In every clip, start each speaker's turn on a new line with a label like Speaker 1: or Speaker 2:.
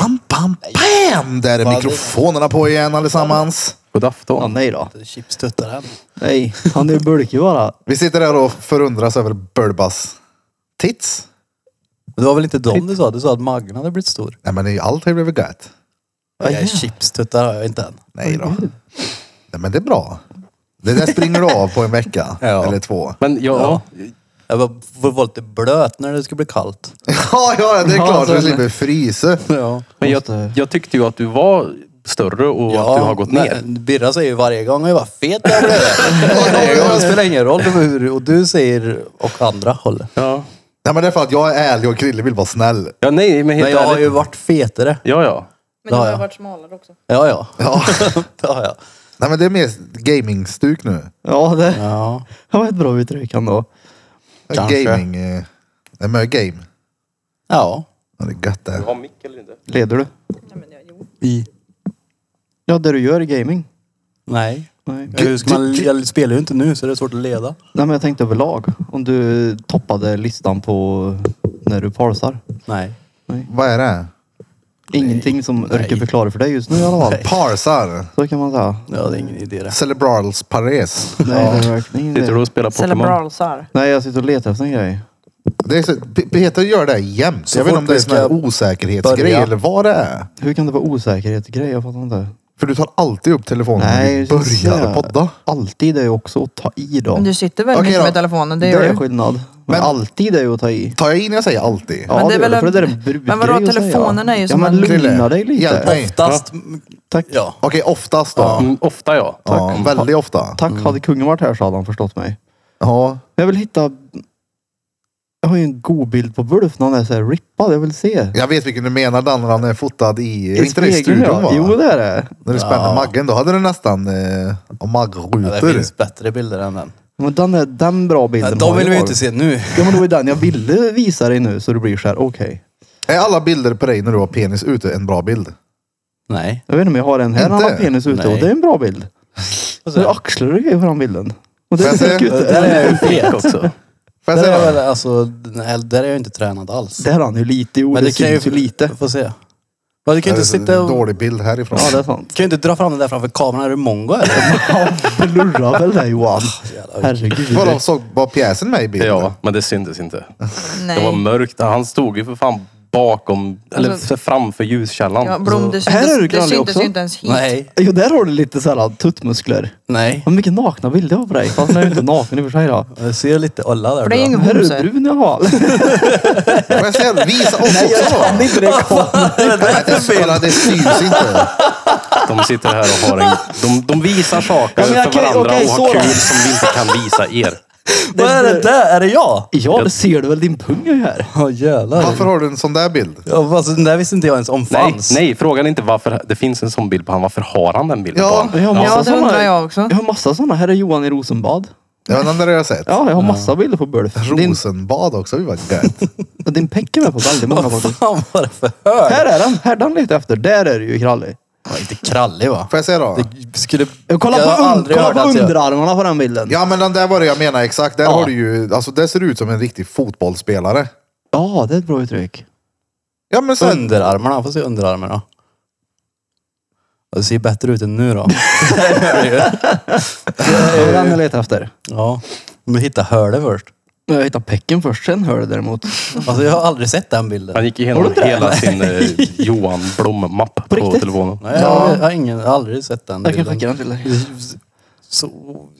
Speaker 1: Bam, bam! Där är mikrofonerna på igen allesammans.
Speaker 2: God
Speaker 3: Ja,
Speaker 2: afton.
Speaker 3: nej då.
Speaker 4: Chipstuttar han.
Speaker 3: Nej, han är bulkig bara.
Speaker 1: Vi sitter där och förundras över Bulbas tits.
Speaker 4: Men det var väl inte dem du sa? Du sa att Maggan hade blivit stor.
Speaker 1: Nej men det är ju- allt har ju blivit gött.
Speaker 3: Ja,
Speaker 4: Nej, chipstuttar har jag inte än.
Speaker 1: Nej då. Nej men det är bra. Det där springer du av på en vecka
Speaker 4: Ja.
Speaker 1: eller två.
Speaker 2: Men ja,
Speaker 4: Jag var, får vara lite blöt när det skulle bli kallt.
Speaker 1: Ja, ja det är
Speaker 2: Ja,
Speaker 1: klart
Speaker 2: så
Speaker 1: så
Speaker 2: är
Speaker 1: du
Speaker 2: det.
Speaker 1: slipper frysa.
Speaker 4: Ja.
Speaker 2: men jag,
Speaker 3: Måste-
Speaker 2: jag tyckte ju att du var större och att du har gått ner.
Speaker 4: men Birra säger ju varje gång jag var fet jag blev. Varje gång, Det spelar ingen roll hur, och du säger och andra hållet.
Speaker 2: Ja.
Speaker 1: Nej men det är för att jag är ärlig och Krille vill vara snäll.
Speaker 2: ja, nej, men helt
Speaker 4: Men jag har
Speaker 2: ärligt.
Speaker 4: ju varit fetare.
Speaker 2: Ja, ja.
Speaker 5: Men du
Speaker 4: Ja,
Speaker 5: har
Speaker 4: ja.
Speaker 5: varit smalare också.
Speaker 4: Ja, ja.
Speaker 1: Ja.
Speaker 4: Det har jag.
Speaker 1: Nej men det är mer gaming-stuk nu.
Speaker 3: Ja, det
Speaker 4: Ja.
Speaker 3: det var ett bra uttryck ändå.
Speaker 4: Kanske.
Speaker 1: Gaming. eh, Det är mycket game.
Speaker 4: Ja.
Speaker 1: Ja, det är gött det.
Speaker 2: Har mick eller inte?
Speaker 3: Leder du?
Speaker 5: Nej, men jag, jo.
Speaker 4: I.
Speaker 3: Ja, det du gör är gaming.
Speaker 4: Nej.
Speaker 3: Nej.
Speaker 4: Hur ska man, jag spelar ju inte nu så det är svårt att leda.
Speaker 3: Nej, men jag tänkte överlag. Om du toppade listan på när du parsar.
Speaker 4: Nej.
Speaker 1: Vad är det?
Speaker 3: Ingenting som orkar förklara för dig just nu i alla fall.
Speaker 1: Parsar.
Speaker 3: Så kan man säga.
Speaker 4: Ja, det är ingen idé det.
Speaker 1: Cerebrals pares.
Speaker 3: Nej, det är verkligen
Speaker 2: Sitter du
Speaker 3: inte.
Speaker 2: och spelar Pokémon?
Speaker 5: Celebralsar.
Speaker 3: Nej, jag sitter och letar efter en grej.
Speaker 1: Det är så, P- Peter gör det jämt.
Speaker 4: Så
Speaker 1: jag vet inte
Speaker 4: fort
Speaker 1: om det är
Speaker 4: vi
Speaker 1: sån här
Speaker 4: ska
Speaker 1: osäkerhetsgrej
Speaker 4: börja.
Speaker 1: eller vad det är.
Speaker 3: Hur kan det vara osäkerhetsgrej? Jag fattar inte.
Speaker 1: För du tar alltid upp telefonen när
Speaker 3: Nej,
Speaker 1: du
Speaker 3: det känns
Speaker 1: börjar
Speaker 3: så.
Speaker 1: podda.
Speaker 3: Alltid är ju också att ta i då.
Speaker 5: Men du sitter väldigt
Speaker 1: Okej
Speaker 5: mycket
Speaker 1: då.
Speaker 5: med telefonen, det
Speaker 3: Det
Speaker 5: gör
Speaker 3: är
Speaker 5: du.
Speaker 3: skillnad. Men,
Speaker 1: Men-
Speaker 3: alltid är ju att ta i.
Speaker 1: Tar jag i när jag säger alltid?
Speaker 3: Ja,
Speaker 5: Men det
Speaker 3: det är
Speaker 5: är väl
Speaker 3: det, för
Speaker 5: en-
Speaker 3: det där är en brudgrej
Speaker 5: Men vadå,
Speaker 3: att säga.
Speaker 5: telefonen är ju
Speaker 3: Ja,
Speaker 5: som
Speaker 3: men
Speaker 5: en-
Speaker 3: lugna dig
Speaker 1: Hjälp
Speaker 3: lite.
Speaker 1: mig.
Speaker 4: Oftast,
Speaker 3: Tack.
Speaker 4: ja.
Speaker 1: Okej, oftast då. Ja.
Speaker 2: Mm, ofta ja.
Speaker 1: väldigt ofta.
Speaker 3: Tack, hade kungen varit här så hade han förstått mig.
Speaker 1: Ja.
Speaker 3: Men Mm. Jag vill hitta... Jag har ju en god bild på Bulf när han är så här rippad. Jag vill se.
Speaker 1: Jag vet vilken du menar Dan, när han är fotad i...
Speaker 3: I
Speaker 1: inte det i
Speaker 3: spegeln,
Speaker 1: studion va?
Speaker 3: ja. Jo, det är det.
Speaker 1: När du spänner
Speaker 4: Ja.
Speaker 1: Maggen, då hade du nästan eh,
Speaker 4: ja. Det
Speaker 1: maggrutor.
Speaker 4: finns bättre bilder än den.
Speaker 3: Men den, är, den bra bilden
Speaker 4: Nej,
Speaker 3: har
Speaker 4: de vill
Speaker 3: jag
Speaker 4: vi ju
Speaker 3: av.
Speaker 4: inte se nu.
Speaker 3: Ja, men det var ju den jag ville visa dig nu så du blir så här, okej.
Speaker 1: Är alla bilder på dig när du har penis ute en bra bild?
Speaker 4: Nej.
Speaker 3: Jag vet inte om jag har en här när han har
Speaker 1: Inte?
Speaker 3: penis ute och
Speaker 4: Nej.
Speaker 3: det är en bra bild. Så är axlar och grejer på den bilden. Och det
Speaker 1: Får
Speaker 3: är
Speaker 1: jag
Speaker 3: så
Speaker 1: se?
Speaker 3: skutt.
Speaker 4: Där är jag ju fet också.
Speaker 1: Får jag
Speaker 4: Där är,
Speaker 1: säga
Speaker 4: jag
Speaker 1: det?
Speaker 4: väl, alltså, nej, där är jag inte tränad alls.
Speaker 3: Där är han ju lite. Jo, det, syns ju lite.
Speaker 4: Få se. Men du kan
Speaker 1: Det
Speaker 4: ju
Speaker 1: är
Speaker 4: inte
Speaker 1: så-
Speaker 4: sitta och...
Speaker 1: Dålig bild härifrån.
Speaker 3: Ja, det är sant.
Speaker 4: Du kan ju inte dra fram den där framför kameran. Är du mongo eller?
Speaker 3: Blurra väl det Johan.
Speaker 4: jävla-
Speaker 3: Herregud.
Speaker 1: Vadå, såg bara pjäsen med i bilden?
Speaker 2: Ja, men det syntes inte.
Speaker 5: Nej.
Speaker 2: Det var mörkt. Han stod ju för fan bakom, eller
Speaker 5: Alltså-
Speaker 2: framför ljuskällan.
Speaker 5: Ja, Blom, det
Speaker 3: Här är
Speaker 5: syntes,
Speaker 3: du
Speaker 5: det
Speaker 3: knallig
Speaker 5: syntes
Speaker 3: också.
Speaker 5: ju inte ens hit.
Speaker 4: Nej.
Speaker 3: Jo, där har du lite såhär tuttmuskler.
Speaker 4: Nej.
Speaker 3: Vad mycket nakna bilder jag har på dig. Fast han är ju inte naken i och för sig då.
Speaker 4: Jag ser lite olla där.
Speaker 5: För det är ju
Speaker 4: då.
Speaker 5: ingen
Speaker 3: Här är
Speaker 5: homse.
Speaker 3: du brun i alla fall.
Speaker 1: Får jag säga det? Visa oss också då!
Speaker 3: inte det kom.
Speaker 1: Nej, det, kolla, det syns inte.
Speaker 2: De sitter här och har en... De, de visar saker
Speaker 3: Ja, men
Speaker 2: för
Speaker 3: okej,
Speaker 2: varandra
Speaker 3: okej,
Speaker 2: och
Speaker 3: så
Speaker 2: har
Speaker 3: då.
Speaker 2: kul som vi inte kan visa er.
Speaker 4: Vad är det där? Är det jag?
Speaker 3: Ja, det ser du väl. Din pung är ju här.
Speaker 4: Ja jävlar.
Speaker 1: Varför har du en sån där bild?
Speaker 4: Ja, alltså, den där visste inte jag ens om
Speaker 2: Nej,
Speaker 4: fanns.
Speaker 2: nej, frågan är inte varför. Det finns en sån bild på han. Varför har han den bilden
Speaker 1: Ja.
Speaker 2: på han?
Speaker 3: Jag har
Speaker 5: Ja,
Speaker 3: massa
Speaker 5: det
Speaker 3: såna-
Speaker 5: undrar jag också.
Speaker 3: Jag har massa sådana. Här är Johan i Rosenbad.
Speaker 1: Ja, den där har jag sett.
Speaker 3: Ja, jag har massa bilder på Bulf. Din,
Speaker 1: Rosenbad också, det var gött.
Speaker 3: din peck är med på väldigt många
Speaker 4: Vad
Speaker 3: faktiskt.
Speaker 4: fan var det för hög?
Speaker 3: Här är den. Här den letar jag efter. Där är det ju krallig.
Speaker 4: Den var lite krallig va?
Speaker 1: Får jag säga då?
Speaker 4: Det skulle...
Speaker 3: Kolla
Speaker 4: Jag
Speaker 3: på,
Speaker 4: har
Speaker 3: und-
Speaker 4: aldrig
Speaker 3: kolla
Speaker 4: hört
Speaker 3: på
Speaker 4: att jag-
Speaker 3: underarmarna på den bilden.
Speaker 1: Ja men den där var det jag menar exakt. Där
Speaker 3: Ja.
Speaker 1: har du ju, alltså det ser ut som en riktig fotbollsspelare.
Speaker 3: Ja, det är ett bra uttryck.
Speaker 1: Ja men sen,
Speaker 4: Underarmarna, får se underarmarna. Ja, Det ser bättre ut än nu då.
Speaker 3: Det är den jag letar efter.
Speaker 4: ja. Men hitta hörde först.
Speaker 3: Men Jag hittar pecken först, sen hör det däremot.
Speaker 4: Alltså jag har aldrig sett den bilden.
Speaker 2: Han gick igenom
Speaker 3: inte det?
Speaker 2: hela sin eh, Johan Blom-mapp på
Speaker 3: riktigt?
Speaker 2: telefonen.
Speaker 4: Nej, jag har, jag har ingen, aldrig sett den
Speaker 3: Jag kan
Speaker 4: bilden.
Speaker 3: skicka den till dig.
Speaker 4: Så,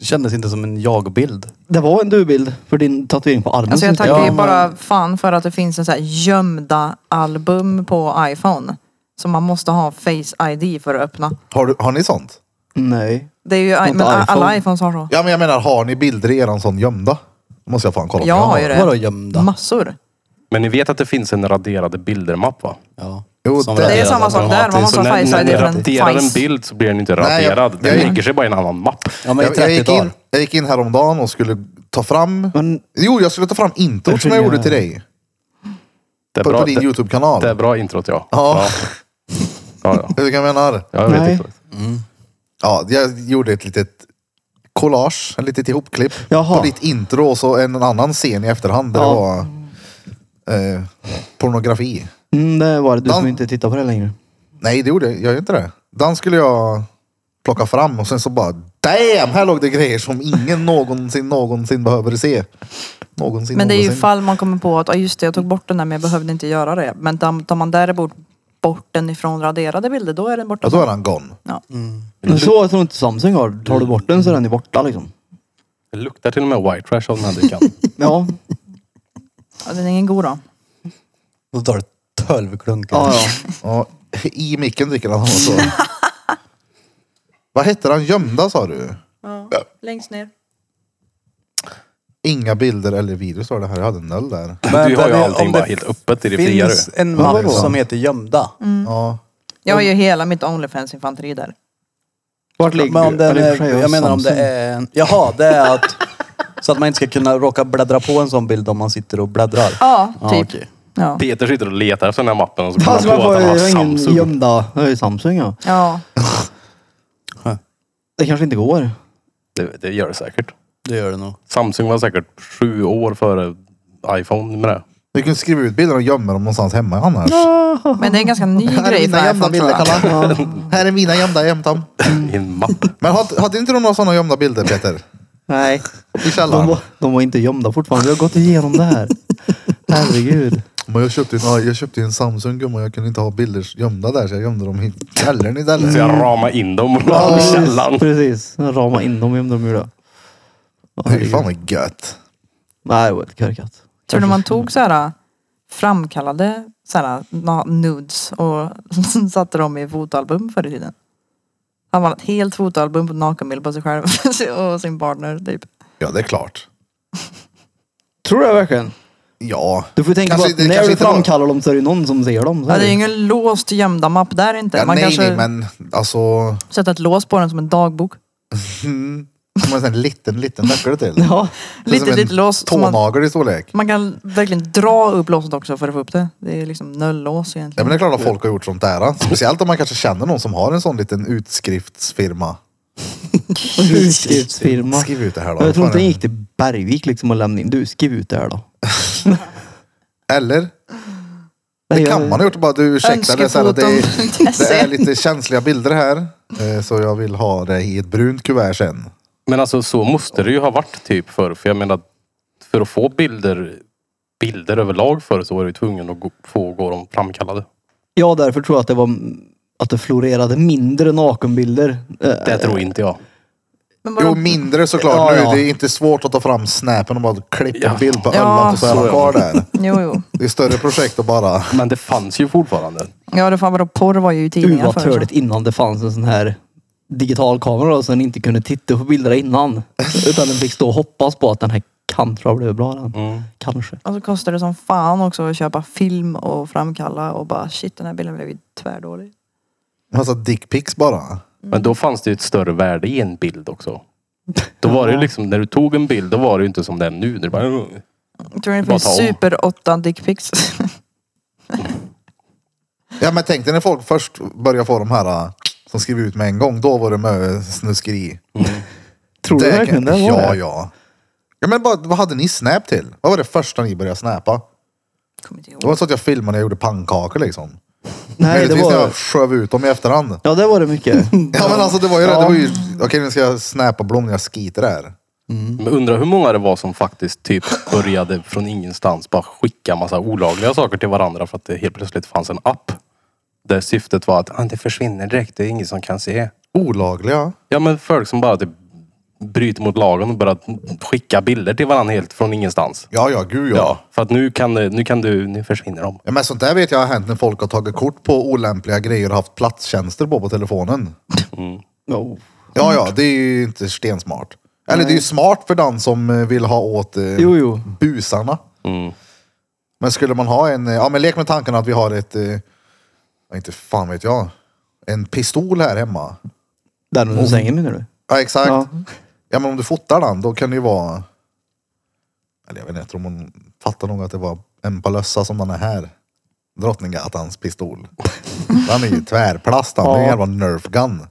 Speaker 4: kändes inte som en jag-bild.
Speaker 3: Det var en du-bild för din tatuering på armen.
Speaker 5: Alltså jag
Speaker 3: syns det.
Speaker 5: tackar
Speaker 4: Ja,
Speaker 5: ju
Speaker 4: men-
Speaker 5: bara fan för att det finns en så här gömda album på iPhone. Som man måste ha Face ID för att öppna.
Speaker 1: har, du, har ni sånt?
Speaker 3: Nej.
Speaker 5: Det är ju, men
Speaker 3: Inte
Speaker 5: a-
Speaker 3: iPhone.
Speaker 5: alla iPhones har så.
Speaker 1: Ja men jag menar, har ni bilder i eran sån gömda? Måste jag fan kolla om
Speaker 5: Jag har ju
Speaker 4: Vadå
Speaker 5: det.
Speaker 4: gömda?
Speaker 5: Massor.
Speaker 2: Men ni vet att det finns en raderade bilder-mapp va?
Speaker 4: Ja.
Speaker 1: Jo,
Speaker 4: Som
Speaker 1: det-
Speaker 5: Det är
Speaker 4: raderade
Speaker 5: samma sak där. Man
Speaker 4: dramatiskt.
Speaker 5: måste
Speaker 2: Så
Speaker 5: ha
Speaker 2: när,
Speaker 5: Face
Speaker 2: när
Speaker 5: ID
Speaker 2: ni
Speaker 5: för en
Speaker 2: raderar en
Speaker 5: face.
Speaker 2: bild så blir den inte
Speaker 1: Nej, jag-
Speaker 2: raderad. Den
Speaker 1: jag-
Speaker 2: lägger sig bara i en annan mapp.
Speaker 4: Ja men i
Speaker 1: Jag, jag,
Speaker 4: 30
Speaker 1: gick in,
Speaker 4: dagar.
Speaker 1: jag gick in häromdagen och skulle ta fram,
Speaker 3: Men
Speaker 1: jo jag skulle ta fram introt som jag
Speaker 3: Varför
Speaker 1: gjorde
Speaker 3: gör-
Speaker 1: till dig.
Speaker 2: Det är
Speaker 1: På,
Speaker 2: bra,
Speaker 1: på din
Speaker 2: det,
Speaker 1: YouTube-kanal.
Speaker 2: det är bra introt ja.
Speaker 1: Ja.
Speaker 2: Ja, ja.
Speaker 1: Vet du vad jag menar?
Speaker 2: ja jag vet
Speaker 3: Nej.
Speaker 2: exakt.
Speaker 1: Ja, jag gjorde ett litet collage, ett litet ihopklipp
Speaker 3: Jaha.
Speaker 1: på ditt intro och så en annan scen i efterhand där
Speaker 3: Ja.
Speaker 1: det var eh, pornografi.
Speaker 3: mm, det var det du
Speaker 1: Dan-
Speaker 3: som inte tittar på det längre.
Speaker 1: Nej, det gjorde jag. Jag gör inte det. Den skulle jag plocka fram och sen så bara damn, här låg det grejer som ingen någonsin, någonsin behöver se. Någonsin,
Speaker 5: Men det är ju
Speaker 1: någonsin.
Speaker 5: fall man kommer på att, ja just det jag tog bort den där men jag behövde inte göra det. Men tam- tar man däremot bort den ifrån raderade bilder då är den borta.
Speaker 1: Ja, då Mm. är han gone.
Speaker 5: Ja.
Speaker 3: Men så jag tror inte Samsung har. Tar du bort den så är den ju borta liksom.
Speaker 2: Det luktar till och med white trash av den här dukan.
Speaker 3: Ja.
Speaker 5: Ja, Den är ingen god då.
Speaker 4: Då tar det 12 klunkar.
Speaker 3: ja, ja.
Speaker 1: Ja, I micken dricker han och så. Vad hette han gömda sa du?
Speaker 5: Längst ner.
Speaker 1: Inga bilder eller videos var det här. Jag hade noll där.
Speaker 2: du har ju
Speaker 4: men
Speaker 2: allting
Speaker 4: om
Speaker 2: bara
Speaker 4: det
Speaker 2: helt öppet i det fria du.
Speaker 4: finns en
Speaker 1: Ja,
Speaker 4: mapp
Speaker 1: vadå?
Speaker 4: som heter gömda.
Speaker 1: Mm.
Speaker 5: Mm.
Speaker 1: Ja.
Speaker 5: Jag har ju hela mitt Onlyfans-infanteri där.
Speaker 3: Vart ligger
Speaker 4: Men om den
Speaker 3: eller i och för
Speaker 4: är,
Speaker 3: sig,
Speaker 4: jag menar om det
Speaker 3: Samsung.
Speaker 4: är en... Jaha, det är att... Så att man inte ska kunna råka bläddra på en sån bild om man sitter och bläddrar.
Speaker 5: Ja,
Speaker 1: Ah,
Speaker 4: Ja,
Speaker 5: typ.
Speaker 4: okej.
Speaker 5: Ja.
Speaker 2: Peter sitter och letar efter den här mappen och så
Speaker 3: Fast
Speaker 2: kommer
Speaker 3: man
Speaker 2: han på
Speaker 3: får
Speaker 2: att han har
Speaker 3: jag har ingen
Speaker 2: Samsung.
Speaker 3: gömda. Jag har ju Samsung ja.
Speaker 5: ja.
Speaker 3: Det kanske inte går.
Speaker 2: Det, det gör det säkert.
Speaker 4: Det gör det nog.
Speaker 2: Samsung var säkert sju år före iPhone med det.
Speaker 1: Du kan skriva ut bilderna och gömma dem någonstans hemma annars.
Speaker 5: Men det är en ganska ny
Speaker 1: Här är
Speaker 5: grej
Speaker 1: mina
Speaker 5: för
Speaker 1: gömda
Speaker 5: iPhone tror
Speaker 1: bilder,
Speaker 5: jag.
Speaker 1: Kalle. Här är mina gömda jämtam.
Speaker 3: Mm.
Speaker 2: I en mapp.
Speaker 1: Men hade, hade inte du några sådana gömda bilder, Peter?
Speaker 3: Nej.
Speaker 1: I
Speaker 3: De
Speaker 1: källaren?
Speaker 3: var, de var inte gömda fortfarande. Vi har gått igenom det här. Herregud.
Speaker 1: Men jag köpte, en, ja, jag köpte ju en Samsung gumma, jag kunde inte ha bilder gömda där så jag gömde dem i källaren
Speaker 2: Så
Speaker 1: istället.
Speaker 2: jag ramar in dem och la dem i källaren.
Speaker 3: Precis. Rama in dem gömde de ju det. Ja,
Speaker 1: Fy
Speaker 3: herregud.
Speaker 1: fan vad gött.
Speaker 3: Nej, det var helt korkat.
Speaker 5: Tror du man tog så här äh, framkallade så här, na- nudes och satte dem i fotoalbum förr i tiden? Han var ett helt fotoalbum på nakenbild på sig själv och sin partner typ.
Speaker 1: Ja det är klart.
Speaker 3: Tror du det verkligen?
Speaker 1: Ja.
Speaker 3: Du får ju tänka
Speaker 1: Kanske Alltså,
Speaker 3: på
Speaker 1: det-
Speaker 3: att när
Speaker 1: kanske
Speaker 3: du
Speaker 1: inte var-
Speaker 3: framkallar dem så är det ju någon som ser dem. Så
Speaker 5: Ja,
Speaker 3: är
Speaker 5: det är
Speaker 3: det
Speaker 5: ju
Speaker 3: ju.
Speaker 5: ingen låst gömda mapp där inte.
Speaker 1: ja
Speaker 5: man
Speaker 1: nej,
Speaker 5: kanske
Speaker 1: nej men alltså.
Speaker 5: sätter ett lås på den som en dagbok.
Speaker 1: Mm, som en sån här liten, liten nyckel till. Det
Speaker 3: Ja.
Speaker 1: är
Speaker 5: Lite
Speaker 1: som en
Speaker 5: litet lås. som Man,
Speaker 1: Tånagel i storlek.
Speaker 5: man kan verkligen dra upp låset också för att få upp det. Det är liksom nöllås
Speaker 1: Ja
Speaker 5: egentligen.
Speaker 1: men det är klart att folk har gjort sånt där. Speciellt om man kanske känner någon som har en sån liten utskriftsfirma.
Speaker 3: Utskriftsfirma.
Speaker 1: Skriv ut det här då.
Speaker 3: Jag tror inte den gick till Bergvik liksom och lämnade in. Du, skriv ut det här då.
Speaker 1: Eller?
Speaker 3: Nej,
Speaker 1: Det
Speaker 3: jag-
Speaker 1: kan man ha gjort bara. Du ursäkta, det är, så här, att det, är, det är
Speaker 5: Önskefoton.se.
Speaker 1: lite känsliga bilder här. eh, Så jag vill ha det i ett brunt kuvert sen.
Speaker 2: Men alltså så måste det ju ha varit typ förr. För jag menar, för att få bilder, bilder överlag förr så var du ju tvungen att gå, få gå dem framkallade.
Speaker 3: Ja, därför tror jag att det var att det florerade mindre nakenbilder. Eh,
Speaker 2: Det tror inte jag.
Speaker 5: Men
Speaker 1: Jo,
Speaker 5: bara,
Speaker 1: mindre såklart.
Speaker 3: Ja,
Speaker 1: nu,
Speaker 3: ja.
Speaker 1: Det är inte svårt att ta fram snappen och bara klippa
Speaker 2: Ja.
Speaker 1: en bild på
Speaker 5: Ja.
Speaker 1: öllan och så är
Speaker 2: Så
Speaker 1: den
Speaker 2: är
Speaker 1: kvar där.
Speaker 5: jo, jo.
Speaker 1: Det är större projekt att bara...
Speaker 2: Men det fanns ju fortfarande.
Speaker 5: Ja, det fan vadå, porr var ju i
Speaker 3: Gud
Speaker 5: tidningar
Speaker 3: vad
Speaker 5: förr. så.
Speaker 3: törligt innan det fanns en sån här digital kamera då, så den inte kunde titta på bilderna innan. Utan den fick stå och hoppas på att den här kantra blev bra den.
Speaker 1: Mm.
Speaker 3: Kanske.
Speaker 5: Och så kostar det som fan också att köpa film och framkalla och bara shit den här bilden blev ju tvärdålig.
Speaker 1: Massa dickpics bara.
Speaker 2: Men då fanns det ju ett större värde i en bild också. Då var det ju liksom, när du tog en bild, då var det ju inte som det är nu. Det bara,
Speaker 5: Jag tror det
Speaker 2: Bara
Speaker 5: finns
Speaker 2: ta om.
Speaker 5: super 8 dickpics.
Speaker 1: Ja men tänk dig när folk först börjar få de här äh, som skriver ut med en gång. Då var det med snuskeri.
Speaker 3: Tror du
Speaker 1: Det
Speaker 3: verkligen det
Speaker 1: kan-
Speaker 3: var
Speaker 1: Ja,
Speaker 3: det?
Speaker 1: ja. Ja men bara, vad hade ni snap till? Vad var det första ni började snappa?
Speaker 5: Kommer inte
Speaker 1: Det
Speaker 5: ihåg.
Speaker 1: var så att jag filmade när jag gjorde pannkakor liksom.
Speaker 3: Nej, det
Speaker 1: Möjligtvis när
Speaker 3: var...
Speaker 1: jag sköv ut dem i efterhand.
Speaker 3: Ja, det var det mycket.
Speaker 1: Ja men alltså det var ju det. det var ju, Okej nu ska jag snappa blom när jag skiter där.
Speaker 2: Men undrar hur många det var som faktiskt typ började från ingenstans bara skicka massa olagliga saker till varandra för att det helt plötsligt fanns en app. Där syftet var att ah, det försvinner direkt, det är ingen som kan se.
Speaker 1: Olagliga.
Speaker 2: Ja men folk som bara typ bryter mot lagen och börjar skicka bilder till varandra helt från ingenstans.
Speaker 1: Ja ja, gud ja. ja.
Speaker 2: För att nu kan, det- nu kan du, nu försvinner de.
Speaker 1: men sånt där vet jag har hänt när folk har tagit kort på olämpliga grejer och haft platstjänster på på telefonen.
Speaker 3: Ja.
Speaker 1: Ja ja, det är ju inte stensmart. Eller det är ju smart för den som eh, vill ha åt eh,
Speaker 3: Jo, jo.
Speaker 1: busarna. Men skulle man ha en, eh, ja men lek med tanken att vi har ett, eh, ja, inte fan vet jag, en pistol här hemma.
Speaker 3: Där
Speaker 1: Mm.
Speaker 3: under sängen menar du?
Speaker 1: Ja exakt. Ja.
Speaker 3: Ja.
Speaker 1: men om du fotar den då kan det ju vara, eller jag vet inte, jag tror hon fattar nog att det var en palössa som den är här. Drottninggatans pistol. Den är ju tvärplast den, det är en
Speaker 3: Ja.
Speaker 1: jävla nerf gun.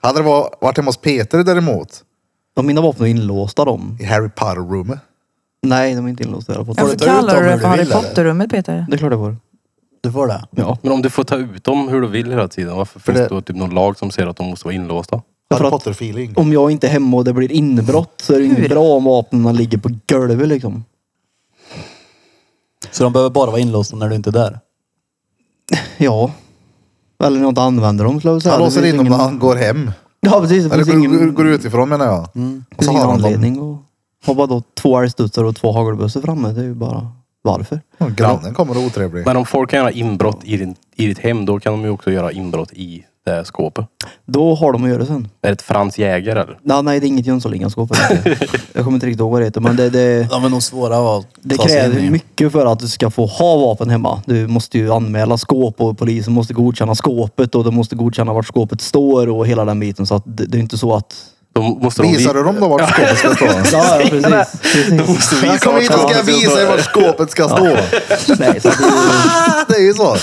Speaker 1: Hade det var- varit hemma hos Peter däremot,
Speaker 3: Ja, mina vapen är inlåsta de.
Speaker 1: i Harry Potter-rummet.
Speaker 3: Nej, de är inte inlåsta i alla fall.
Speaker 5: Varför
Speaker 4: ta ut dem
Speaker 5: kallar du
Speaker 4: hur
Speaker 5: det
Speaker 4: du
Speaker 5: för Harry
Speaker 4: vill, eller?
Speaker 5: Potter-rummet Peter?
Speaker 3: Det är klart det var.
Speaker 4: Du får det.
Speaker 3: Ja.
Speaker 2: Men om du får ta ut dem hur du vill hela tiden, varför
Speaker 1: För
Speaker 2: finns det
Speaker 1: det-
Speaker 2: då typ någon lag som säger att de måste vara inlåsta?
Speaker 1: Harry
Speaker 3: att-
Speaker 1: Potter-feeling.
Speaker 3: Om jag inte är hemma och det blir inbrott så är det ju
Speaker 5: Hur?
Speaker 3: inte bra om vapnen ligger på golvet liksom.
Speaker 4: Så de behöver bara vara inlåsta när du inte är där.
Speaker 3: Ja. Eller när jag inte använder dem skulle jag säga.
Speaker 1: Han
Speaker 3: Det
Speaker 1: låser
Speaker 3: finns
Speaker 1: in dem när
Speaker 3: ingen-
Speaker 1: han går hem.
Speaker 3: Ja precis. Det
Speaker 1: Eller
Speaker 3: finns
Speaker 1: går,
Speaker 3: ingen, Mm.
Speaker 1: ingen... går utifrån menar jag.
Speaker 3: finns
Speaker 1: så
Speaker 3: ingen
Speaker 1: har han dem.
Speaker 3: anledning att ha bara då två älgstudsar och två hagelbössor framme. Det är ju bara varför.
Speaker 1: Och Grannen kommer och är otrevlig.
Speaker 2: Men om folk kan göra inbrott i, din, i ditt hem, då kan de ju också göra inbrott i det här skåpet.
Speaker 3: Då har de att göra sen.
Speaker 2: Är det ett Frans Jäger eller?
Speaker 3: Ja, nej, det är inget Jönssonligaskåp. jag kommer inte riktigt ihåg vad det heter. Men det, det,
Speaker 4: De är nog svåra var att
Speaker 3: det
Speaker 4: ta sig in i.
Speaker 3: kräver mycket för att du ska få ha vapen hemma. Du måste ju anmäla skåp och polisen måste godkänna skåpet och de måste godkänna vart skåpet står och hela den biten. Så att det, det är inte så att...
Speaker 2: Då måste de
Speaker 1: Visar du dem då vart skåpet ska stå?
Speaker 3: Ja, ja, precis. precis.
Speaker 1: Jag kommer hit och ska visa er vart skåpet ska stå.
Speaker 3: Nej, så att det är,
Speaker 1: Det är ju så.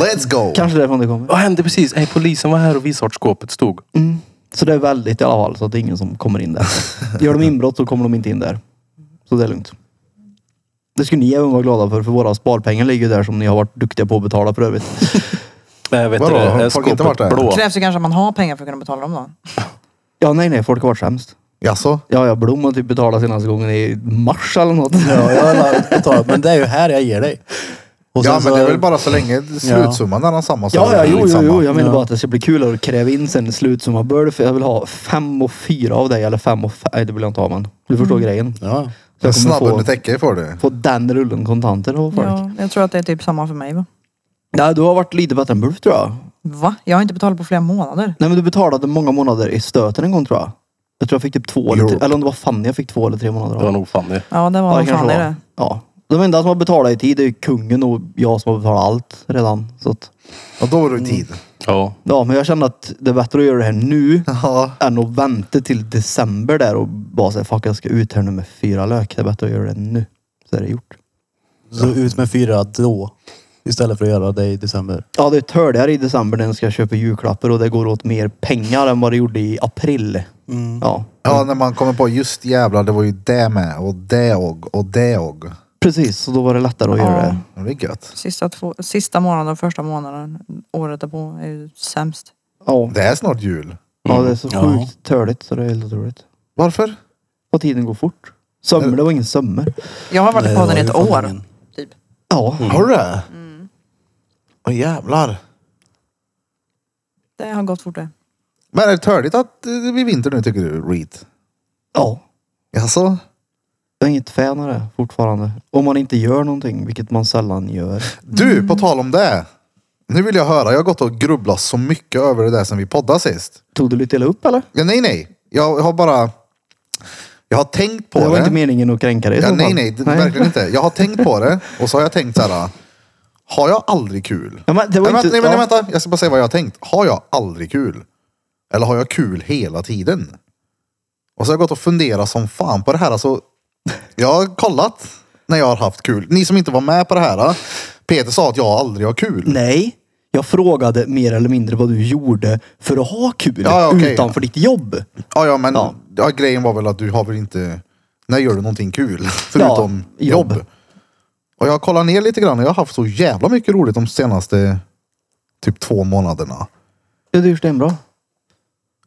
Speaker 1: Let's go.
Speaker 3: kanske därifrån det kommer.
Speaker 2: Vad hände precis? Hey, polisen var här och visade vart skåpet stod.
Speaker 3: Så det är väldigt i alla fall, så att det är ingen som kommer in där. Gör de inbrott så kommer de inte in där. Så det är lugnt. Det skulle ni även vara glada för, för våra sparpengar ligger ju där som ni har varit duktiga på att betala för övrigt.
Speaker 2: Äh, vet
Speaker 1: Vadå?
Speaker 2: du, det?
Speaker 1: Har
Speaker 2: Är
Speaker 1: folk inte
Speaker 2: skåpet
Speaker 1: varit där?
Speaker 2: blå?
Speaker 5: Krävs ju kanske att man har pengar för att kunna betala dem då.
Speaker 3: Ja, nej, nej, folk har varit sämst.
Speaker 1: Jaså?
Speaker 3: Ja, ja, Blom har typ betalat senaste gången i mars eller något.
Speaker 4: Ja, jag har lagt på tal, men det är ju här jag ger dig.
Speaker 1: Ja
Speaker 4: Och sen
Speaker 1: men
Speaker 4: så-
Speaker 1: det är väl bara så länge slutsumman är densamma. så liksom,
Speaker 3: Ja,
Speaker 1: är
Speaker 3: ja,
Speaker 1: det
Speaker 3: jo, jo,
Speaker 1: skitsamma.
Speaker 3: jo. Jag menar
Speaker 4: Ja.
Speaker 3: bara att det ska bli kul att kräva in sen slutsumma börd. För jag vill ha fem och fyra av dig, eller fem och fem. Nej, det vill jag inte ha, men du förstår
Speaker 5: Mm.
Speaker 3: grejen.
Speaker 4: Ja.
Speaker 3: Så jag kommer
Speaker 1: Snabb under
Speaker 3: få,
Speaker 1: täcke får du.
Speaker 3: få den rullen kontanter av folk.
Speaker 5: Ja, jag tror att det är typ samma för mig va?
Speaker 3: Nej, du har varit lite bättre än Bulf tror jag.
Speaker 5: Va? Jag har inte betalat på flera månader.
Speaker 3: Nej men du betalade många månader i stöten en gång tror jag. Jag tror jag fick typ två eller tre,
Speaker 1: Europe.
Speaker 3: eller om det var Fanny jag fick två eller tre månader av.
Speaker 2: Det var nog Fanny.
Speaker 5: Ja det
Speaker 3: Ja,
Speaker 5: var nog fan
Speaker 3: kanske
Speaker 5: det.
Speaker 3: var.
Speaker 5: det.
Speaker 3: Ja. De enda som har betalat i tid är ju kungen och jag som har betalat allt redan. Så att,
Speaker 1: Och då var
Speaker 3: Mm.
Speaker 1: du i tid.
Speaker 2: Ja.
Speaker 3: ja men jag kände att det är bättre att göra det här nu
Speaker 1: Ja.
Speaker 3: än att vänta till december där och bara säga fuck jag ska ut här nu med fyra lök. Det är bättre att göra det nu. Så är det gjort.
Speaker 4: Så ut med fyra då. Istället för att göra det i december.
Speaker 3: Ja det är törligare i december när jag ska köpa julklappar och det går åt mer pengar än vad det gjorde i april. Ja
Speaker 1: Ja, när man kommer på just jävlar, det var ju det med och det och och det och.
Speaker 3: precis, så då var det lättare att göra
Speaker 5: Ja.
Speaker 3: det.
Speaker 1: Det är gött.
Speaker 5: Sista, två, sista månaden och första månaden året därpå är ju sämst.
Speaker 3: Ja.
Speaker 1: Det är snart jul.
Speaker 3: Ja, det är så
Speaker 4: Ja.
Speaker 3: sjukt törligt så det är helt otroligt.
Speaker 1: Varför?
Speaker 3: Och tiden går fort. Sömmer, det var ingen sömmer.
Speaker 5: Jag har varit
Speaker 4: Nej,
Speaker 5: i
Speaker 4: det
Speaker 5: podden
Speaker 4: var
Speaker 5: i
Speaker 4: ju
Speaker 5: ett
Speaker 4: fan
Speaker 5: år.
Speaker 4: ingen.
Speaker 5: Typ.
Speaker 3: Ja.
Speaker 1: Mm. Har du det? Åh jävlar.
Speaker 5: Det har gått fort det.
Speaker 1: Men är det törligt att eh, det blir vinter nu tycker du, Reet?
Speaker 3: Ja.
Speaker 1: Jaså?
Speaker 3: Jag är inget fan av det fortfarande. Om man inte gör någonting, vilket man sällan gör. Mm.
Speaker 1: Du, på tal om det. Nu vill jag höra, jag har gått och grubblat så mycket över det där sen vi poddade sist.
Speaker 3: Tog du lite illa upp eller?
Speaker 1: Ja, nej, nej. Jag har bara... Jag har tänkt på
Speaker 3: det
Speaker 1: det.
Speaker 3: var inte meningen att kränka dig i
Speaker 1: Ja,
Speaker 3: så
Speaker 1: nej,
Speaker 3: fall.
Speaker 1: nej, det- verkligen inte. Jag har tänkt på det och så har jag tänkt så här. Har jag aldrig kul?
Speaker 3: Ja, men det var
Speaker 1: nej,
Speaker 3: inte-
Speaker 1: vänta, nej, men
Speaker 3: ja.
Speaker 1: vänta, jag ska bara säga vad jag har tänkt. Har jag aldrig kul? Eller har jag kul hela tiden? Och så har jag gått och funderat som fan på det här. Alltså, jag har kollat när jag har haft kul. Ni som inte var med på det här. Peter sa att jag aldrig har kul.
Speaker 3: Nej. Jag frågade mer eller mindre vad du gjorde för att ha kul
Speaker 1: Ja, ja, okej.
Speaker 3: utanför ditt jobb.
Speaker 1: Ja, ja, men ja.
Speaker 3: Ja.
Speaker 1: grejen var väl att du har väl inte... När gör du någonting kul? Förutom jobb.
Speaker 3: jobb.
Speaker 1: Och jag har kollat ner lite grann och jag har haft så jävla mycket roligt de senaste typ två månaderna.
Speaker 3: Ja, det är ju stenbra.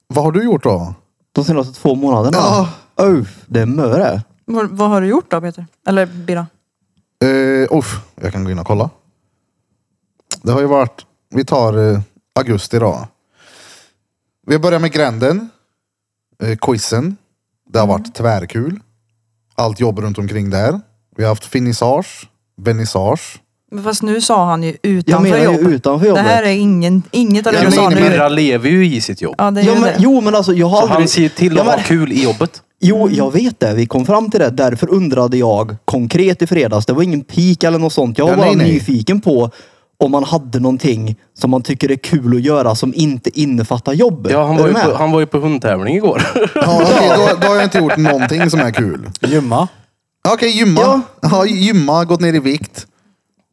Speaker 1: Vad har du gjort då?
Speaker 3: De senaste två månaderna.
Speaker 1: Ja.
Speaker 3: Oh, det är möre.
Speaker 5: Vad, vad har du gjort då Peter? Eller Bira?
Speaker 1: Uh, uff, jag kan gå in och kolla. Det har ju varit... Vi tar eh, augusti då. Vi börjar med gränden. Eh, quizen. Det har varit tvärkul. Allt jobb runt omkring där. Vi har haft finissage, vernissage.
Speaker 5: Men fast nu sa han ju
Speaker 3: Jag
Speaker 5: utanför
Speaker 3: menar
Speaker 5: jobb.
Speaker 3: ju utanför
Speaker 5: Det
Speaker 3: jobbet.
Speaker 5: här är ingen, inget av det
Speaker 1: Ja,
Speaker 5: du
Speaker 1: men
Speaker 5: sa
Speaker 1: innebär-
Speaker 5: nu.
Speaker 2: Birra lever ju i sitt jobb.
Speaker 5: Ja det är
Speaker 3: ja,
Speaker 5: ju
Speaker 3: men,
Speaker 5: det.
Speaker 3: jo men alltså jag har
Speaker 2: Så han
Speaker 3: aldrig...
Speaker 2: ser till
Speaker 3: Ja,
Speaker 2: att
Speaker 3: men-
Speaker 2: ha kul i jobbet.
Speaker 3: Jo, jag vet det. Vi kom fram till det. Därför undrade jag konkret i fredags. Det var ingen peak eller något sånt. Jag var
Speaker 1: Ja,
Speaker 3: bara
Speaker 1: nej, nej.
Speaker 3: nyfiken på om man hade någonting som man tycker är kul att göra som inte innefattar jobb.
Speaker 2: Ja, han,
Speaker 3: Är
Speaker 2: var
Speaker 3: du
Speaker 2: ju
Speaker 3: med?
Speaker 2: på, han var ju på hundtävling igår.
Speaker 1: Ja, okej, då, då har jag inte gjort någonting som är kul.
Speaker 4: Gymma.
Speaker 1: Okej, gymma.
Speaker 3: Ja.
Speaker 1: Jag har gymma, gått ner i vikt.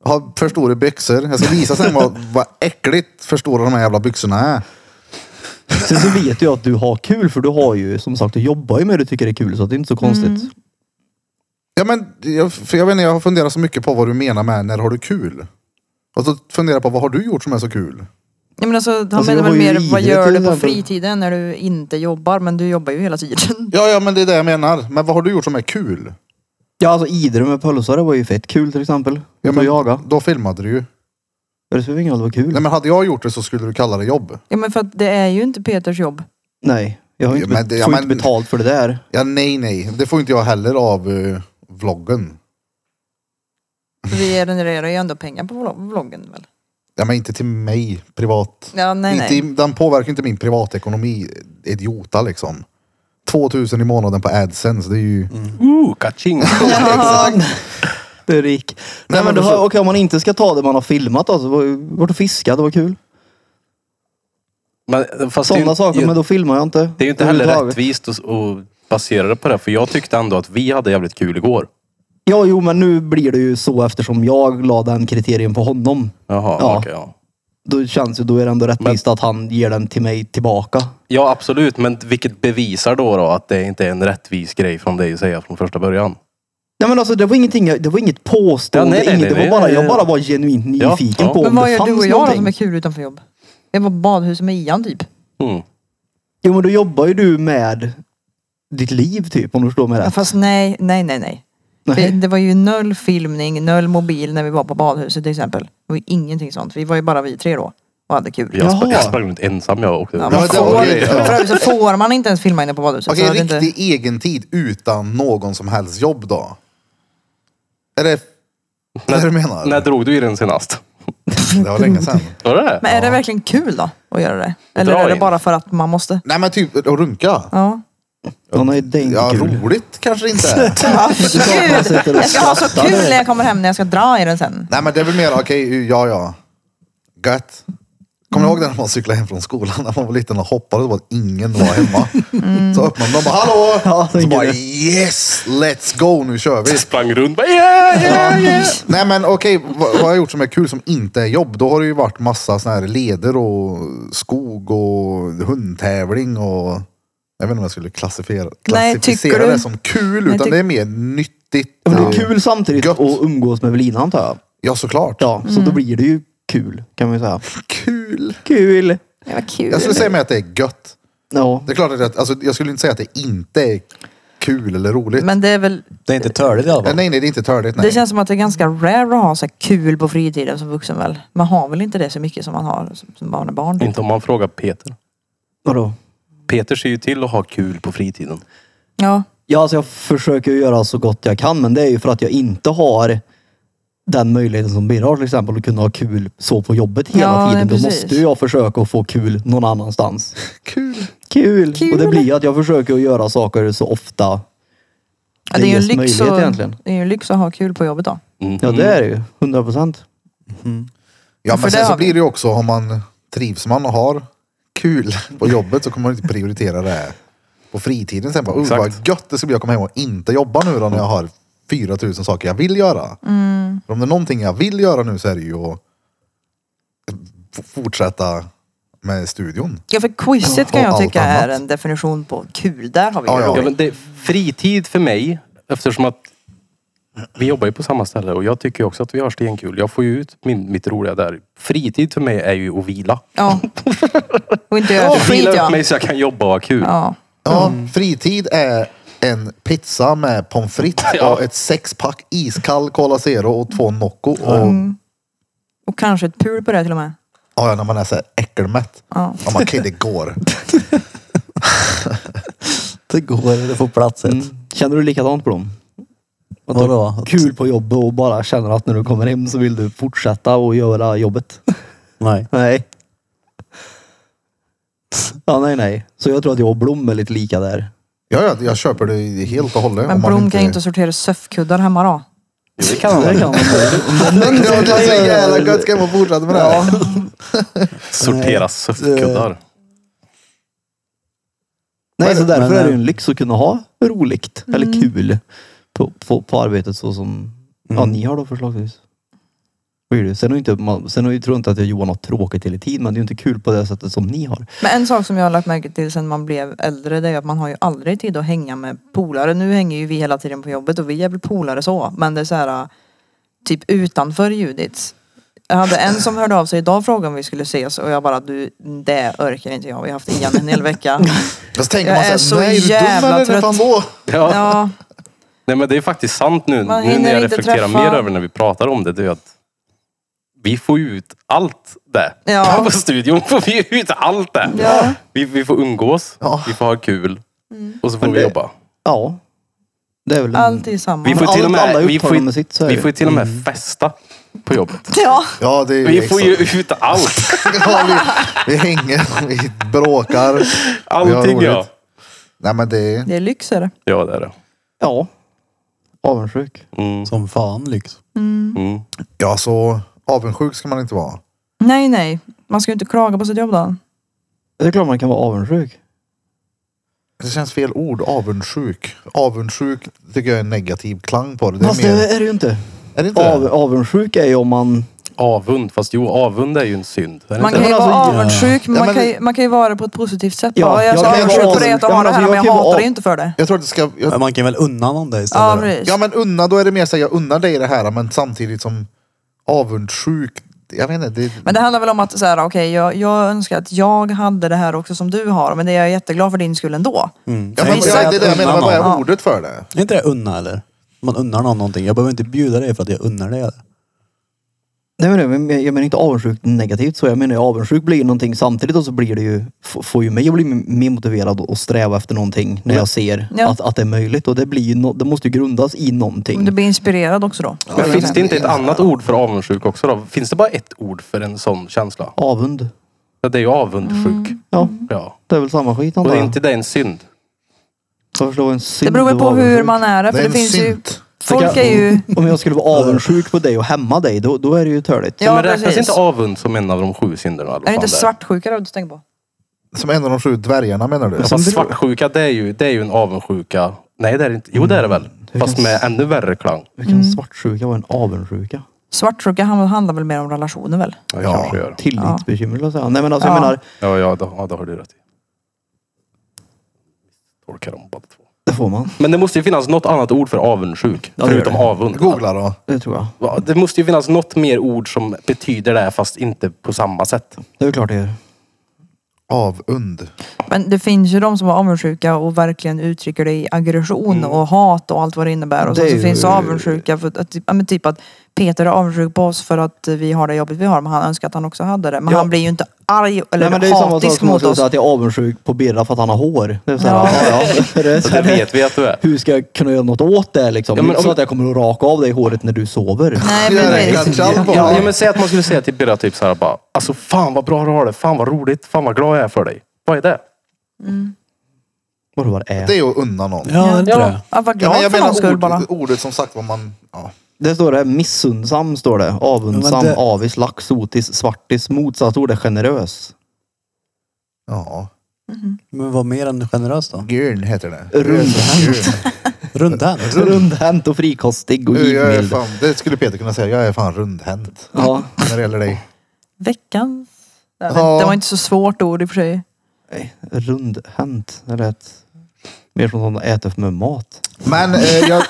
Speaker 1: Har för stora byxor. Jag ska visa sen vad, vad äckligt för stora de här jävla byxorna är.
Speaker 3: Sen så vet jag att du har kul för du har ju som sagt du jobbar ju med det du tycker är kul så att det är inte så konstigt.
Speaker 1: Ja, men, jag, för jag, vet inte, jag har funderat så mycket på vad du menar med när har du kul? Och så funderar jag på, vad har du gjort som är så kul?
Speaker 5: Ja, men alltså, han
Speaker 3: Alltså, jag
Speaker 5: menar
Speaker 3: har
Speaker 5: väl
Speaker 3: ju
Speaker 5: mer,
Speaker 3: idrott
Speaker 5: vad gör
Speaker 3: till
Speaker 5: du på
Speaker 3: exempel.
Speaker 5: fritiden när du inte jobbar? Men du jobbar ju hela tiden.
Speaker 1: Ja, ja, men det är det jag menar. Men vad har du gjort som är kul?
Speaker 3: Ja alltså Idre med pölsare var ju fett kul till exempel.
Speaker 1: Ja,
Speaker 3: Ut och
Speaker 1: men
Speaker 3: jaga.
Speaker 1: Då filmade du ju.
Speaker 3: Det spelar ingen roll, det var kul.
Speaker 1: Nej, men hade jag gjort det så skulle du kalla det jobb.
Speaker 5: Ja men för att det är ju inte Peters jobb.
Speaker 3: Nej, jag har
Speaker 1: Ja,
Speaker 3: inte,
Speaker 1: men det- ja,
Speaker 3: får
Speaker 1: men-
Speaker 3: inte betalt för det där.
Speaker 1: Ja, nej, nej. Det får inte jag heller av eh, vloggen.
Speaker 5: För vi genererar ju ändå pengar på vlog- vloggen väl?
Speaker 1: Ja, men inte till mig privat.
Speaker 5: Ja nej
Speaker 1: inte,
Speaker 5: nej.
Speaker 1: i- Den påverkar inte min privatekonomi. Idiota liksom. 2000 i månaden på AdSense, det är ju...
Speaker 5: Mm.
Speaker 2: Ooh, Uh, kaching!
Speaker 3: Det är rik. Nej, men,
Speaker 1: men
Speaker 3: det
Speaker 1: då
Speaker 3: var,
Speaker 1: så-
Speaker 3: okej, om man inte ska ta det man har filmat alltså. var- Vart och fiska, det var kul.
Speaker 2: Men, fast det är ju-
Speaker 3: Sådana saker, men då filmar jag inte.
Speaker 2: Det är ju inte heller
Speaker 3: överhuvudtaget.
Speaker 2: rättvist att, att basera det på det. För jag tyckte ändå att vi hade jävligt kul igår.
Speaker 3: Ja, jo, men nu blir det ju så eftersom jag la den kriterien på honom.
Speaker 2: Jaha,
Speaker 3: Ja.
Speaker 2: ja. ja.
Speaker 3: Då känns ju, då är det ändå rättvist att han ger den till mig tillbaka.
Speaker 2: ja, absolut. Men vilket bevisar då, då att det inte är en rättvis grej från dig att säga från första början.
Speaker 3: Nej men alltså det var ingenting, jag- det var inget
Speaker 2: Ja,
Speaker 3: påstående,
Speaker 2: nej, nej,
Speaker 3: inget, det
Speaker 2: nej,
Speaker 3: var bara,
Speaker 2: nej,
Speaker 3: jag
Speaker 2: nej.
Speaker 3: bara var genuint
Speaker 2: Ja,
Speaker 3: nyfiken
Speaker 2: ja.
Speaker 3: på
Speaker 5: Men
Speaker 3: om
Speaker 5: vad
Speaker 3: det
Speaker 5: gör du
Speaker 3: fanns
Speaker 5: och jag då som är
Speaker 3: någonting.
Speaker 5: kul utanför jobb? Det var badhus med Ian typ.
Speaker 2: Mm.
Speaker 3: Jo men då jobbar ju du med ditt liv typ om du förstår mig
Speaker 5: Ja,
Speaker 3: rätt.
Speaker 5: fast nej, nej, nej, nej.
Speaker 3: Nej.
Speaker 5: För Det var ju noll filmning, noll mobil när vi var på badhuset till exempel. Det var ju ingenting sånt. Vi var ju bara vi tre då och hade kul.
Speaker 2: Jag, sp-
Speaker 3: Jaha.
Speaker 2: jag sprang runt ensam jag åkte.
Speaker 5: Ja,
Speaker 1: men
Speaker 5: man
Speaker 1: det-
Speaker 5: får,
Speaker 1: okej.
Speaker 5: för övrigt så får man inte ens filma inne på badhuset.
Speaker 1: Okej,
Speaker 5: så att det
Speaker 1: riktig
Speaker 5: Alltså, inte,
Speaker 1: egentid utan någon som helst jobb då? Är det... Är det du menar?
Speaker 2: När drog du i den senast?
Speaker 1: Det var länge sedan.
Speaker 2: Var det det?
Speaker 5: men är det verkligen kul då att göra det? Eller
Speaker 2: Dra
Speaker 5: är det
Speaker 2: in.
Speaker 5: bara för att man måste?
Speaker 1: Nej men typ att runka.
Speaker 5: Ja.
Speaker 3: Ja, nej det är inte
Speaker 1: Ja,
Speaker 3: kul.
Speaker 1: roligt kanske det inte är.
Speaker 5: Gud,
Speaker 3: man sitter och
Speaker 5: jag ska ha så
Speaker 3: skrattar.
Speaker 5: kul när jag kommer hem när jag ska dra i den sen.
Speaker 1: Nej men det är väl mer okej, ja ja. Gött. Kommer du ihåg det när man cyklade hem från skolan när man var liten och hoppade och det var att ingen var hemma?
Speaker 5: Mm.
Speaker 1: Så öppnade de och bara hallå!
Speaker 3: Ja,
Speaker 1: så
Speaker 3: tänker
Speaker 1: bara
Speaker 3: det.
Speaker 1: yes, let's go, nu kör vi.
Speaker 2: Jag sprang runt bara yeah, yeah, yeah.
Speaker 1: Nej men okej, vad, vad har jag gjort som är kul som inte är jobb? Då har det ju varit massa såna här leder och skog och hundtävling och jag vet inte om jag skulle klassifiera,
Speaker 5: Nej,
Speaker 1: klassificera
Speaker 5: tycker du?
Speaker 1: det som kul
Speaker 5: Nej,
Speaker 1: utan
Speaker 5: tyck-
Speaker 1: det är mer nyttigt.
Speaker 3: Ja, Men det är kul samtidigt
Speaker 1: Gött.
Speaker 3: att umgås med Evelina antar jag.
Speaker 1: Ja såklart.
Speaker 3: Ja, så då blir det ju kul kan man ju säga.
Speaker 1: Kul.
Speaker 3: Kul!
Speaker 5: Det var kul.
Speaker 1: Jag skulle säga med att det är gött.
Speaker 3: Ja.
Speaker 1: Det är klart att alltså, jag skulle inte säga att det inte är kul eller roligt.
Speaker 5: Men det är väl,
Speaker 4: Det är inte törligt i alla
Speaker 1: Men,
Speaker 4: fall.
Speaker 1: nej, nej, det är inte törligt. Nej.
Speaker 5: det känns som att det är ganska rare att ha så här kul på fritiden som vuxen väl. Man har väl inte det så mycket som man har som- som barn är barn. typ.
Speaker 2: Inte om man frågar Peter.
Speaker 3: Vadå?
Speaker 2: Peter ser ju till att ha kul på fritiden.
Speaker 5: Ja.
Speaker 3: Ja, alltså jag försöker ju göra så gott jag kan, men det är ju för att jag inte har den möjligheten som Birre har till exempel att kunna ha kul så på jobbet hela
Speaker 5: Ja,
Speaker 3: tiden.
Speaker 5: nej,
Speaker 3: Då
Speaker 5: precis.
Speaker 3: måste ju jag försöka att få kul någon annanstans.
Speaker 1: Kul.
Speaker 3: Kul!
Speaker 5: Kul.
Speaker 3: Och det blir ju att jag försöker att göra saker så ofta
Speaker 5: Ja, det är ju en
Speaker 3: ges
Speaker 5: lyx
Speaker 3: möjlighet
Speaker 5: att,
Speaker 3: egentligen.
Speaker 5: Det är ju en lyx att ha kul på jobbet då.
Speaker 1: Mm.
Speaker 2: Mhm.
Speaker 3: Ja, det är det ju. 100 procent.
Speaker 1: Ja,
Speaker 5: För
Speaker 1: men
Speaker 5: det
Speaker 1: sen så
Speaker 5: har vi.
Speaker 1: blir det ju också om man trivs man och har kul på jobbet så kommer man inte prioritera det på fritiden sen. Bara, oh, vad
Speaker 2: Exakt.
Speaker 1: gött det ska bli att komma hem och inte jobba nu då när jag har 4000 saker jag vill göra.
Speaker 5: Mm.
Speaker 1: För om det är någonting jag vill göra nu så är det ju att f- fortsätta med studion.
Speaker 5: Ja för quizet kan
Speaker 1: Och
Speaker 5: jag
Speaker 1: allt
Speaker 5: tycka är
Speaker 1: annat.
Speaker 5: en definition på kul. Där har vi ju
Speaker 1: Ja, ja.
Speaker 2: Ja,
Speaker 5: roligt.
Speaker 2: men det, fritid för mig, eftersom att vi jobbar ju på samma ställe och jag tycker ju också att vi har stenkul. Jag får ju ut min, mitt roliga där. Fritid för mig är ju att vila.
Speaker 5: Ja. Och inte göra
Speaker 2: Jag
Speaker 5: ett
Speaker 2: vila
Speaker 5: skit
Speaker 2: upp
Speaker 5: ja.
Speaker 2: mig så jag kan jobba och ha kul.
Speaker 5: ja.
Speaker 1: Ja,
Speaker 5: Mm.
Speaker 1: fritid är en pizza med pommes frites
Speaker 2: Ja.
Speaker 1: och ett sexpack iskall Cola Zero och två Nocco. Och,
Speaker 5: Mm. Och kanske ett pul på det till och med.
Speaker 1: ja, ja, när man är så här äckelmätt.
Speaker 5: Ja.
Speaker 1: Ja, man kan det går.
Speaker 4: Det går, det får platset.
Speaker 3: Mm. Känner du likadant på dem? Att du
Speaker 4: Vadå?
Speaker 3: har kul på jobbet och bara känner att när du kommer hem så vill du fortsätta och göra jobbet?
Speaker 4: Nej.
Speaker 3: Nej. Ja, nej, nej. Så jag tror att jag och Blom är lite lika där.
Speaker 1: Ja, ja, jag köper det helt och hållet.
Speaker 5: Men
Speaker 1: om man
Speaker 5: Blom kan ju inte sortera söffkuddar hemma då.
Speaker 2: Jo, det kan man
Speaker 3: Det
Speaker 2: väl.
Speaker 3: kan
Speaker 4: Mm.
Speaker 3: man väl.
Speaker 1: Men det är så jävla gött, ska man fortsätta med det? här?
Speaker 2: Sortera suffkuddar.
Speaker 3: Nej, så därför
Speaker 4: Men,
Speaker 3: är det ju
Speaker 4: eh,
Speaker 3: en lyx att kunna ha roligt eller kul på, på, på arbetet så som
Speaker 4: Mm.
Speaker 3: ja, ni har då förslagsvis. Vad är det? Sen, är det inte, man, sen är det- tror jag inte att jag och Johan har tråkigt hela tiden, men det är ju inte kul på det sättet som ni har.
Speaker 5: Men en sak som jag har lagt märke till sen man blev äldre det är att man har ju aldrig tid att hänga med polare. Nu hänger ju vi hela tiden på jobbet och vi är väl polare så. Men det är så här typ utanför Judits Jag hade en som hörde av sig idag och frågade om vi skulle ses och jag bara, du, det orkar inte jag. Vi har haft igen en hel vecka.
Speaker 1: Fast tänker
Speaker 5: Jag
Speaker 1: man såhär,
Speaker 5: är så
Speaker 1: nej är du
Speaker 5: jävla
Speaker 1: dum eller?
Speaker 5: trött.
Speaker 1: Fan då?
Speaker 2: Ja.
Speaker 5: Ja,
Speaker 2: Nej men det är faktiskt sant nu,
Speaker 5: Man
Speaker 2: nu
Speaker 5: hinner
Speaker 2: när jag
Speaker 5: inte
Speaker 2: reflekterar
Speaker 5: träffa-
Speaker 2: mer över när vi pratar om det. Det är ju att vi får ju ut allt det.
Speaker 5: Ja.
Speaker 2: På studion får vi ut allt det.
Speaker 5: Ja. Mm.
Speaker 2: Vi, vi får umgås,
Speaker 1: Ja.
Speaker 2: vi får ha kul och så får
Speaker 3: Men
Speaker 2: vi
Speaker 3: det-
Speaker 2: jobba.
Speaker 3: Ja. Det är väl en...
Speaker 5: allt är samma.
Speaker 2: Vi får ju
Speaker 3: alla-
Speaker 2: till och
Speaker 3: alla
Speaker 2: med,
Speaker 3: är
Speaker 2: vi får,
Speaker 3: upptagna
Speaker 2: ju-
Speaker 3: med sitt, så är det.
Speaker 2: vi
Speaker 3: Mm.
Speaker 2: får ju till och med festa på jobbet.
Speaker 5: Ja,
Speaker 1: Ja, det är
Speaker 2: Vi
Speaker 1: exakt.
Speaker 2: får ju ut allt.
Speaker 1: ja, vi, vi hänger, vi bråkar.
Speaker 2: Allting ja.
Speaker 1: Nej men det är...
Speaker 5: det är lyxer.
Speaker 2: Ja det är det.
Speaker 3: Ja. Avundsjuk.
Speaker 2: Mm.
Speaker 4: Som fan lyx.
Speaker 2: Mm.
Speaker 1: Ja, så avundsjuk ska man inte vara.
Speaker 5: Nej, nej. Man ska ju inte klaga på sitt jobb då.
Speaker 3: Det är klart man kan vara avundsjuk.
Speaker 1: Det känns fel ord, avundsjuk. Avundsjuk tycker jag är en negativ klang på det. det är,
Speaker 3: Fast
Speaker 1: mer,
Speaker 3: det är det ju inte.
Speaker 1: är det inte
Speaker 3: Av,
Speaker 1: det?
Speaker 3: avundsjuk är ju om man...
Speaker 2: Avund, fast jo avund är ju en synd. Är det
Speaker 5: Man
Speaker 2: inte det?
Speaker 5: kan ju
Speaker 3: Men
Speaker 5: vara
Speaker 3: alltså,
Speaker 5: avundsjuk, men
Speaker 1: Ja, men-
Speaker 5: man kan ju- man kan ju vara det på ett positivt sätt.
Speaker 3: Ja,
Speaker 5: Ja, jag är
Speaker 3: jag
Speaker 5: så
Speaker 3: kan ju
Speaker 5: avundsjuk
Speaker 3: vara
Speaker 5: på det att
Speaker 3: avundsjuk.
Speaker 5: ha
Speaker 3: Ja, men
Speaker 5: det här,
Speaker 3: alltså, jag
Speaker 5: men
Speaker 3: kan
Speaker 5: jag
Speaker 3: ju
Speaker 5: hatar
Speaker 3: vara-
Speaker 5: det ju inte för det.
Speaker 1: Jag tror att det ska... Jag,
Speaker 4: Men man kan väl unna någon det istället?
Speaker 5: Ja,
Speaker 4: då? Mm.
Speaker 5: precis.
Speaker 1: ja men unna, då är det mer så här, jag unnar dig det här men samtidigt som avundsjuk. Jag vet inte. Det,
Speaker 5: Men det handlar väl om att så här, okej, jag, jag önskar att jag hade det här också som du har, men det är jag jätteglad för din skull ändå.
Speaker 4: Mm.
Speaker 1: ja,
Speaker 5: men
Speaker 1: men,
Speaker 5: vissa
Speaker 1: det är
Speaker 5: att
Speaker 1: det jag menar, men vad är
Speaker 5: någon.
Speaker 1: ordet för det?
Speaker 4: Är inte det unna eller? Man unnar någon någonting. Jag behöver inte bjuda dig för att jag unnar dig det.
Speaker 3: Nej men jag menar- jag menar inte avundsjuk negativt så. Jag menar ju avundsjuk blir ju någonting samtidigt och så blir det ju... f- Får ju mig att bli m- mer motiverad och sträva efter någonting när jag ser
Speaker 5: Ja.
Speaker 3: att, att det är möjligt. Och det blir ju... No, det måste ju grundas i någonting.
Speaker 5: Du blir inspirerad också då.
Speaker 2: Men finns det inte ett annat ord för avundsjuk också då? Finns det bara ett ord för en sån känsla?
Speaker 3: Avund.
Speaker 2: Ja, Det är ju avundsjuk.
Speaker 5: Mm.
Speaker 3: Ja.
Speaker 2: Ja.
Speaker 3: Det är väl samma skit
Speaker 2: Och
Speaker 3: antar
Speaker 2: är
Speaker 3: jag.
Speaker 2: inte det en synd?
Speaker 3: Varför då en synd
Speaker 5: Det beror väl
Speaker 3: att
Speaker 5: på
Speaker 3: vara
Speaker 5: hur
Speaker 3: avundsjuk?
Speaker 5: man är det,
Speaker 1: Det
Speaker 5: för det,
Speaker 1: är en
Speaker 5: finns ju...
Speaker 1: synt.
Speaker 5: Folk
Speaker 2: Tycker
Speaker 5: är
Speaker 2: jag-
Speaker 5: ju...
Speaker 3: Om jag skulle vara avundsjuk på dig och hämma dig, då, då är det ju törligt.
Speaker 5: Ja,
Speaker 2: men räknas
Speaker 5: precis.
Speaker 2: inte avund som en av de sju synderna? eller vad
Speaker 5: Är
Speaker 2: fan
Speaker 5: det inte
Speaker 2: är?
Speaker 5: svartsjuka då du tänker på?
Speaker 1: Som en av de sju dvärgarna menar du?
Speaker 2: Ja, fast Alltså, svartsjuka det är, ju, det är ju en avundsjuka. Nej det är det inte. Jo det är det väl.
Speaker 3: Mm,
Speaker 2: Fast med ännu värre klang.
Speaker 3: Hur
Speaker 5: Mm.
Speaker 3: kan svartsjuka vara en avundsjuka?
Speaker 5: Svartsjuka han- handlar väl mer om relationer väl?
Speaker 2: Ja,
Speaker 1: Ja.
Speaker 2: kanske gör.
Speaker 3: Tillitsbekymmer skulle jag säga. Nej men alltså
Speaker 5: Ja.
Speaker 3: jag menar,
Speaker 2: Ja, ja, det, ja, det har du rätt i. Tolkar dem båda två.
Speaker 3: det får man.
Speaker 2: Men det måste ju finnas något annat ord för avundsjuk.
Speaker 3: Ja, det gör
Speaker 2: förutom
Speaker 3: det.
Speaker 2: avund.
Speaker 1: Googla då.
Speaker 3: Det tror jag.
Speaker 2: Va, Det måste ju finnas något mer ord som betyder det här, fast inte på samma sätt.
Speaker 3: Det är väl klart det gör.
Speaker 1: Avund.
Speaker 5: Men det finns ju de som är avundsjuka och verkligen uttrycker det i aggression och hat och allt vad det innebär. Och
Speaker 3: Mm. Det
Speaker 5: sen
Speaker 3: är
Speaker 5: så
Speaker 3: ju-
Speaker 5: finns det avundsjuka för att, ja, men typ att Peter är avundsjuk på oss för att vi har det jobbet vi har men han önskar att han också hade det. Men
Speaker 3: Ja.
Speaker 5: han blir ju inte arg eller
Speaker 3: Nej men det är ju samma sak
Speaker 5: hatisk
Speaker 3: som att
Speaker 5: mot
Speaker 3: jag
Speaker 5: oss.
Speaker 3: säger att jag är avundsjuk på Birra för att han har hår. Det är så här,
Speaker 5: Ja.
Speaker 3: ja. ja, det är
Speaker 2: Så
Speaker 3: så
Speaker 2: det
Speaker 3: här,
Speaker 2: vet vi att du är.
Speaker 3: hur ska jag kunna göra något åt det liksom?
Speaker 2: Ja,
Speaker 3: det är
Speaker 2: men
Speaker 3: inte så
Speaker 2: om-
Speaker 3: att jag kommer att raka av dig håret när du sover.
Speaker 5: Nej
Speaker 1: Det är
Speaker 5: precis.
Speaker 1: kanske på.
Speaker 2: Ja, ja, men säg att man skulle säga till Birra typ så här bara, alltså fan vad bra du har det, fan vad roligt, fan vad glad jag är för dig. Vad är det?
Speaker 3: Vadå vad det är?
Speaker 1: Det är att unna någon.
Speaker 4: Ja, det är inte
Speaker 5: Ja,
Speaker 4: det.
Speaker 5: jag var
Speaker 1: Ja, men
Speaker 5: glad
Speaker 1: jag
Speaker 5: för någon
Speaker 1: menar
Speaker 5: skull
Speaker 1: ord,
Speaker 5: bara.
Speaker 1: ordet som sagt vad man... Ja.
Speaker 3: Det står det här, missundsam står det. Avundsam,
Speaker 4: Men det-
Speaker 3: avis, lax, sotis, svartis. Motsatsord är generös.
Speaker 1: ja.
Speaker 4: Men vad mer än generös då?
Speaker 1: Gurn heter det.
Speaker 3: Rundhänt.
Speaker 4: Rundhänt.
Speaker 3: Rundhänt och frikostig och
Speaker 1: Du, jag är
Speaker 3: givmild.
Speaker 1: fan, det skulle Peter kunna säga. Jag är fan rundhänt
Speaker 3: Ja.
Speaker 1: när det gäller dig.
Speaker 5: Veckans... Nej,
Speaker 1: Ja.
Speaker 5: Det var inte så svårt ord i och för sig.
Speaker 3: Nej, rundhänt. Det lät mer som någon äter för mycket mat.
Speaker 1: Men eh, jag,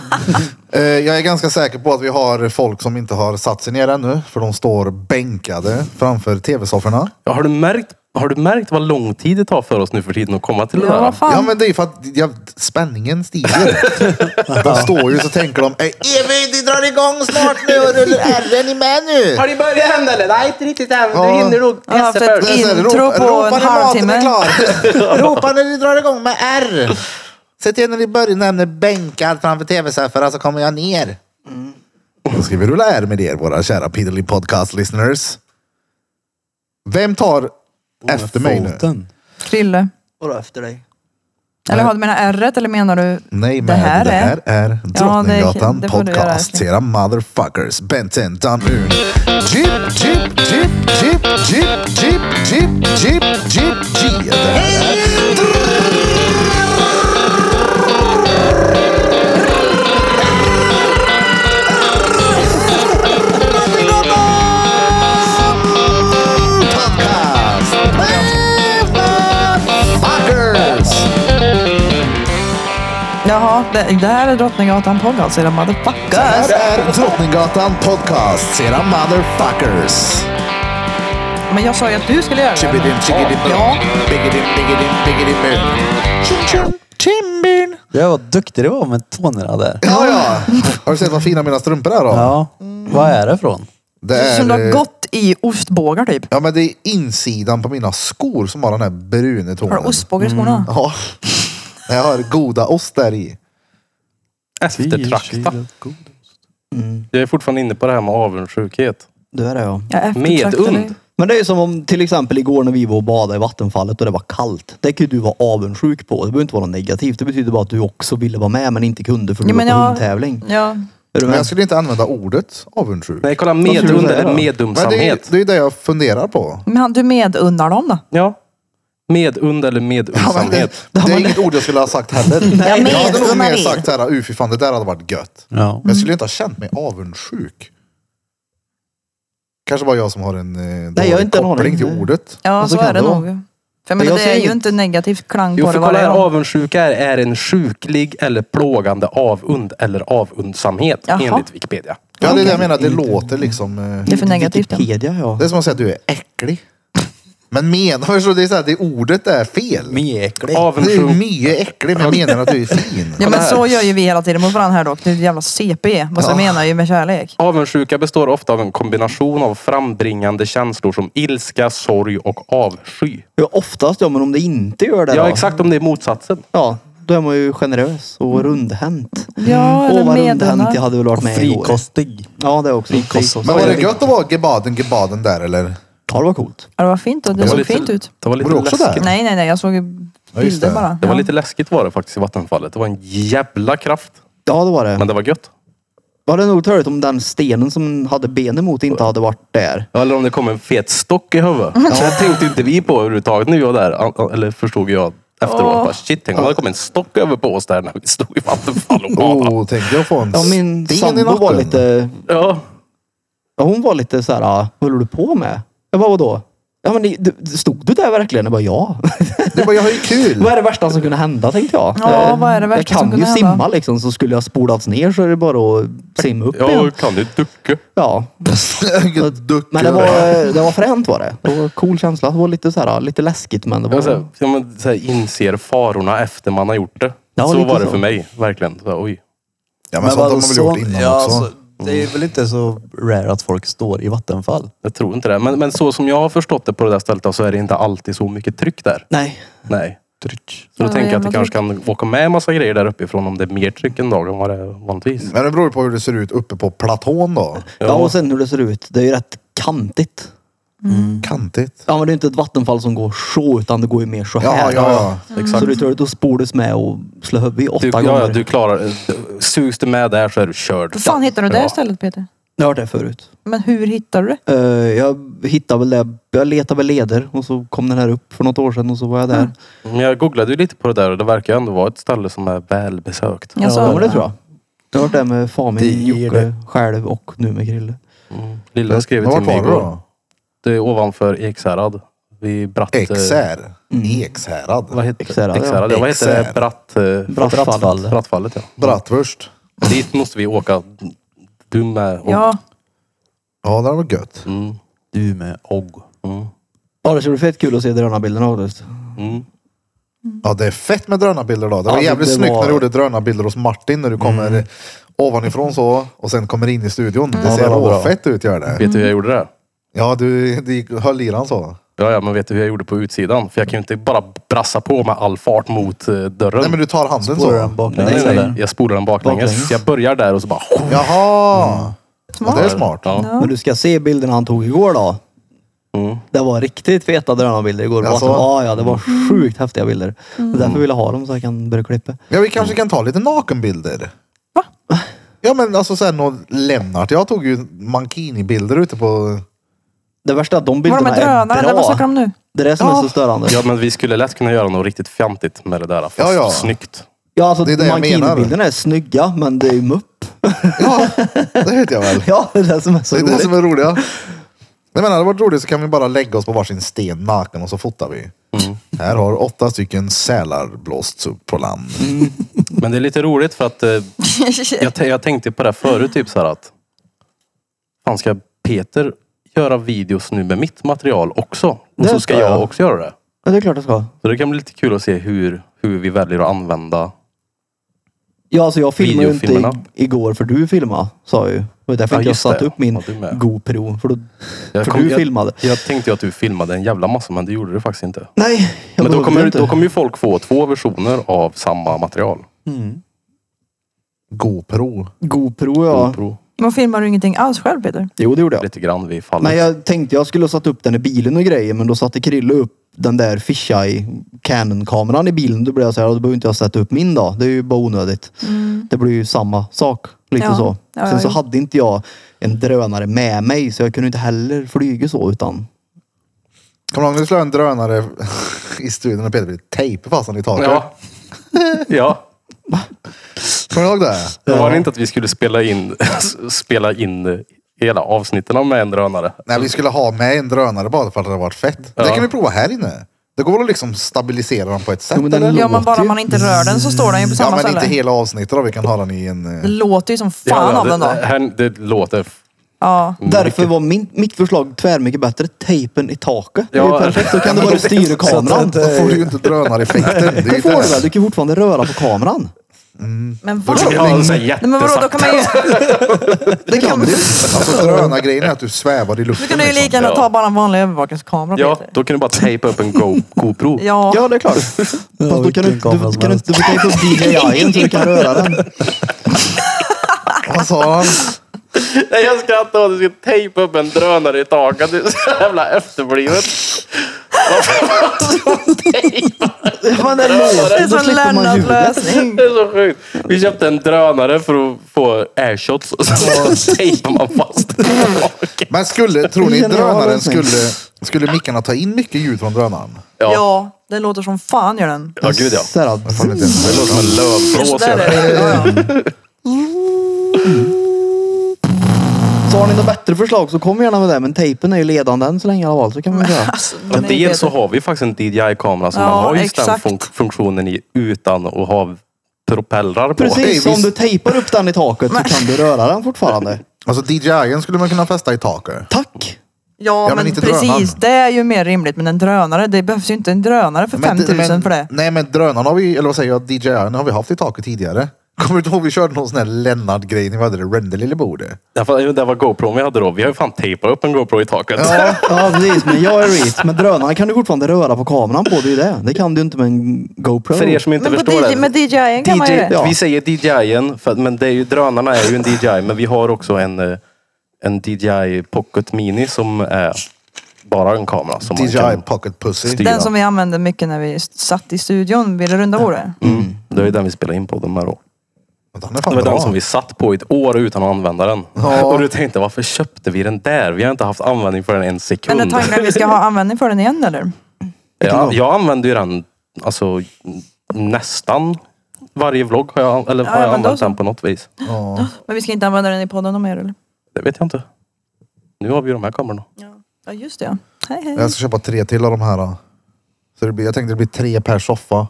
Speaker 1: eh, jag är ganska säker på att vi har folk som inte har satt sig ner ännu. För de står bänkade framför tv-sofforna.
Speaker 2: Ja, har, du märkt, har du märkt vad lång tid det tar för oss nu för tiden att komma till det
Speaker 5: Ja,
Speaker 2: där?
Speaker 5: vad fan.
Speaker 1: Ja men det är ju för att jag, spänningen stiger. De står ju så tänker de, "Eh, Evi det drar igång snart nu och rullar ärren i med nu.
Speaker 2: Har ni börjat än eller? Nej, inte riktigt än.
Speaker 1: Ja. hinner
Speaker 2: nog
Speaker 5: Jag har haft ett intro på en halvtimme.
Speaker 1: Ropa när ni drar igång med R. Se till när ni börjar nämna bänkar framför tv-sofforna så kommer jag ner.
Speaker 5: Mm.
Speaker 1: Då ska vi rulla R med er våra kära Piddly Podcast listeners. Vem tar efter mig nu?
Speaker 4: Foten.
Speaker 5: Krille.
Speaker 3: Vadå efter dig?
Speaker 5: Eller har du menar ärret eller menar du...
Speaker 1: Nej, men det
Speaker 5: Det
Speaker 1: här,
Speaker 5: här
Speaker 1: är, Drottninggatan
Speaker 5: det får du göra,
Speaker 1: podcast. Era motherfuckers. Benten Danun. Jeep, jeep, jeep, jeep, jeep, jeep, jeep, jeep, jeep, jeep. Det här är Drottninggatan podcast. Motherfuckers.
Speaker 5: Ja, Jaha, det, det här är Drottninggatan podcast era motherfuckers.
Speaker 1: Det här är Drottninggatan Podcast. Era motherfuckers.
Speaker 5: Men jag sa ju att du skulle göra det.
Speaker 1: Chibidim, chigidim,
Speaker 5: Ja.
Speaker 1: bigidim, bigidim, bigidim, bigidim. Tjing, tjing, Chimbin.
Speaker 4: Jag var duktig det var med tonerna där.
Speaker 1: Ja, ja. Har du sett vad fina mina strumpor är då?
Speaker 4: Ja. Vad är det från?
Speaker 1: Det
Speaker 5: Det är Som du har
Speaker 1: eh,
Speaker 5: gått i ostbågar typ.
Speaker 1: Ja, men det är insidan på mina skor som har den här bruna tonen.
Speaker 5: Har du ostbågar i skorna?
Speaker 1: Ja. Jag har goda ost där i.
Speaker 2: Eftertrakta.
Speaker 3: Mm.
Speaker 2: Jag är fortfarande inne på det här med avundsjukhet.
Speaker 3: Det är det ja.
Speaker 5: Jag eftertraktar dig.
Speaker 2: Medund.
Speaker 3: Men det är ju som om till exempel igår när vi var och badade i vattenfallet och det var kallt. Det kan ju du vara avundsjuk på. Det behöver inte vara något negativt. Det betyder bara att du också ville vara med men inte kunde för du
Speaker 5: Ja,
Speaker 3: var på
Speaker 5: men jag-
Speaker 3: hundtävling.
Speaker 5: Ja.
Speaker 3: Är du
Speaker 1: Men
Speaker 3: med?
Speaker 1: jag skulle inte använda ordet avundsjuk.
Speaker 2: Nej, kolla
Speaker 3: skulle du
Speaker 2: medund
Speaker 3: säga då?
Speaker 2: eller
Speaker 1: Men det, är-
Speaker 2: medundsamhet.
Speaker 1: det är ju det jag funderar på.
Speaker 5: Men han- du medunnar dem då?
Speaker 2: Ja. Medund eller
Speaker 1: Ja, men det,
Speaker 2: medundsamhet.
Speaker 1: det är inget ord jag skulle ha sagt heller.
Speaker 3: Jag
Speaker 1: jag hade nog
Speaker 5: medunnar
Speaker 1: mer
Speaker 5: er.
Speaker 1: sagt såhär, uh fy fan det där hade varit gött.
Speaker 4: Ja.
Speaker 3: Mm.
Speaker 1: Men jag skulle inte ha känt mig avundsjuk. Kanske bara jag som har en eh, dålig
Speaker 3: jag har inte en
Speaker 1: koppling
Speaker 3: aning.
Speaker 1: till ordet.
Speaker 5: Ja,
Speaker 3: Och så
Speaker 5: så
Speaker 3: kan
Speaker 5: är det
Speaker 3: det vara.
Speaker 5: nog. För jag menar,
Speaker 3: jag
Speaker 5: det
Speaker 3: ser
Speaker 5: är ju
Speaker 3: inget.
Speaker 5: inte negativt klang
Speaker 2: Jo,
Speaker 5: på
Speaker 2: för
Speaker 5: det
Speaker 2: kolla
Speaker 5: varje
Speaker 2: här.
Speaker 5: gång.
Speaker 2: Avundsjuka är, är en sjuklig eller plågande avund eller avundsamhet
Speaker 5: Jaha.
Speaker 2: enligt Wikipedia.
Speaker 1: Ja det är det jag menar, det låter liksom... eh,
Speaker 5: Det är för negativt. ja.
Speaker 3: Wikipedia ja.
Speaker 1: Det är som att säga att du är äcklig. Men menar förstår du, det är så här, det ordet är fel.
Speaker 4: Mjäklig.
Speaker 1: Det är ju
Speaker 2: Avundsjuk.
Speaker 1: mycket äcklig men jag menar att du är fin.
Speaker 5: Ja, men så gör ju vi hela tiden mot varandra här dock. Det är ett jävla CP. Vad jag menar ju med kärlek.
Speaker 2: Avundsjuka består ofta av en kombination av frambringande känslor som ilska, sorg och avsky.
Speaker 3: Ja, oftast ja, men om det inte gör det
Speaker 2: Ja,
Speaker 3: då?
Speaker 2: exakt om det är motsatsen.
Speaker 3: Ja, då är man ju generös och
Speaker 5: Mm.
Speaker 3: rundhänt.
Speaker 5: Ja,
Speaker 3: Åh
Speaker 5: eller
Speaker 3: vad rundhänt jag
Speaker 5: medunnar.
Speaker 3: hade velat varit med igår.
Speaker 4: Frikostig.
Speaker 3: Ja, det är också.
Speaker 4: Frikost och
Speaker 1: Men var det gött att vara gebaden, gebaden där eller?
Speaker 3: Ja, det var coolt.
Speaker 5: Ja, det var fint och det
Speaker 2: var
Speaker 5: såg
Speaker 2: lite-
Speaker 5: fint ut.
Speaker 2: Det var
Speaker 1: Var
Speaker 2: lite
Speaker 1: du också
Speaker 2: läskigt.
Speaker 1: där?
Speaker 5: Nej, nej, nej. Jag såg ju
Speaker 1: just
Speaker 5: bilder
Speaker 1: det.
Speaker 5: bara.
Speaker 2: Det var
Speaker 5: Ja.
Speaker 2: lite läskigt var det faktiskt i vattenfallet. Det var en jävla kraft.
Speaker 3: Ja, det var det.
Speaker 2: Men det var gött.
Speaker 3: Var det nog törligt om den stenen som hade ben emot inte hade varit där?
Speaker 2: Ja, Eller om det kom en fet stock i huvudet. Det tänkte inte vi på överhuvudtaget när vi var där. An- an- Eller förstod jag efteråt. Bara, shit, tänk om det kom en stock över på oss där när vi stod i vattenfall och badade.
Speaker 1: Oh, tänkte jag få en
Speaker 3: Ja, min
Speaker 1: sten i
Speaker 3: sambo var
Speaker 1: nacken.
Speaker 3: lite...
Speaker 2: Ja.
Speaker 3: Ja, hon var lite så här, "Ah, vad håller du på med? Jag bara, vadå? Ja, men ni- du- stod du där verkligen? Jag bara, ja.
Speaker 1: Det var, jag har ju kul.
Speaker 3: vad är det värsta som kunde hända tänkte jag.
Speaker 5: Ja,
Speaker 3: Eh,
Speaker 5: vad är det värsta
Speaker 3: Jag kan
Speaker 5: som kunde
Speaker 3: ju
Speaker 5: hända?
Speaker 3: simma liksom, så skulle jag spolats ner så är det bara att simma upp igen.
Speaker 2: Jag kan ju ducka.
Speaker 3: Ja,
Speaker 1: Duck-
Speaker 3: Alltså, men det var, det var fränt var det. Det var en cool känsla. Det var lite, så här, lite läskigt men det
Speaker 2: Jag så
Speaker 3: var...
Speaker 2: här, Alltså, ja, men, så här, inser farorna efter man har gjort det.
Speaker 3: Ja,
Speaker 2: så
Speaker 3: lite
Speaker 2: var det
Speaker 3: så.
Speaker 2: för mig. Verkligen. Så, här, oj.
Speaker 1: Ja men sånt har man väl gjort innan också.
Speaker 3: Mm.
Speaker 4: det är väl inte så rare att folk står i vattenfall.
Speaker 2: Jag tror inte det. Men, men så som jag har förstått det på det där stället då, så är det inte alltid så mycket tryck där.
Speaker 3: Nej.
Speaker 2: Nej.
Speaker 4: Tryck.
Speaker 2: Så då
Speaker 5: Ja,
Speaker 2: tänker jag att
Speaker 5: jävla
Speaker 2: det kanske kan åka med en massa grejer där uppifrån om det är mer tryck en dag än vad det är vanligtvis.
Speaker 1: Men det beror ju på hur det ser ut uppe på platån då.
Speaker 3: Ja. och sen hur det ser ut. Det är ju rätt kantigt.
Speaker 1: Kantigt.
Speaker 3: Ja men det är inte ett vattenfall som går så utan det går ju mer så
Speaker 1: Ja,
Speaker 3: här.
Speaker 1: ja, ja.
Speaker 3: Så det är törligt att spolas med och slå huvudet i åtta
Speaker 2: Du,
Speaker 3: gånger.
Speaker 2: Typ, ja, ja, du klarar Sugs du med där så är du körd.
Speaker 5: Hur fan hittar du det
Speaker 2: Ja.
Speaker 5: istället Peter?
Speaker 3: Jag har hört det förut.
Speaker 5: Men hur hittar du det?
Speaker 3: Eh, jag hittade väl det. Jag letade väl leder och så kom den här upp för något år sedan och så var jag där.
Speaker 2: Men jag googlade ju lite på det där och det verkar ju ändå vara ett ställe som är välbesökt.
Speaker 5: Jag sa
Speaker 3: Ja men det tror jag. Jag har varit där med
Speaker 4: Det
Speaker 3: Famin,
Speaker 4: är
Speaker 3: Jocke,
Speaker 4: det.
Speaker 3: själv och nu med Krille.
Speaker 2: Mm. Lilla skrev
Speaker 1: Men
Speaker 2: till
Speaker 1: vart
Speaker 2: mig
Speaker 1: var du
Speaker 2: igår.
Speaker 1: då?
Speaker 2: Det är ovanför Ekshärad. Vid Bratt... eh,
Speaker 1: Exär.
Speaker 2: Vad
Speaker 1: Ekshärad.
Speaker 2: heter
Speaker 3: Ekshärad, ja.
Speaker 2: Ekshärad, ja. Vad heter det?
Speaker 1: Ekshärad.
Speaker 2: Bratt... eh,
Speaker 3: Brattfallet.
Speaker 2: Brattfallet, ja.
Speaker 1: Bratwurst.
Speaker 2: Dit måste vi åka. Du med. och-
Speaker 5: Ja,
Speaker 1: Ja det var gött.
Speaker 2: Mm.
Speaker 4: Du med ogg.
Speaker 2: Mm.
Speaker 3: Ja det skulle bli fett kul att se drönarbilderna faktiskt.
Speaker 2: Mm.
Speaker 1: Ja det är fett med drönarbilder då. Det var
Speaker 3: Ja, det-
Speaker 1: jävligt
Speaker 3: det
Speaker 1: snyggt
Speaker 3: var-
Speaker 1: när du gjorde drönarbilder hos Martin när du kommer ovanifrån så och sen kommer in i
Speaker 3: Mm.
Speaker 1: studion. Det
Speaker 4: Ja,
Speaker 1: ser
Speaker 4: det var bra.
Speaker 1: råfett ut gör det.
Speaker 2: Vet du hur jag gjorde det?
Speaker 1: Ja du, du gick- höll i den så.
Speaker 2: Ja, ja, men vet du hur jag gjorde på utsidan? För jag kan ju inte bara brassa på med all fart mot eh, dörren.
Speaker 1: Nej men du tar handen
Speaker 4: Spårar
Speaker 1: så.
Speaker 4: den
Speaker 2: Nej, nej,
Speaker 4: baklänges
Speaker 2: nej,
Speaker 4: eller?
Speaker 2: Jag spolar den baklänges.
Speaker 4: Baklänges.
Speaker 2: Så jag börjar där och så bara...
Speaker 1: Jaha. Ja, det är
Speaker 5: smart.
Speaker 1: smart.
Speaker 2: Ja.
Speaker 5: Ja.
Speaker 3: Men du ska se bilderna han tog igår då.
Speaker 2: Mm.
Speaker 3: Det var riktigt feta drönarbilder igår.
Speaker 1: Alltså?
Speaker 3: Alltså? Ja, ja, det var sjukt häftiga bilder. Det är därför vill jag ha dem så jag kan börja klippa.
Speaker 1: Ja, vi kanske kan ta lite nakenbilder.
Speaker 5: Va?
Speaker 1: Ja, men alltså sen någon Lennart. Jag tog ju mankini-bilder ute på...
Speaker 3: Det värsta är att de
Speaker 5: Var de
Speaker 3: bilderna
Speaker 5: med
Speaker 3: är
Speaker 5: drönare? Eller vad snackar
Speaker 3: bra.
Speaker 5: de nu?
Speaker 3: Det är det som är så störande.
Speaker 2: Ja, men vi skulle lätt kunna göra något riktigt fjantigt med det där. Fast
Speaker 1: Ja, ja.
Speaker 2: snyggt.
Speaker 3: Ja, alltså
Speaker 1: Det är det jag menar.
Speaker 3: mankini-bilderna är snygga, men det är ju mupp.
Speaker 1: Ja, det vet jag väl.
Speaker 3: Ja, det är det som är
Speaker 1: Det
Speaker 3: så
Speaker 1: är det
Speaker 3: roligt.
Speaker 1: som är roliga. Nej, men hade det varit roligt så kan vi bara lägga oss på varsin sten naken och så fotar vi. Här har åtta stycken sälar blåsts upp på land.
Speaker 2: Men det är lite roligt för att eh, jag, t- jag tänkte på det här förut, typ så här att fan ska Peter göra videos nu med mitt material också? Och
Speaker 3: Det
Speaker 2: så ska
Speaker 3: ska
Speaker 2: jag
Speaker 3: jag.
Speaker 2: också göra det.
Speaker 3: Ja, det är klart jag ska.
Speaker 2: Så det kan bli lite kul att se hur, hur vi väljer att använda.
Speaker 3: Ja, alltså jag filmade ju inte i,
Speaker 2: Videofilmerna.
Speaker 3: igår för du filmade, sa jag ju. Det var därför
Speaker 2: Ja,
Speaker 3: inte jag
Speaker 2: just det,
Speaker 3: satte
Speaker 2: ja.
Speaker 3: upp min
Speaker 2: Ja, du med.
Speaker 3: GoPro. För, då,
Speaker 2: Jag
Speaker 3: för
Speaker 2: kom-
Speaker 3: du
Speaker 2: jag,
Speaker 3: filmade.
Speaker 2: jag tänkte ju att du filmade en jävla massa men det gjorde du faktiskt inte.
Speaker 3: Nej, jag
Speaker 2: Men då
Speaker 3: behövde
Speaker 2: kommer,
Speaker 3: inte.
Speaker 2: då kommer ju folk få två versioner av samma material.
Speaker 3: Mm.
Speaker 1: GoPro.
Speaker 3: GoPro ja.
Speaker 2: GoPro.
Speaker 5: Men filmar du ingenting alls själv Peter?
Speaker 3: Jo, det gjorde jag.
Speaker 2: Lite grann vid fallet.
Speaker 3: Nej, jag tänkte jag skulle ha satt upp den i bilen och grejer, men då satte Krille upp den där fisheye Canon-kameran i bilen. Då blev jag så här, då behöver inte jag sätta upp min då. Det är ju bara onödigt. Det blir ju samma sak. Lite
Speaker 5: Mm. Ja.
Speaker 3: så.
Speaker 5: Ja,
Speaker 3: Sen så
Speaker 5: ja.
Speaker 3: hade inte jag en drönare med mig, så jag kunde inte heller flyga så utan.
Speaker 1: Kommer du ihåg när du slog en drönare i studion och Peter ville tejpa fast den i taket?
Speaker 2: Ja. ja.
Speaker 1: Kommer du ihåg det?
Speaker 2: Det var det inte att vi skulle spela in, spela in hela avsnitten med en drönare.
Speaker 1: Nej,
Speaker 3: Mm.
Speaker 1: vi skulle ha med en drönare bara för att det hade varit fett. Det kan vi prova här inne. Det går väl att liksom stabilisera den på ett sätt?
Speaker 3: Jo, men den
Speaker 1: eller?
Speaker 3: låter
Speaker 5: Ja men bara
Speaker 3: ju.
Speaker 5: man inte rör den så står den ju på
Speaker 1: ja,
Speaker 5: samma
Speaker 1: men
Speaker 5: ställe.
Speaker 1: inte hela avsnittet då. Vi kan ha den i en... eh,
Speaker 5: Det låter ju som fan av den
Speaker 2: det,
Speaker 5: då.
Speaker 2: här, det låter...
Speaker 5: Ja.
Speaker 3: Därför var min, mitt förslag tvär mycket bättre. Tejpen i taket. det är
Speaker 2: Ja.
Speaker 3: ju perfekt. Då kan
Speaker 1: Ja,
Speaker 3: det bara
Speaker 1: men det-
Speaker 3: styra kameran.
Speaker 1: Då får du ju inte drönareffekten. Det är
Speaker 3: Det
Speaker 1: ju
Speaker 3: får du väl? Du
Speaker 1: det.
Speaker 3: kan ju fortfarande röra på kameran.
Speaker 5: Men
Speaker 2: Ja,
Speaker 5: vad?
Speaker 2: det
Speaker 5: Nej
Speaker 2: är
Speaker 5: men vadå, då
Speaker 2: jättesakta.
Speaker 5: kan man ju,
Speaker 3: Det kan du.
Speaker 1: Alltså drönargrejen är att du svävar i
Speaker 5: då
Speaker 1: luften.
Speaker 5: kan du ju lika
Speaker 1: liksom.
Speaker 5: gärna
Speaker 2: Ja.
Speaker 5: ta bara en vanlig övervakningskamera
Speaker 2: Ja,
Speaker 5: Peter.
Speaker 2: då kan du bara tejpa upp en Go, GoPro.
Speaker 5: Ja.
Speaker 3: Ja, det är klart. Fast då kan du,
Speaker 4: vilken
Speaker 3: du,
Speaker 4: kamera
Speaker 3: kan
Speaker 4: som
Speaker 3: du, inte- du kan ju få DJI-en så du kan röra den.
Speaker 1: Vad sa han?
Speaker 2: Nej, jag skrattar åt att du ska tejpa upp en drönare i taket. Du är så jävla efterblivet.
Speaker 3: Men det låter.
Speaker 5: Det är
Speaker 3: Då
Speaker 5: som
Speaker 3: slipper man
Speaker 5: Lennart
Speaker 3: ljudet.
Speaker 5: lösning.
Speaker 2: Det är så sjukt. Vi köpte en drönare för att få airshots och så tejpar man fast den.
Speaker 1: Men skulle, tror ni
Speaker 3: Genial
Speaker 1: drönaren
Speaker 3: lösning.
Speaker 1: skulle... Skulle mickarna ta in mycket ljud från drönaren?
Speaker 2: Ja,
Speaker 5: Ja, det låter som fan gör den.
Speaker 2: ja gud ja.
Speaker 3: Så här,
Speaker 1: Jag fan inte ens-
Speaker 2: Det låter som
Speaker 3: Mm.
Speaker 2: en
Speaker 5: Så
Speaker 2: lövblås. gör
Speaker 5: där är
Speaker 2: det.
Speaker 5: det. Ja, ja.
Speaker 3: Så har ni något bättre förslag så kom gärna med det. Men tejpen är ju ledande än så länge i alla fall. Så kan man göra.
Speaker 5: Alltså,
Speaker 2: Men
Speaker 5: nej, Peter.
Speaker 2: dels så har vi faktiskt en DJI-kamera som
Speaker 5: Ja,
Speaker 2: man har just
Speaker 5: exakt.
Speaker 2: den fun- funktionen i utan att ha propellrar på.
Speaker 1: Hej,
Speaker 3: Precis, så om
Speaker 1: visst.
Speaker 3: du tejpar upp den i taket så kan du röra den fortfarande.
Speaker 1: Alltså DJI skulle man kunna fästa i taket.
Speaker 3: Tack!
Speaker 5: Ja,
Speaker 1: men
Speaker 5: men,
Speaker 1: inte
Speaker 5: precis.
Speaker 1: drönaren.
Speaker 5: Det är ju mer rimligt. Men en drönare, det behövs ju inte en drönare för 5000
Speaker 1: men,
Speaker 5: för det.
Speaker 1: Nej men drönaren har vi, eller vad säger jag, DJI har vi haft i taket tidigare. Kommer du ihåg vi körde någon sån här Lennart-grej när vi hade det Rendelille bordet?
Speaker 2: Därför, det var GoPro vi hade då. Vi har ju fan tejpat upp en GoPro i taket.
Speaker 3: Ja precis, men jag är reet. Men drönaren kan du fortfarande röra på kameran på. Det är ju det. Det kan du inte med en GoPro.
Speaker 2: För er som inte
Speaker 5: Men på
Speaker 2: förstår
Speaker 5: DJ,
Speaker 2: det.
Speaker 5: med DJI kan man ju
Speaker 2: DJ,
Speaker 5: det.
Speaker 3: ja.
Speaker 2: Vi säger DJI, för, att- men det är ju, drönarna är ju en DJI. Men vi har också en, eh, en DJI Pocket Mini som är bara en kamera. Som man
Speaker 1: DJI
Speaker 2: kan
Speaker 1: Pocket Pussy.
Speaker 2: styra.
Speaker 5: Den som vi använde mycket när vi satt i studion vid det runda bordet.
Speaker 2: mm. Det är ju den vi spelar in på, de här då.
Speaker 1: Den är
Speaker 2: Det
Speaker 1: fan
Speaker 2: var
Speaker 1: bra.
Speaker 2: den som vi satt på i ett år utan att använda den.
Speaker 1: Ja.
Speaker 2: Och du tänkte, varför köpte vi den där? Vi har inte haft användning för den en sekund.
Speaker 5: Men är tanken att vi ska ha användning för den igen eller?
Speaker 2: Ja, jag använder ju den alltså, nästan varje vlogg. Har jag, eller
Speaker 5: Ja,
Speaker 2: har
Speaker 5: ja,
Speaker 2: jag
Speaker 5: men då
Speaker 2: använt
Speaker 5: så.
Speaker 2: den på något vis?
Speaker 1: Ja.
Speaker 5: Men vi ska inte använda den i podden mer eller?
Speaker 2: Det vet jag inte. Nu har vi ju de här kamerorna.
Speaker 5: Ja, just det ja. Hej hej.
Speaker 1: Jag ska köpa tre till av de här. då. Så det blir, jag tänkte det blir tre per soffa.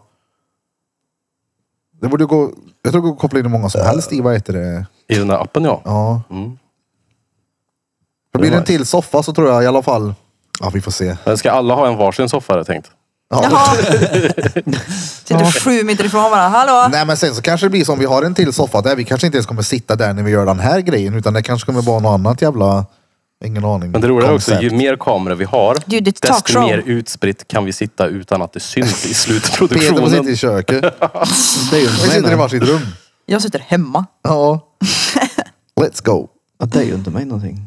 Speaker 1: Det borde gå, jag tror det går att koppla in hur många som helst i, vad heter det?
Speaker 2: I den här appen ja.
Speaker 1: Ja.
Speaker 2: Äh. Mm.
Speaker 1: För blir det en till soffa så tror jag i alla fall, ja vi får se.
Speaker 2: Men Ska alla ha en varsin soffa har jag tänkt.
Speaker 1: Ja.
Speaker 5: Jaha! Sitter sju meter ifrån varandra. Hallå!
Speaker 1: Nej men sen så kanske det blir som vi har en till soffa där vi kanske inte ens kommer sitta där när vi gör den här grejen utan det kanske kommer vara något annat jävla, ingen aning.
Speaker 2: Men det roliga är också,
Speaker 1: koncept.
Speaker 2: ju mer kameror vi har,
Speaker 5: Dude, it's talk
Speaker 2: desto
Speaker 5: show.
Speaker 2: mer utspritt kan vi sitta utan att det syns
Speaker 1: Peter
Speaker 2: i
Speaker 1: får sitta
Speaker 2: slutproduktionen.
Speaker 1: i köket.
Speaker 3: Det är ju inte
Speaker 1: Vi
Speaker 3: mig
Speaker 1: sitter i
Speaker 3: någonting.
Speaker 1: varsitt rum.
Speaker 5: Jag sitter hemma.
Speaker 1: Ja. Let's go.
Speaker 3: Ja, det är ju inte mig någonting.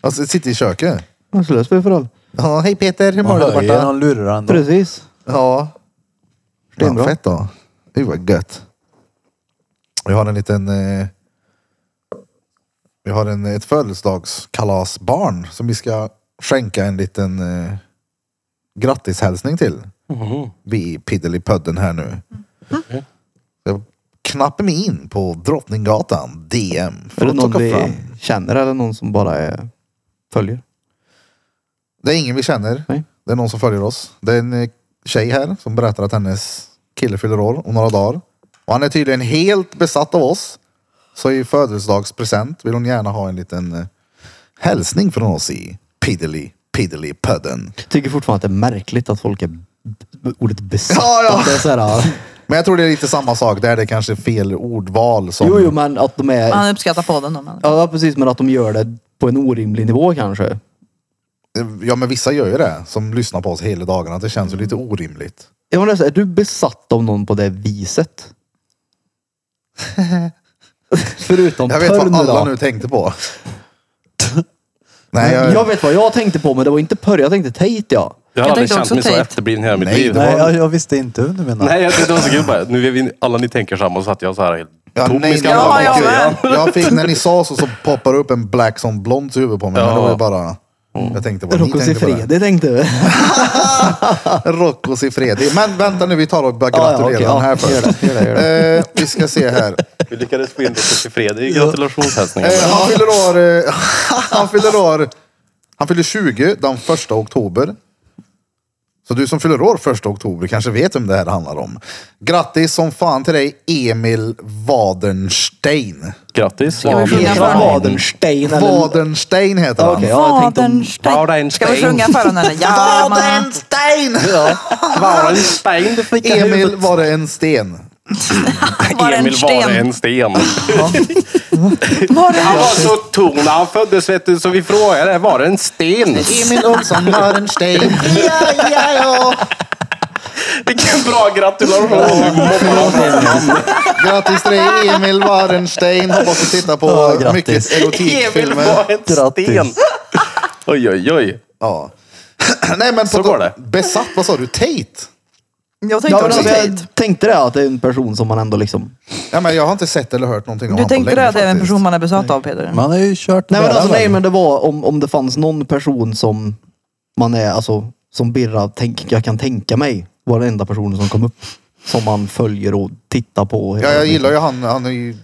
Speaker 1: Alltså sitter i köket.
Speaker 3: Vad skulle det spela för roll?
Speaker 1: Ja, hej Peter, hur mår
Speaker 4: Man
Speaker 1: du där
Speaker 4: hör ju när
Speaker 1: borta?
Speaker 4: de lurar ändå.
Speaker 3: Precis.
Speaker 1: Ja.
Speaker 3: Stenbra.
Speaker 1: Fan, fett då. Det var gött. Jag har en liten... Eh, vi har en, ett födelsedagskalasbarn som vi ska skänka en liten eh, grattishälsning till. Vi är Piddelipödden här nu. Jag knappar mig in på Drottninggatan DM
Speaker 3: är
Speaker 1: för
Speaker 3: det
Speaker 1: att
Speaker 3: någon
Speaker 1: plocka
Speaker 3: vi
Speaker 1: fram.
Speaker 3: känner eller någon som bara är, följer?
Speaker 1: Det är ingen vi känner.
Speaker 3: Nej.
Speaker 1: Det är någon som följer oss. Det är en eh, tjej här som berättar att hennes kille fyller år om några dagar. Och han är tydligen helt besatt av oss. Så i födelsedagspresent vill hon gärna ha en liten eh, hälsning från oss i Piddly Piddly Pudden.
Speaker 3: Tycker fortfarande att det är märkligt att folk är b- ordet besatt.
Speaker 1: Ja, ja.
Speaker 3: Att det är så här,
Speaker 1: Men jag tror det är lite samma sak där. Det är kanske fel ordval som...
Speaker 3: jo, jo, men att de är...
Speaker 5: Han uppskattar podden om han.
Speaker 3: Ja, precis. Men att de gör det på en orimlig nivå kanske.
Speaker 1: Ja, men vissa gör ju det. Som lyssnar på oss hela dagarna. Det känns ju lite orimligt.
Speaker 3: Jag menar, så här, är du besatt av någon på det viset? Förutom
Speaker 1: Jag vet
Speaker 3: Pörn
Speaker 1: vad alla
Speaker 3: då.
Speaker 1: nu tänkte på.
Speaker 3: Men
Speaker 1: Nej,
Speaker 3: jag...
Speaker 1: jag,
Speaker 3: vet vad jag tänkte på, men det var inte Pörr. Jag tänkte Tate, ja.
Speaker 2: Jag har aldrig
Speaker 5: tänkte
Speaker 2: känt
Speaker 5: också
Speaker 2: mig så
Speaker 5: Tate.
Speaker 2: efterbliven i hela mitt
Speaker 1: Nej,
Speaker 2: liv.
Speaker 1: det var-
Speaker 4: Nej, jag, jag visste inte hur du menar.
Speaker 2: Nej, jag tyckte det var så kul bara. Nu är vi, alla ni tänker samma så satt jag så här helt
Speaker 1: ja,
Speaker 2: tom i
Speaker 1: nej, nej,
Speaker 2: skallen.
Speaker 5: Ja, jag
Speaker 1: jag,
Speaker 5: med.
Speaker 1: jag, jag fick, när ni sa så, så poppar upp en black som blonds huvud på mig. Men
Speaker 2: Ja.
Speaker 1: det var ju bara... Jag tänkte på
Speaker 3: Rocco
Speaker 1: ni tänkte på det.
Speaker 3: Siffredi tänkte du.
Speaker 1: Rocco Siffredi. Men vänta nu, vi tar och gratulerar
Speaker 3: okej, ja.
Speaker 1: den här först.
Speaker 3: Gör det, gör det, gör
Speaker 1: Eh, vi ska se här.
Speaker 2: Vi lyckades få in det till Fredrik. Gratulationshälsningar.
Speaker 1: Eh, han fyller år... eh, han fyller år... Han fyller 20 den första oktober. Så du som fyller år första oktober kanske vet vem det här handlar om. Grattis som fan till dig Emil Wadenstein.
Speaker 2: Grattis.
Speaker 5: Ska vi sjunga
Speaker 3: Emil
Speaker 5: för honom?
Speaker 3: Wadenstein eller...
Speaker 1: Wadenstein heter han.
Speaker 3: Okej, ja, jag tänkte om...
Speaker 5: Wadenstein. Ska vi sjunga för honom eller? Ja, man.
Speaker 1: Wadenstein!
Speaker 2: Var en sten du fick i
Speaker 1: Emil
Speaker 2: huvudet.
Speaker 1: var det en sten.
Speaker 5: Var det en
Speaker 2: Emil var det
Speaker 5: sten?
Speaker 2: en sten.
Speaker 5: Var det
Speaker 2: Han var så tung när han föddes vet du, så vi frågade, var det en sten?
Speaker 1: Emil Olsson Wadenstein. Ja, ja, ja.
Speaker 2: Vilken bra gratulation!
Speaker 1: Grattis till dig Emil Warenstein. Hoppas du tittar på
Speaker 4: Ja, grattis.
Speaker 1: mycket
Speaker 2: Emil
Speaker 1: erotikfilmer.
Speaker 2: var en
Speaker 4: Grattis.
Speaker 2: sten. Oj, oj, oj.
Speaker 1: Ja. Nej men på
Speaker 2: Så går det.
Speaker 1: besatt, vad sa du? Tate?
Speaker 5: Jag
Speaker 3: Ja,
Speaker 5: tänkte
Speaker 3: men
Speaker 5: också
Speaker 3: alltså,
Speaker 5: Tate.
Speaker 3: jag tänkte det, att det är en person som man ändå liksom...
Speaker 1: Ja, men jag har inte sett eller hört någonting om
Speaker 5: Du
Speaker 1: honom på
Speaker 5: tänkte
Speaker 1: länge,
Speaker 5: det att det är en
Speaker 1: faktiskt.
Speaker 5: person man är besatt av Peter?
Speaker 4: Man har ju kört
Speaker 3: Nej men,
Speaker 4: nära
Speaker 3: alltså, nej
Speaker 4: väl.
Speaker 3: men det var om, om det fanns någon person som man är, alltså som Birra, tänk, jag kan tänka mig, var den enda personen som kom upp. Som man följer och tittar på. hela
Speaker 1: Ja, jag
Speaker 3: tiden.
Speaker 1: gillar ju han. Han är ju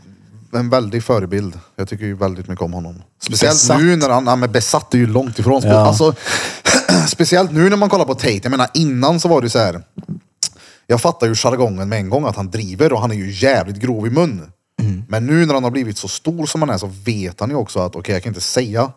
Speaker 1: en väldig förebild. Jag tycker ju väldigt mycket om honom. Speciellt
Speaker 4: Besatt.
Speaker 1: nu när han, han är besatt, är ju långt ifrån.
Speaker 4: Ja.
Speaker 1: Alltså, speciellt nu när man kollar på Tate. Jag menar innan så var det så här. Jag fattar ju jargongen med en gång att han driver och han är ju jävligt grov i mun.
Speaker 2: Mm.
Speaker 1: Men nu när han har blivit så stor som han är så vet han ju också att okej, jag kan inte säga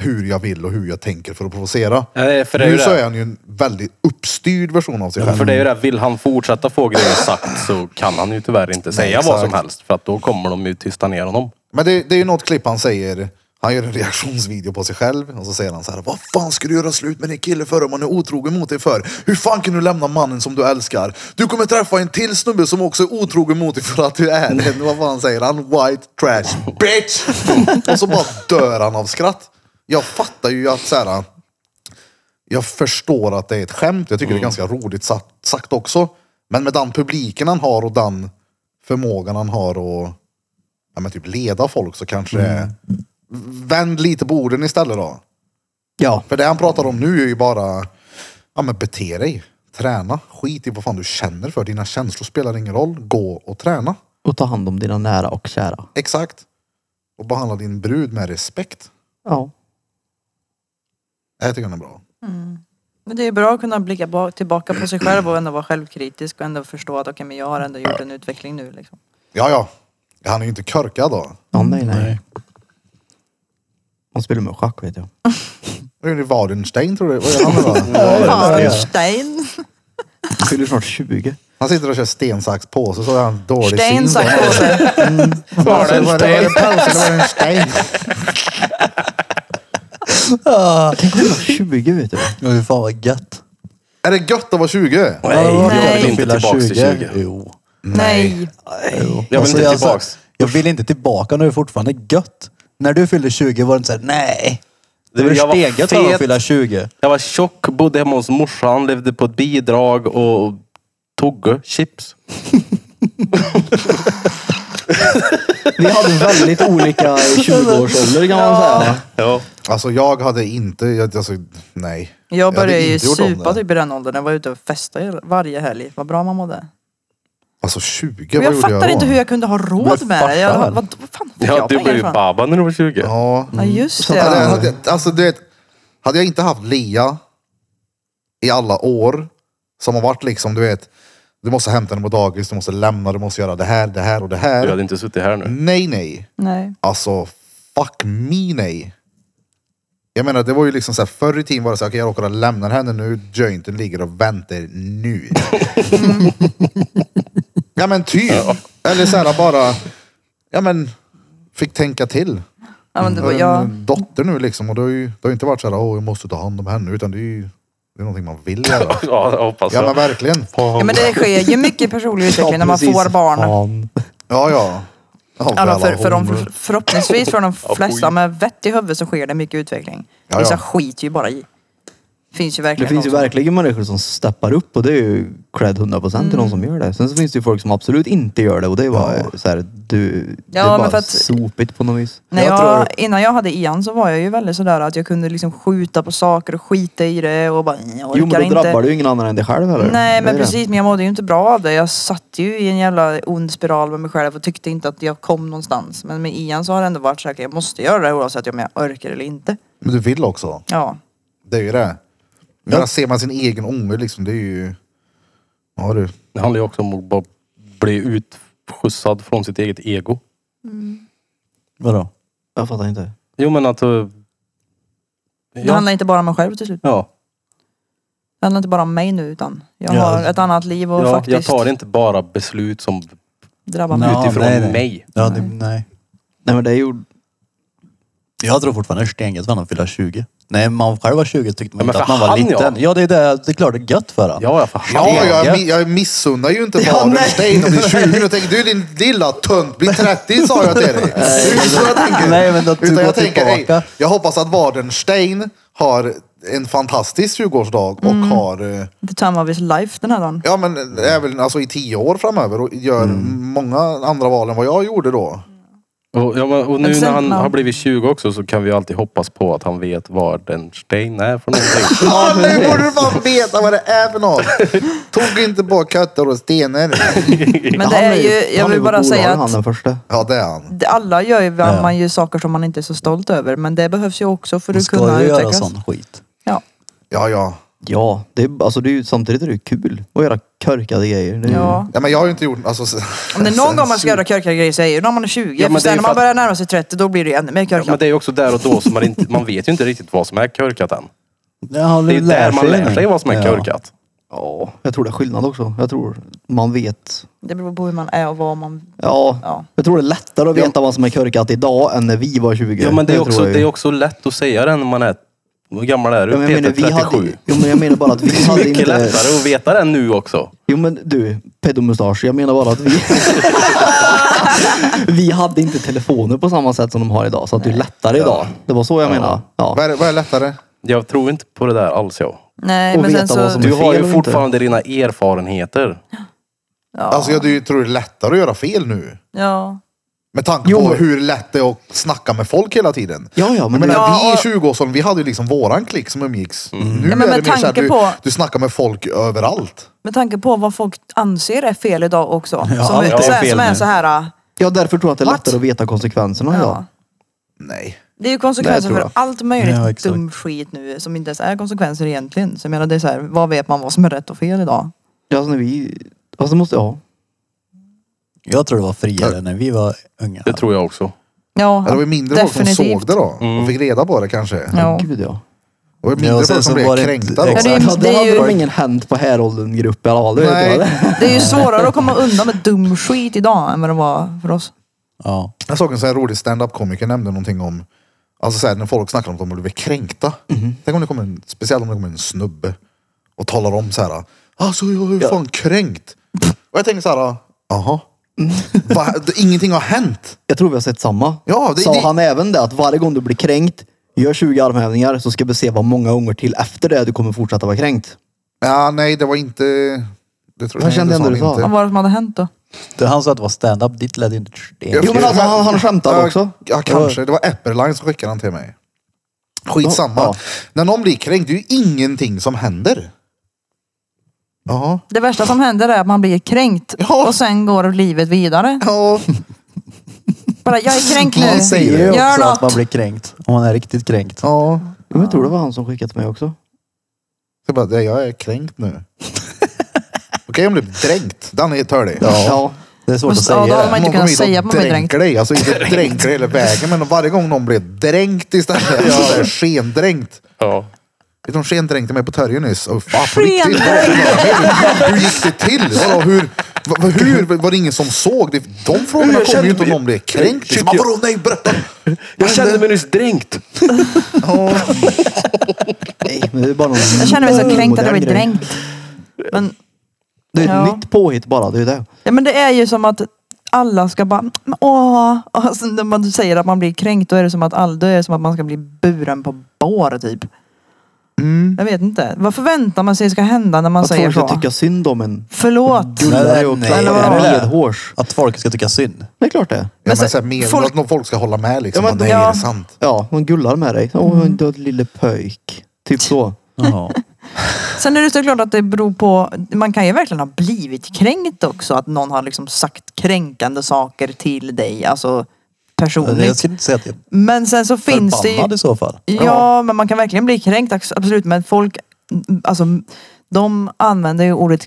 Speaker 1: hur jag vill och hur jag tänker för att provocera.
Speaker 2: Nej, för det är ju
Speaker 1: Nu så
Speaker 2: det.
Speaker 1: är han ju en väldigt uppstyrd version av sig
Speaker 2: Ja,
Speaker 1: själv.
Speaker 2: För det är ju det, vill han fortsätta få grejer sagt så kan han ju tyvärr inte säga vad
Speaker 1: exakt.
Speaker 2: som helst. För att då kommer de ju tysta ner honom.
Speaker 1: Men det, det är ju något klipp han säger. Han gör en reaktionsvideo på sig själv och så säger han så här. Vad fan ska du göra slut med din kille för om han är otrogen mot dig för? Hur fan kan du lämna mannen som du älskar? Du kommer träffa en till snubbe som också är otrogen mot dig för att du är det. Vad fan säger han? White trash bitch! och så bara dör han av skratt. Jag fattar ju att så här. Jag förstår att det är ett skämt. Jag tycker det är ganska roligt sagt, sagt också. Men med den publiken han har och den förmågan han har och ja, men typ leda folk så kanske det är- vänd lite på orden istället då.
Speaker 3: Ja.
Speaker 1: För det han pratar om nu är ju bara, ja men bete dig, träna, skit i vad fan du känner för, dina känslor spelar ingen roll, gå och träna.
Speaker 3: Och ta hand om dina nära och kära.
Speaker 1: Exakt. Och behandla din brud med respekt.
Speaker 3: Ja.
Speaker 1: Jag tycker han är bra.
Speaker 5: Men det är bra att kunna blicka bak, tillbaka på sig själv och ändå vara självkritisk och ändå förstå att okej, men jag har ändå gjort en utveckling nu liksom.
Speaker 1: Ja, ja. Han är ju inte körkad då.
Speaker 3: Ja, nej, nej. Hon spelar med schack vet jag.
Speaker 1: Det är ju Wadenstein tror du. Vad gör han då?
Speaker 5: Farnstein.
Speaker 3: Hon fyller snart 20.
Speaker 1: Han sitter och kör sten, sax, påse så är han dålig
Speaker 5: Stein
Speaker 1: syn.
Speaker 5: sagt på sig.
Speaker 1: Var det var det en påse eller var det en stein?
Speaker 3: Tänk om hon är 20 vet du.
Speaker 4: Ja, Fy fan vad gött.
Speaker 1: Är det gött att vara 20?
Speaker 2: Nej, jag
Speaker 5: Nej.
Speaker 2: vill inte tillbaks till 20.
Speaker 4: Jo.
Speaker 5: Nej.
Speaker 2: Jag vill inte
Speaker 4: Alltså, jag,
Speaker 2: tillbaks.
Speaker 4: jag vill inte tillbaka nu är det fortfarande gött. När du fyllde 20 var det inte såhär, nej. Det var
Speaker 2: Jag var
Speaker 4: steget av
Speaker 2: fet.
Speaker 4: att fylla 20.
Speaker 2: Jag var tjock, bodde hemma hos morsan, levde på ett bidrag och tog chips.
Speaker 3: Vi hade väldigt olika 20-årsålder kan man säga.
Speaker 2: Ja.
Speaker 1: Alltså jag hade inte, jag, alltså, nej.
Speaker 5: Jag
Speaker 1: hade
Speaker 5: började ju
Speaker 1: inte gjort om
Speaker 5: supa
Speaker 1: det.
Speaker 5: typ i den åldern. Jag var ute och festade varje helg. Vad bra man mådde.
Speaker 1: Alltså 20,
Speaker 5: Och
Speaker 1: vad
Speaker 5: jag
Speaker 1: gjorde jag
Speaker 5: fattar
Speaker 1: då?
Speaker 5: inte hur jag kunde ha råd
Speaker 4: Men
Speaker 5: med det. Jag,
Speaker 4: farsan.
Speaker 5: vad, vad fan fick
Speaker 2: Ja,
Speaker 5: jag
Speaker 2: du blev
Speaker 5: pengar
Speaker 2: ju
Speaker 5: ifrån?
Speaker 2: baba när du var 20.
Speaker 1: Ja.
Speaker 5: Ja just
Speaker 1: Eller,
Speaker 5: det.
Speaker 1: hade, jag- alltså du vet, hade jag inte haft Lia i alla år som har varit liksom, du vet, Du måste hämta den på dagis, du måste lämna, du måste göra det här, det här och det här.
Speaker 2: Du hade inte suttit här nu.
Speaker 1: Nej, nej.
Speaker 5: Nej.
Speaker 1: Alltså, fuck me nej. Jag menar, det var ju liksom så här, förr i tiden var det så här, okej jag råkar att lämna henne nu, jointen ligger och väntar nu. ja men typ. Eller så här bara, ja men, fick tänka till.
Speaker 5: Ja, men det var
Speaker 1: har
Speaker 5: jag.
Speaker 1: en dotter nu liksom och det har ju det har ju inte varit så här, åh jag måste ta hand om henne, utan det är ju det är någonting man vill göra.
Speaker 2: Ja, jag hoppas
Speaker 1: Ja men
Speaker 2: det.
Speaker 1: verkligen.
Speaker 5: Ja, men det sker ju mycket personlig utveckling när man
Speaker 4: precis.
Speaker 5: får barn.
Speaker 4: Fan.
Speaker 1: Ja ja. Ja,
Speaker 5: Alltså för,
Speaker 1: väl,
Speaker 5: för de,
Speaker 1: hon-
Speaker 5: för, förhoppningsvis för de flesta med vett i huvudet så sker det mycket utveckling.
Speaker 1: Ja,
Speaker 5: Vissa
Speaker 1: ja.
Speaker 5: skiter ju bara i. Finns ju
Speaker 3: Det
Speaker 5: verkligen
Speaker 3: finns ju
Speaker 5: någon som-
Speaker 3: verkligen människor som steppar upp och det är ju cred 100% till
Speaker 5: Mm.
Speaker 3: någon som gör det. Sen så finns det ju folk som absolut inte gör det och det är bara så här, du, det är
Speaker 5: men
Speaker 3: bara
Speaker 5: för att-
Speaker 3: sopigt på något vis.
Speaker 5: När jag,
Speaker 4: Jag tror-
Speaker 5: Innan jag hade Ian så var jag ju väldigt sådär att jag kunde liksom skjuta på saker och skita i det och bara "Nej, jag orkar
Speaker 3: Jo men då
Speaker 5: inte.
Speaker 3: drabbar du ju ingen annan än dig själv heller.
Speaker 5: Nej
Speaker 3: Det
Speaker 5: men
Speaker 3: är det.
Speaker 5: precis, men jag mådde ju inte bra av det. Jag satt ju i en jävla ond spiral med mig själv och tyckte inte att jag kom någonstans. Men med Ian så har det ändå varit så här, jag måste göra det oavsett om jag orkar eller inte.
Speaker 1: Men du vill också.
Speaker 5: Ja.
Speaker 1: Det är ju det. Men ser man sin egen ånger liksom, det är ju... Ja du.
Speaker 2: Det handlar ju också om att bara bli utskjutsad från sitt eget ego.
Speaker 4: Vadå?
Speaker 3: Jag fattar inte.
Speaker 2: Jo men att... eh,
Speaker 5: Det
Speaker 2: Ja.
Speaker 5: handlar inte bara om mig själv till slut.
Speaker 2: ja.
Speaker 5: Det handlar inte bara om mig nu utan jag
Speaker 4: Ja.
Speaker 5: har ett annat liv och
Speaker 2: ja jag
Speaker 5: faktiskt
Speaker 2: tar inte bara beslut som
Speaker 5: drabbar
Speaker 4: Nej.
Speaker 5: mig.
Speaker 4: Ja,
Speaker 2: utifrån
Speaker 4: nej, nej.
Speaker 2: mig.
Speaker 4: Ja, det, nej.
Speaker 3: Nej men det är ju...
Speaker 4: Jag tror fortfarande stengött för honom att fylla 20. Nej, man själv var 20 tyckte man
Speaker 2: Ja, men
Speaker 4: inte att
Speaker 2: för
Speaker 4: man var
Speaker 2: han,
Speaker 4: liten.
Speaker 2: ja.
Speaker 4: Ja, det är det. Det är klart det är gött för honom.
Speaker 2: Ja, ja för han.
Speaker 1: Ja, jag, mi- jag missunnar ju inte bara
Speaker 4: nej.
Speaker 1: dig när du blir 20 och tänker du din lilla tunt, bli 30 sa jag till dig. Det är inte så jag tänker.
Speaker 4: Nej, men att du
Speaker 1: Utan
Speaker 4: går
Speaker 1: jag tänker,
Speaker 4: tillbaka.
Speaker 1: ej, jag hoppas att Wadenstein har en fantastisk 20-årsdag och
Speaker 4: Mm.
Speaker 1: har, eh,
Speaker 5: The time of his life den här dagen.
Speaker 1: ja men även alltså i 10 år framöver och gör
Speaker 4: Mm.
Speaker 1: många andra val än vad jag gjorde då.
Speaker 2: Och, ja, men, och
Speaker 5: Men
Speaker 2: nu
Speaker 5: sen
Speaker 2: när han
Speaker 5: när han-
Speaker 2: har blivit 20 också så kan vi ju alltid hoppas på att han vet vad en stein är för någonting.
Speaker 1: Ja, nu borde du fan veta vad det är för något. Tog inte bara katter och stenar.
Speaker 5: Men det är ju, jag vill bara säga
Speaker 3: Han
Speaker 5: att
Speaker 3: den första.
Speaker 1: Ja, det är han.
Speaker 5: det- alla gör ju,
Speaker 4: Ja.
Speaker 5: man ju saker som man inte är så stolt över. Men det behövs ju också för
Speaker 4: Man
Speaker 5: att
Speaker 4: ska
Speaker 5: kunna
Speaker 4: ju göra
Speaker 5: utvecklas.
Speaker 4: sån skit.
Speaker 5: Ja.
Speaker 1: Ja, ja.
Speaker 3: Ja, det är, alltså det är ju, samtidigt är det ju kul att göra körkade grejer. Det är ju-
Speaker 5: ja.
Speaker 1: Ja, men jag har ju inte gjort... Alltså,
Speaker 5: Om det är någon gång man ska göra körkiga grejer så är det när man är 20.
Speaker 2: Ja, men
Speaker 5: för
Speaker 2: det är
Speaker 5: sen
Speaker 2: ju
Speaker 5: när
Speaker 2: för
Speaker 5: man
Speaker 2: att-
Speaker 5: börjar närma sig 30 då blir det ju ännu mer
Speaker 2: Ja, men
Speaker 5: körkat.
Speaker 2: det är ju också där och då som man inte, man vet ju inte riktigt vad som är körkat än.
Speaker 4: Ja,
Speaker 2: Det är ju där man lär
Speaker 4: nu.
Speaker 2: sig vad som är
Speaker 4: Ja.
Speaker 2: körkat.
Speaker 3: Ja, jag tror det är skillnad också. Jag tror man vet.
Speaker 5: Det beror på hur man är och vad man...
Speaker 3: Ja,
Speaker 5: Ja.
Speaker 3: jag tror det är lättare att veta vad som är körkat idag än när vi var 20.
Speaker 2: Ja men det är, också,
Speaker 3: tror jag ju.
Speaker 2: det är också lätt att säga det när man är, hur gammal är du?
Speaker 3: Ja, men jag menar, vi
Speaker 2: Peter, 37.
Speaker 3: hade, jo, men jag menar bara att vi hade
Speaker 2: Mycket
Speaker 3: inte...
Speaker 2: lättare att veta det nu också.
Speaker 3: Jo men du, pedomustasch. Jag menar bara att vi... vi hade inte telefoner på samma sätt som de har idag. Så att det är lättare idag. Det var så jag menar. Ja.
Speaker 1: Vad är, vad är lättare?
Speaker 2: Jag tror inte på det där alls jag.
Speaker 5: Nej
Speaker 3: Och
Speaker 5: men
Speaker 3: veta
Speaker 5: sen så...
Speaker 3: vad som-
Speaker 2: Du har
Speaker 3: fel
Speaker 2: ju
Speaker 3: eller
Speaker 2: fortfarande dina erfarenheter.
Speaker 5: Ja.
Speaker 1: Alltså, jag du tror det är lättare att göra fel nu.
Speaker 5: ja.
Speaker 1: Med tanke
Speaker 3: Jo,
Speaker 1: på
Speaker 3: men-
Speaker 1: hur lätt det är att snacka med folk hela tiden.
Speaker 3: Ja, ja, men
Speaker 1: jag menar,
Speaker 5: Ja, och-
Speaker 1: vi i 20-årsåldern, vi hade ju liksom våran klick som umgicks.
Speaker 4: Mm.
Speaker 1: Nu
Speaker 5: Ja,
Speaker 1: är
Speaker 5: men
Speaker 1: det
Speaker 5: med
Speaker 1: mer så här,
Speaker 5: tanke
Speaker 1: du,
Speaker 5: på-
Speaker 1: du snackar med folk överallt.
Speaker 5: Med tanke på vad folk anser är fel idag också.
Speaker 4: Ja,
Speaker 5: som,
Speaker 4: allt
Speaker 5: är,
Speaker 4: är
Speaker 5: så här,
Speaker 4: fel
Speaker 5: som är
Speaker 4: nu.
Speaker 5: så här... äh,
Speaker 3: Ja, därför tror jag att det är
Speaker 5: What?
Speaker 3: lättare att veta konsekvenserna idag.
Speaker 5: Ja.
Speaker 1: Nej.
Speaker 5: Det är ju konsekvenser
Speaker 3: Nej, tror
Speaker 5: för
Speaker 3: jag.
Speaker 5: allt möjligt
Speaker 4: Ja, exakt.
Speaker 5: dum skit nu som inte ens är konsekvenser egentligen. Så jag menar det är så här, vad vet man vad som är rätt och fel idag?
Speaker 3: Ja, alltså när vi... Alltså måste ja.
Speaker 4: Jag tror det var friare när vi var unga.
Speaker 2: Det tror jag också.
Speaker 5: Ja,
Speaker 1: Det var ju mindre folk som såg det då
Speaker 2: Mm.
Speaker 1: och fick reda på det kanske.
Speaker 5: Ja.
Speaker 3: Gud ja.
Speaker 1: Det var ju mindre
Speaker 4: Ja, och sen
Speaker 1: folk som
Speaker 4: så
Speaker 1: blev
Speaker 4: var det inte-
Speaker 1: kränkta då.
Speaker 4: Exakt.
Speaker 5: Ja, det är-
Speaker 3: Ja, det hade
Speaker 5: ju-
Speaker 3: de ingen hänt på häråldern-grupp i alla fall. Det vet
Speaker 1: Nej.
Speaker 3: jag. det.
Speaker 5: Det är ju svårare att komma undan med dum skit idag än vad det var för oss.
Speaker 4: Ja.
Speaker 1: Jag såg en sån här rolig stand-up-komiker nämnde någonting om, alltså så här, när folk snackar om att de blir kränkta.
Speaker 3: Mhm.
Speaker 1: Tänk om det kommer en, speciellt om det kommer en snubbe och talar om så här, alltså jag är fan kränkt. Och jag tänker så här, jaha,
Speaker 3: Mhm.
Speaker 1: Va? ingenting har hänt.
Speaker 3: Jag tror vi har sett samma.
Speaker 1: Ja, det-
Speaker 3: Sa
Speaker 1: det-
Speaker 3: han även det att varje gång du blir kränkt, gör 20 armhävningar så ska vi se vad många gånger till efter det du kommer fortsätta vara kränkt.
Speaker 1: Ja, nej, det var inte, det tror
Speaker 3: Jag
Speaker 1: nej,
Speaker 3: kände
Speaker 1: det
Speaker 3: ändå
Speaker 1: han
Speaker 3: du sa.
Speaker 1: inte.
Speaker 5: Vad var det som hade hänt då?
Speaker 4: Du, han sa att det var stand-up. Ditt ledde ju inte till sten.
Speaker 1: Jag-
Speaker 3: Jo men alltså han, han skämtade
Speaker 1: Ja,
Speaker 3: också.
Speaker 1: Ja, kanske. Det var Epperline som skickade den till mig. Skitsamma.
Speaker 3: Ja.
Speaker 1: När någon blir kränkt, det är ju ingenting som händer. Jaha.
Speaker 5: Det värsta som händer är att man blir kränkt
Speaker 1: Ja.
Speaker 5: och sen går livet vidare.
Speaker 1: Ja,
Speaker 5: Bara, jag är kränkt
Speaker 4: Han
Speaker 5: nu.
Speaker 4: säger ju
Speaker 5: Gör
Speaker 4: också att man
Speaker 5: något.
Speaker 4: blir kränkt. Om man är riktigt kränkt.
Speaker 1: ja.
Speaker 3: Jo, men Jag tror det var han som skickade till mig också.
Speaker 1: Så jag bara, jag är kränkt nu. Och om du blir dränkt. Den är törlig.
Speaker 3: Ja.
Speaker 4: Det är svårt att
Speaker 5: Måste- ja,
Speaker 4: säga.
Speaker 5: då har
Speaker 4: det.
Speaker 5: man- inte kunnat
Speaker 1: kommer hit och
Speaker 5: säga att man blir
Speaker 1: dränker
Speaker 5: dränkt.
Speaker 1: Dig. Alltså inte dränkt dig hela vägen, men varje gång någon blir dränkt istället. Alltså, så här, skendränkt.
Speaker 2: Ja.
Speaker 1: Vet du, hon skendränkte mig på Törje nyss. Oh, fan, på
Speaker 5: Skendränkt!
Speaker 1: riktigt. Hur, hur gick det till? Vadå, hur, va- hur? Var det ingen som såg? Det, de frågorna kommer ju inte om någon blir kränkt. Liksom.
Speaker 2: Shit, jag-
Speaker 1: Vadå, nej, berätta!
Speaker 2: Jag kände mig nyss dränkt.
Speaker 3: Nej, men det är bara någon
Speaker 5: Jag känner mig så kränkt att jag
Speaker 3: modern
Speaker 5: blir
Speaker 3: grej.
Speaker 5: dränkt. Men,
Speaker 3: Det är ett
Speaker 5: Ja.
Speaker 3: nytt påhitt bara, det är ju det.
Speaker 5: ja, men det är ju som att alla ska bara, "Men åh. Alltså, när man säger att man blir kränkt då är det som att, all, då är det som att man ska bli buren på bår typ.
Speaker 4: Mm.
Speaker 5: Jag vet inte. Vad förväntar man sig ska hända när man
Speaker 3: Att
Speaker 5: säger
Speaker 3: folk ska
Speaker 5: så?
Speaker 3: tycka synd om en
Speaker 5: Förlåt.
Speaker 4: Mm.
Speaker 3: gullare och
Speaker 4: nej,
Speaker 5: nej,
Speaker 3: klappare
Speaker 5: nej.
Speaker 3: medhårs.
Speaker 4: Att folk ska tycka synd.
Speaker 3: Det är klart det.
Speaker 1: Ja,
Speaker 5: så-
Speaker 1: men, så här, med,
Speaker 5: folk-
Speaker 1: folk... Att någon folk ska hålla med liksom.
Speaker 3: Ja,
Speaker 1: Ja,
Speaker 3: men-
Speaker 1: nej,
Speaker 5: ja.
Speaker 1: är det sant?
Speaker 3: Ja, de gullar med dig. Åh,
Speaker 5: Mm.
Speaker 3: en död lille pöjk. Typ så.
Speaker 4: Ja.
Speaker 5: Sen är det såklart att det beror på, man kan ju verkligen ha blivit kränkt också. Att någon har liksom sagt kränkande saker till dig. Alltså
Speaker 4: Jag
Speaker 5: personligt.
Speaker 4: skulle inte säga att jag är
Speaker 5: Men sen så finns det ju...
Speaker 4: förbannad i så fall.
Speaker 5: Ja, men man kan verkligen bli kränkt, ax- absolut. Men folk, mm, alltså de använder ju ordet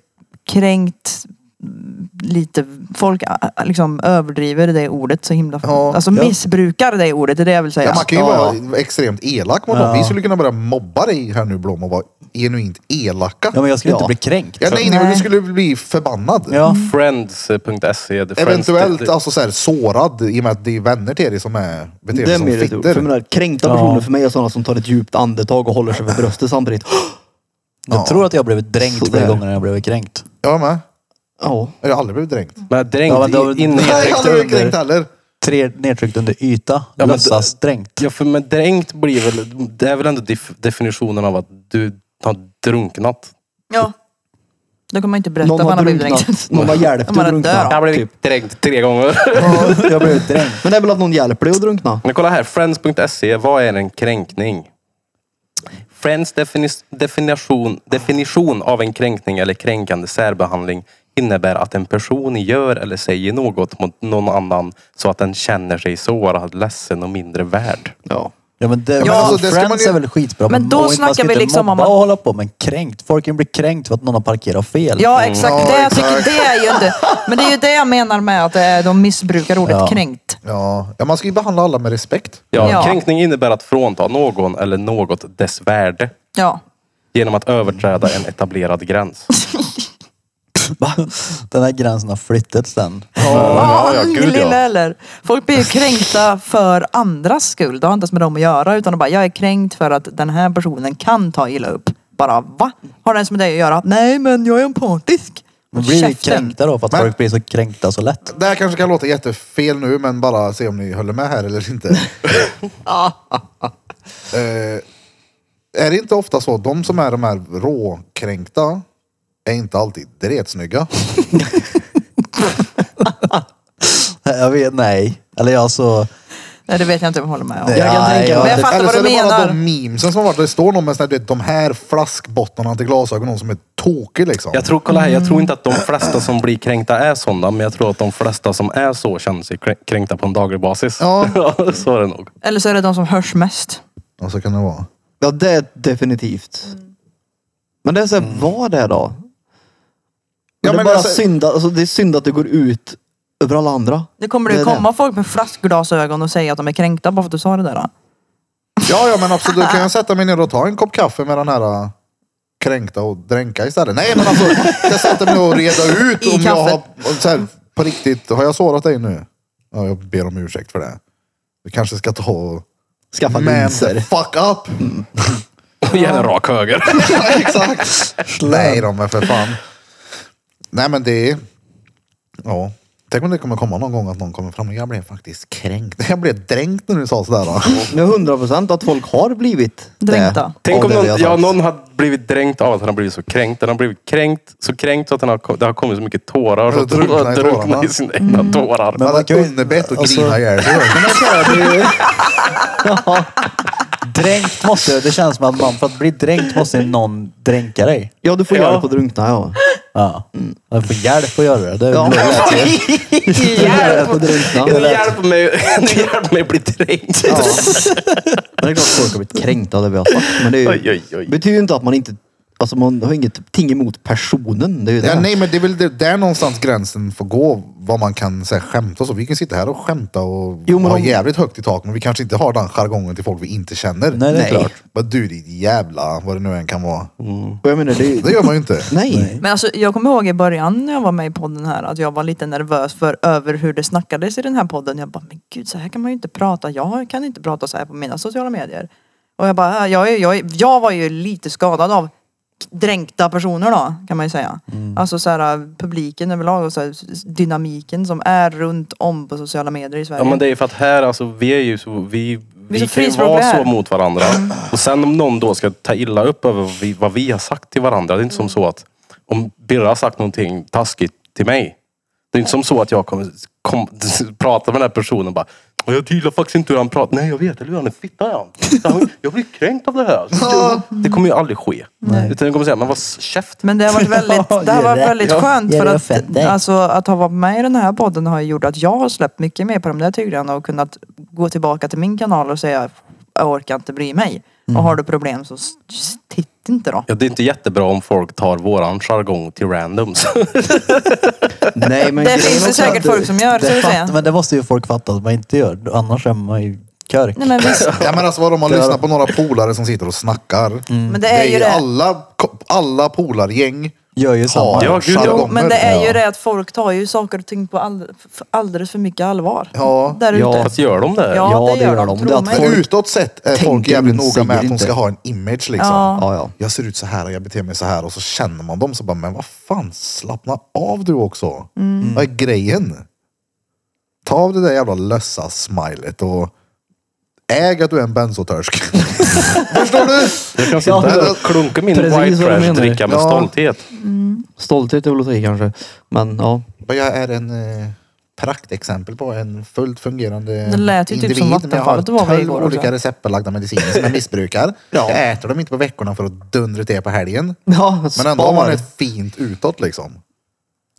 Speaker 5: kränkt mm, lite, folk a- a- liksom överdriver det ordet så himla,
Speaker 1: Ja,
Speaker 5: alltså
Speaker 4: ja.
Speaker 5: missbrukar det ordet, det är det jag vill säga.
Speaker 1: Ja, man kan ju
Speaker 3: Ja,
Speaker 1: vara extremt elak mot dem. Vi skulle kunna börja mobba dig här nu Blom och vara genuint elaka.
Speaker 4: Ja, men jag skulle
Speaker 3: Ja.
Speaker 4: inte bli kränkt.
Speaker 1: Ja, nej, nej, men
Speaker 5: Nej.
Speaker 1: du skulle bli förbannad.
Speaker 4: Ja.
Speaker 2: Mm. Friends.se. the friends-
Speaker 1: Eventuellt
Speaker 2: det- det-
Speaker 1: alltså så här, sårad i och med att det är vänner till dig som är, beter
Speaker 3: Det
Speaker 1: sig
Speaker 3: är
Speaker 1: som
Speaker 3: mer ett ord. För jag
Speaker 1: fitter.
Speaker 3: menar, kränkta
Speaker 4: Ja.
Speaker 3: personer för mig är sådana som tar ett djupt andetag och håller sig för bröstet samtidigt.
Speaker 4: Jag tror att jag blivit dränkt
Speaker 3: Sådär.
Speaker 4: fler gånger än jag blivit kränkt.
Speaker 1: Jag med.
Speaker 3: Ja.
Speaker 1: Jag har aldrig blivit dränkt.
Speaker 2: Men dränkt
Speaker 4: Ja, men då-
Speaker 2: in-
Speaker 1: Nej, jag har aldrig blivit
Speaker 4: under-
Speaker 1: dränkt heller.
Speaker 4: Tre nedtryckt under yta.
Speaker 2: men det-
Speaker 4: Låtsas dränkt.
Speaker 2: Ja, för men dränkt blir väl, det är väl ändå def- definitionen av att du har drunknat.
Speaker 5: Ja. Då kan man inte berätta
Speaker 3: Någon
Speaker 5: vad man
Speaker 3: har
Speaker 5: har blivit dränkt.
Speaker 3: drunknat. Någon har hjälpt
Speaker 5: Om man
Speaker 3: att
Speaker 5: har dött.
Speaker 3: drunkna. Typ.
Speaker 2: Jag blev dränkt tre gånger.
Speaker 4: Ja, jag blev dränkt.
Speaker 3: Men det är väl att någon hjälper dig att drunkna.
Speaker 2: Men kolla här, friends.se, vad är en kränkning? Friends defini- definition, definition av en kränkning eller kränkande särbehandling innebär att en person gör eller säger något mot någon annan så att den känner sig sårad, ledsen och mindre värd.
Speaker 3: Ja.
Speaker 4: Ja, men det,
Speaker 1: Ja, alltså, det ska
Speaker 4: Friends
Speaker 1: man ju-
Speaker 4: är väl skitbra.
Speaker 5: Men då
Speaker 4: må inte- man ska
Speaker 5: snackar vi
Speaker 4: inte
Speaker 5: liksom om
Speaker 4: mobba
Speaker 5: att-
Speaker 4: och hålla på. Men kränkt. Folk kan bli kränkt för att någon har parkerat fel.
Speaker 5: Ja exakt,
Speaker 1: Ja,
Speaker 5: det, jag
Speaker 1: exakt.
Speaker 5: tycker, det är ju inte, men det är ju det jag menar med att det är, de missbrukar ordet
Speaker 4: Ja.
Speaker 5: kränkt.
Speaker 1: Ja. ja, man ska ju behandla alla med respekt.
Speaker 2: Ja,
Speaker 5: Ja.
Speaker 2: Kränkning innebär att frånta någon eller något dess värde
Speaker 5: Ja.
Speaker 2: genom att överträda en etablerad gräns.
Speaker 4: Den här gränsen har flyttats den.
Speaker 5: Ja,
Speaker 2: ja, gud,
Speaker 5: lilla
Speaker 2: ja.
Speaker 5: eller. Folk blir ju kränkta för andras skull. Det har inte ens med dem att göra. Utan de bara, jag är kränkt för att den här personen kan ta illa upp. Bara, va? Har det ens med dig att göra? Nej, men jag är empatisk.
Speaker 4: Men blir vi
Speaker 5: Käften.
Speaker 4: kränkta då för att
Speaker 1: Men-
Speaker 4: folk blir så kränkta så lätt?
Speaker 1: Det här kanske kan låta jättefel nu, men bara se om ni håller med här eller inte. eh, är det inte ofta så, de som är de här råkränkta är inte alltid dretsnygga.
Speaker 4: Jag vet, nej. Eller jag så...
Speaker 5: Nej, det vet jag inte om jag håller med om.
Speaker 4: Nej,
Speaker 3: Jag kan tänka mig-
Speaker 5: Men jag fattar
Speaker 1: typ. Eller
Speaker 5: vad
Speaker 1: så
Speaker 5: du
Speaker 1: är det bara
Speaker 5: menar.
Speaker 1: de memesen som har varit. Det står någon med sån här, du vet, de här flaskbottnarna till glasögonen som är tokig liksom.
Speaker 2: Jag tror, kolla här, jag tror inte att de flesta som blir kränkta är sådana, men jag tror att de flesta som är så känner sig krä- kränkta på en daglig basis.
Speaker 1: Ja.
Speaker 2: så är det nog.
Speaker 5: Eller så är det de som hörs mest.
Speaker 1: Ja, så kan det vara.
Speaker 3: Ja, det är definitivt.
Speaker 5: Mm.
Speaker 3: Men det är såhär, vad är det då?
Speaker 1: Ja,
Speaker 3: det är
Speaker 1: men
Speaker 3: bara
Speaker 1: alltså-
Speaker 3: synd, att- alltså, det är synd att det går ut över alla andra.
Speaker 5: Nu kommer det
Speaker 3: Det
Speaker 5: ju
Speaker 3: är det.
Speaker 5: komma folk med flaskglasögon och säga att de är kränkta bara för att du sa det där. Då.
Speaker 1: Ja, ja, men absolut. Kan jag sätta mig ner och ta en kopp kaffe med den här äh, kränkta och dränka istället? Nej, men alltså, jag sätter mig ner och reda ut
Speaker 5: I
Speaker 1: om jag har,
Speaker 5: kaffet.
Speaker 1: om så här, på riktigt, har jag sårat dig nu? Ja, jag ber om ursäkt för det. Vi kanske ska ta och...
Speaker 3: Skaffa
Speaker 1: Man the
Speaker 3: linser.
Speaker 1: fuck up!
Speaker 2: Ge en rak höger.
Speaker 1: Ja, exakt. Nej då, men för fan. Nej, men det är... Ja. Tänk om det kommer komma någon gång att någon kommer fram och jag blev faktiskt kränkt. Jag blev dränkt när du sa sådär. Då.
Speaker 3: Nu är hundra procent att folk har blivit det
Speaker 5: Dränkta.
Speaker 2: Tänk
Speaker 3: av
Speaker 2: om
Speaker 3: det vi
Speaker 2: någon,
Speaker 3: har
Speaker 2: ja,
Speaker 3: sagt.
Speaker 2: någon har blivit dränkt av att han har blivit så kränkt. Den har blivit kränkt, så kränkt så att den har, kom- det har kommit så mycket tårar. Så
Speaker 1: Ja,
Speaker 2: att den har
Speaker 1: drunkna i
Speaker 2: drunknat
Speaker 1: tårarna.
Speaker 2: i sina egna tårar.
Speaker 1: Jag
Speaker 4: Men man
Speaker 1: hade
Speaker 4: kan ju-
Speaker 1: underbett och
Speaker 4: alltså-
Speaker 1: grina ihjäl sig.
Speaker 4: Men alltså, det är ju... ja. Dränkt måste... Det känns som att man, för att bli dränkt måste ju någon dränka dig.
Speaker 3: Ja, du får
Speaker 2: Ja.
Speaker 3: hjälp att drunkna ja.
Speaker 4: Ja. Man får hjälp att göra det. Det är
Speaker 3: Ja.
Speaker 4: väl lätt ju.
Speaker 3: hjälp att drunkna.
Speaker 2: Ni
Speaker 3: Det är
Speaker 2: hjälper mig, ni hjälper mig att bli dränkt.
Speaker 3: Men det är klart folk har blivit kränkta av det vi har sagt. Men det är ju,
Speaker 2: Oj, oj, oj.
Speaker 3: betyder ju inte att man inte Alltså man har inget ting emot personen. Det är ju det.
Speaker 1: Ja, nej, men det är väl det, där någonstans gränsen får gå. Vad man kan så här, skämta och så. Vi kan sitta här och skämta och
Speaker 3: Jo, men
Speaker 1: ha
Speaker 3: om-
Speaker 1: jävligt högt i tak. Men vi kanske inte har den jargongen till folk vi inte känner.
Speaker 4: Nej, det är
Speaker 3: Nej.
Speaker 4: klart.
Speaker 1: Bara du ditt jävla, vad det nu än kan vara.
Speaker 3: Och jag menar, det är ju...
Speaker 1: Det gör man ju inte.
Speaker 3: Nej.
Speaker 5: Men alltså, jag kommer ihåg i början när jag var med i podden här att jag var lite nervös för över hur det snackades i den här podden. Jag bara, men gud så här kan man ju inte prata. Jag kan inte prata så här på mina sociala medier. Och jag bara, jag, är- jag, är- jag var ju lite skadad av dränkta personer då kan man ju säga. Alltså så här publiken överlag och så här, dynamiken som är runt om på sociala medier i Sverige.
Speaker 2: Ja men det är ju för att här alltså, vi är ju så, vi, vi,
Speaker 5: så
Speaker 2: kan ju
Speaker 5: frispråkiga
Speaker 2: vara
Speaker 5: här.
Speaker 2: så mot varandra. Och sen om någon då ska ta illa upp över vad vi, vad vi har sagt till varandra. Det är inte som så att om Birra har sagt någonting taskigt till mig. Det är inte som så att jag kommer kom, prata med den här personen och bara "Och jag gillar faktiskt inte hur han pratar. Nej jag vet, eller hur han är fitta är han. Jag blir kränkt av det här. Det kommer ju aldrig ske. Utan jag kommer säga, men vad s- käft.
Speaker 5: Men det har varit väldigt, det har varit väldigt skönt
Speaker 4: Ja,
Speaker 5: för
Speaker 4: det är
Speaker 5: att,
Speaker 4: fett.
Speaker 5: alltså, att ha varit med i den här podden har ju gjort att jag har släppt mycket mer på de där tygrarna och kunnat gå tillbaka till min kanal och säga jag orkar inte bry mig. Och har du problem så s- s- titta inte då.
Speaker 2: Ja, det är inte jättebra om folk tar våran jargong till randoms.
Speaker 3: Nej, men
Speaker 5: Det
Speaker 3: grejen
Speaker 5: finns
Speaker 3: är
Speaker 5: det
Speaker 3: också
Speaker 5: säkert
Speaker 3: att-
Speaker 5: folk som gör, så
Speaker 4: det
Speaker 5: vill säga.
Speaker 4: fatt, Men det måste ju folk fatta att man inte gör. Annars är man ju körk.
Speaker 5: Nej, men, visst,
Speaker 1: Ja, men alltså vad de har lyssnat på några polare som sitter och snackar.
Speaker 5: men det är ju det.
Speaker 1: alla, alla polargäng
Speaker 4: Gör ju samma.
Speaker 1: har
Speaker 2: Ja, gud, ja.
Speaker 5: Jo,
Speaker 1: jargonger.
Speaker 5: men det är ju det att folk tar ju saker och ting på all, f- alldeles för mycket allvar.
Speaker 1: Ja.
Speaker 5: Där ute.
Speaker 3: Ja.
Speaker 2: Fast gör de det?
Speaker 5: Ja,
Speaker 3: Ja,
Speaker 5: det gör de.
Speaker 3: Det är
Speaker 5: Tro
Speaker 3: att
Speaker 5: mig.
Speaker 1: Men
Speaker 3: folk-
Speaker 1: utåt sett är folk
Speaker 3: tänker
Speaker 1: jävligt
Speaker 3: men
Speaker 1: noga med
Speaker 3: säger
Speaker 1: att de
Speaker 3: inte.
Speaker 1: ska ha en image liksom.
Speaker 5: Ja.
Speaker 3: Ja, ja.
Speaker 1: Jag ser ut så här och jag beter mig så här och så känner man dem så bara, men vad fan, slappna av du också.
Speaker 5: Mm.
Speaker 1: Vad är grejen? Ta av det där jävla lössa smilet och äg att du är en bensotörsk. Förstår du?
Speaker 2: Jag kan sitta
Speaker 3: Ja,
Speaker 2: här och klunka min
Speaker 3: precis
Speaker 2: white
Speaker 3: vad jag menar.
Speaker 2: trash-dricka med
Speaker 1: Ja.
Speaker 2: stolthet.
Speaker 3: Stolthet är väl att säga kanske. Men ja.
Speaker 1: Och Jag är en eh, praktexempel på en fullt fungerande
Speaker 5: Det lät ju typ som
Speaker 1: individ, men
Speaker 5: Vattenfallet
Speaker 1: Jag
Speaker 5: var vi
Speaker 1: har
Speaker 5: igår
Speaker 1: tolv
Speaker 5: också.
Speaker 1: olika receptbelagda mediciner som jag missbrukar. Jag äter dem inte på veckorna för att dundra till på helgen.
Speaker 3: ja
Speaker 1: Men ändå har
Speaker 3: spar.
Speaker 1: man ett fint utåt liksom.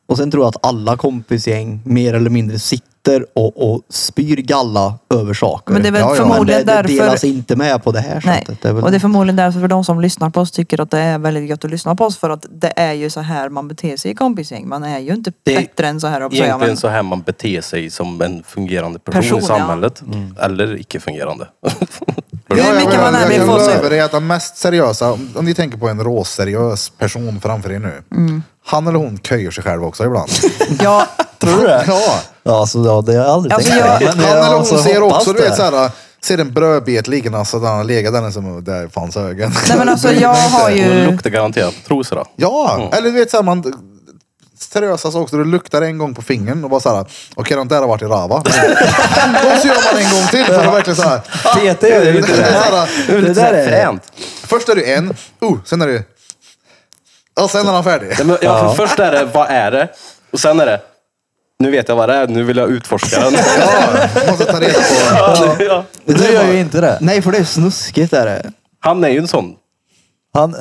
Speaker 3: Och sen tror jag att alla kompisgäng mer eller mindre sitter och, och spyr galla över saker.
Speaker 5: Men det är väl
Speaker 1: Ja, ja.
Speaker 3: Men det,
Speaker 5: förmodligen
Speaker 3: det
Speaker 5: därför...
Speaker 3: delas inte med på det här
Speaker 5: Nej,
Speaker 3: sättet. Det är väl
Speaker 5: och det är förmodligen därför för de som lyssnar på oss tycker att det är väldigt gött att lyssna på oss för att det är ju så här man beter sig i kompisgäng. Man är ju inte
Speaker 2: Det är
Speaker 5: bättre än så här och säga,
Speaker 2: Egentligen
Speaker 5: men
Speaker 2: så här man beter sig som en fungerande person,
Speaker 5: Person,
Speaker 2: i
Speaker 5: ja.
Speaker 2: samhället. Eller icke-fungerande.
Speaker 5: Hur
Speaker 1: Ja, jag
Speaker 5: mycket
Speaker 1: menar,
Speaker 5: man är
Speaker 1: jag
Speaker 5: blir
Speaker 1: kan
Speaker 5: få
Speaker 1: gå
Speaker 5: sig-
Speaker 1: över i att den mest seriösa, om, om ni tänker på en råseriös person framför er nu. Han eller hon köjer sig själv också ibland.
Speaker 5: Mm. Ja,
Speaker 4: Tror du det?
Speaker 1: Ja.
Speaker 4: Ja, alltså, ja, det har jag aldrig
Speaker 5: Alltså,
Speaker 4: tänkt
Speaker 5: jag-
Speaker 4: på. Men
Speaker 1: Han
Speaker 4: jag-
Speaker 1: eller hon
Speaker 4: alltså,
Speaker 1: ser
Speaker 4: hoppas
Speaker 1: också, du
Speaker 4: det.
Speaker 1: vet såhär, ser en brödbit liggande så den har legat där som, där fanns ögon.
Speaker 5: nej men alltså jag har
Speaker 2: Det
Speaker 5: ju...
Speaker 2: luktar garanterat trosor. då.
Speaker 1: Ja, eller du vet såhär man, seriösa så också, du luktar en gång på fingern och bara såhär, okej den där har varit i rava. Ändå så gör man en gång till för att verkligen såhär.
Speaker 4: Peter gör ju inte det.
Speaker 1: såhär,
Speaker 4: Det
Speaker 2: Lite så
Speaker 4: där
Speaker 2: här
Speaker 4: är det.
Speaker 2: fränt.
Speaker 1: Först är det en, oh, sen är det, och sen är han färdig.
Speaker 2: Ja, men, ja, för Först är det, vad är det? Och sen är det, nu vet jag vad det är, nu vill jag utforska den.
Speaker 1: Ja, måste ta reda på.
Speaker 2: Ja, ja.
Speaker 4: Du gör ju inte det.
Speaker 3: Nej, för det är snuskigt är det.
Speaker 2: Han är ju en sån.
Speaker 4: Han, eh,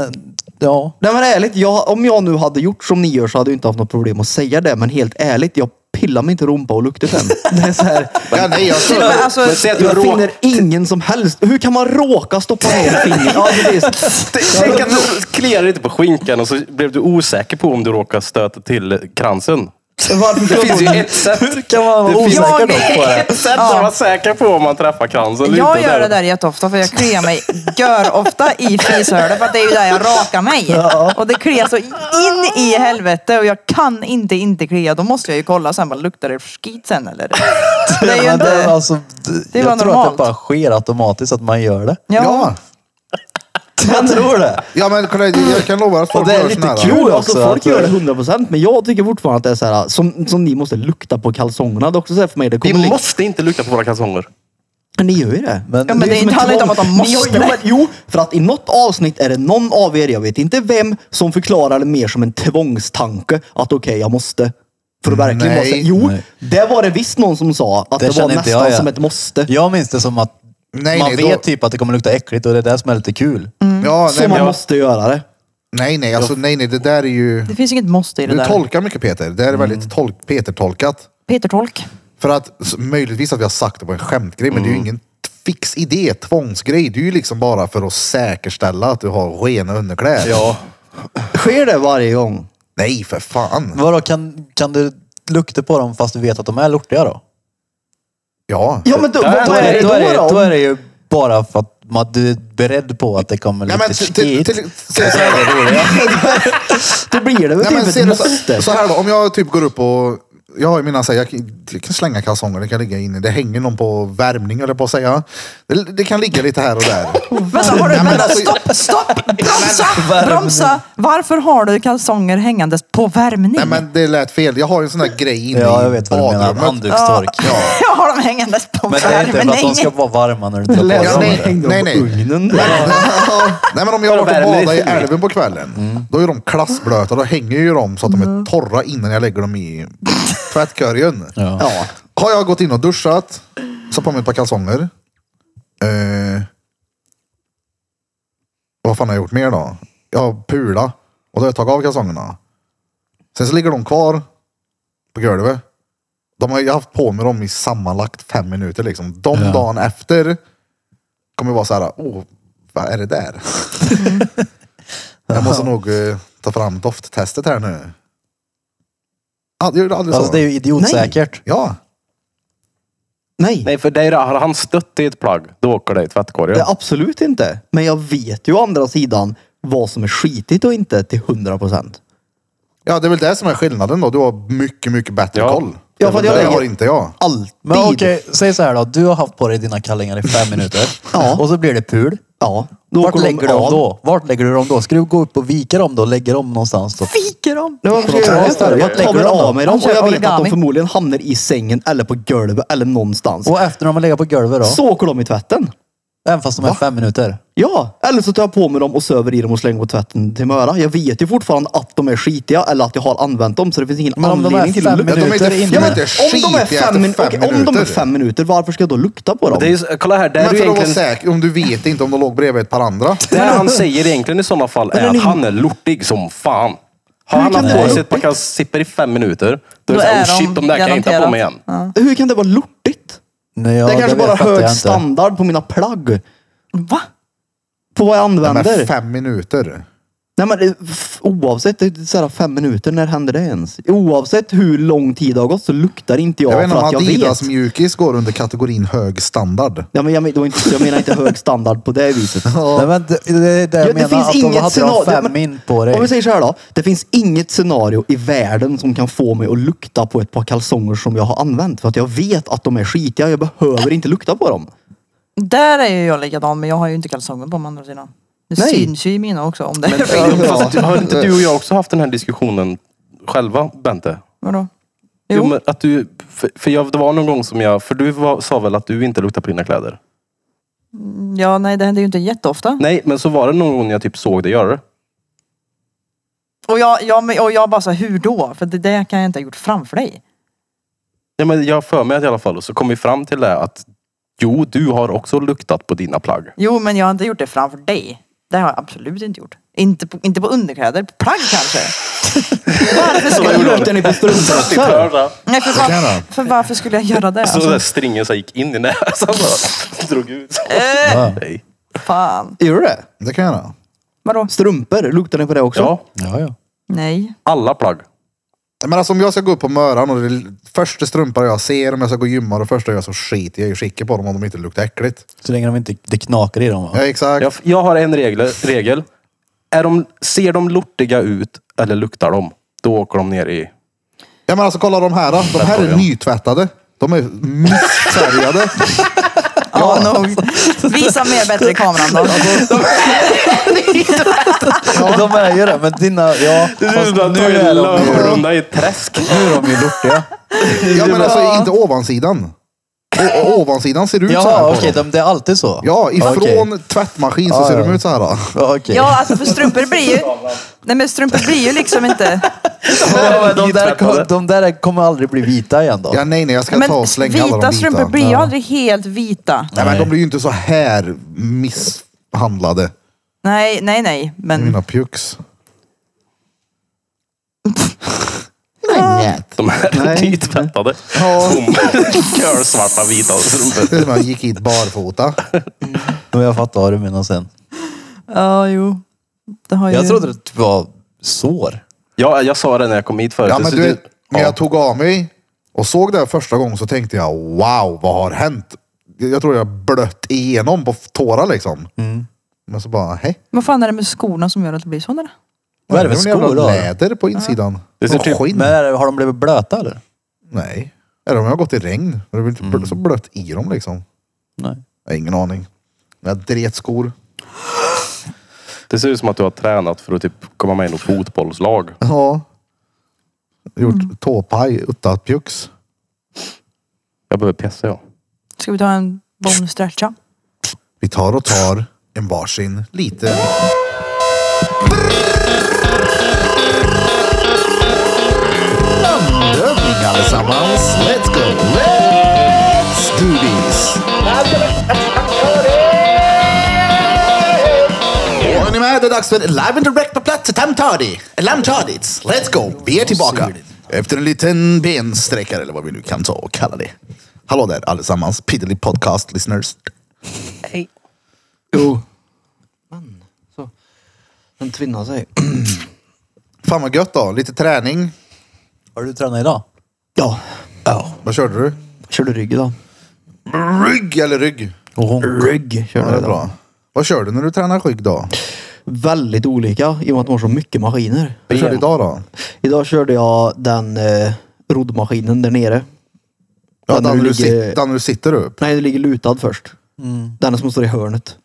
Speaker 4: ja.
Speaker 3: Nej men ärligt, jag, om jag nu hade gjort som ni gör så hade jag inte haft något problem att säga det. Men helt ärligt, jag pillar mig inte i rumpa och luktar den. Det är så här,
Speaker 1: Ja, nej, jag
Speaker 5: Typ,
Speaker 1: tror...
Speaker 5: men alltså,
Speaker 2: Men säg att du
Speaker 3: jag
Speaker 2: råkar...
Speaker 3: finner ingen som helst... Hur kan man råka stoppa ner fingret? Ja, precis.
Speaker 2: Tänk att du kliar lite på skinkan och så blev du osäker på om du råkar stöta till kransen.
Speaker 3: Varför
Speaker 2: Det
Speaker 3: ska
Speaker 2: finns ju
Speaker 3: man-
Speaker 2: ett sätt.
Speaker 4: Hur kan man vara
Speaker 2: Det finns-
Speaker 4: osäker
Speaker 5: Jag
Speaker 4: då på det?
Speaker 2: Ett sätt att vara säker på om man träffar kransen eller
Speaker 5: jag
Speaker 2: inte.
Speaker 5: gör det där jätteofta för jag kliar mig gör ofta i fishålet för att det är ju där jag rakar mig. Och det kliar så in i helvete och jag kan inte inte klia. Då måste jag ju kolla sen, bara, luktar det skit sen eller? Det är ju
Speaker 4: Men det är
Speaker 5: inte...
Speaker 4: alltså,
Speaker 5: Det är
Speaker 4: jag
Speaker 5: bara
Speaker 4: tror att
Speaker 5: normalt.
Speaker 4: det bara sker automatiskt att man gör det.
Speaker 1: Ja,
Speaker 4: Jag tror det.
Speaker 1: ja men kolla, jag kan lova att
Speaker 4: Och
Speaker 1: folk
Speaker 4: det är
Speaker 1: gör
Speaker 4: lite
Speaker 1: såna här.
Speaker 4: kul.
Speaker 3: Jo,
Speaker 4: också
Speaker 3: alltså folk
Speaker 4: att-
Speaker 3: gör det 100 procent, men jag tycker fortfarande att det är så här som, som ni måste lukta på kalsongerna. Det är också så här för mig. Det kommer
Speaker 2: Vi
Speaker 3: liksom,
Speaker 2: måste inte lukta på våra kalsonger.
Speaker 3: Men ni gör ju det.
Speaker 4: Men,
Speaker 5: Ja, men det är
Speaker 3: som
Speaker 5: inte-
Speaker 3: ett
Speaker 5: handlar inte om
Speaker 3: tvång.
Speaker 5: att de
Speaker 3: Ni har-
Speaker 5: måste.
Speaker 3: Jo, men, jo, för att i något avsnitt är det någon av er, jag vet inte vem, som förklarar det mer som en tvångstanke. Att okej, jag måste. För att verkligen
Speaker 1: Nej.
Speaker 3: måste. Jo,
Speaker 4: Nej.
Speaker 3: det var det visst någon som sa. Att
Speaker 4: Det
Speaker 3: det, var
Speaker 4: känner inte
Speaker 3: nästan
Speaker 4: jag, ja.
Speaker 3: som ett måste.
Speaker 4: jag minns det som att
Speaker 1: Nej,
Speaker 4: man
Speaker 1: nej,
Speaker 4: vet
Speaker 1: då-
Speaker 4: typ att det kommer lukta äckligt och det är det som är lite kul.
Speaker 1: Ja,
Speaker 3: så
Speaker 1: nej,
Speaker 3: man
Speaker 1: men,
Speaker 3: måste göra det.
Speaker 1: nej, nej, alltså nej, nej, det där är ju...
Speaker 5: Det finns inget måste i det
Speaker 1: Du
Speaker 5: där.
Speaker 1: tolkar mycket Peter. Det här är väldigt tolk, Peter-tolkat.
Speaker 5: Peter Tolk.
Speaker 1: För att s- möjligtvis att vi har sagt det på en skämtgrej, men det är ju ingen fix idé, tvångsgrej. Det är ju liksom bara för att säkerställa att du har rena underkläder.
Speaker 2: Ja.
Speaker 3: Sker det varje gång?
Speaker 1: Nej för fan.
Speaker 4: Vadå, kan, kan du lukta på dem fast du vet att de är lortiga då?
Speaker 1: Ja.
Speaker 3: Ja men då, vad,
Speaker 4: då,
Speaker 3: vad är det
Speaker 4: då, är det,
Speaker 3: då?
Speaker 4: då
Speaker 3: då?
Speaker 4: är det ju bara för att man, du är beredd på att det kommer
Speaker 1: Nej,
Speaker 4: lite
Speaker 1: men till, till,
Speaker 4: skit.
Speaker 1: till, se så här då.
Speaker 3: Då blir det väl
Speaker 1: Nej, men
Speaker 3: typ
Speaker 1: ser
Speaker 3: ett
Speaker 1: du så,
Speaker 3: måste.
Speaker 1: så här då, om jag typ går upp och jag har ju mina, så här, jag kan- jag kan slänga kalsonger, det kan ligga inne. Det hänger någon på värmning eller på att säga. Det, det kan ligga lite här och där.
Speaker 5: Vänta, har du,
Speaker 1: Nej, men
Speaker 5: vänta,
Speaker 1: alltså-
Speaker 5: stopp, stopp! Bromsa! Bromsa! Varför har du kalsonger hängandes på värmning?
Speaker 1: Nej men det lät fel. Jag har ju en sån där grej inne
Speaker 4: Ja, jag
Speaker 1: i
Speaker 4: vet vad du menar.
Speaker 1: badrummet.
Speaker 4: Handdukstork.
Speaker 5: Jag har dem hängandes på
Speaker 4: Men det är inte för
Speaker 5: värmen.
Speaker 4: att de
Speaker 5: Nej.
Speaker 4: ska vara varma när du tar på
Speaker 3: Lät
Speaker 1: Ja,
Speaker 3: som
Speaker 1: nej,
Speaker 3: att det hängde
Speaker 1: nej,
Speaker 3: på
Speaker 1: nej.
Speaker 3: ugnen.
Speaker 1: Nej men om jag har varit och
Speaker 2: värmer
Speaker 1: badat i
Speaker 2: lite.
Speaker 1: älven på kvällen.
Speaker 4: Mm.
Speaker 1: Då är de klassblöta. Då hänger ju de så att de är torra innan jag lägger dem i tvättkorgen.
Speaker 4: Ja.
Speaker 3: Ja.
Speaker 1: Har jag gått in och duschat, satt på mig ett par kalsonger. Eh, vad fan har jag gjort mer då? Jag har pula och då har jag tagit av kalsongerna. Sen så ligger de kvar på golvet. De har, jag har haft på mig dem i sammanlagt fem minuter liksom. De
Speaker 4: Ja.
Speaker 1: dagen efter kommer jag vara så här, åh, vad är det där? jag måste nog eh, ta fram dofttestet här nu. Ah, det gjorde aldrig
Speaker 4: Alltså
Speaker 1: så.
Speaker 4: det är ju idiotsäkert.
Speaker 1: Ja.
Speaker 3: Nej.
Speaker 2: Nej, för dig då, har han stött i ett plagg, då åker det i tvättkorgen.
Speaker 3: Det är absolut inte. Men jag vet ju å andra sidan vad som är skitigt och inte till 100 procent.
Speaker 1: Ja, det är väl det som är skillnaden då. Du har mycket, mycket bättre
Speaker 2: Ja.
Speaker 1: koll.
Speaker 3: Ja, för att jag
Speaker 1: det
Speaker 3: lägger-
Speaker 1: har inte jag.
Speaker 3: Alltid.
Speaker 4: Men okej, säg så här då. Du har haft på dig dina kallingar i fem minuter.
Speaker 3: Ja.
Speaker 4: Och så blir det pul.
Speaker 3: Ja. Då
Speaker 4: Vart
Speaker 3: åker de
Speaker 4: lägger du dem
Speaker 3: av.
Speaker 4: då? Vart lägger du dem då? Ska du gå upp och vika dem då? Lägga dem någonstans då?
Speaker 5: Fiker dem!
Speaker 3: Nej, varför ska
Speaker 4: Åker de
Speaker 3: jag
Speaker 4: av
Speaker 3: göra
Speaker 4: då?
Speaker 3: det? Jag tar
Speaker 4: Vart lägger
Speaker 3: väl
Speaker 4: du dem då?
Speaker 3: av mig dem
Speaker 5: Han
Speaker 3: och
Speaker 5: kör
Speaker 3: jag vet att de
Speaker 5: origami.
Speaker 3: förmodligen hamnar i sängen eller på golvet eller någonstans.
Speaker 4: Och efter de har legat på golvet då?
Speaker 3: Så åker de i tvätten.
Speaker 4: Även fast de är fem minuter?
Speaker 3: Ja, eller så tar jag på mig dem och söver i dem och slänger på tvätten till möra. Jag vet ju fortfarande att de är skitiga eller att jag har använt dem så det finns ingen
Speaker 4: Men om de är
Speaker 3: anledning till
Speaker 4: fem
Speaker 3: att lukta.
Speaker 1: Ja, de är inte,
Speaker 4: Minuter
Speaker 1: de
Speaker 4: in.
Speaker 1: är
Speaker 4: Ja,
Speaker 3: men
Speaker 1: inte
Speaker 3: om de är
Speaker 1: skitiga
Speaker 3: fem,
Speaker 1: efter
Speaker 3: min-
Speaker 1: fem
Speaker 3: okej, om de är
Speaker 1: minuter.
Speaker 3: fem minuter, varför ska jag då lukta på dem?
Speaker 2: Det är, ju så- kolla här, det
Speaker 1: Men
Speaker 2: är
Speaker 1: för
Speaker 2: ju
Speaker 1: att vara
Speaker 2: egentligen...
Speaker 1: säker, om du vet inte om de låg bredvid ett par andra.
Speaker 2: Det han säger egentligen i sådana fall
Speaker 3: Men
Speaker 2: är
Speaker 3: den
Speaker 2: att
Speaker 3: är-
Speaker 2: han är lortig som fan. Har
Speaker 3: Hur
Speaker 2: han
Speaker 3: kan det
Speaker 2: haft på
Speaker 3: vara
Speaker 2: sig ett par
Speaker 3: lortigt?
Speaker 2: kalsipper i fem minuter, då är
Speaker 5: Då
Speaker 2: det såhär,
Speaker 5: är
Speaker 2: oh
Speaker 5: de
Speaker 2: shit, de där kan jag inte ha på mig igen.
Speaker 5: garanterat. Ja.
Speaker 3: Hur kan det vara lortigt?
Speaker 4: Nej, ja,
Speaker 3: det är kanske
Speaker 4: vet
Speaker 3: bara
Speaker 4: fattar jag
Speaker 3: hög
Speaker 4: inte.
Speaker 3: standard på mina plagg.
Speaker 5: Va?
Speaker 3: På vad jag
Speaker 1: Ja,
Speaker 3: använder.
Speaker 1: Men fem minuter.
Speaker 3: Nej men det- f- oavsett, det är så här fem minuter, när händer det ens? Oavsett hur lång tid det har gått så luktar inte jag,
Speaker 1: Jag vet inte
Speaker 3: för
Speaker 1: om
Speaker 3: att jag
Speaker 1: Adidas
Speaker 3: vet.
Speaker 1: mjukis går under kategorin hög standard.
Speaker 3: Ja, men jag, men- det var inte, jag menar inte hög standard på det viset.
Speaker 4: Nej, men det, det, är det jag
Speaker 3: Ja,
Speaker 4: menar, att de hade de fem
Speaker 3: men-
Speaker 4: min på
Speaker 3: Om vi
Speaker 4: dig.
Speaker 3: säger så här då. Det finns inget scenario i världen som kan få mig att lukta på ett par kalsonger som jag har använt. För att jag vet att de är skitiga. Jag behöver inte lukta på dem.
Speaker 5: Där är ju jag likadan, men jag har ju inte kalsonger på mig å andra sidan. Det
Speaker 3: Nej.
Speaker 5: syns ju i mina också om det är
Speaker 3: Ja.
Speaker 5: fel.
Speaker 2: Fast har inte du och jag också haft den här diskussionen själva, Bente?
Speaker 5: Vadå?
Speaker 2: Jo.
Speaker 5: Jo.
Speaker 2: men att du, för, för jag, det var någon gång som jag, för du var, sa väl att du inte luktar på dina kläder?
Speaker 5: Ja, nej det händer ju inte jätteofta.
Speaker 2: Nej, men så var det någon gång när jag typ såg dig göra det.
Speaker 5: Och jag, jag, men- och jag bara så här, hur då? För det där kan jag inte ha gjort framför dig.
Speaker 2: Ja, men jag har för mig att i alla fall, och så kom vi fram till det att jo, du har också luktat på dina plagg.
Speaker 5: Jo, men jag har inte gjort det framför dig. Det har jag absolut inte gjort. Inte på, inte på underkläder, på plagg kanske. varför skulle jag
Speaker 3: Luktar ni på strumporna?
Speaker 5: Nej, för,
Speaker 1: kan jag
Speaker 5: var, för varför skulle jag göra
Speaker 2: Så
Speaker 5: det?
Speaker 2: den
Speaker 5: Alltså,
Speaker 2: där stringen så gick in i näsan så drog ut. Nej.
Speaker 5: fan.
Speaker 3: Gör du det?
Speaker 1: Det kan jag göra.
Speaker 5: Vadå?
Speaker 3: Strumpor, luktar ni på det också?
Speaker 2: Ja,
Speaker 4: Ja, ja.
Speaker 5: Nej.
Speaker 2: alla plagg.
Speaker 1: Men alltså om jag ska gå upp på Möran och det är första strumpan jag ser, om jag ska gå och gymma, det första jag gör så skiter jag i skicket på dem om de inte luktar äckligt.
Speaker 4: Så länge de inte, det knakar i dem. Va?
Speaker 1: Ja, exakt.
Speaker 2: Jag, jag har en regel. regel. Är de, ser de lortiga ut eller luktar de, då åker de ner i...
Speaker 1: Ja men alltså kolla de här. då. De här är nytvättade. De är missfärgade.
Speaker 5: Ja, nog. Visa mer bättre i kameran då.
Speaker 4: De är ju det, men dina... Ja, fast nu är de ju...
Speaker 2: i ett träsk.
Speaker 4: Nu är de ju lortiga.
Speaker 1: Ja men alltså inte ovansidan. O- o- ovansidan ser ut så här.
Speaker 4: Ja,
Speaker 1: på
Speaker 4: okej,
Speaker 1: dem.
Speaker 4: de, det är alltid så?
Speaker 1: Ja, ifrån
Speaker 4: Okej.
Speaker 1: tvättmaskin så
Speaker 4: Ja,
Speaker 1: ser
Speaker 4: ja.
Speaker 1: de ut så här. Då.
Speaker 4: Ja, okej.
Speaker 5: Ja, alltså för strumpor blir ju... Nej men strumpor blir ju liksom inte...
Speaker 4: Ja, de, där, de där kommer aldrig bli vita igen då?
Speaker 1: Ja, nej, nej, jag ska
Speaker 5: Men
Speaker 1: ta och slänga alla de
Speaker 5: vita
Speaker 1: bitarna.
Speaker 5: strumpor blir ju aldrig helt vita.
Speaker 1: Nej, men de blir ju inte så här misshandlade.
Speaker 5: Nej, nej, nej. Men
Speaker 1: Mina pjucks.
Speaker 3: Nej.
Speaker 2: De är
Speaker 3: Nej.
Speaker 2: nytvättade. Tom. Kölsvarta vita
Speaker 1: Det
Speaker 2: strumpor.
Speaker 1: är som jag gick hit barfota.
Speaker 4: Men jag fattar vad du menar sen.
Speaker 5: ja, jo. Det har ju...
Speaker 4: Jag trodde det var sår.
Speaker 2: Ja, jag sa det när jag kom hit förut.
Speaker 1: Ja,
Speaker 2: Det
Speaker 1: men
Speaker 2: ser
Speaker 1: du
Speaker 2: ut-
Speaker 1: vet, när
Speaker 2: Ja.
Speaker 1: jag tog av mig och såg det här första gången så tänkte jag wow, vad har hänt? Jag jag tror jag blött igenom på tårar liksom.
Speaker 4: Mm.
Speaker 1: Men så bara, hej.
Speaker 5: Vad fan är det med skorna som gör att det blir så eller?
Speaker 4: Vad är det
Speaker 1: väl
Speaker 4: för
Speaker 1: en jävla
Speaker 4: skor då?
Speaker 1: läder på insidan.
Speaker 2: Det ser
Speaker 1: Och
Speaker 2: typ-
Speaker 1: skinn.
Speaker 4: Men är det- har de blivit blöta eller?
Speaker 1: Nej. Eller om jag har gått i regn. Men det blir inte bl- så
Speaker 4: Mm.
Speaker 1: blött i dem liksom.
Speaker 4: Nej.
Speaker 1: Jag har ingen aning. Jag dret skor.
Speaker 2: Det ser ut som att du har tränat för att typ komma med i något fotbollslag.
Speaker 1: Ja. Gjort
Speaker 4: Mm.
Speaker 1: tåpaj utan pjux.
Speaker 2: Jag behöver pissa jag.
Speaker 5: Ska vi ta en bone stretcha?
Speaker 1: Vi tar och tar en varsin lite. Landövning allesammans. Let's go. Let's do this. Och är ni med? Det är dags för live and direct på plats i Tamtardi. Lamtardits. Let's go. Vi är tillbaka. Efter en liten bensträckare eller vad vi nu kan ta och kalla det. Hallå där allesammans. Piddly podcast listeners.
Speaker 3: Jo. Man. Så. Den tvinnar sig.
Speaker 1: Fan vad gött då. Lite träning.
Speaker 4: Har du tränat idag?
Speaker 3: Ja.
Speaker 4: Ja.
Speaker 1: Vad körde du?
Speaker 3: Körde rygg idag.
Speaker 1: Rygg eller rygg?
Speaker 3: Rygg
Speaker 1: Ja,
Speaker 3: körde
Speaker 1: det
Speaker 3: jag
Speaker 1: är
Speaker 3: idag.
Speaker 1: bra. Vad kör du när du tränar rygg då?
Speaker 3: Väldigt olika i och med att de har så mycket maskiner.
Speaker 1: Vad kör du idag då?
Speaker 3: Idag körde jag den eh, roddmaskinen där nere.
Speaker 1: Ja,
Speaker 3: Den
Speaker 1: den,
Speaker 3: du
Speaker 1: du
Speaker 3: ligger-
Speaker 1: sit, den du sitter upp.
Speaker 3: Nej, den ligger lutad först.
Speaker 1: Mm.
Speaker 3: Den som står i hörnet.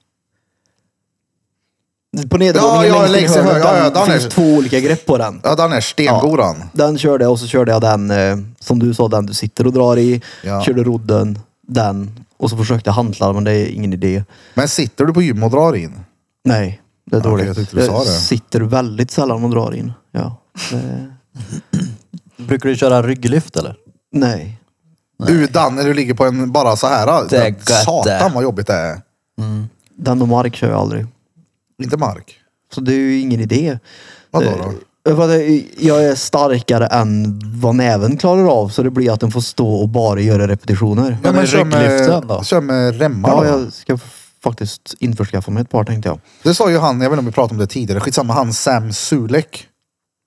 Speaker 3: På
Speaker 1: Ja,
Speaker 3: nedervåningen
Speaker 1: ja,
Speaker 3: längst in
Speaker 1: längst i
Speaker 3: hörnet,
Speaker 1: hörnet. Ja, ja,
Speaker 3: den-
Speaker 1: den
Speaker 3: det finns
Speaker 1: är-
Speaker 3: två olika grepp på den.
Speaker 1: Ja, den är stengodan.
Speaker 3: Den körde jag och så körde jag den eh, som du sa, den du sitter och drar i.
Speaker 1: Ja.
Speaker 3: Körde rodden, den. Och så försökte jag hantla men det är ingen idé.
Speaker 1: Men sitter du på gym och drar in?
Speaker 3: Nej, det är
Speaker 1: Okej,
Speaker 3: dåligt.
Speaker 1: jag tyckte du sa det.
Speaker 3: sitter väldigt sällan och drar in. Ja. Det,
Speaker 4: Brukar du köra rygglyft eller?
Speaker 3: nej.
Speaker 1: Utan när du ligger på en bara så här.
Speaker 4: Det är gött det.
Speaker 1: Satan vad jobbigt det är.
Speaker 3: Den och mark kör jag aldrig.
Speaker 1: Inte mark.
Speaker 3: Så det är ju ingen idé.
Speaker 1: Vadå då?
Speaker 3: Eh, vad det- Jag är starkare än vad näven klarar av så det blir att den får stå och bara göra repetitioner.
Speaker 1: Ja,
Speaker 4: men
Speaker 1: kör med,
Speaker 4: rygglyften då?
Speaker 1: kör med remmar
Speaker 3: Ja,
Speaker 1: då.
Speaker 3: jag ska f- faktiskt införskaffa mig ett par tänkte jag.
Speaker 1: Det sa ju han, jag vet inte om vi pratade om det tidigare, skitsamma, han Sam Sulek.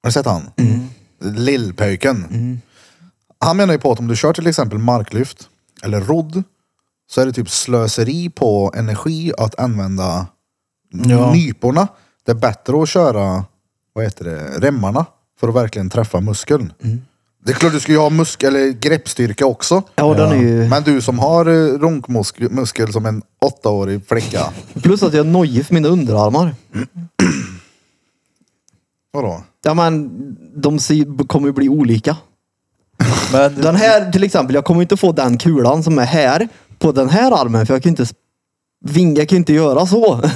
Speaker 1: Har du sett han?
Speaker 3: Mm.
Speaker 1: Lillpöjken. Han menar ju på att om du kör till exempel marklyft eller rodd så är det typ slöseri på energi att använda nyporna. Det är bättre att köra, vad heter det, remmarna för att verkligen träffa muskeln.
Speaker 3: Mm.
Speaker 1: Det är klart du ska ju ha muskel eller greppstyrka också.
Speaker 3: Ja, Den är ju...
Speaker 1: Men du som har eh, runkmuskel muskel som en åttaårig flicka.
Speaker 3: Plus att jag är nojig för mina underarmar.
Speaker 1: Vadå?
Speaker 3: Ja men de ser- kommer ju bli olika.
Speaker 4: Men
Speaker 3: Den här till exempel, jag kommer inte få den kulan som är här på den här armen för jag kan ju inte s- vinga, jag kan ju inte göra så.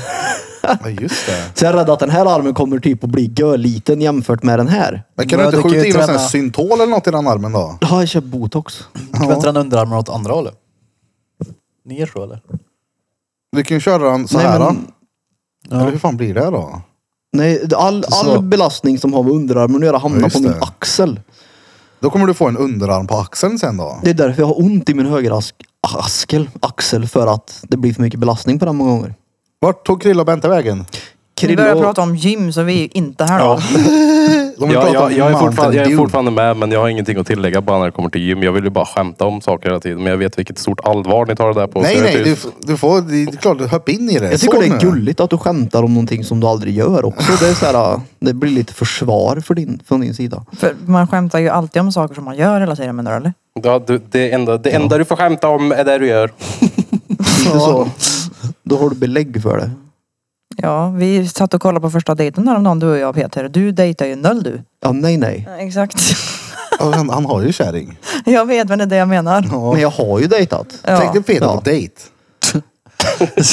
Speaker 1: Ja just det.
Speaker 3: Så jag är rädd att den här armen kommer typ att bli liten jämfört med den här.
Speaker 1: Men kan
Speaker 4: Ja,
Speaker 1: du inte
Speaker 4: du kan
Speaker 1: skjuta
Speaker 4: ju
Speaker 1: in en sån här
Speaker 4: träna-
Speaker 1: syntol eller något i den armen då?
Speaker 3: Ja, jag kör botox.
Speaker 4: kan du träna underarmarna åt andra hållet? Ner så eller?
Speaker 1: Du kan ju köra den så
Speaker 3: Nej,
Speaker 1: här.
Speaker 3: men-
Speaker 1: då. Eller hur fan blir det då?
Speaker 3: Nej, all,
Speaker 4: Så.
Speaker 3: all belastning som har med underarmen att göra hamnar
Speaker 1: Ja,
Speaker 3: på
Speaker 1: just
Speaker 3: min
Speaker 1: det.
Speaker 3: axel.
Speaker 1: Då kommer du få en underarm på axeln sen då.
Speaker 3: Det är därför jag har ont i min högra ask, askel, axel för att det blir för mycket belastning på den många gånger.
Speaker 1: Vart tog Krille och Bente vägen?
Speaker 5: Vi börjar
Speaker 3: Krillo-
Speaker 5: prata om gym så vi är ju inte här då.
Speaker 1: De vill
Speaker 2: Ja,
Speaker 1: prata
Speaker 2: jag,
Speaker 1: om
Speaker 2: jag, är fortfarande, jag är
Speaker 1: Mountain Dew.
Speaker 2: fortfarande med men jag har ingenting att tillägga bara när det kommer till gym. Jag vill ju bara skämta om saker hela tiden. Men jag vet vilket stort allvar ni tar det där på.
Speaker 1: Nej,
Speaker 2: Så det
Speaker 1: nej,
Speaker 2: är
Speaker 1: du,
Speaker 2: typ-
Speaker 1: du får, det är klart, hopp in i det.
Speaker 3: Jag tycker
Speaker 1: Så
Speaker 3: det är
Speaker 1: nu.
Speaker 3: gulligt att du skämtar om någonting som du aldrig gör också. Det, är så här, det blir lite försvar för din, från din sida.
Speaker 5: För man skämtar ju alltid om saker som man gör hela tiden menar du eller?
Speaker 2: Ja, du, det enda, det enda du får skämta om är det du gör.
Speaker 3: Lite så. Då har du belägg för det.
Speaker 5: Ja, vi satt och kollade på första dejten häromdagen du och jag Peter. Du dejtar ju noll du.
Speaker 3: Ja, nej, nej.
Speaker 5: exakt.
Speaker 1: Ja, han, han har ju kärring.
Speaker 5: Jag vet men det är det jag menar.
Speaker 3: Men jag har ju dejtat.
Speaker 5: Ja.
Speaker 1: Tänk dig Peter
Speaker 3: Ja.
Speaker 1: på dejt.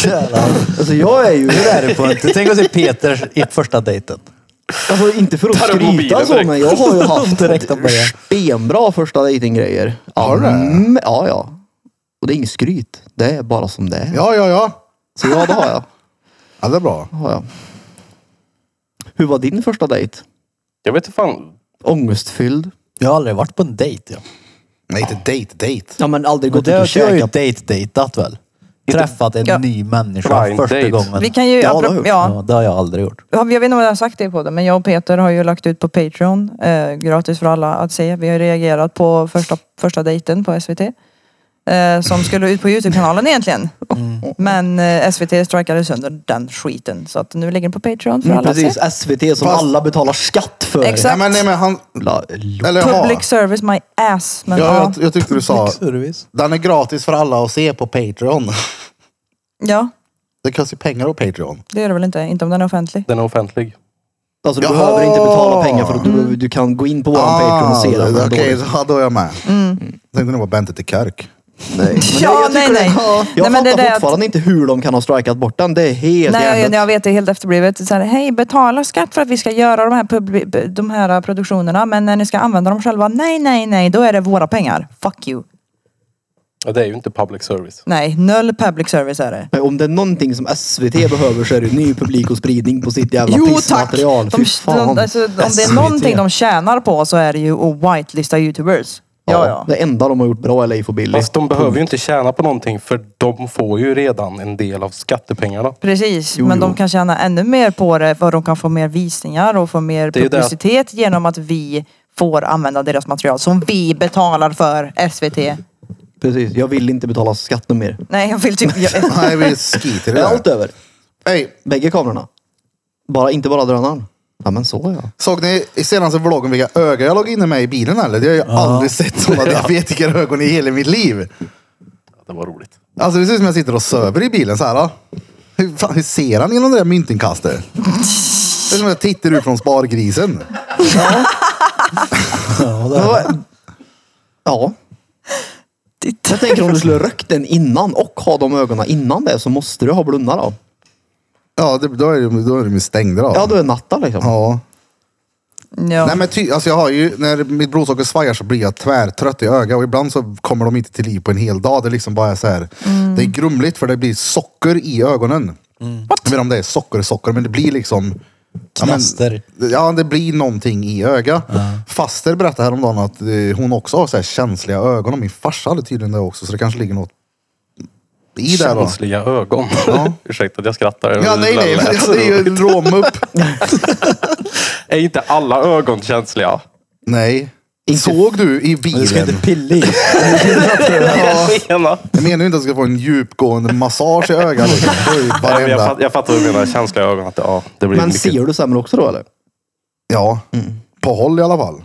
Speaker 4: Jävlar.
Speaker 3: Alltså jag är ju
Speaker 4: Det där är på inte. Tänk att se Peter i första dejten.
Speaker 3: Alltså inte för att
Speaker 2: Tar du
Speaker 3: skryta
Speaker 2: mobilen
Speaker 3: så
Speaker 2: direkt?
Speaker 3: men jag har ju haft
Speaker 4: Direkt att börja.
Speaker 3: stenbra första dejtinggrejer.
Speaker 1: Har du det?
Speaker 3: Mm, Ja, ja. Och det är inget skryt. Det är bara som det är.
Speaker 1: Ja, ja, ja.
Speaker 3: Så ja, det har jag.
Speaker 1: Ja, det är bra.
Speaker 3: Det har jag. Hur var din första dejt?
Speaker 2: Jag vet inte fan.
Speaker 3: Ångestfylld?
Speaker 4: Jag har aldrig varit på en dejt. Ja.
Speaker 1: Nej, inte dejt, dejt.
Speaker 3: Ja men aldrig
Speaker 4: Men
Speaker 3: gått ut
Speaker 4: det
Speaker 3: och
Speaker 4: jag har ju
Speaker 3: käkat.
Speaker 4: dejt-dejtat väl? träffat en
Speaker 5: Ja.
Speaker 4: ny människa
Speaker 2: Blind
Speaker 4: första
Speaker 2: date.
Speaker 4: gången.
Speaker 5: Vi kan ju-
Speaker 4: ja, det har
Speaker 5: apropå-
Speaker 4: jag gjort.
Speaker 5: ja.
Speaker 4: Ja, det har jag aldrig gjort.
Speaker 5: Ja, Jag vet inte om jag har sagt det på det, men jag och Peter har ju lagt ut på Patreon, eh, gratis för alla att se. Vi har reagerat på första, första dejten på SVT. Eh, som skulle ut på Youtube-kanalen egentligen.
Speaker 1: Mm.
Speaker 5: Men eh, SVT strikade sönder den skiten. Så att nu ligger den på Patreon för
Speaker 3: Mm,
Speaker 5: alla
Speaker 3: precis,
Speaker 5: att
Speaker 3: SVT som
Speaker 1: Fast-
Speaker 3: alla betalar skatt för.
Speaker 5: Exakt.
Speaker 1: Nej, men, nej, men han,
Speaker 3: La- lo-
Speaker 1: eller
Speaker 5: se.
Speaker 1: ja.
Speaker 5: Public service my ass. Men,
Speaker 1: Ja,
Speaker 5: ja,
Speaker 1: jag, jag tyckte du sa,
Speaker 4: Service.
Speaker 1: den är gratis för alla att se på Patreon.
Speaker 5: ja,
Speaker 1: Det kostar ju pengar på Patreon.
Speaker 5: det är det väl inte. Inte om den är offentlig.
Speaker 2: Den är offentlig.
Speaker 3: Alltså du
Speaker 1: Jaha! Ah,
Speaker 3: behöver inte betala pengar för att du, du kan gå in på våran Patreon och se den.
Speaker 1: Okej,
Speaker 3: men dåligt.
Speaker 1: ja, då är jag med. Tänkte nog vara Bente till Körk.
Speaker 3: Men
Speaker 5: Ja,
Speaker 3: jag, jag tycker
Speaker 5: nej,
Speaker 3: det-
Speaker 5: nej.
Speaker 3: Jag
Speaker 5: Nej,
Speaker 3: fattar
Speaker 5: men det är det att-
Speaker 3: fortfarande inte hur de kan ha strikat bort den. Det är helt
Speaker 5: Nej, jag,
Speaker 3: hjärndött.
Speaker 5: jag vet det är helt efterblivet. Så här, Hej, betala skatt för att vi ska göra de här, publi- de här eh, produktionerna. Men när ni ska använda dem själva, nej, nej, nej, då är det våra pengar. Fuck you.
Speaker 2: Ja, det är ju inte public service.
Speaker 5: Nej, noll public service är det.
Speaker 3: Nej, Om det är någonting som SVT behöver så är det ju ny publik och spridning på sitt jävla
Speaker 5: Jo tack!
Speaker 3: pissmaterial.
Speaker 5: De,
Speaker 3: Fy
Speaker 5: de,
Speaker 3: fan.
Speaker 5: alltså, om det är
Speaker 3: SVT.
Speaker 5: någonting de tjänar på så är det ju att whitelista youtubers. Ja, ja.
Speaker 3: Det enda de har gjort bra är Leif och Billy.
Speaker 2: Fast de behöver ju inte tjäna på någonting för de får ju redan en del av skattepengarna.
Speaker 5: Precis, men de kan tjäna ännu mer på det för de kan få mer visningar och få mer
Speaker 2: Det är ju det.
Speaker 5: publicitet genom att vi får använda deras material som vi betalar för SVT.
Speaker 3: Precis, jag vill inte betala skatt nu mer.
Speaker 5: Nej, jag vill typ... Jag,
Speaker 1: Nej, vi skiter i
Speaker 3: Det är allt
Speaker 1: det.
Speaker 3: över.
Speaker 1: Hej,
Speaker 3: Bägge kamerorna. Bara, inte bara drönaren. Ja men så ja.
Speaker 1: såg ni i senaste vloggen vilka ögon jag låg inne med i bilen eller? Jag har ju aldrig sett sådana diabetikerögon i hela mitt liv.
Speaker 2: Ja, Det var roligt.
Speaker 1: Alltså det ser ut som jag sitter och söver i bilen så här. Då. Hur, fan, hur ser han genom det där myntinkastet? Det är som jag tittar ut från spargrisen.
Speaker 4: Ja, det är
Speaker 3: Ja. ja. Jag tänker om du skulle rökt den innan och ha de ögonen innan det så måste du ha blunda då.
Speaker 1: Ja, det, då är de då är de ju stängda då.
Speaker 3: Ja du är natta liksom.
Speaker 1: Ja.
Speaker 5: ja.
Speaker 1: Nej men ty, alltså jag har ju, när mitt blodsocker svajar så blir jag tvärtrött i ögat och ibland så kommer de inte till liv på en hel dag. Det är liksom bara så här, det är grumligt för det blir socker i ögonen. Jag vet inte om det är socker, socker, men det blir liksom ja, men-
Speaker 4: Knaster.
Speaker 1: Ja, det blir någonting i ögat. Faster berättade häromdagen att eh, hon också har så här känsliga ögon och min farsa hade tydligen det också så det kanske ligger något i där då.
Speaker 2: Känsliga ögon. Ursäkta att jag skrattar.
Speaker 1: Ja, nej, nej, men ja, det är ju en råmupp.
Speaker 2: Är inte alla ögon känsliga?
Speaker 1: Nej. Såg du i
Speaker 4: Du ska
Speaker 1: bilen?
Speaker 4: inte pilla i.
Speaker 2: Tjena.
Speaker 1: Jag menar ju inte att jag ska få en djupgående massage i ögat. Liksom. Det är ju
Speaker 2: Nej, men jag,
Speaker 1: Varenda.
Speaker 2: fatt, jag fattar vad du menar. Känsliga ögon. Att, ja, det blir
Speaker 3: Men
Speaker 2: mycket...
Speaker 3: ser du sämre också då eller?
Speaker 1: Ja, på håll i alla fall.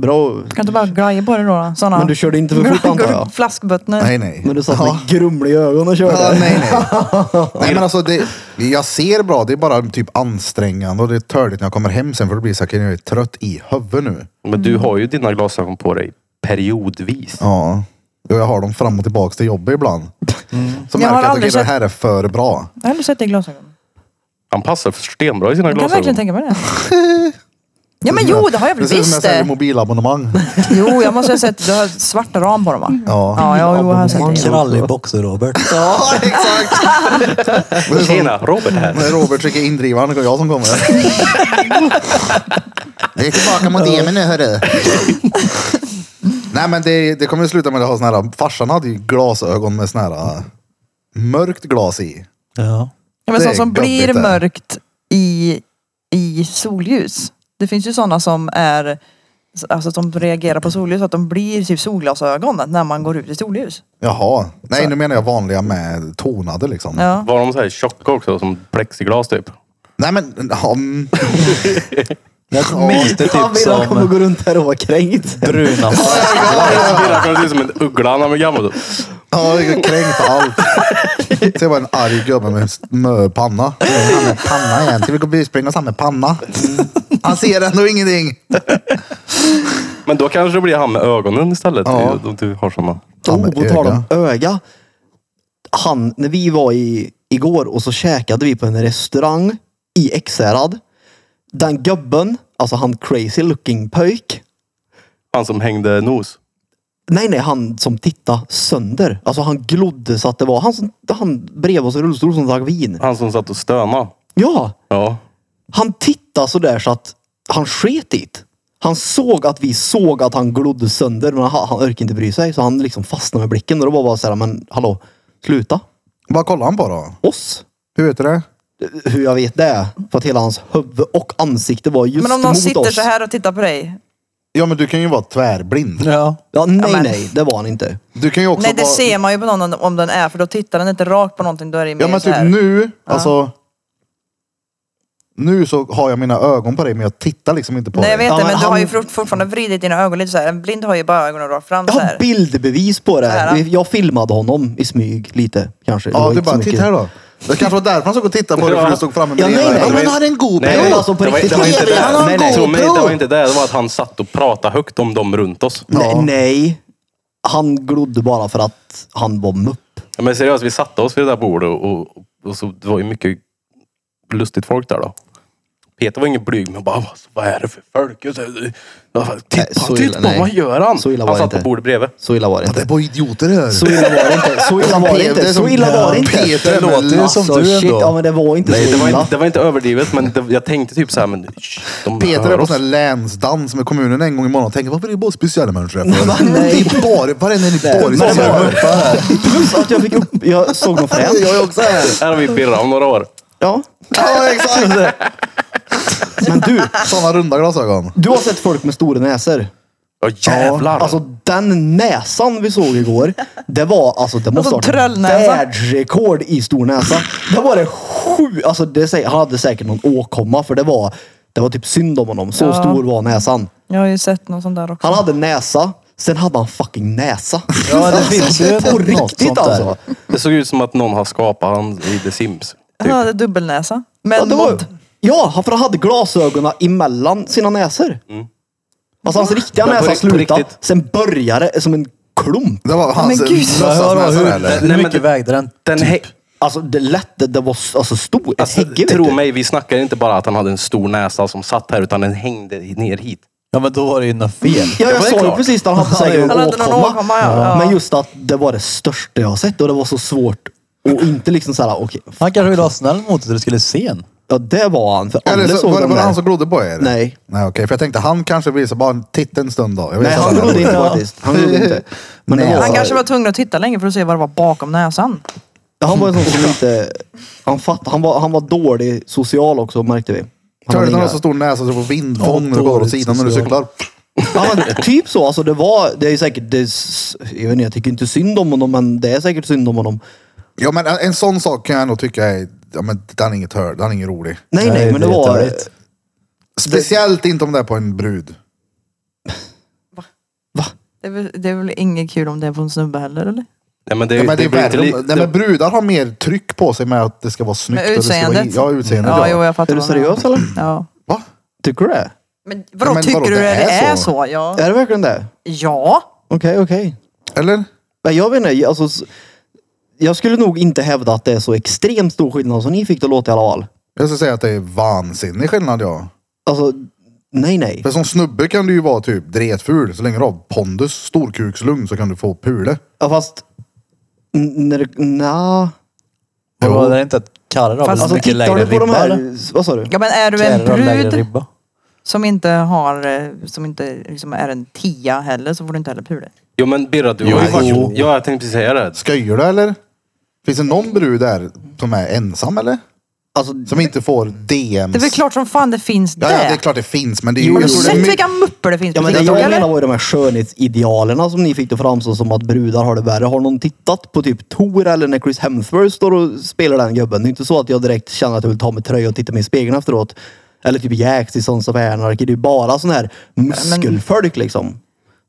Speaker 3: Bra.
Speaker 5: Kan du bara glaja på det då? då? Såna...
Speaker 3: Men du körde inte för fort antar jag?
Speaker 5: Flaskböttner.
Speaker 1: Nej, nej.
Speaker 3: Men du satt
Speaker 1: ja.
Speaker 3: med grumliga ögon och körde.
Speaker 1: Ja, nej, nej. nej men alltså, det, jag ser bra. Det är bara typ ansträngande och det är törligt när jag kommer hem sen för då blir det så här, jag är trött i huvudet nu.
Speaker 2: Men du har ju dina glasögon på dig periodvis.
Speaker 1: Ja. Och jag har dem fram och tillbaks till jobbet ibland.
Speaker 2: Mm.
Speaker 1: Så
Speaker 5: Jag
Speaker 1: märker
Speaker 5: har
Speaker 1: jag att okej,
Speaker 5: aldrig
Speaker 1: det här är för bra.
Speaker 5: Jag har aldrig sett dig i glasögon.
Speaker 2: Han passar för stenbra i sina
Speaker 5: Jag kan
Speaker 2: glasögon.
Speaker 5: verkligen tänka mig det. Ja men jo, det har jag väl
Speaker 1: Det ser ut som
Speaker 5: visst
Speaker 1: jag säljer
Speaker 5: det.
Speaker 1: mobilabonnemang.
Speaker 5: Jo, jag måste ha sett. Du har svarta ram på dem va?
Speaker 1: Ja.
Speaker 5: Ja, jag, jo, jag har
Speaker 4: Man
Speaker 5: sett
Speaker 4: kör
Speaker 5: det.
Speaker 4: aldrig boxer Robert.
Speaker 1: Ja, exakt. Det är som
Speaker 2: Tjena, Robert här.
Speaker 1: När Robert trycker in drivaren, det är jag som kommer. Det är tillbaka mot Emil nu hörru. Nej men det, det kommer ju sluta med att ha såna här, farsan hade ju glasögon med såna här äh, mörkt glas i.
Speaker 4: Ja.
Speaker 5: Ja, men
Speaker 1: Det är
Speaker 5: sånt som
Speaker 1: gubbigt
Speaker 5: blir
Speaker 1: det.
Speaker 5: mörkt i, i solljus. Det finns ju sådana som är Alltså att de reagerar på solljus, att de blir typ solglasögon när man går ut i solljus.
Speaker 1: Jaha. Nej nu menar jag vanliga med tonade liksom.
Speaker 5: Ja.
Speaker 2: Var de så här tjocka också? Som plexiglas typ?
Speaker 1: Nej men, ja, mm,
Speaker 4: Jag minns det
Speaker 3: Han
Speaker 4: typ
Speaker 3: vill han kommer
Speaker 4: som
Speaker 3: gå runt här och vara kränkt.
Speaker 4: bruna.
Speaker 2: Birra kan se ut som en uggla när han är gammal.
Speaker 1: ja, jag är kränkt och allt. Ser bara en arg gubbe med smörpanna. Han med panna igen. Ska vi gå busspringa han med panna? Han ser ändå ingenting.
Speaker 2: Men då kanske det blir han med ögonen istället.
Speaker 1: Ja.
Speaker 2: Om du har såna.
Speaker 1: Ja,
Speaker 3: Oh,
Speaker 1: men
Speaker 3: på tal om
Speaker 1: öga.
Speaker 3: öga. Han, när vi var i, igår och så käkade vi på en restaurang i Ekshärad. Den gubben, alltså han crazy looking pöjk.
Speaker 2: Han som hängde nos.
Speaker 3: Nej, nej, han som tittade sönder. Alltså han glodde så att det var han, som, han bredvid oss i rullstol som drack vin.
Speaker 2: Han som satt och stönade.
Speaker 3: Ja,
Speaker 2: Ja.
Speaker 3: han tittade så där så att han sket i det. Han såg att vi såg att han glodde sönder, men han, han orkade inte bry sig. Så han liksom fastnade med blicken och då var bara så här, men hallå, sluta.
Speaker 1: Vad kollar han på då?
Speaker 3: Oss?
Speaker 1: Hur vet du det?
Speaker 3: Hur jag vet det? För att hela hans huvud och ansikte var just
Speaker 5: Men om någon
Speaker 3: mot
Speaker 5: sitter
Speaker 3: oss.
Speaker 5: så här och tittar på dig.
Speaker 1: Ja men du kan ju vara tvärblind.
Speaker 4: Ja.
Speaker 3: Ja, nej,
Speaker 5: Ja, men-
Speaker 3: nej, det var han inte.
Speaker 1: Du kan ju också
Speaker 5: Nej det
Speaker 1: vara...
Speaker 5: ser man ju på någon om- om den är för då tittar den inte rakt på någonting. Då är det mer
Speaker 1: Ja men
Speaker 5: så här.
Speaker 1: typ nu, alltså. Nu så har jag mina ögon på dig men jag tittar liksom inte på
Speaker 5: Nej jag vet
Speaker 1: dig.
Speaker 5: det
Speaker 3: Ja,
Speaker 5: men,
Speaker 3: men
Speaker 5: du har ju
Speaker 3: han-
Speaker 5: fort- fortfarande vridit dina ögon lite så här. En blind har ju bara ögonen rakt fram
Speaker 3: Jag
Speaker 5: så
Speaker 3: har
Speaker 5: här.
Speaker 3: bildbevis på det.
Speaker 5: Så här,
Speaker 3: här. Jag filmade honom i smyg lite kanske. Det
Speaker 1: Ja
Speaker 3: var
Speaker 1: du
Speaker 3: inte så
Speaker 1: bara,
Speaker 3: mycket.
Speaker 1: titta här då. Det kanske var därför han såg och tittade på dig för du stod framme med
Speaker 3: Ja,
Speaker 1: det
Speaker 3: nej,
Speaker 1: ena
Speaker 3: nej.
Speaker 1: ögat.
Speaker 3: Ja, men
Speaker 1: han är en god
Speaker 3: Nej, Jo, alltså, på
Speaker 2: det, var,
Speaker 3: riktigt.
Speaker 2: det var inte
Speaker 3: Nej,
Speaker 2: det.
Speaker 3: nej, nej.
Speaker 2: Tommy, det var inte det. Det var att han satt och pratade högt om dem runt oss.
Speaker 1: Ja.
Speaker 3: Nej, nej. Han glodde bara för att han var mupp.
Speaker 2: Ja, men seriöst, vi satte oss vid det där bordet och, och, och så, det var ju mycket lustigt folk där då. Peter var ingen blyg, men bara, "Vad- vad är det för folk? Jag sa, "Ja, fan, Titta,
Speaker 3: Nej, så illa-
Speaker 2: titta,
Speaker 3: nej.
Speaker 2: vad gör han?
Speaker 3: Så illa var
Speaker 2: han
Speaker 3: det
Speaker 2: satt på
Speaker 3: inte.
Speaker 2: bordet bredvid.
Speaker 3: Så illa var det
Speaker 1: Ja, det är
Speaker 3: inte.
Speaker 1: bara idioter det här.
Speaker 3: Så illa var det inte. Så illa var det inte. Så illa var det inte.
Speaker 1: Peter
Speaker 4: Det låter ju som
Speaker 1: typ
Speaker 4: du
Speaker 3: shit,
Speaker 4: ändå.
Speaker 3: ja men det var inte
Speaker 2: Nej,
Speaker 3: så
Speaker 2: det var,
Speaker 3: illa.
Speaker 2: inte, det var inte överdrivet, men det, jag tänkte typ så här, men shh, de
Speaker 1: Peter
Speaker 2: hör
Speaker 1: är på
Speaker 2: oss.
Speaker 1: sån här länsdans med kommunen en gång i månaden och tänker varför är det bara speciella människor här för?
Speaker 3: Nej.
Speaker 1: Det är bara, varenda en är bara
Speaker 3: Men det
Speaker 1: speciella
Speaker 3: var-
Speaker 1: människor. här.
Speaker 3: Plus att jag fick upp, jag såg någon fränt.
Speaker 1: Jag är också här.
Speaker 2: Här har vi Birra om några år.
Speaker 3: Ja.
Speaker 1: Ja exakt.
Speaker 3: Men du,
Speaker 1: Såna runda glasögon.
Speaker 3: du har sett folk med stora näsor.
Speaker 2: Ja jävlar!
Speaker 3: Ja, alltså den näsan vi såg igår, det var alltså det måste
Speaker 5: Alltså,
Speaker 3: ha varit
Speaker 5: tröllnäsa.
Speaker 3: världsrekord i stor näsa. Det var det sju, alltså det, sä- han hade säkert någon åkomma för det var, det var typ synd om honom. Så
Speaker 5: Ja.
Speaker 3: stor var näsan.
Speaker 5: Jag har ju sett någon sån där också.
Speaker 3: Han hade näsa, sen hade han fucking näsa.
Speaker 4: Ja, det finns ju
Speaker 3: Alltså, På
Speaker 4: något sånt
Speaker 3: riktigt
Speaker 4: där.
Speaker 3: alltså.
Speaker 2: det såg ut som att någon har skapat han i The Sims.
Speaker 5: Han
Speaker 2: Typ.
Speaker 5: hade dubbelnäsa. Men
Speaker 3: Ja, det var,
Speaker 5: mod.
Speaker 3: ja, för han hade glasögonen emellan sina näsor. Alltså hans riktiga
Speaker 2: Mm. Men på
Speaker 3: näsa
Speaker 2: ri- på
Speaker 3: slutade,
Speaker 2: riktigt.
Speaker 3: sen började det som en klump.
Speaker 1: Det var hans
Speaker 5: men gud.
Speaker 1: låtsasnäsa där, eller?
Speaker 4: Hur
Speaker 2: men
Speaker 4: mycket
Speaker 2: det-
Speaker 4: vägde den?
Speaker 2: Den hä-
Speaker 3: Alltså det lätt, det, det var s- alltså stor, ett
Speaker 2: Typ. alltså,
Speaker 3: hägge vet
Speaker 2: tro
Speaker 3: du.
Speaker 2: mig, vi snackar inte bara att han hade en stor näsa som satt här, utan den hängde ner hit.
Speaker 4: Ja men då var det ju något fel.
Speaker 3: Ja,
Speaker 2: Det
Speaker 3: jag
Speaker 2: var ju
Speaker 3: sa ju
Speaker 2: klart.
Speaker 3: precis att han hade säkert
Speaker 5: Han
Speaker 3: någon
Speaker 5: hade någon
Speaker 3: åkomma.
Speaker 5: åkomma, ja. Ja.
Speaker 3: Men just att det var det största jag har sett och det var så svårt. Och inte liksom såhär, okej. f-
Speaker 4: Han kanske ville vara snäll mot dig, du skulle se en.
Speaker 3: ja, det var han. För
Speaker 1: Eller
Speaker 3: alla
Speaker 1: så,
Speaker 3: såg
Speaker 1: var det
Speaker 3: den
Speaker 1: bara
Speaker 3: där.
Speaker 1: han som glodde på er?
Speaker 3: Nej.
Speaker 1: Nej okej, för jag tänkte han kanske blir så bara titta en stund då. Jag vet
Speaker 3: Nej,
Speaker 1: att
Speaker 3: han
Speaker 1: är
Speaker 3: glodde inte
Speaker 1: rolig.
Speaker 3: faktiskt. Han glodde inte. Men det
Speaker 1: Nej.
Speaker 3: var,
Speaker 5: Han
Speaker 1: Ja.
Speaker 5: kanske var tvungen att titta länge för att se vad det var bakom näsan.
Speaker 3: han var en sån som inte... Han fattade. Han var, han var dålig social också märkte vi. Han
Speaker 1: Tror
Speaker 3: hade
Speaker 1: du inte
Speaker 3: inga-
Speaker 1: har så stor näsa så du får vindfång
Speaker 4: Ja,
Speaker 1: när du går åt
Speaker 4: dåligt
Speaker 1: sidan när du
Speaker 4: social.
Speaker 1: cyklar?
Speaker 3: Ja, men typ så. Alltså det var, det är säkert, det är, s- jag vet inte, jag tycker inte synd om honom men det är säkert synd om honom.
Speaker 1: Ja men en sån sak kan jag nog tycka är, ja men den är inget hör, den är ingen rolig.
Speaker 3: Nej nej,
Speaker 4: Nej,
Speaker 3: men det
Speaker 4: det är
Speaker 3: var...
Speaker 4: jätteroligt.
Speaker 1: Speciellt inte om det är på en brud.
Speaker 5: Det är, väl, det är väl inget kul om det är på en snubbe heller eller?
Speaker 2: Nej, men det,
Speaker 1: Ja, men det är
Speaker 2: blir inte
Speaker 1: värre.
Speaker 2: li-
Speaker 1: om- Nej,
Speaker 2: det-
Speaker 1: men brudar har mer tryck på sig med att det ska vara snyggt.
Speaker 5: Med
Speaker 1: och det ska vara
Speaker 5: utseendet?
Speaker 1: i- Ja, utseendet.
Speaker 5: Ja, jo jag fattar.
Speaker 3: Är du
Speaker 5: vad menar.
Speaker 3: seriös eller?
Speaker 5: Ja.
Speaker 1: Va?
Speaker 3: Tycker du det?
Speaker 5: Men vadå,
Speaker 1: Ja, men
Speaker 5: tycker
Speaker 1: vadå,
Speaker 5: du
Speaker 1: det
Speaker 5: det, det
Speaker 1: är
Speaker 5: är
Speaker 1: så?
Speaker 5: så? Ja.
Speaker 3: Är det verkligen det?
Speaker 5: ja.
Speaker 3: Okej, okej.
Speaker 1: Eller?
Speaker 3: Men jag vet inte, alltså, s- jag skulle nog inte hävda att det är så extremt stor skillnad som ni fick det att låta i alla fall.
Speaker 1: Jag skulle säga att det är vansinnig skillnad ja.
Speaker 3: Alltså, nej nej.
Speaker 1: För som snubbe kan du ju vara typ dretful. Så länge du har pondus, storkukslugn så kan du få pule.
Speaker 3: Ja, fast... n- När, det- nja.
Speaker 4: Men var det inte att Karre då?
Speaker 5: Fast
Speaker 4: Fast,
Speaker 3: Alltså
Speaker 4: mycket
Speaker 3: tittar
Speaker 4: lägre
Speaker 3: du på de
Speaker 4: ribba eller?
Speaker 3: här... Vad sa du?
Speaker 5: Ja men är du en
Speaker 4: Karre har lägre
Speaker 5: brud
Speaker 4: ribba.
Speaker 5: som inte har, eh, som inte liksom är en tia heller så får du inte heller pule.
Speaker 2: Jo men Birra, du har ju varit... Ja, jag tänkte precis säga det.
Speaker 1: Sköjer du eller? Finns det någon brud där som är ensam eller?
Speaker 3: Alltså,
Speaker 1: Som inte får DMs?
Speaker 5: Det är väl klart som fan det finns
Speaker 1: Ja,
Speaker 5: det.
Speaker 1: ja, det är klart det finns men det är ju...
Speaker 5: Har du
Speaker 1: jag tror det är
Speaker 5: sett
Speaker 1: my-
Speaker 5: vilka muppor det finns
Speaker 3: ja,
Speaker 5: på
Speaker 3: men det
Speaker 5: TikTok
Speaker 3: jag
Speaker 5: eller?
Speaker 3: menar var ju de här skönhetsidealerna som ni fick det framstå som att brudar har det värre. Har någon tittat på typ Tor eller när Chris Hemsworth står och spelar den gubben? Det är inte så att jag direkt känner att jag vill ta mig tröja och titta mig i spegeln efteråt. Eller typ Jax i Sons of Anarchy. Det är ju bara sån här muskelfolk liksom.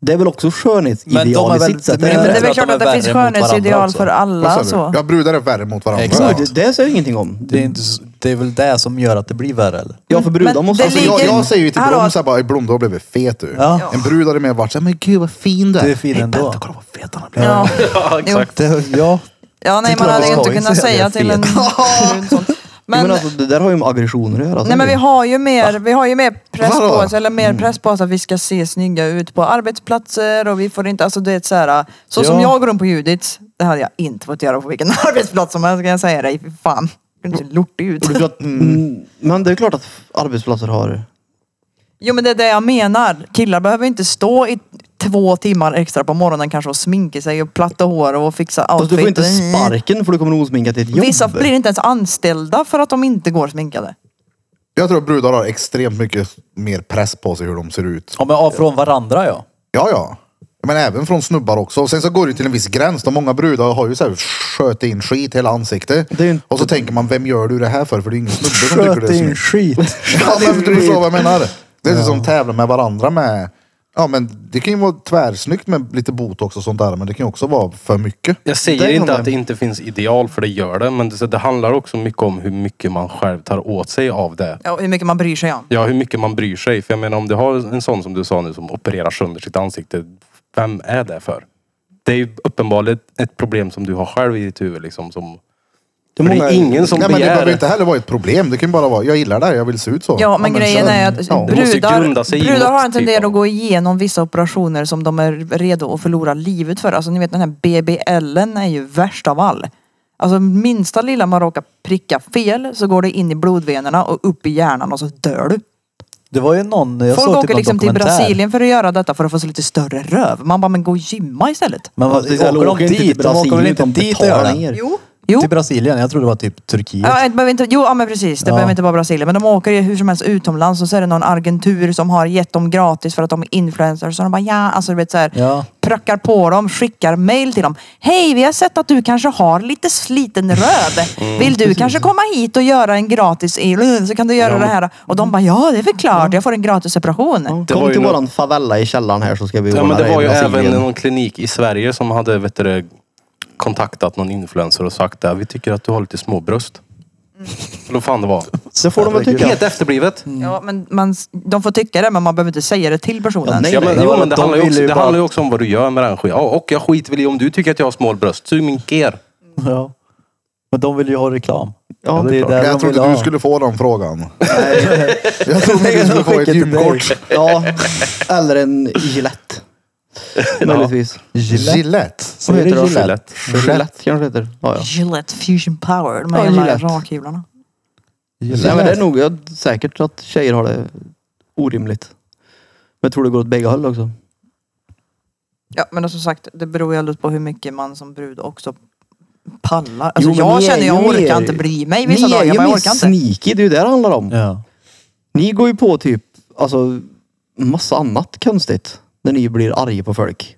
Speaker 3: Det är väl också
Speaker 4: Men de
Speaker 3: skönhetsideal
Speaker 4: är
Speaker 3: i
Speaker 4: väl-
Speaker 3: sitt sätt.
Speaker 4: men
Speaker 3: är
Speaker 5: Men
Speaker 3: det
Speaker 5: det
Speaker 3: inte
Speaker 5: är
Speaker 4: tror
Speaker 5: väl
Speaker 4: att de är
Speaker 5: klart att det finns
Speaker 4: värre mot varandra
Speaker 5: skönhetsideal
Speaker 4: också.
Speaker 5: för
Speaker 1: Vad sa
Speaker 5: alla
Speaker 1: du?
Speaker 5: så.
Speaker 1: Ja, brudar är värre mot varandra.
Speaker 4: Exakt.
Speaker 3: det? Det, det säger ju ingenting om.
Speaker 4: Det är, inte, så- det är väl det som gör att det blir värre eller?
Speaker 3: Ja, för brudar
Speaker 5: Men
Speaker 3: måste...
Speaker 5: det
Speaker 1: Alltså, jag,
Speaker 5: ligger-
Speaker 1: jag säger ju till
Speaker 5: Hallå.
Speaker 1: Blom såhär bara, "Ey, Blom du har blivit fet du.
Speaker 4: Ja.
Speaker 1: En brud hade mer varit såhär, men gud vad fin du är.
Speaker 4: Du är fin
Speaker 1: "Ey,
Speaker 4: ändå."
Speaker 1: Vänta, kolla vad fet han har blivit.
Speaker 5: Ja.
Speaker 2: Ja, exakt.
Speaker 4: Det, ja.
Speaker 5: ja
Speaker 4: Det
Speaker 5: nej
Speaker 4: är
Speaker 5: man
Speaker 4: klart
Speaker 5: hade ju
Speaker 4: det
Speaker 5: inte
Speaker 4: ska
Speaker 5: kunnat
Speaker 4: inte säga
Speaker 5: säga till en
Speaker 4: fel.
Speaker 5: brud sånt.
Speaker 3: men,
Speaker 5: Men
Speaker 3: alltså, det där har ju med aggressioner att göra.
Speaker 5: Nej men vi har ju mer, vi har ju mer press på
Speaker 1: Vadå?
Speaker 5: oss, eller
Speaker 3: Mm.
Speaker 5: mer press på oss att vi ska se snygga ut på arbetsplatser och vi får inte, alltså det är ett så här, så som
Speaker 4: Ja.
Speaker 5: jag går runt på Judits, det hade jag inte fått göra på vilken arbetsplats som helst kan jag säga dig, fy fan. Jag ser lortig ut.
Speaker 3: Du tror att, mm, men det är klart att arbetsplatser har...
Speaker 5: Jo men det är det jag menar, killar behöver inte stå i två timmar extra på morgonen kanske och sminka sig och platta hår och fixa
Speaker 3: Fast
Speaker 5: outfit.
Speaker 3: Alltså, du får inte sparken för du kommer osminkad till ett jobb.
Speaker 5: Vissa blir inte ens anställda för att de inte går sminkade.
Speaker 1: Jag tror att brudar har extremt mycket mer press på sig hur de ser ut.
Speaker 4: Ja, men av från varandra ja.
Speaker 1: Ja, ja. Men även från snubbar också. Och sen så går det ju till en viss gräns. De många brudar har ju så här sköt in skit i hela ansiktet.
Speaker 3: Det är ju inte-
Speaker 1: Och så tänker man, vem gör du det här för? För det är ingen snubbe som tycker det
Speaker 4: Sköt
Speaker 1: är
Speaker 4: in
Speaker 1: snyggt.
Speaker 4: skit.
Speaker 1: Ja, men du förstår vad jag menar. Det är som tävlar med varandra med. Ja, men det kan ju vara tvärsnyggt med lite botox och sånt där. Men det kan ju också vara för mycket.
Speaker 2: Jag
Speaker 3: Där
Speaker 2: säger
Speaker 3: kom
Speaker 2: inte
Speaker 3: den.
Speaker 2: att det inte finns ideal, för det gör det. Men det, det handlar också mycket om hur mycket man själv tar åt sig av det.
Speaker 5: Ja, och hur mycket man bryr sig om.
Speaker 2: Ja, hur mycket man bryr sig. För jag menar om du har en sån som du sa nu som opererar sönder sitt ansikte. Vem är det för? Det är ju uppenbarligen ett problem som du har själv i ditt huvud liksom. Som,
Speaker 3: Det
Speaker 2: för det är ingen som
Speaker 1: Nej, men det
Speaker 2: begär...
Speaker 1: behöver inte heller vara ett problem. Det kan ju bara vara, jag gillar det här, jag vill se ut så.
Speaker 5: Ja, men grejen
Speaker 1: sen-
Speaker 5: är att
Speaker 1: ja.
Speaker 2: Det måste ju grunda sig
Speaker 5: brudar,
Speaker 2: i
Speaker 5: brudar
Speaker 2: något
Speaker 5: har en
Speaker 2: typ
Speaker 5: tendens
Speaker 2: av-
Speaker 5: att gå igenom vissa operationer som de är redo att förlora livet för. Alltså ni vet den här BBLen är ju värst av all. Alltså minsta lilla man råkar pricka fel så går det in i blodvenerna och upp i hjärnan och så dör du.
Speaker 4: Det var ju någon, jag
Speaker 5: Folk
Speaker 4: såg typ
Speaker 5: åker
Speaker 4: någon
Speaker 5: liksom till
Speaker 4: dokumentär.
Speaker 5: Brasilien för att göra detta för att få sig lite större röv. Man bara, men gå och gymma istället.
Speaker 4: Men vad,
Speaker 3: Fast det är
Speaker 4: åker de
Speaker 3: åker inte till
Speaker 4: dit? De åker väl
Speaker 3: Brasilien,
Speaker 4: inte
Speaker 3: utan
Speaker 4: dit och gör
Speaker 3: betalar
Speaker 4: det?
Speaker 3: ner.
Speaker 5: Jo. Jo.
Speaker 4: Till Brasilien? Jag trodde det var typ Turkiet.
Speaker 5: Ja, det behöver inte, jo, ja, men precis. Det
Speaker 4: Ja.
Speaker 5: behöver inte vara Brasilien. Men de åker ju hur som helst utomlands och så är det någon agentur som har gett dem gratis för att de är influencers. Så de bara ja, alltså du vet så här.
Speaker 4: Ja.
Speaker 5: Prackar på dem, skickar mail till dem. Hej, vi har sett att du kanske har lite sliten röv.
Speaker 3: Mm.
Speaker 5: Vill du kanske komma hit och göra en gratis så kan du göra
Speaker 2: Ja,
Speaker 5: det
Speaker 2: men-
Speaker 5: här. Och de bara ja, det är väl klart. Jag får en gratis operation.
Speaker 3: Ja,
Speaker 2: Det
Speaker 3: Kom
Speaker 2: var ju
Speaker 3: till
Speaker 2: nå-
Speaker 3: våran favela i källaren här så ska vi
Speaker 2: Ja, men
Speaker 3: ordna
Speaker 2: det
Speaker 3: i
Speaker 2: var ju även
Speaker 3: Brasilien.
Speaker 2: någon klinik i Sverige som hade vet du, det, kontaktat någon influencer och sagt att vi tycker att du har lite små bröst. Eller vad fan det var.
Speaker 3: Så får de väl typ- tycka.
Speaker 2: Helt efterblivet.
Speaker 5: Ja, men man, de får tycka det, men man behöver inte säga det till personen.
Speaker 3: Ja, nej.
Speaker 2: Ja, men,
Speaker 4: det
Speaker 2: jo,
Speaker 4: var-
Speaker 2: men det,
Speaker 4: de
Speaker 2: handlar ju
Speaker 4: ville
Speaker 2: också,
Speaker 4: ju
Speaker 2: det
Speaker 4: bara-
Speaker 2: handlar ju också om vad du gör med den skiten. Ja, och jag skiter väl i om du tycker att jag har små bröst. Sug min ker.
Speaker 4: Ja. Men de vill ju ha reklam.
Speaker 3: Ja,
Speaker 4: det
Speaker 1: Nej,
Speaker 4: är där de
Speaker 1: Jag
Speaker 4: vill
Speaker 1: trodde du
Speaker 4: ha.
Speaker 1: skulle få den frågan. jag trodde du skulle få
Speaker 4: Skicka
Speaker 1: ett
Speaker 4: till dig.
Speaker 1: gymkort.
Speaker 3: Ja, eller en Gillette. Möjligtvis.
Speaker 4: Gillette.
Speaker 1: Gillette.
Speaker 3: Vad heter det?
Speaker 2: Gillette.
Speaker 3: Gillette kanske det heter. Ja, ja.
Speaker 5: Gillette Fusion Power, de
Speaker 3: Ja,
Speaker 5: här jävla
Speaker 3: Gillette.
Speaker 5: rakhyvlarna.
Speaker 3: Nej, men det är nog jag, säkert att tjejer har det orimligt. Men jag tror det går åt bägge håll också.
Speaker 5: Ja men som sagt, det beror ju alldeles på hur mycket man som brud också pallar. Alltså
Speaker 3: Jo, men
Speaker 5: jag
Speaker 3: ni är
Speaker 5: känner jag
Speaker 3: ju
Speaker 5: orkar
Speaker 3: mer-
Speaker 5: inte bry mig
Speaker 3: Ni
Speaker 5: vissa
Speaker 3: är
Speaker 5: dagar.
Speaker 3: ju
Speaker 5: Jag bara, jag
Speaker 3: mer
Speaker 5: orkar inte.
Speaker 3: sneaky, det är ju det det handlar om.
Speaker 4: Ja.
Speaker 3: Ni går ju på typ, alltså, massa annat konstigt. När ni blir arga på folk.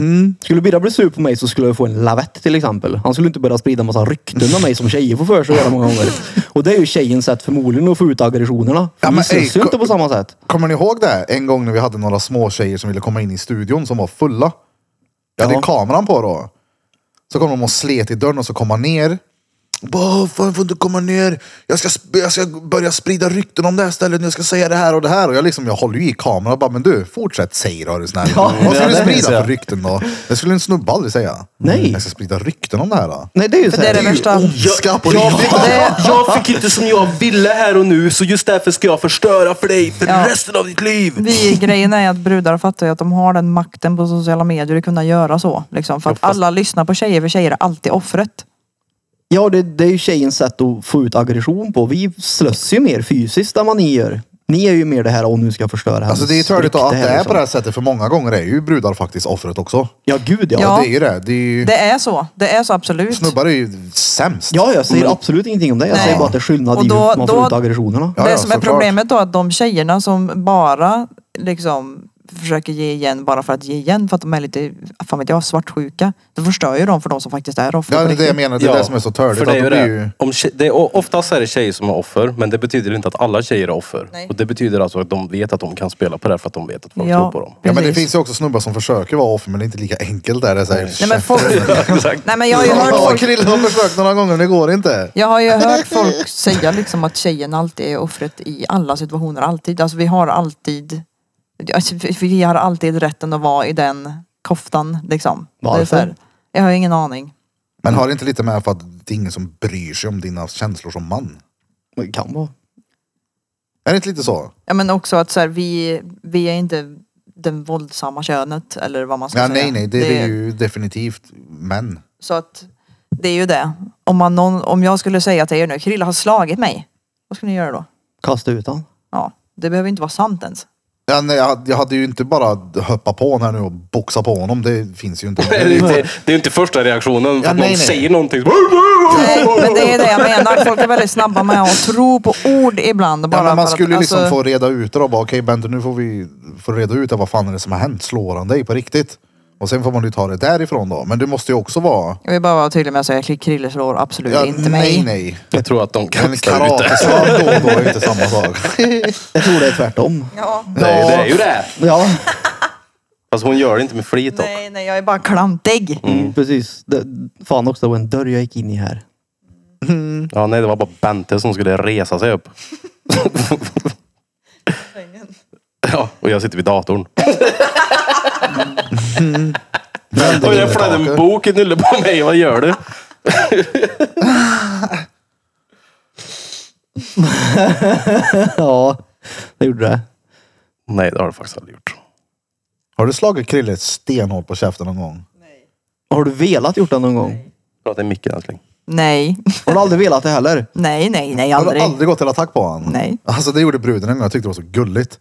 Speaker 5: Mm.
Speaker 3: Skulle Birra bli sur på mig så skulle jag få en lavett till exempel. Han skulle inte börja sprida massa rykten om mig som tjejer får för sig att göra många gånger. Och det är ju tjejens sätt förmodligen att få ut aggressionerna.
Speaker 1: Ja,
Speaker 3: Ja,
Speaker 1: men
Speaker 3: vi ses
Speaker 1: ej,
Speaker 3: ju inte på samma sätt.
Speaker 1: Kommer ni ihåg det? En gång när vi hade några små tjejer som ville komma in i studion som var fulla. Jag hade
Speaker 3: Ja.
Speaker 1: kameran på då. Så kom de och slet i dörren och så kom han ner. Och Bara, "Åh, fan får inte komma ner. Jag ska, sp- jag ska börja sprida rykten om det här stället. Jag ska säga det här och det här. Och jag, liksom, jag håller ju i kameran och bara, men du, fortsätt säg då är du snäll.
Speaker 3: Ja,
Speaker 1: Vad ska
Speaker 4: ja,
Speaker 1: du
Speaker 4: det
Speaker 1: sprida
Speaker 4: minns jag.
Speaker 1: för rykten då? Det skulle en snubbe aldrig säga.
Speaker 3: Nej.
Speaker 1: Jag ska sprida rykten om det här. Då.
Speaker 3: Nej det är ju
Speaker 5: För
Speaker 3: så
Speaker 5: det är
Speaker 3: här.
Speaker 5: det värsta.
Speaker 1: Ondska på
Speaker 2: Jag
Speaker 1: riktigt.
Speaker 2: fick, jag fick inte som jag ville här och nu så just därför ska jag förstöra för dig för
Speaker 5: Ja.
Speaker 2: resten av ditt liv.
Speaker 5: Vi, grejen är att brudar fattar ju att de har den makten på sociala medier att kunna göra så. Liksom. För att
Speaker 2: Ja, fast-
Speaker 5: alla lyssnar på tjejer, för tjejer är alltid offret.
Speaker 3: Ja, det, det är ju tjejens sätt att få ut aggression på. Vi slöss ju mer fysiskt än vad ni gör. Ni är ju mer det här, och nu ska jag förstöra hennes
Speaker 1: Alltså det är törligt
Speaker 3: rykte
Speaker 1: att det
Speaker 3: här,
Speaker 1: är
Speaker 3: liksom.
Speaker 1: på det här sättet för många gånger är ju brudar faktiskt offret också.
Speaker 3: Ja, gud ja.
Speaker 5: Ja.
Speaker 3: Ja,
Speaker 1: Det är ju det. det är ju...
Speaker 5: Det är så. Det är så absolut.
Speaker 1: Snubbar är ju sämst.
Speaker 3: jag säger absolut ingenting om det. Jag
Speaker 5: Nej.
Speaker 3: säger bara att det är skillnad
Speaker 5: Och
Speaker 3: i hur
Speaker 5: då-
Speaker 3: man får
Speaker 5: då-
Speaker 3: ut aggressionerna.
Speaker 1: Ja,
Speaker 5: det
Speaker 1: ja,
Speaker 5: som är
Speaker 1: såklart.
Speaker 5: problemet då är att de tjejerna som bara liksom försöker ge igen bara för att ge igen för att de är lite, fan vet jag, svartsjuka. Det förstör ju dem för de som faktiskt är offer.
Speaker 1: Ja,
Speaker 5: på
Speaker 1: det är det jag
Speaker 5: riktigt.
Speaker 1: menar. Det är det som är så törligt.
Speaker 2: För det är ju
Speaker 1: att det
Speaker 2: det.
Speaker 1: blir ju-
Speaker 2: Om tje- det är, o- oftast är det tjejer som är offer, men det betyder inte att alla tjejer är offer.
Speaker 5: Nej.
Speaker 2: Och det betyder alltså att de vet att de kan spela på det här för att de vet att folk
Speaker 5: Ja.
Speaker 2: tror på dem.
Speaker 1: Ja, men det
Speaker 5: Precis.
Speaker 1: finns ju också snubbar som försöker vara offer, men det är inte lika enkelt där. Det är så här,
Speaker 5: Nej men, folk,
Speaker 2: Exakt.
Speaker 5: nej men jag har ju hört
Speaker 1: Ja,
Speaker 5: folk
Speaker 1: Krille har försökt några gånger, det går inte.
Speaker 5: Jag har ju hört folk säga liksom att tjejen alltid är offret i alla situationer, alltid. Alltså vi har alltid, alltså, vi- vi har alltid rätten att vara i den koftan liksom. Det är
Speaker 3: Varför?
Speaker 5: så här, Jag har ingen aning.
Speaker 1: Men har det inte lite med för att det är ingen som bryr sig om dina känslor som man?
Speaker 3: Men Det kan vara.
Speaker 1: Är det inte lite så?
Speaker 5: Ja men också att så här, vi, vi är inte den våldsamma könet eller vad man ska
Speaker 1: Ja,
Speaker 5: säga.
Speaker 1: nej, nej, det, är ju definitivt män.
Speaker 5: Så att det är ju det. Om, man någon, om jag skulle säga till er nu, Krilla har slagit mig. Vad skulle ni göra då?
Speaker 3: Kasta ut han.
Speaker 5: Ja, det behöver inte vara sant ens.
Speaker 1: Ja, nej, jag, jag hade ju inte bara hoppat på honom här nu och boxat på honom. Det finns ju inte.
Speaker 2: Det är, inte, det är inte första reaktionen. För
Speaker 1: Ja,
Speaker 2: att
Speaker 1: nej, nej.
Speaker 2: någon säger någonting.
Speaker 5: Nej, men det är det jag menar. Folk är väldigt snabba med att tro på ord ibland. Bara
Speaker 1: Ja, men
Speaker 5: för
Speaker 1: man
Speaker 5: att,
Speaker 1: skulle ju liksom
Speaker 5: alltså,
Speaker 1: få reda ut det då. Bara, Okej Bente, nu får vi få reda ut det. vad fan är det som har hänt. Slår han dig på riktigt? Och sen får man ju ta det därifrån då. Men du måste ju också vara...
Speaker 5: Jag vill bara vara tydlig med att säga att Krille slår absolut
Speaker 1: Ja,
Speaker 5: inte
Speaker 1: nej,
Speaker 5: mig.
Speaker 1: nej.
Speaker 2: Jag tror att de kan
Speaker 1: En
Speaker 2: stå ut det.
Speaker 1: karateslag då och då är inte samma sak.
Speaker 3: Jag tror det är tvärtom.
Speaker 5: Ja.
Speaker 2: Nej, det är ju det.
Speaker 3: Ja,
Speaker 2: Fast hon gör det inte med flit dock.
Speaker 5: Nej, nej, jag är bara klantig.
Speaker 3: mm. precis. Det, fan också, det var en dörr jag gick in i här.
Speaker 2: Ja, nej, det var bara Bente som skulle resa sig upp. Ja, och jag sitter vid datorn. Och jag flög en bok i nyllet på mig. Vad gör du?
Speaker 3: Ja, det gjorde det.
Speaker 2: Nej, det har du faktiskt aldrig gjort.
Speaker 1: Har du slagit Krille stenhårt på käften någon gång?
Speaker 3: Har du velat gjort det någon gång?
Speaker 2: Prata i micken älskling.
Speaker 5: Nej,
Speaker 3: Har du aldrig velat det heller?
Speaker 5: nej, nej, nej,
Speaker 1: Har du
Speaker 5: aldrig.
Speaker 1: aldrig gått till attack på honom?
Speaker 5: Nej.
Speaker 1: Alltså det gjorde bruden en gång. Jag tyckte det var så gulligt.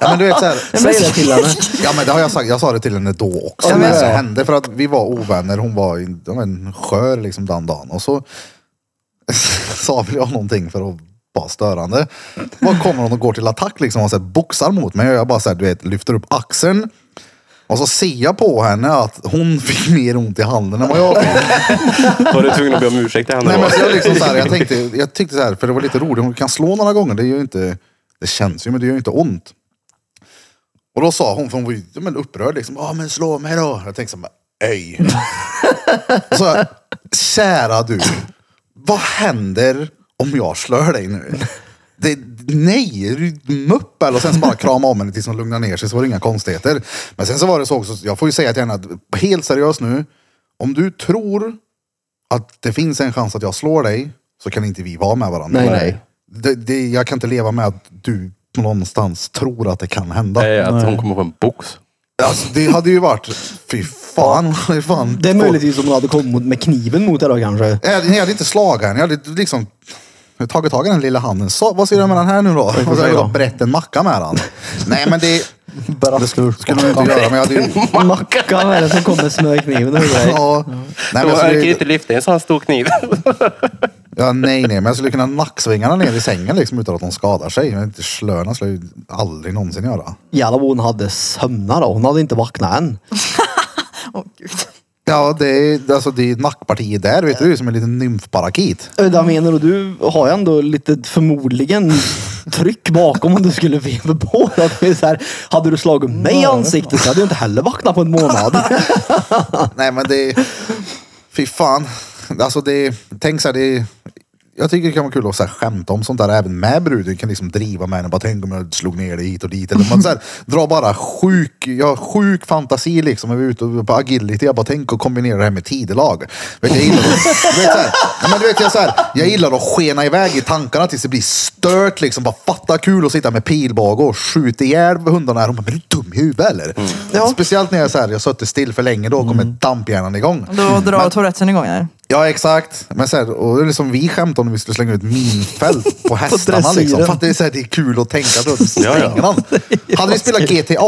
Speaker 1: ja men du vet så här.
Speaker 3: Säg det till henne.
Speaker 1: Ja men det har jag sagt. Jag sa det till henne då också.
Speaker 3: Ja,
Speaker 1: men
Speaker 3: men-
Speaker 1: det hände för att vi var ovänner. Hon var i- ja, men, skör liksom den dagen. Och så sa väl jag någonting för att vara störande. Vad kommer hon och går till attack liksom och så här, boxar mot mig. Och jag bara så här, du vet, lyfter upp axeln. Och så ser jag på henne att hon fick mer ont i handen än vad jag fick.
Speaker 2: Var du tvungen att be om ursäkt till henne
Speaker 1: Nej,
Speaker 2: då?
Speaker 1: men så jag, liksom så här, jag, tänkte, jag tyckte så här, för det var lite roligt, hon kan slå några gånger, det gör ju inte, det känns ju men det gör ju inte ont. Och då sa hon, för hon var ju ja, men upprörd liksom, ja men slå mig då. Jag tänkte så här, ej. Och så här, Alltså, kära du, vad händer om jag slår dig nu? Det, nej, är du mupp eller? Och sen så bara krama om henne tills hon lugnar ner sig så var det inga konstigheter. Men sen så var det så också, jag får ju säga till henne att helt seriöst nu, om du tror att det finns en chans att jag slår dig så kan inte vi vara med varandra.
Speaker 3: Nej, nej.
Speaker 1: Det, det, jag kan inte leva med att du någonstans tror att det kan hända.
Speaker 2: Nej, att hon kommer på en box.
Speaker 1: Alltså, det hade ju varit, fy fan. det är fan
Speaker 3: Det är möjligtvis om hon hade kommit mot- med kniven mot dig då kanske.
Speaker 1: Jag Eh, hade, jag hade inte slagit henne, jag hade liksom tagit tag i den lilla handen. Så, vad ska jag göra med den här nu då? Och så hade jag brett en macka med den. Nej men det
Speaker 4: Bara slur.
Speaker 1: skulle man inte göra. Men jag hade ju...
Speaker 3: Mackan är det som kommer smög kniven över dig.
Speaker 1: Ja, nej, men alltså jag
Speaker 2: orkar
Speaker 1: skulle,
Speaker 2: inte lyfta en sån stor kniv.
Speaker 1: ja, nej, nej, men jag skulle kunna nacksvinga den ner i sängen liksom utan att de skadar sig. Men inte slöna skulle jag ju aldrig någonsin göra.
Speaker 3: Jävlar vad hon hade sömnat då. Hon hade inte vaknat än.
Speaker 5: Åh, Gud.
Speaker 1: Ja, det är, alltså, det är nackpartiet där, vet du, som en liten nymfparakit.
Speaker 3: Ödda Eh, menar och du har ju ändå lite förmodligen tryck bakom om du skulle veva på. Att det är så här, hade du slagit mig i ansiktet så hade du inte heller vaknat på en månad.
Speaker 1: Nej men det... Fy fan. Alltså det... Tänk så här, det... Jag tycker det kan vara kul att så här, skämta om sånt där även med bruden. Jag kan liksom driva med henne. Bara tänk om jag slog ner dig hit och dit. Eller man så här, drar bara sjuk, jag har sjuk fantasi liksom. Jag är ute och- på agility. Jag bara tänk att kombinera det här med tidelag. Vet, du, jag, gillar, att- du vet, så här, ja, men du vet, jag, så här, jag gillar att skena iväg i tankarna tills det blir stört liksom. Bara fatta kul att sitta med pilbåge och skjuta ihjäl hundarna. Här. Hon bara, men är du dum i huvudet eller? Speciellt när jag, så här, jag suttit still för länge. Då kommer damphjärnan igång.
Speaker 5: Då drar touretten igång här.
Speaker 1: Ja exakt. Men så här, och det är liksom vi skämtade om när vi skulle slänga ut minfält på hästarna.
Speaker 3: dressyren.
Speaker 1: liksom. För att det, är så här, det är kul att tänka på.
Speaker 2: Ja, ja.
Speaker 1: Spränger man? Hade vi spelat GTA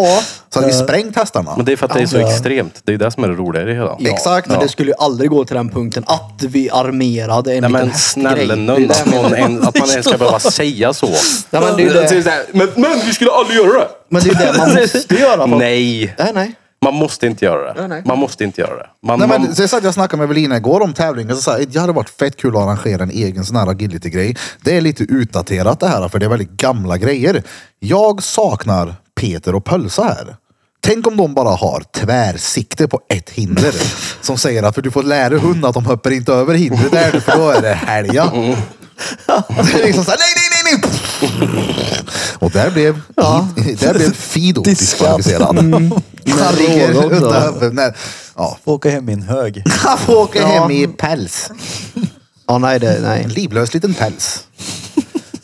Speaker 1: så hade vi sprängt hästarna.
Speaker 2: Men det är för att det är så extremt. Det är det som är det roliga i det hela.
Speaker 1: Exakt.
Speaker 3: Men det skulle ju aldrig gå till den punkten att vi armerade en
Speaker 2: Nej
Speaker 3: liten
Speaker 2: men
Speaker 3: hästgrej.
Speaker 2: snälla nån, att, någon en- att man ens ska behöva säga så.
Speaker 3: Ja, men det är ju det.
Speaker 2: Så så här, men, men vi skulle aldrig göra det.
Speaker 3: Men det är ju det man måste göra. för att-
Speaker 2: Nej,
Speaker 3: Nej, nej.
Speaker 2: man måste inte göra det.
Speaker 3: nej.
Speaker 2: Man måste inte göra det. Man,
Speaker 1: Nej,
Speaker 2: man,
Speaker 1: men, så jag satt jag snackade med Evelina igår om tävlingen. Så sa jag, det hade varit fett kul att arrangera en egen sån här agility-grej. Det är lite utdaterat det här, för det är väldigt gamla grejer. Jag saknar Peter och Pölsa här. Tänk om de bara har tvärsikte på ett hinder. Som säger att för du får lära hunden att de hoppar inte över hindret där, för då är det helga. Det är liksom såhär, nej, nej, nej, nej. Och där blev, där blev Fido
Speaker 4: Diskad.
Speaker 1: diskvalificerad. Han ligger
Speaker 3: rågång då.
Speaker 1: utan huvud. Nej, Ja,
Speaker 4: Får åka hem i en hög.
Speaker 1: han får åka
Speaker 3: Ja.
Speaker 1: hem i päls.
Speaker 3: Ja, nej, det, nej.
Speaker 1: En livlös liten päls.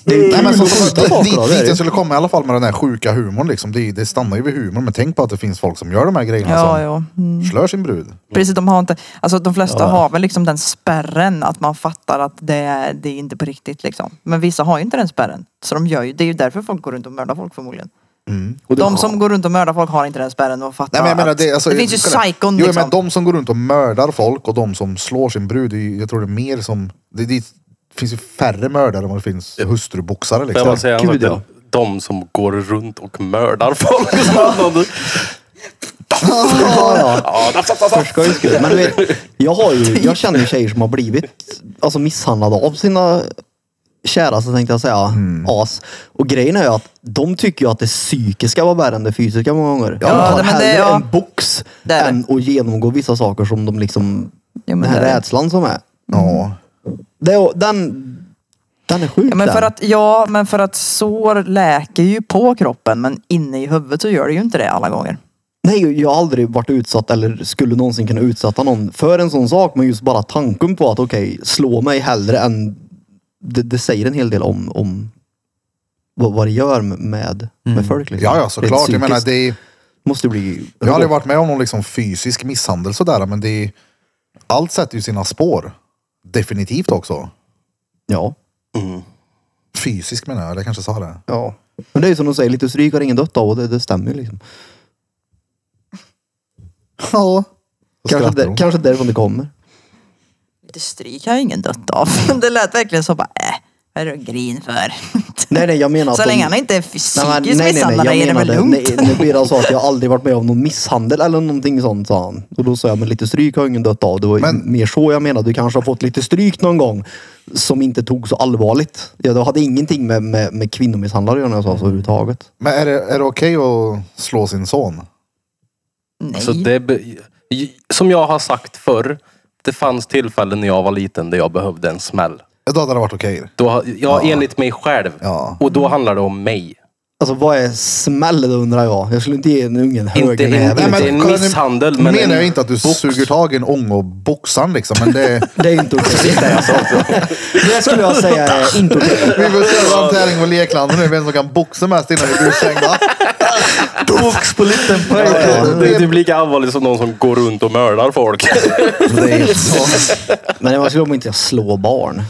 Speaker 3: Det är ju
Speaker 1: Nej, men så,
Speaker 3: kul att
Speaker 1: så,
Speaker 3: skjuta saker av,
Speaker 1: dit,
Speaker 3: det är
Speaker 1: dit
Speaker 3: det ju.
Speaker 1: jag skulle komma i alla fall med den här sjuka humorn. Liksom. Det, det stannar ju vid humorn. Men tänk på att det finns folk som gör de här grejerna
Speaker 5: Ja,
Speaker 1: som
Speaker 5: ja.
Speaker 1: slör sin brud.
Speaker 5: Precis, de har inte, alltså de flesta har väl liksom den spärren att man fattar att det, är- det är inte på riktigt liksom. Men vissa har ju inte den spärren. Så de gör ju, det är ju därför folk går runt och mördar folk förmodligen.
Speaker 1: Mm.
Speaker 3: Och det-
Speaker 5: De som går runt och mördar folk har inte den spärren och fattar
Speaker 1: Nej, men jag menar,
Speaker 5: att-
Speaker 1: det, alltså,
Speaker 5: det finns ju
Speaker 1: kolla.
Speaker 5: psykon
Speaker 1: Jo,
Speaker 5: liksom.
Speaker 1: men de som går runt och mördar folk och de som slår sin brud. det är ju- Jag tror det är mer som... Det, det finns ju färre mördare än vad det finns hustruboxare
Speaker 2: Får jag
Speaker 1: liksom.
Speaker 2: bara säga en
Speaker 3: Gud,
Speaker 2: sak till?
Speaker 3: ja.
Speaker 2: De som går runt och mördar folk. Ja, da, da, da, da.
Speaker 3: För skojs skull. Men du vet, jag, har ju, jag känner ju tjejer som har blivit alltså, misshandlade av sina käraste tänkte jag säga.
Speaker 5: Mm.
Speaker 3: As. Och grejen är ju att de tycker ju att det psykiska var värre än det fysiska många gånger.
Speaker 5: Ja,
Speaker 3: de
Speaker 5: det-
Speaker 3: tar
Speaker 5: men det-
Speaker 3: hellre
Speaker 5: ja.
Speaker 3: en box
Speaker 5: Det är det.
Speaker 3: än att genomgå vissa saker som de liksom...
Speaker 5: Jo, men
Speaker 3: den här
Speaker 5: det är det.
Speaker 3: rädslan som är.
Speaker 1: Ja.
Speaker 3: Det, är- den, den är sjuk
Speaker 5: Ja men, för
Speaker 3: den.
Speaker 5: att, ja, men för att sår läker ju på kroppen men inne i huvudet så gör det ju inte det alla gånger.
Speaker 3: Nej, jag har aldrig varit utsatt eller skulle någonsin kunna utsätta någon för en sån sak. Men just bara tanken på att okej, slå mig hellre än... Det, det säger en hel del om, om vad, vad det gör med, med folk. Liksom.
Speaker 1: Mm. Ja, ja, såklart.
Speaker 3: Rent
Speaker 1: Jag menar,
Speaker 3: psykiskt
Speaker 1: det är,
Speaker 3: måste bli...
Speaker 1: jag har aldrig varit med om någon liksom fysisk misshandel sådär, men det är, allt sätter ju sina spår. Definitivt också.
Speaker 3: Ja.
Speaker 1: Fysisk menar jag, jag kanske sa det.
Speaker 3: ja. Men det är ju som de säger, lite stryk har ingen dött av och det, det stämmer ju liksom.
Speaker 1: Ja. Då
Speaker 3: Kanske,
Speaker 1: skrattar
Speaker 3: där,
Speaker 1: hon.
Speaker 3: kanske därifrån det kommer.
Speaker 5: Lite stryk har ju ingen dött av. Det lät verkligen som bara äh, vad är det att grin för?
Speaker 3: Nej, nej, jag menar
Speaker 5: Så
Speaker 3: att de-
Speaker 5: länge han inte är
Speaker 3: Nej, men-
Speaker 5: psykiskt misshandlad
Speaker 3: jag
Speaker 5: är det väl
Speaker 3: menade-
Speaker 5: lugnt?
Speaker 3: Nej, nu blir det alltså att jag aldrig varit med om någon misshandel eller någonting sånt sa han. Och då sa jag, men lite stryk har ingen dött av. Det var ju
Speaker 1: Men-
Speaker 3: mer så jag menade. Du kanske har fått lite stryk någon gång som inte tog så allvarligt. Ja, det hade ingenting med, med, med kvinnomisshandlare att göra när jag sa så överhuvudtaget.
Speaker 1: Men är det, är det okej att slå sin son?
Speaker 5: Nej.
Speaker 2: Alltså det, be- som jag har sagt förr, det fanns tillfällen när jag var liten där jag behövde en smäll.
Speaker 1: Då hade det varit okej.
Speaker 2: Då, har- ja, enligt mig själv.
Speaker 1: Ja.
Speaker 2: Och då handlar det om mig.
Speaker 3: Alltså vad är smäll det undrar jag. Jag skulle inte ge en ungen högernäve.
Speaker 2: inte-
Speaker 3: liksom.
Speaker 2: det är en
Speaker 1: kolla, nu
Speaker 2: misshandel, men
Speaker 1: menar jag
Speaker 2: en
Speaker 1: inte att du
Speaker 2: box.
Speaker 1: suger tag i en ång och boxar den liksom. Men det,
Speaker 3: Det är inte okej. Det skulle jag säga är inte okej.
Speaker 1: vi får köra en tävling på leklandet nu. Vem som kan boxa mest innan vi blir utslängda.
Speaker 4: Box på liten
Speaker 1: Ja,
Speaker 2: Det är typ lika allvarligt som någon som går runt och mördar folk.
Speaker 3: Det är så. Men jag skulle inte slå barn.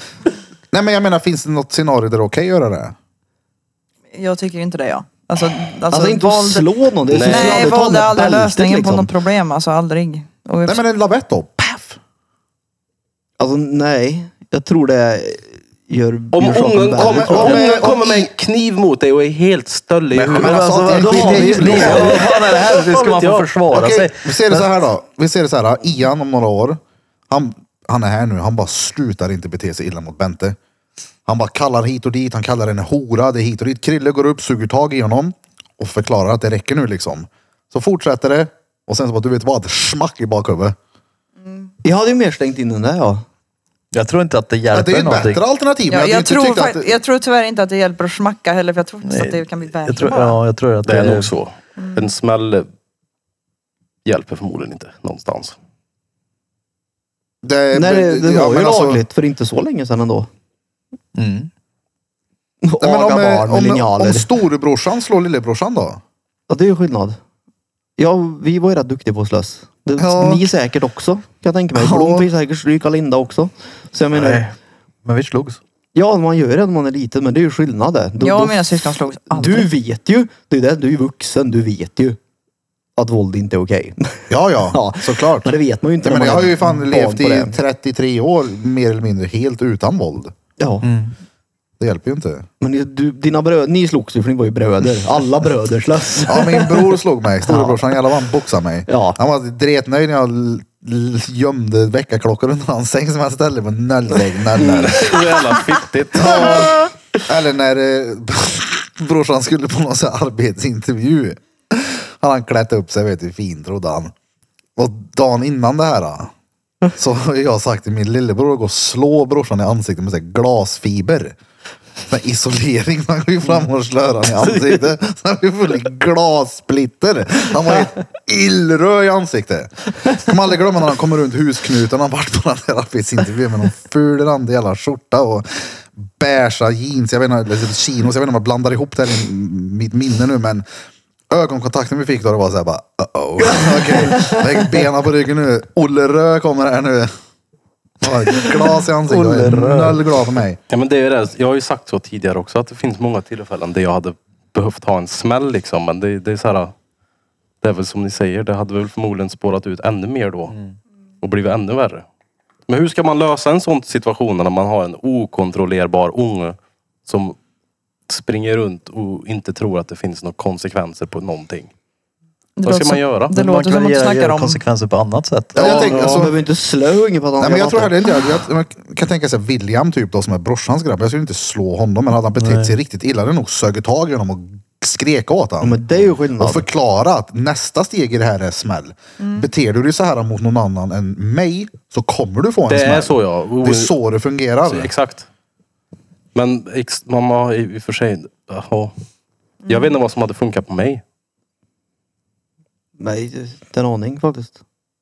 Speaker 1: Nej men jag menar, finns det något scenario där det är okej att göra det?
Speaker 5: Jag tycker ju inte det jag. Alltså, alltså,
Speaker 3: Alltså, inte att
Speaker 5: våld,
Speaker 3: slå någon. Det är
Speaker 2: Nej,
Speaker 3: som att
Speaker 5: Nej,
Speaker 3: aldrig ta
Speaker 5: våld är
Speaker 3: med
Speaker 5: aldrig
Speaker 3: bältet,
Speaker 5: lösningen
Speaker 3: liksom.
Speaker 5: på något problem. Alltså aldrig. Och
Speaker 1: Nej men en lavett då. Paff!
Speaker 3: Alltså nej, jag tror det gör...
Speaker 2: Om
Speaker 3: gör saken
Speaker 2: ungen
Speaker 3: värre.
Speaker 2: kommer
Speaker 1: om-
Speaker 2: om,
Speaker 1: om-
Speaker 2: kommer med en kniv mot dig och är helt stöllig i huvudet.
Speaker 1: Men alltså,
Speaker 4: Alltså,
Speaker 1: det-
Speaker 4: då
Speaker 1: det-
Speaker 4: har vi ju
Speaker 1: det- det-
Speaker 4: liksom- Vad fan är det här? Hur ska man få försvara
Speaker 1: Okej,
Speaker 4: sig?
Speaker 1: vi ser det så här då. Vi ser det så här. Ian om några år. Han, han är här nu. Han bara slutar inte bete sig illa mot Bente. Han bara kallar hit och dit. Han kallar henne hora. Det är hit och dit. Krille går upp, suger tag i honom och förklarar att det räcker nu liksom. Så fortsätter det. Och sen så bara, du vet vad? Smack i bakhuvudet.
Speaker 3: Jag hade ju mer stängt in den där ja.
Speaker 4: Jag tror inte att det
Speaker 1: Ja, Det är ju
Speaker 4: hjälper
Speaker 1: ett
Speaker 4: någonting.
Speaker 1: bättre alternativ. men
Speaker 5: jag,
Speaker 1: hade
Speaker 5: jag,
Speaker 1: inte
Speaker 5: tror,
Speaker 1: tyckt
Speaker 5: fakt-
Speaker 1: att det-
Speaker 5: jag tror tyvärr inte att det hjälper att smacka heller för jag tror faktiskt att det kan bli värre.
Speaker 4: Jag tror,
Speaker 5: bara.
Speaker 4: ja, jag tror att
Speaker 2: Det
Speaker 1: Mm.
Speaker 2: är nog så. En smäll hjälper förmodligen inte någonstans.
Speaker 1: det,
Speaker 3: Nej, det, det
Speaker 1: ja,
Speaker 3: var ju
Speaker 1: men alltså-
Speaker 3: lagligt för inte så länge sedan ändå.
Speaker 4: Mm.
Speaker 1: Nej, men
Speaker 3: Aga
Speaker 1: om, eh,
Speaker 3: barn med
Speaker 1: om,
Speaker 3: linjaler.
Speaker 1: om storebrorsan slår lillebrorsan då?
Speaker 3: Ja, det är ju skillnad. Ja, vi var ju rätt duktiga på att slåss. Det,
Speaker 1: Ja.
Speaker 3: Ni säkert också, kan jag tänka mig. För
Speaker 1: Ja.
Speaker 3: de får ju säkert stryk av Linda också. Så jag menar,
Speaker 4: Nej. Men vi slogs.
Speaker 3: ja man gör det när man är liten, men det är ju skillnad det. Då-
Speaker 5: Jag
Speaker 3: då-
Speaker 5: och mina syskon slogs aldrig.
Speaker 3: Du vet ju, det är det, du är ju vuxen, du vet ju att våld inte är okej.
Speaker 1: Ja, ja,
Speaker 3: Ja.
Speaker 1: såklart.
Speaker 3: Men det vet man ju inte.
Speaker 1: Nej,
Speaker 3: när
Speaker 1: men jag
Speaker 3: man
Speaker 1: har
Speaker 3: är
Speaker 1: ju fan
Speaker 3: barn
Speaker 1: levt
Speaker 3: på
Speaker 1: i
Speaker 3: det.
Speaker 1: 33 år mer eller mindre helt utan våld.
Speaker 3: Ja.
Speaker 5: Mm.
Speaker 1: Det hjälper ju inte.
Speaker 3: Men ni- du, dina bröder, ni slogs ju för ni var ju bröder. Alla bröder slåss.
Speaker 1: Ja, min bror slog mig. Storebrorsan jävlar vad han boxade mig.
Speaker 3: Ja.
Speaker 1: Han var dretnöjd när jag l- l- gömde väckarklockor under hans säng som han ställde på nöllvägg, nöllare.
Speaker 2: Så jävla fittigt.
Speaker 1: Ja. Eller när eh, brorsan skulle på någon sån här arbetsintervju. Hade han klätt upp sig, vet du, fint trodde han. Och dagen innan det här ah, så har jag sagt till min lillebror att gå och slå brorsan i ansiktet med så här glasfiber. Med isolering, man går ju fram och slår han i ansiktet. Så han blir full i glassplitter. Han var helt illröd i ansiktet. Kommer aldrig glömma när han kommer runt husknuten. Han vart på den där arbetsintervjun med någon ful randig jävla skjorta och beiga jeans. Jag vet inte, eller chinos. Jag vet inte om jag blandar ihop det här i mitt minne nu men ögonkontakten vi fick då det var såhär bara uh-oh. Okej, lägg benen på ryggen nu. Olle Rö kommer här nu. Bara Glas i ansiktet. Jag är Noll glad på mig.
Speaker 2: Ja, men det är det. Jag har ju sagt så tidigare också att det finns många tillfällen där jag hade behövt ha en smäll liksom. Men det, det är så här. Det är väl som ni säger, det hade väl förmodligen spårat ut ännu mer då.
Speaker 1: Mm.
Speaker 2: Och blivit ännu värre. Men hur ska man lösa en sån situation när man har en okontrollerbar unge som springer runt och inte tror att det finns några konsekvenser på någonting?
Speaker 5: Det
Speaker 2: Vad ska
Speaker 5: låter
Speaker 2: man
Speaker 5: som-
Speaker 2: göra?
Speaker 5: Det
Speaker 4: man
Speaker 5: låter
Speaker 4: kan
Speaker 5: som att du
Speaker 4: göra-
Speaker 5: snackar
Speaker 4: göra
Speaker 5: om...
Speaker 4: konsekvenser på annat sätt.
Speaker 1: Ja, jag tänker,
Speaker 3: Man
Speaker 1: alltså-
Speaker 3: behöver inte slö ungen på att han
Speaker 1: Nej,
Speaker 3: kan
Speaker 1: men jag tror
Speaker 3: vatten.
Speaker 1: heller inte jag, jag, jag kan tänka sig William typ då som är brorsans grabb. Jag skulle inte slå honom men hade han betett sig riktigt illa hade jag nog sögit tag i honom och skrek åt
Speaker 3: Ja,
Speaker 1: honom.
Speaker 3: men det är ju skillnad.
Speaker 1: Och förklara att nästa steg i det här är smäll. Beter du dig så här mot någon annan än mig så kommer du få en
Speaker 2: Det
Speaker 1: smäll.
Speaker 2: är så ja.
Speaker 1: Det är så det fungerar.
Speaker 2: Så, Exakt. Men ex, mamma i i och för sig. Ja. Jag vet inte vad som hade funkat på mig.
Speaker 3: Nej, det- det är en aning faktiskt.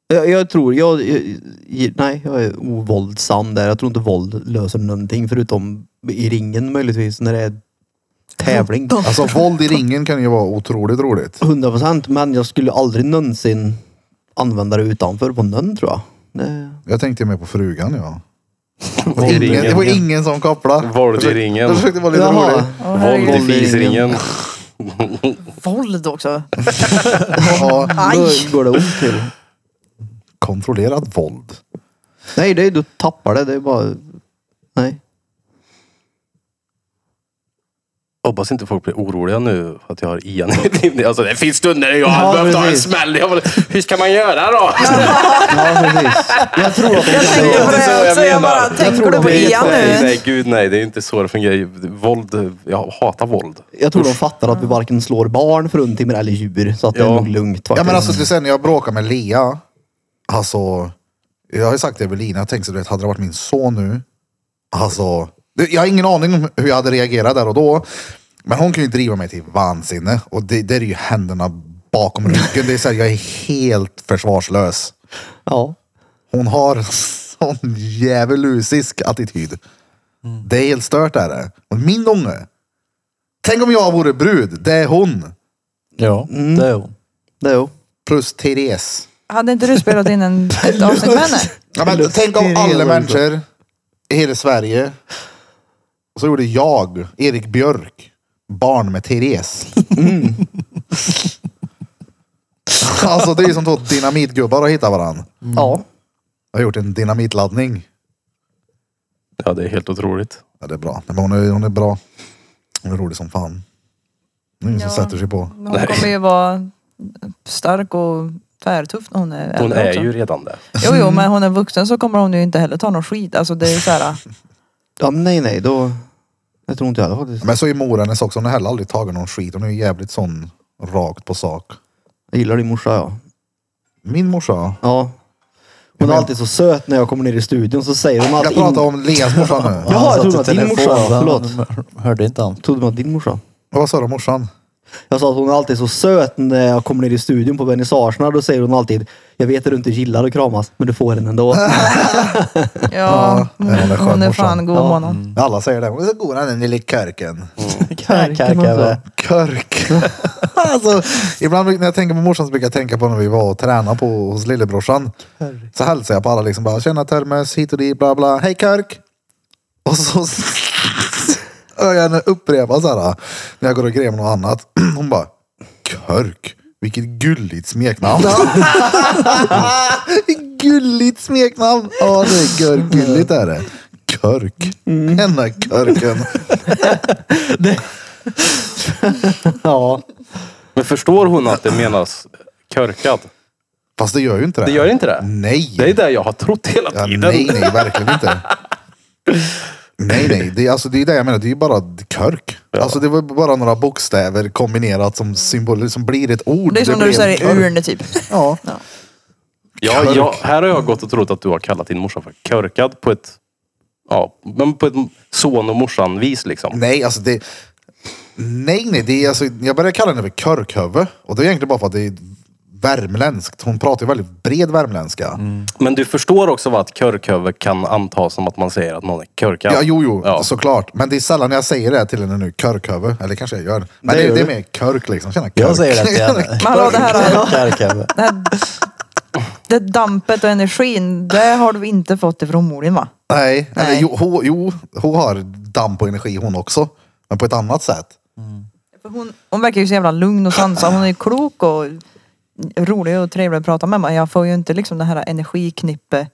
Speaker 3: Jag, jag tror, jag, jag, nej, jag är ovåldsam där. Jag tror inte våld löser någonting förutom i ringen möjligtvis när det är tävling.
Speaker 1: Alltså våld i ringen kan ju vara otroligt roligt.
Speaker 3: 100 procent, men jag skulle aldrig någonsin använda det utanför på någon tror jag. Det,
Speaker 1: Jag tänkte mer på frugan ja.
Speaker 2: Våld i
Speaker 1: Ingen, det var
Speaker 2: ringen.
Speaker 1: ingen som kopplade.
Speaker 2: Våld i ringen.
Speaker 1: Jag försökte vara lite
Speaker 3: Jaha.
Speaker 1: rolig.
Speaker 5: Åh, herregud.
Speaker 2: Våld i
Speaker 3: Våld i
Speaker 2: fisringen.
Speaker 5: Våld också.
Speaker 1: Ja,
Speaker 5: Aj!
Speaker 3: då går det ont till.
Speaker 1: kontrollerat våld.
Speaker 3: Nej, det är, du tappar det. Det är bara... Nej.
Speaker 2: Hoppas inte folk blir oroliga nu för att jag har Ian i drivning. Alltså det finns stunder där jag
Speaker 3: Ja,
Speaker 2: hade behövt ta en
Speaker 3: precis.
Speaker 2: smäll. Jag bara, hur ska man göra då?
Speaker 3: Ja, precis. Jag tror att de
Speaker 5: Jag
Speaker 3: kan
Speaker 5: tänkte
Speaker 3: göra tror
Speaker 2: Det är så jag menar. Jag
Speaker 5: på det också. Jag bara, tänker du på
Speaker 3: det är
Speaker 5: Ian
Speaker 3: så.
Speaker 5: nu?
Speaker 2: Nej gud nej, det är inte så det fungerar. Våld, jag hatar våld.
Speaker 3: Jag tror de fattar att vi varken slår barn, fruntimmer eller djur. Så att det är
Speaker 2: Ja.
Speaker 3: nog lugnt faktiskt.
Speaker 1: Ja men alltså till exempel när jag bråkar med Lea. Alltså. Jag har ju sagt det till Evelina. Jag tänkte så, du vet, hade det varit min son nu. Alltså. det- Jag har ingen aning om hur jag hade reagerat där och då. Men hon kan ju driva mig till vansinne. Och det, det är ju händerna bakom ryggen. Det är så här, jag är helt försvarslös.
Speaker 3: Ja.
Speaker 1: Hon har en sån djävulusisk attityd. Det är helt stört är det. Och min unge. Tänk om jag vore brud. Det är hon.
Speaker 4: Ja, det är hon.
Speaker 3: Det är ju.
Speaker 1: Plus Therese.
Speaker 5: Hade inte du spelat in en, ett avsnitt med henne?
Speaker 1: Ja, men
Speaker 3: Luft
Speaker 1: tänk
Speaker 3: i
Speaker 1: om
Speaker 3: det
Speaker 1: alla
Speaker 3: hela
Speaker 1: människor i hela Sverige. Och så gjorde jag, Erik Björk, barn med Therese. alltså det är ju som två dynamitgubbar att hitta varandra. Mm.
Speaker 3: Ja.
Speaker 1: Jag har gjort en dynamitladdning.
Speaker 2: Ja det är helt otroligt.
Speaker 1: Ja, det är bra. Men hon, är, hon är bra. Hon är rolig som fan. Det är ingen som
Speaker 5: Ja.
Speaker 1: sätter sig på.
Speaker 5: Hon kommer ju vara stark och tvärtuff när hon är
Speaker 2: Hon
Speaker 5: äldre
Speaker 2: är
Speaker 5: också.
Speaker 2: ju redan det.
Speaker 5: Jo, jo, men hon är vuxen så kommer hon ju inte heller ta någon skit. Alltså det är ju så här,
Speaker 3: ja men nej, nej. Då... Jag tror inte jag heller faktiskt.
Speaker 1: Men så är mor hennes också. Hon har heller aldrig tagit någon skit. Hon är ju jävligt sån rakt på sak.
Speaker 3: Jag gillar din morsa ja.
Speaker 1: Min morsa.
Speaker 3: Ja.
Speaker 1: Jag
Speaker 3: Hon är
Speaker 1: men-
Speaker 3: alltid så söt när jag kommer ner i studion så säger hon
Speaker 1: Jag
Speaker 3: alltid...
Speaker 1: pratar om Leas morsa nu.
Speaker 3: Jaha, jag
Speaker 4: Han
Speaker 3: trodde
Speaker 4: satt
Speaker 3: att
Speaker 4: i
Speaker 3: din morsa...
Speaker 4: telefon.
Speaker 3: Förlåt.
Speaker 4: Hörde inte han.
Speaker 3: Trodde att din morsa?
Speaker 1: Vad sa du om morsan?
Speaker 3: Jag sa att hon är alltid så söt när jag kommer ner i studion på vernissagerna. Då säger hon alltid, jag vet att du inte gillar att kramas, men du får den ändå.
Speaker 5: ja, hon,
Speaker 1: hon är Mm. skön
Speaker 5: hon är
Speaker 1: morsan.
Speaker 5: fan god
Speaker 3: Ja.
Speaker 5: med honom.
Speaker 1: Alla säger det. Hon är så god den lille körken.
Speaker 4: Kan, kan, kan, kan.
Speaker 1: Körk. alltså, ibland när jag tänker på morsan så brukar jag tänka på när vi var och tränade på hos lillebrorsan. Så hälsade jag på alla liksom bara tjena Termes, hit och dit, bla bla. Hej Körk! Och så hör jag henne upprepa så här när jag går och grejer med något annat. Hon bara Körk. Vilket gulligt smeknamn. gulligt smeknamn. Ja, det är görgulligt är det. Körk. Den där körken.
Speaker 3: Ja.
Speaker 2: Men förstår hon att det menas körkad?
Speaker 1: Fast det gör ju inte det.
Speaker 2: Det gör inte det?
Speaker 1: Nej.
Speaker 2: Det är det jag har trott hela
Speaker 1: Ja,
Speaker 2: tiden.
Speaker 1: nej, nej, verkligen inte. Nej, nej, det är, alltså, det är det jag menar. Det är ju bara körk. Alltså det var bara några bokstäver kombinerat som symboler som blir ett ord.
Speaker 5: Det är som när
Speaker 1: blev
Speaker 5: du säger
Speaker 1: körk.
Speaker 5: urne typ.
Speaker 1: Ja.
Speaker 2: Ja,
Speaker 1: Körk.
Speaker 2: jag, här har jag gått och trott att du har kallat din morsa för körkad på ett, ja, men på ett son och morsan-vis liksom.
Speaker 1: Nej, alltså det... Nej, nej, det är alltså... Jag började kalla henne för körkhöve. Och det är egentligen bara för att det är värmländskt. Hon pratar ju väldigt bred värmländska.
Speaker 2: Men du förstår också vad att körköver kan antas som att man säger att någon är körkad?
Speaker 1: Ja, jo, Alltså, jo,
Speaker 2: Ja.
Speaker 1: såklart. Men det är sällan jag säger det till henne nu, körkhöve. Eller kanske jag gör. Men
Speaker 3: Det
Speaker 1: det,
Speaker 3: gör
Speaker 1: det, är
Speaker 3: du.
Speaker 1: mer körk liksom. Tjena, körk.
Speaker 4: Jag säger det till henne.
Speaker 5: Men hallå, det här,
Speaker 4: Kan, kan.
Speaker 5: det här det dampet och energin, det har du inte fått ifrån morin va?
Speaker 1: Nej,
Speaker 5: Nej.
Speaker 1: eller jo, hon, jo, hon har damp och energi hon också. Men på ett annat sätt.
Speaker 5: För Hon, hon verkar ju så jävla lugn och sansad. Hon är ju klok och rolig och trevlig att prata med. Men jag får ju inte liksom det här energiknippe.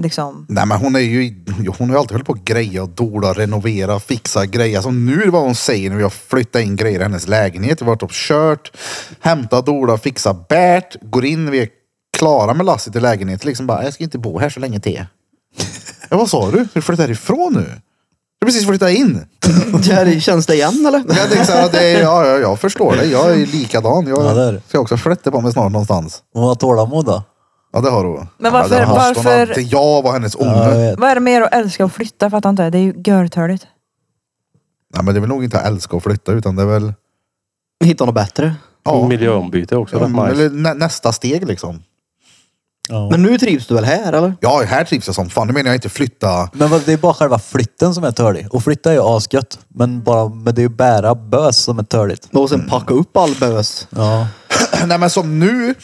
Speaker 5: Liksom.
Speaker 1: Nej men hon är ju, hon har ju alltid hållit på att greja och dola, renovera, fixa grejer. Alltså nu är det vad hon säger när jag flyttar in grejer i hennes lägenhet. Vi har varit och kört, hämta, dola, fixa, bärt, går in, vi är klara med lasset i lägenheten. Liksom bara, jag ska inte bo här så länge till. Ja, vad sa du? Du flyttar härifrån nu? Du har precis flyttat in.
Speaker 3: Jerry, Känns det igen eller?
Speaker 1: Jag tänkte så här, det är, ja, ja, jag förstår det. Jag är ju likadan.
Speaker 4: Ja, det är
Speaker 1: Jag
Speaker 4: det.
Speaker 1: ska också flytta på mig snart någonstans.
Speaker 4: Hon har tålamod då.
Speaker 1: Ja, det har hon.
Speaker 5: Men varför-
Speaker 1: Ja, det har haft. Hon har-
Speaker 5: varför-
Speaker 1: Det jag var hennes unge.
Speaker 3: Mm.
Speaker 4: Ja, jag vet.
Speaker 5: Vad är det mer att älska och flytta? Fattar inte. Det är ju görtörligt.
Speaker 1: Nej, men det är väl nog inte att älska och flytta utan det är väl
Speaker 3: Hitta något bättre.
Speaker 1: Ja.
Speaker 2: Miljöombyte också.
Speaker 1: Ja,
Speaker 2: rätt nice.
Speaker 1: eller nä, nästa steg liksom.
Speaker 4: Ja. Men,
Speaker 3: Men nu trivs du väl här eller?
Speaker 1: Ja, här trivs jag som fan. Nu menar jag inte flytta.
Speaker 4: vad- det är bara själva flytten som är törlig. Och flytta är ju asgött. Men, bara, men det är ju bära bös som är törligt.
Speaker 3: Och
Speaker 1: Mm.
Speaker 3: sen packa upp all bös.
Speaker 4: Ja.
Speaker 1: Nej, men som nu.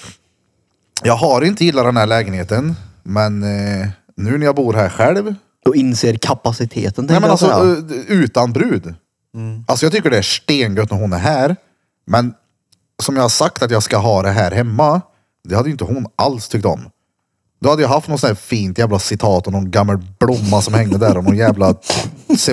Speaker 1: Jag har inte gillat den här lägenheten, men eh, nu när jag bor här själv.
Speaker 3: Och inser kapaciteten.
Speaker 1: Nej,
Speaker 3: tänkte
Speaker 1: men
Speaker 3: jag
Speaker 1: alltså
Speaker 3: säga.
Speaker 1: eh, utan brud. Alltså jag tycker det är stengött när hon är här. Men som jag har sagt att jag ska ha det här hemma. Det hade ju inte hon alls tyckt om. Då hade jag haft något sånt här fint jävla citat och någon gammal blomma som hängde där och någon jävla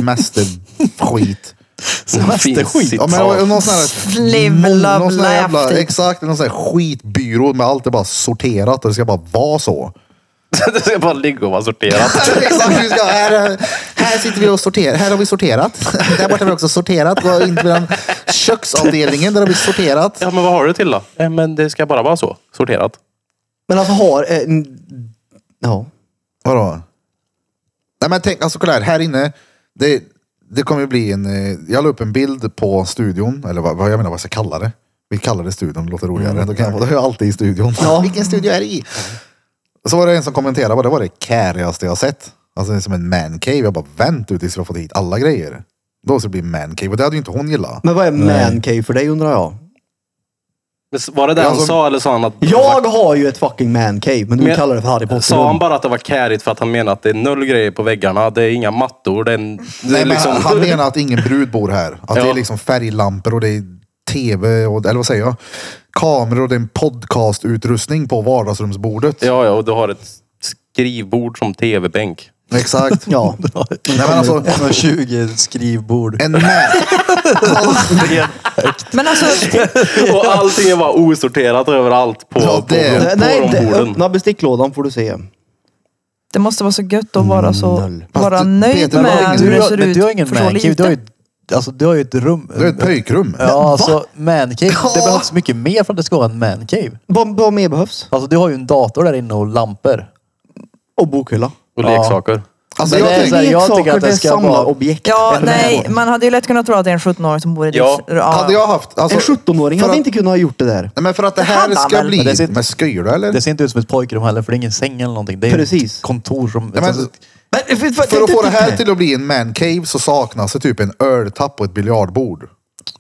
Speaker 1: semesterskit.
Speaker 4: Semesterskit.
Speaker 1: Ja, men och någon sån här...
Speaker 5: Sliv,
Speaker 1: Någon-
Speaker 5: love,
Speaker 1: någon sån här jävla,
Speaker 5: laugh, typ.
Speaker 1: Exakt, någon sån här skitbyrå med allt är bara sorterat och det ska bara vara så.
Speaker 2: det ska bara ligga och vara sorterat.
Speaker 1: exakt, vi ska, här, här sitter vi och sorterar. Här har vi sorterat. Där borta har vi också sorterat. Och in till den köksavdelningen där har vi sorterat.
Speaker 2: Ja, men vad har du till då? Nej, men det ska bara vara så. Sorterat.
Speaker 3: Men alltså har... eh, n- Ja.
Speaker 1: Vadå? Nej men tänk, alltså kolla här, här inne. Det, det kommer ju bli en, eh, jag la upp en bild på studion, eller vad, vad jag menar vad jag ska kalla det. Vi kallar det studion, det låter roligare. Då, kan jag, då är jag alltid i studion. Vilken studio är det i? Så var det en som kommenterade, bara, det var det kärigaste jag sett. Alltså det är som en mancave. Jag bara vänt ut tills vi har fått hit alla grejer. Då ska det bli mancave och det hade ju inte hon gillat.
Speaker 3: Men vad är mancave för dig undrar jag?
Speaker 2: Men s- Var det det
Speaker 1: Ja, alltså- som-
Speaker 2: han sa eller sa han att...
Speaker 3: Jag har ju ett fucking mancave men du
Speaker 2: Men-
Speaker 3: kallar det för Harry Potter.
Speaker 2: Sa han bara att det var kärigt för att han menar att det är noll grejer på väggarna, det är inga mattor, det är, en, det
Speaker 1: Nej,
Speaker 2: är
Speaker 1: men
Speaker 2: liksom...
Speaker 1: han- Han menar att ingen brud bor här. Att det
Speaker 2: Ja.
Speaker 1: är liksom färglampor och det är tv och, eller vad säger jag? Kameror och det är en podcastutrustning på vardagsrumsbordet.
Speaker 2: Ja, ja, och du har ett skrivbord som tv-bänk.
Speaker 1: Exakt.
Speaker 3: Ja.
Speaker 1: Nej, men alltså,
Speaker 4: 1,20 skrivbord.
Speaker 1: en man.
Speaker 5: Men alltså,
Speaker 2: Och allting är bara osorterat överallt på,
Speaker 1: Ja, det-
Speaker 2: på, på,
Speaker 3: Nej,
Speaker 2: de
Speaker 3: det-
Speaker 2: borden.
Speaker 3: öppna besticklådan får du se.
Speaker 5: det måste vara så gött att vara så...
Speaker 3: Noll.
Speaker 5: Vara
Speaker 1: Fast du-
Speaker 5: nöjd
Speaker 1: Peter,
Speaker 4: Men,
Speaker 1: vad-
Speaker 5: med
Speaker 4: du,
Speaker 5: hur det
Speaker 4: har-
Speaker 5: ser
Speaker 4: men
Speaker 5: ut.
Speaker 4: du har ingen
Speaker 5: för så
Speaker 4: mancave. Du
Speaker 5: lite.
Speaker 4: har ju, alltså, du har ju ett rum.
Speaker 1: Det är ett pojkrum.
Speaker 4: Ja, alltså mancave. Det behövs mycket mer för att det ska vara en mancave.
Speaker 3: Vad, vad mer behövs?
Speaker 4: Alltså du har ju en dator där inne och lampor.
Speaker 3: Och bokhylla.
Speaker 2: Och leksaker.
Speaker 1: Alltså,
Speaker 4: Men
Speaker 1: jag
Speaker 4: det är så
Speaker 1: tänker,
Speaker 4: här, jag
Speaker 3: Leksaker,
Speaker 4: tycker att det ska
Speaker 3: samlar
Speaker 4: vara-
Speaker 3: objekt.
Speaker 5: Ja, nej, man hade ju lätt kunnat tro att det är en 17-åring som bor i
Speaker 2: Ja.
Speaker 5: ditt... Ja.
Speaker 1: hade jag haft... Alltså,
Speaker 3: En 17-åring
Speaker 1: för
Speaker 3: hade
Speaker 1: att-
Speaker 3: inte kunnat ha gjort det där.
Speaker 1: Nej, men för att det
Speaker 5: Det hade
Speaker 1: här
Speaker 5: han
Speaker 1: ska
Speaker 5: väl.
Speaker 1: bli
Speaker 4: Men det sitter-
Speaker 1: med skyra eller?
Speaker 4: Det ser inte ut som ett pojkrum heller för det är ingen säng eller någonting. Det är
Speaker 3: Precis.
Speaker 4: ett kontor som...
Speaker 1: Nej, men,
Speaker 4: alltså,
Speaker 3: Men,
Speaker 1: för att få det här till att bli en mancave så saknas det typ en öltapp och ett biljardbord.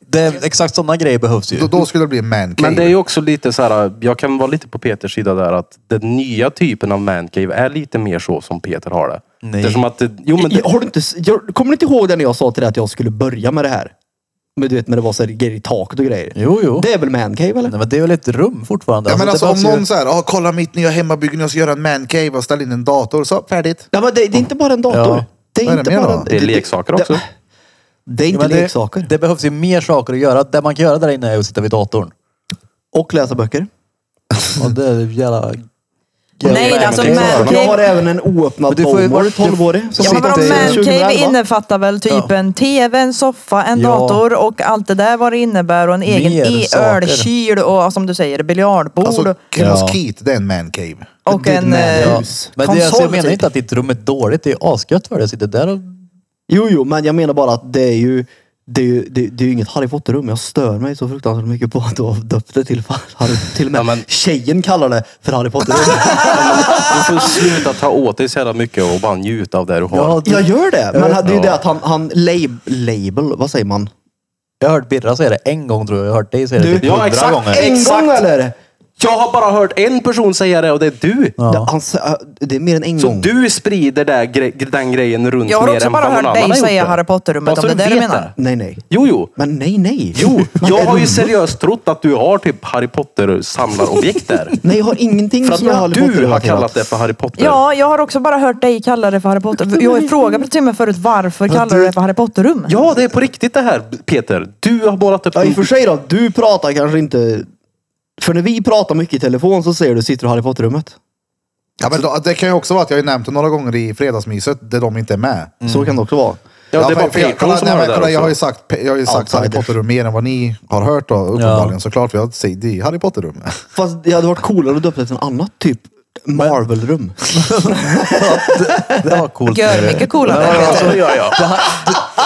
Speaker 4: det är, exakt sådana grejer behövs ju.
Speaker 1: alltså- Då, då skulle det bli en mancave.
Speaker 2: Men det är ju också lite så här, jag kan vara lite på Peters sida där att den nya typen av mancave är lite mer så som Peter har det.
Speaker 4: Nej.
Speaker 2: Det är som att det, jo, men det,
Speaker 3: Har du inte, s- jag, kommer du inte ihåg det när jag sa till dig att jag skulle börja med det här? Men du vet när det var så här grejer i taket och grejer.
Speaker 4: Jo, jo.
Speaker 3: Det är väl mancave eller?
Speaker 4: Nej, men det är väl ett rum fortfarande?
Speaker 1: Ja, men alltså,
Speaker 4: det
Speaker 1: om
Speaker 4: behövs ju-
Speaker 1: någon säger, ah, kolla mitt nya hemmabygge, jag ska göra en mancave och ställa in en dator. Så, färdigt.
Speaker 3: Ja, men det, det är inte bara en dator.
Speaker 4: Ja.
Speaker 3: Det
Speaker 1: Vad är
Speaker 3: är
Speaker 1: det
Speaker 3: inte
Speaker 1: mer
Speaker 3: bara
Speaker 1: då?
Speaker 3: en,
Speaker 2: det är leksaker också.
Speaker 3: Det, det är
Speaker 4: Ja,
Speaker 3: inte
Speaker 4: men det-
Speaker 3: leksaker.
Speaker 4: Det behövs ju mer saker att göra. Det man kan göra där inne är att sitta vid datorn.
Speaker 3: och läsa böcker.
Speaker 4: Och det är jävla...
Speaker 5: Nej, det är alltså
Speaker 4: Det är klart.
Speaker 5: mancave-
Speaker 3: Jag har även en oöppnad
Speaker 4: Men du får ju
Speaker 3: Bowmore,
Speaker 4: vara-
Speaker 3: 12-årig. som
Speaker 4: Ja,
Speaker 5: Ja, men
Speaker 4: Sitter
Speaker 5: vadå,
Speaker 4: i-
Speaker 5: mancave
Speaker 3: 2011.
Speaker 5: innefattar väl typ
Speaker 4: Ja.
Speaker 5: en tv, en soffa, en
Speaker 4: Ja.
Speaker 5: dator och allt det där vad det innebär och en egen
Speaker 4: Mer
Speaker 5: e-
Speaker 4: saker.
Speaker 5: ölkyl och som du säger biljardbord
Speaker 1: Alltså, Kenneth
Speaker 4: Ja.
Speaker 1: Keat, det är en mancave.
Speaker 5: och
Speaker 3: det är
Speaker 5: en...
Speaker 3: med-
Speaker 5: eh,
Speaker 4: Ja.
Speaker 3: Hus.
Speaker 4: Men det, alltså,
Speaker 5: Konsol,
Speaker 4: jag menar
Speaker 5: typ.
Speaker 4: inte att ditt rum är dåligt. Det är ju asgött för dig att sitta där och...
Speaker 3: Jo, jo, men jag menar bara att det är ju... Det är ju, det, det är ju inget Harry Potter-rum. Jag stör mig så fruktansvärt mycket på att du har döpt det till fa- Harry. Till och med
Speaker 2: Ja, men-
Speaker 3: tjejen kallar det för Harry Potter-rum.
Speaker 2: Du får sluta ta åt dig så jävla mycket och bara njuta av det du har.
Speaker 4: Ja,
Speaker 3: jag gör det, men det är ju
Speaker 2: Ja.
Speaker 3: det att han... han lab, label, vad säger man?
Speaker 4: Jag har hört Birra säga det en gång tror jag. Jag har hört dig säga det
Speaker 3: Du-
Speaker 4: typ
Speaker 2: Ja,
Speaker 4: hundra
Speaker 2: exakt.
Speaker 4: gånger.
Speaker 3: En
Speaker 2: Exakt.
Speaker 3: gång eller?
Speaker 2: Jag har bara hört en person säga det och det är du.
Speaker 3: Det, han, sä- det är mer än en
Speaker 2: Så
Speaker 3: gång.
Speaker 2: du sprider där, gre- den grejen runt
Speaker 5: Jag har
Speaker 2: mer
Speaker 5: också
Speaker 2: än
Speaker 5: bara
Speaker 2: vad någon
Speaker 5: hört
Speaker 2: annan
Speaker 5: dig
Speaker 2: har gjort
Speaker 5: säga
Speaker 2: det.
Speaker 5: Harry Potter-rummet,
Speaker 2: Bara så
Speaker 5: om det är det du
Speaker 2: vet
Speaker 5: menar.
Speaker 3: Nej, nej.
Speaker 2: Jo, jo.
Speaker 3: Men nej, nej.
Speaker 2: Jo,
Speaker 3: Man
Speaker 2: jag
Speaker 3: är
Speaker 2: har ju
Speaker 3: dum.
Speaker 2: seriöst trott att du har typ Harry Potter samlarobjekt där.
Speaker 3: Nej, jag har ingenting
Speaker 2: För att
Speaker 3: som jag har
Speaker 2: du har kallat det för Harry Potter.
Speaker 5: Ja, jag har också bara hört dig kalla det för Harry Potter. Jag frågade till och med förut varför kallar du det för Harry Potter-rum?
Speaker 2: Ja, det är på riktigt det här Peter. Du har målat upp
Speaker 3: Ja,
Speaker 1: Mm.
Speaker 3: i och för sig då. Du pratar kanske inte... För när vi pratar mycket i telefon så säger du sitter du i Harry Potter-rummet.
Speaker 1: Ja, men då, det kan ju också vara att jag har ju nämnt det några gånger i fredagsmyset där de inte är med.
Speaker 3: Så kan det också vara.
Speaker 2: Ja, det är
Speaker 1: för-
Speaker 2: bara
Speaker 1: för jag-
Speaker 2: Patreon
Speaker 1: kolla,
Speaker 2: som
Speaker 1: nej,
Speaker 2: har
Speaker 1: men
Speaker 2: det
Speaker 1: kolla,
Speaker 2: där
Speaker 1: Jag har ju
Speaker 2: också.
Speaker 1: sagt, jag har ju sagt Harry
Speaker 3: Outsiders.
Speaker 1: Potter-rum mer än vad ni har hört då, uppenbarligen såklart. För jag säger det är Harry Potter-rum.
Speaker 3: Fast det hade varit coolare att döpa det till något annat. Typ Marvel-rum.
Speaker 4: Det var coolt.
Speaker 5: Gör mycket coolare.
Speaker 2: Ja, så gör jag.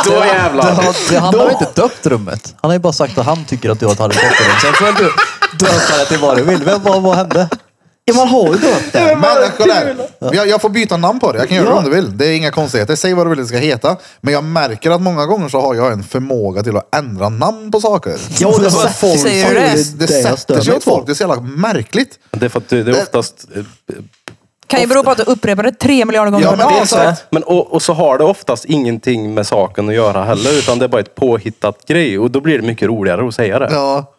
Speaker 2: Då
Speaker 4: Det,
Speaker 2: jävlar.
Speaker 4: har- det, han har ju inte döpt rummet. Han har ju bara sagt att han tycker att du har ett Harry Potter-rum. Sen får väl du döpa det till vad du vill. Men vad, vad hände?
Speaker 3: Ja, man har ju döpt det.
Speaker 1: Men kolla här. Jag, jag får byta namn på det. Jag kan göra det om du vill. Det är inga konstigheter. Säg vad du vill det ska heta. Men jag märker att många gånger så har jag en förmåga till att ändra namn på saker.
Speaker 3: Ja, det var folk.
Speaker 5: Säger du
Speaker 3: är
Speaker 5: det?
Speaker 1: Det
Speaker 3: jag stör
Speaker 1: sätter sig
Speaker 3: mig
Speaker 1: åt
Speaker 3: på.
Speaker 1: folk. Det är så jävla märkligt.
Speaker 2: Det är för att det det är oftast...
Speaker 5: Kan ju bero på att du upprepar det tre miljarder gånger
Speaker 1: Ja,
Speaker 5: per
Speaker 1: men det är
Speaker 5: dag.
Speaker 1: så.
Speaker 5: så.
Speaker 2: Men, och, och så har det oftast ingenting med saken att göra heller. Utan det är bara ett påhittat grej. Och då blir det mycket roligare att säga det.
Speaker 1: Ja.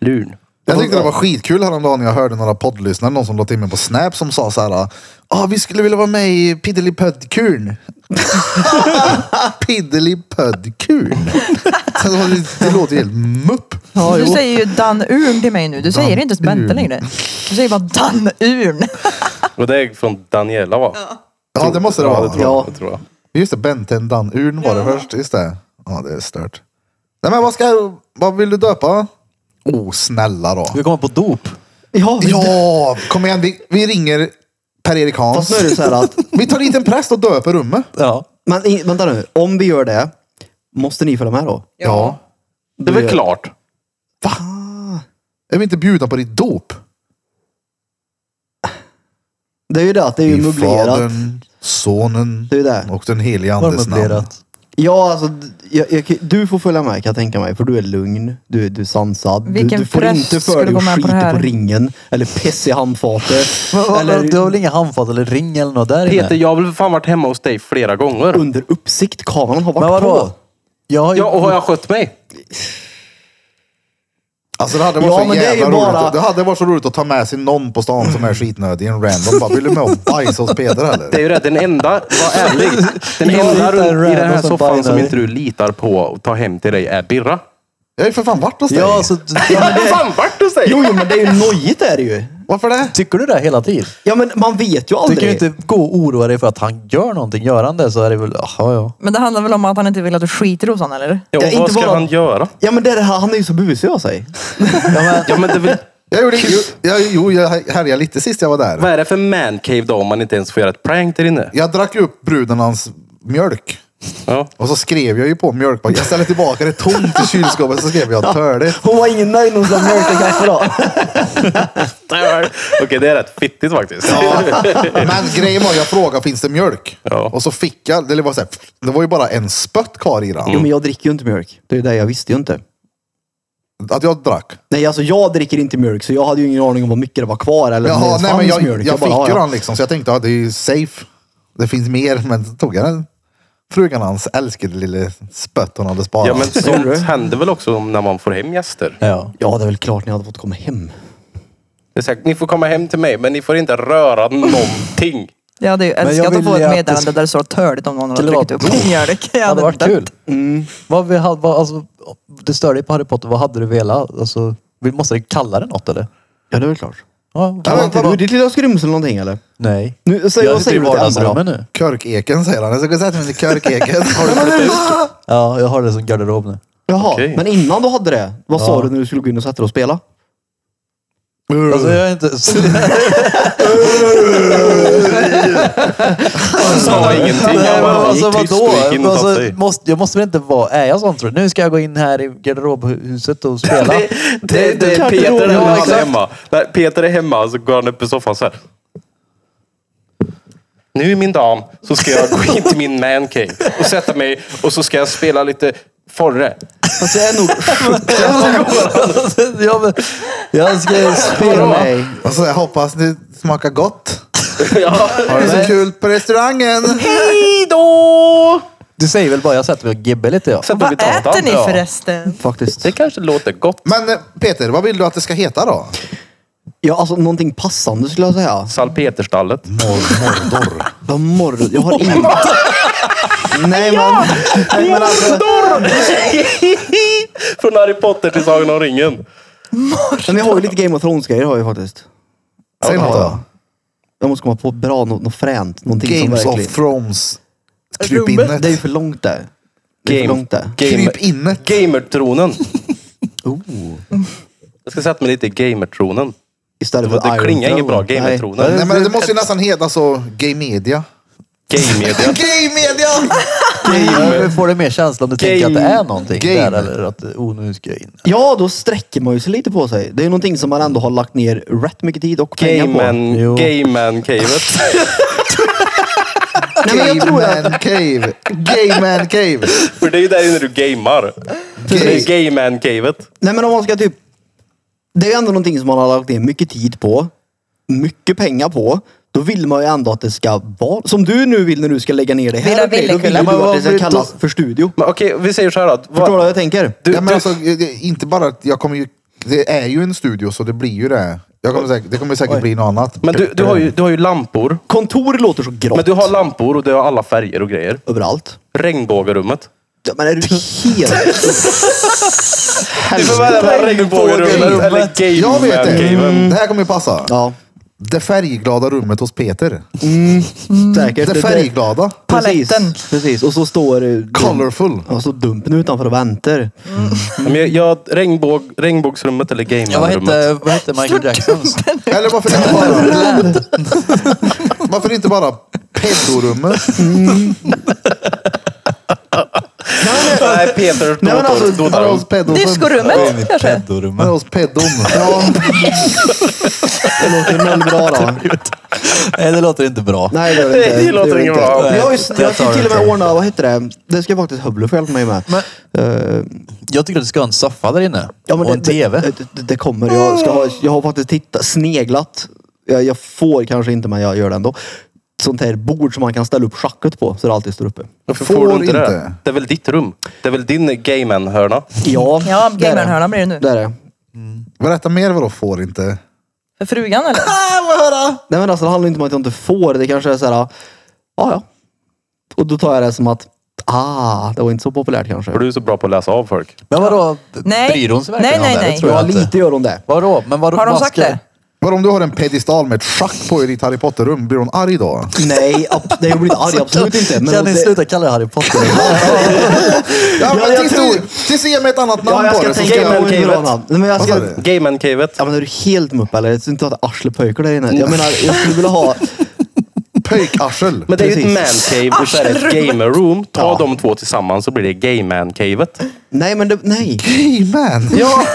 Speaker 2: Lurn.
Speaker 1: Jag tyckte det var skitkul häromdagen när jag hörde några poddlyssnare, någon som lade till mig på Snap som sa så här. ah, vi skulle vilja vara med i Piddelipöddkurn. Piddelipöddkurn. Så det var- Det låter helt mupp.
Speaker 5: Du säger ju Dan Urn till mig nu. Du säger inte ens Bente
Speaker 1: Urn.
Speaker 5: längre. Du säger bara Dan Urn.
Speaker 2: Och det är från Daniela va?
Speaker 1: Ja, det måste det
Speaker 2: Ja, det
Speaker 1: vara.
Speaker 2: tror jag. Det tror jag.
Speaker 1: Just det, Benten Dan Urn var det först. Just det. Ja, det är stört. Nej, men vad, ska, vad vill du döpa? Oh, snälla då.
Speaker 4: Vi kommer på dop.
Speaker 3: Ja,
Speaker 1: Ja, kom igen. Vi, vi ringer Per-Erik
Speaker 3: Fast nu är
Speaker 1: Hans.
Speaker 3: det så här att,
Speaker 1: Vi tar dit en präst och döper rummet.
Speaker 4: Ja.
Speaker 3: men i- vänta nu, om vi gör det, måste ni följa med då?
Speaker 1: Ja.
Speaker 2: Det är väl klart.
Speaker 1: Är vi inte bjudna på ditt dop?
Speaker 3: Det är ju det att det är ju
Speaker 1: I
Speaker 3: möblerat.
Speaker 1: Fadern, Sonen
Speaker 3: Det är ju det.
Speaker 1: och den helige
Speaker 4: Var
Speaker 1: Andes namn.
Speaker 4: möblerat.
Speaker 3: Ja, alltså, d- jag, jag, kan- du får följa med kan jag tänka mig, för du är lugn, du, du är sansad. Du,
Speaker 5: Vilken
Speaker 3: du får
Speaker 5: präst
Speaker 3: inte för
Speaker 5: skulle
Speaker 3: dig
Speaker 5: gå
Speaker 3: och
Speaker 5: med på det
Speaker 3: skita
Speaker 5: här?
Speaker 3: på ringen, eller piss i handfatet,
Speaker 4: Men, vad,
Speaker 3: eller
Speaker 4: Du har väl inga handfat eller ring eller något där
Speaker 2: Peter,
Speaker 4: inne?
Speaker 2: jag har väl för fan varit hemma hos dig flera gånger.
Speaker 3: under uppsikt. Kameran har
Speaker 4: Men
Speaker 3: varit
Speaker 4: vadå?
Speaker 3: på.
Speaker 4: Jag har ju...
Speaker 2: Ja, och har jag skött mig?
Speaker 1: Alltså det hade varit
Speaker 3: Ja,
Speaker 1: så
Speaker 3: men det är ju
Speaker 1: jävla roligt.
Speaker 3: bara-
Speaker 1: Det hade varit så roligt att ta med sig någon på stan som är skitnödig. En random. Bara, vill du med och bajsa hos Peder eller?
Speaker 2: Det är ju det, den enda, var ärlig, den
Speaker 4: Jag
Speaker 2: enda
Speaker 4: hittar en
Speaker 2: runt i den
Speaker 4: random
Speaker 2: här
Speaker 4: som
Speaker 2: soffan som
Speaker 4: binary.
Speaker 2: inte du litar på och tar hem till dig är Birra.
Speaker 1: Jag har ju för fan varit hos dig.
Speaker 4: Ja,
Speaker 3: alltså-
Speaker 4: så,
Speaker 2: Jag har fan varit hos dig!
Speaker 3: Jo, jo, men det är ju nojigt är det ju.
Speaker 1: Varför det?
Speaker 4: tycker du det hela tiden?
Speaker 3: Ja, men man vet ju
Speaker 4: Du
Speaker 3: aldrig.
Speaker 4: kan ju inte gå och oroa dig för att han gör någonting. Gör han det så är det väl... Ja, ja.
Speaker 5: Men det handlar väl om att han inte vill att du skiter hos honom eller?
Speaker 2: Ja,
Speaker 3: Ja,
Speaker 2: och
Speaker 3: inte
Speaker 2: vad ska
Speaker 3: bara-
Speaker 2: han göra?
Speaker 3: Ja, men det är det här, han är ju så busig av sig.
Speaker 4: ja men,
Speaker 2: Ja, men det är väl,
Speaker 1: Jag gjorde, jo, jag, jo, jag härjade lite sist jag var där.
Speaker 2: vad är det för mancave då om man inte ens får göra ett prank där inne?
Speaker 1: Jag drack ju upp bruden hans mjölk.
Speaker 2: Ja.
Speaker 1: Och så skrev jag ju på mjölk. bara, Jag ställer tillbaka det tomt i kylskåpet. Så skrev jag törligt.
Speaker 3: Hon var ingen nöjd när hon sa mjölk och kaffe då.
Speaker 2: Okej, det är rätt fittigt faktiskt.
Speaker 1: Men grejen var, jag frågade finns det mjölk?
Speaker 2: Ja.
Speaker 1: Och så fick jag, det var, så här, det var ju bara en spött kvar i den.
Speaker 2: Mm.
Speaker 3: Jo, men jag dricker ju inte mjölk. Det är ju det jag visste ju inte.
Speaker 1: Att jag drack.
Speaker 3: Nej, alltså jag dricker inte mjölk, så jag hade ju ingen aning om vad mycket det var kvar eller om det
Speaker 1: Jaha,
Speaker 3: ens
Speaker 1: nej,
Speaker 3: fanns
Speaker 1: men jag,
Speaker 3: mjölk.
Speaker 1: jag,
Speaker 3: bara,
Speaker 1: fick ju
Speaker 3: ja, ja.
Speaker 1: den liksom. Så jag tänkte, ja, det är ju safe. Det finns mer, men så tog jag den. Frugan hans älskade lille spött hon hade sparat.
Speaker 2: Ja, men sånt händer väl också om när man får hem gäster.
Speaker 4: ja.
Speaker 3: Ja, det är väl klart ni hade fått komma hem.
Speaker 2: Det är säkert, ni får komma hem till mig, men ni får inte röra någonting.
Speaker 5: Jag hade ju
Speaker 4: jag
Speaker 5: älskat
Speaker 4: vill
Speaker 5: att få
Speaker 4: ju
Speaker 5: ett
Speaker 4: att det
Speaker 5: meddelande
Speaker 4: sk-
Speaker 5: där det står törligt om någon har
Speaker 4: Skulle vara
Speaker 5: tryckt upp mjölk. Jag
Speaker 4: Det hade varit
Speaker 5: dött.
Speaker 4: kul. Vad vi hade, vad, alltså, det störde på Harry Potter. Vad hade du velat? Alltså, vi måste kalla det något eller?
Speaker 3: Ja, det är väl klart.
Speaker 4: Ja,
Speaker 1: Ja,
Speaker 4: kan man
Speaker 1: men
Speaker 4: inte
Speaker 1: vad-
Speaker 3: Du,
Speaker 4: bara...
Speaker 3: ditt lilla skrymsel någonting eller?
Speaker 4: Nej.
Speaker 3: Nu, säg,
Speaker 4: Jag
Speaker 3: vad säger
Speaker 4: sitter i
Speaker 3: du till Emma
Speaker 4: vardagsrummet
Speaker 3: då?
Speaker 4: nu.
Speaker 1: Körkeken säger han. Jag ska sätta mig till körkeken. Har du fått ut?
Speaker 4: Ja, jag har det som garderob nu.
Speaker 3: Jaha,
Speaker 2: Okej.
Speaker 3: men innan du hade det, vad sa
Speaker 4: Ja.
Speaker 3: du när du skulle gå in och sätta dig och spela?
Speaker 4: Alltså jag är inte...
Speaker 2: Han sa ingenting.
Speaker 4: Nej,
Speaker 2: Han
Speaker 4: men
Speaker 2: bara
Speaker 4: alltså
Speaker 2: gick tyst
Speaker 4: vadå?
Speaker 2: och gick in och satte
Speaker 4: Alltså,
Speaker 2: sig.
Speaker 4: måste, jag måste väl inte vara... Är jag sån tror du? Nu ska jag gå in här i garderobhuset och spela.
Speaker 2: Det, det, det är
Speaker 4: Klart
Speaker 2: Peter
Speaker 4: roligt.
Speaker 2: när
Speaker 4: Ja,
Speaker 2: han är
Speaker 4: exakt.
Speaker 2: hemma. När Peter är hemma så går han upp i soffan så här. Nu min dam så ska jag gå in till min mancave och sätta mig och så ska jag spela lite Forre.
Speaker 3: Fast jag är nog 70.
Speaker 4: ja, men, jag ska
Speaker 3: För
Speaker 4: spela.
Speaker 3: mig.
Speaker 1: Och så jag hoppas det smakar gott.
Speaker 2: ja.
Speaker 1: Har det så kul på restaurangen.
Speaker 2: Hej då!
Speaker 4: Du säger väl bara jag sätter mig och gibbar lite ja.
Speaker 2: Sätt
Speaker 5: Vad
Speaker 2: upp i tatan.
Speaker 5: äter ni
Speaker 2: Ja.
Speaker 5: förresten?
Speaker 3: Faktiskt.
Speaker 2: Det kanske låter gott.
Speaker 1: Men eh, Peter, vad vill du att det ska heta då?
Speaker 3: Ja, alltså någonting passande skulle jag säga.
Speaker 2: Salpeterstallet.
Speaker 1: Mor- Mordor.
Speaker 3: Vad morr... Jag har ingen... Nej men... Nej, men alltså,
Speaker 2: Från Harry Potter till Sagan om ringen.
Speaker 3: men jag har ju lite Game of Thrones-grejer har jag ju faktiskt.
Speaker 1: Säg något då.
Speaker 3: Ja. Jag måste komma på bra, något, något fränt. Någonting
Speaker 1: Games
Speaker 3: som
Speaker 1: of
Speaker 3: verkligen...
Speaker 1: Thrones. Kryp
Speaker 3: Rummet. Det är ju
Speaker 1: innet.
Speaker 3: för långt där. Det är för
Speaker 2: Game-
Speaker 3: långt där.
Speaker 2: Game,
Speaker 1: Kryp innet.
Speaker 2: gamertronen.
Speaker 3: Oh.
Speaker 2: Jag ska sätta mig lite i gamertronen.
Speaker 3: Istället
Speaker 2: Det-
Speaker 3: för
Speaker 2: det
Speaker 3: Iron
Speaker 2: klingar inget bra,
Speaker 3: Throne.
Speaker 2: Game of
Speaker 3: Nej.
Speaker 2: Thrones.
Speaker 1: Nej men det måste ju nästan heta så, Gay Media.
Speaker 2: Game-media.
Speaker 1: Gay Media!
Speaker 4: Du får det mer känsla om du tänker att det är någonting
Speaker 1: Game.
Speaker 4: där eller att oh, nu ska jag in.
Speaker 3: Ja, då sträcker man ju sig lite på sig. Det är ju någonting som man ändå har lagt ner rätt mycket tid och pengar på.
Speaker 4: Jo.
Speaker 2: Game-man-cavet.
Speaker 3: Nej, men jag
Speaker 1: Gay
Speaker 3: tror att...
Speaker 1: Man Cave. Gay Man Cave.
Speaker 2: För det är ju där inne du gamar. Det är game-man-cavet.
Speaker 3: Nej men om man ska typ... Det är ju ändå någonting som man har lagt ner mycket tid på. Mycket pengar på. Då vill man ju ändå att det ska vara... Som du nu vill när du ska lägga ner det här.
Speaker 5: Vill jag
Speaker 3: okej, då vill
Speaker 5: villekulla,
Speaker 3: ju
Speaker 2: men
Speaker 3: du
Speaker 2: vad
Speaker 3: att det ska
Speaker 2: blir det
Speaker 3: kallas
Speaker 2: då?
Speaker 3: för studio.
Speaker 2: Men okej, vi säger så här då. Vad-
Speaker 3: Förstår du vad jag tänker?
Speaker 2: Du,
Speaker 1: ja, men
Speaker 2: du,
Speaker 1: alltså, eh, det- inte bara att jag kommer ju, det är ju en studio så det blir ju det. Jag kommer säkert, det kommer säkert bli något annat.
Speaker 2: men du, du, har ju, du har ju lampor.
Speaker 3: Kontor låter så grått.
Speaker 2: Men du har lampor och du har alla färger och grejer.
Speaker 3: Överallt.
Speaker 2: Regnbågarummet.
Speaker 3: Ja, men är du helt...
Speaker 2: Du får välja mellan regnbågarummet
Speaker 4: Regnbågarummet.
Speaker 2: eller
Speaker 1: Jag vet det.
Speaker 2: game-man-cavet.
Speaker 1: Det här kommer ju passa.
Speaker 3: ja,
Speaker 1: Det färgglada rummet hos Peter.
Speaker 3: säkert.
Speaker 1: Det färgglada.
Speaker 3: Precis,
Speaker 5: Paletten.
Speaker 3: Precis, och så står... eh,
Speaker 1: Colorful.
Speaker 3: Ja, så dumpen utanför och väntar.
Speaker 2: Men jag, jag, regnbåg, regnbågsrummet eller game
Speaker 4: Ja, vad,
Speaker 2: rummet
Speaker 4: hette, vad hette Michael Jacksons?
Speaker 1: Eller varför inte bara... varför inte bara pedorummet?
Speaker 2: Nej, Peter
Speaker 1: Nej men alltså,
Speaker 2: Dotar-
Speaker 1: bara hos
Speaker 2: Dotarum.
Speaker 1: pedon.
Speaker 5: Discorummet kanske?
Speaker 1: Bara hos pedon. Ja,
Speaker 3: alltså, Det låter noll bra då.
Speaker 4: Nej, det låter inte bra.
Speaker 3: Nej, det gör
Speaker 2: Nej,
Speaker 3: det inte.
Speaker 2: det låter
Speaker 3: gör
Speaker 2: inget
Speaker 3: inte.
Speaker 2: bra.
Speaker 3: Jag har ju
Speaker 4: Nej,
Speaker 3: jag
Speaker 4: jag tar
Speaker 3: ska till och
Speaker 4: det.
Speaker 3: med ordna, vad heter det? Det ska faktiskt Hubble få hjälpa mig med. Eh,
Speaker 4: Jag tycker att du ska ha en soffa där inne.
Speaker 3: ja, men
Speaker 4: och en
Speaker 3: det,
Speaker 4: TV.
Speaker 3: Det, det, det kommer. Jag, ska ha, jag har faktiskt tittat, sneglat. Jag, jag får kanske inte men jag gör det ändå. Sånt här bord som man kan ställa upp schacket på så det alltid står uppe.
Speaker 2: Varför
Speaker 1: Får
Speaker 2: får du inte det?
Speaker 1: inte.
Speaker 2: Det är väl ditt rum? Det är väl din game-man-hörna?
Speaker 3: Ja,
Speaker 5: Ja,
Speaker 3: det är det.
Speaker 5: gamerhörnan blir det nu.
Speaker 3: Det är det.
Speaker 1: Berätta mer vadå får inte?
Speaker 5: För frugan eller?
Speaker 3: Nej men alltså det handlar inte om att jag inte får. Det kanske är såhär, ja ja. Och då tar jag det som att, ah, det var inte så populärt kanske.
Speaker 2: För du är så bra på att läsa av folk.
Speaker 4: Men vadå?
Speaker 5: Nej.
Speaker 4: Bryr hon sig verkligen
Speaker 5: Nej, nej,
Speaker 4: om det?
Speaker 5: nej.
Speaker 4: Det tror
Speaker 3: Ja,
Speaker 4: jag
Speaker 3: lite
Speaker 4: inte.
Speaker 3: gör hon det.
Speaker 4: Vadå? Men vadå?
Speaker 5: Har de
Speaker 4: vad
Speaker 5: sagt
Speaker 4: ska-
Speaker 5: det?
Speaker 1: Var om du har en pedestal med ett schack på i ditt Harry Potter-rum, blir hon arg då?
Speaker 3: Nej, ab- nej jag blir inte arg, absolut inte. Men
Speaker 4: kan ni
Speaker 3: det-
Speaker 4: sluta kalla det Harry Potter?
Speaker 1: Ja, men
Speaker 3: jag
Speaker 1: tills,
Speaker 3: tror-
Speaker 1: du, tills du ger mig ett annat namn
Speaker 3: Ja, jag
Speaker 1: på
Speaker 3: ska
Speaker 1: det så
Speaker 3: tänka
Speaker 1: ska
Speaker 3: på
Speaker 1: jag...
Speaker 2: jag-
Speaker 3: en bra namn. Nej, men jag ska...
Speaker 1: Vad sa du?
Speaker 2: Game-man-cavet.
Speaker 3: Ja men är du helt mupp eller? Jag tror inte att arsle pöjkar där inne. Jag menar, jag skulle vilja ha...
Speaker 1: Pöjkarsel.
Speaker 2: Men det är ju ett
Speaker 3: Precis.
Speaker 2: man-cave och så är det ett
Speaker 5: Arselrummet.
Speaker 2: gamer-room. Ta
Speaker 3: Ja.
Speaker 2: de två tillsammans så blir det game-man-cavet.
Speaker 3: Nej men det, nej.
Speaker 1: Gay man!
Speaker 3: Ja,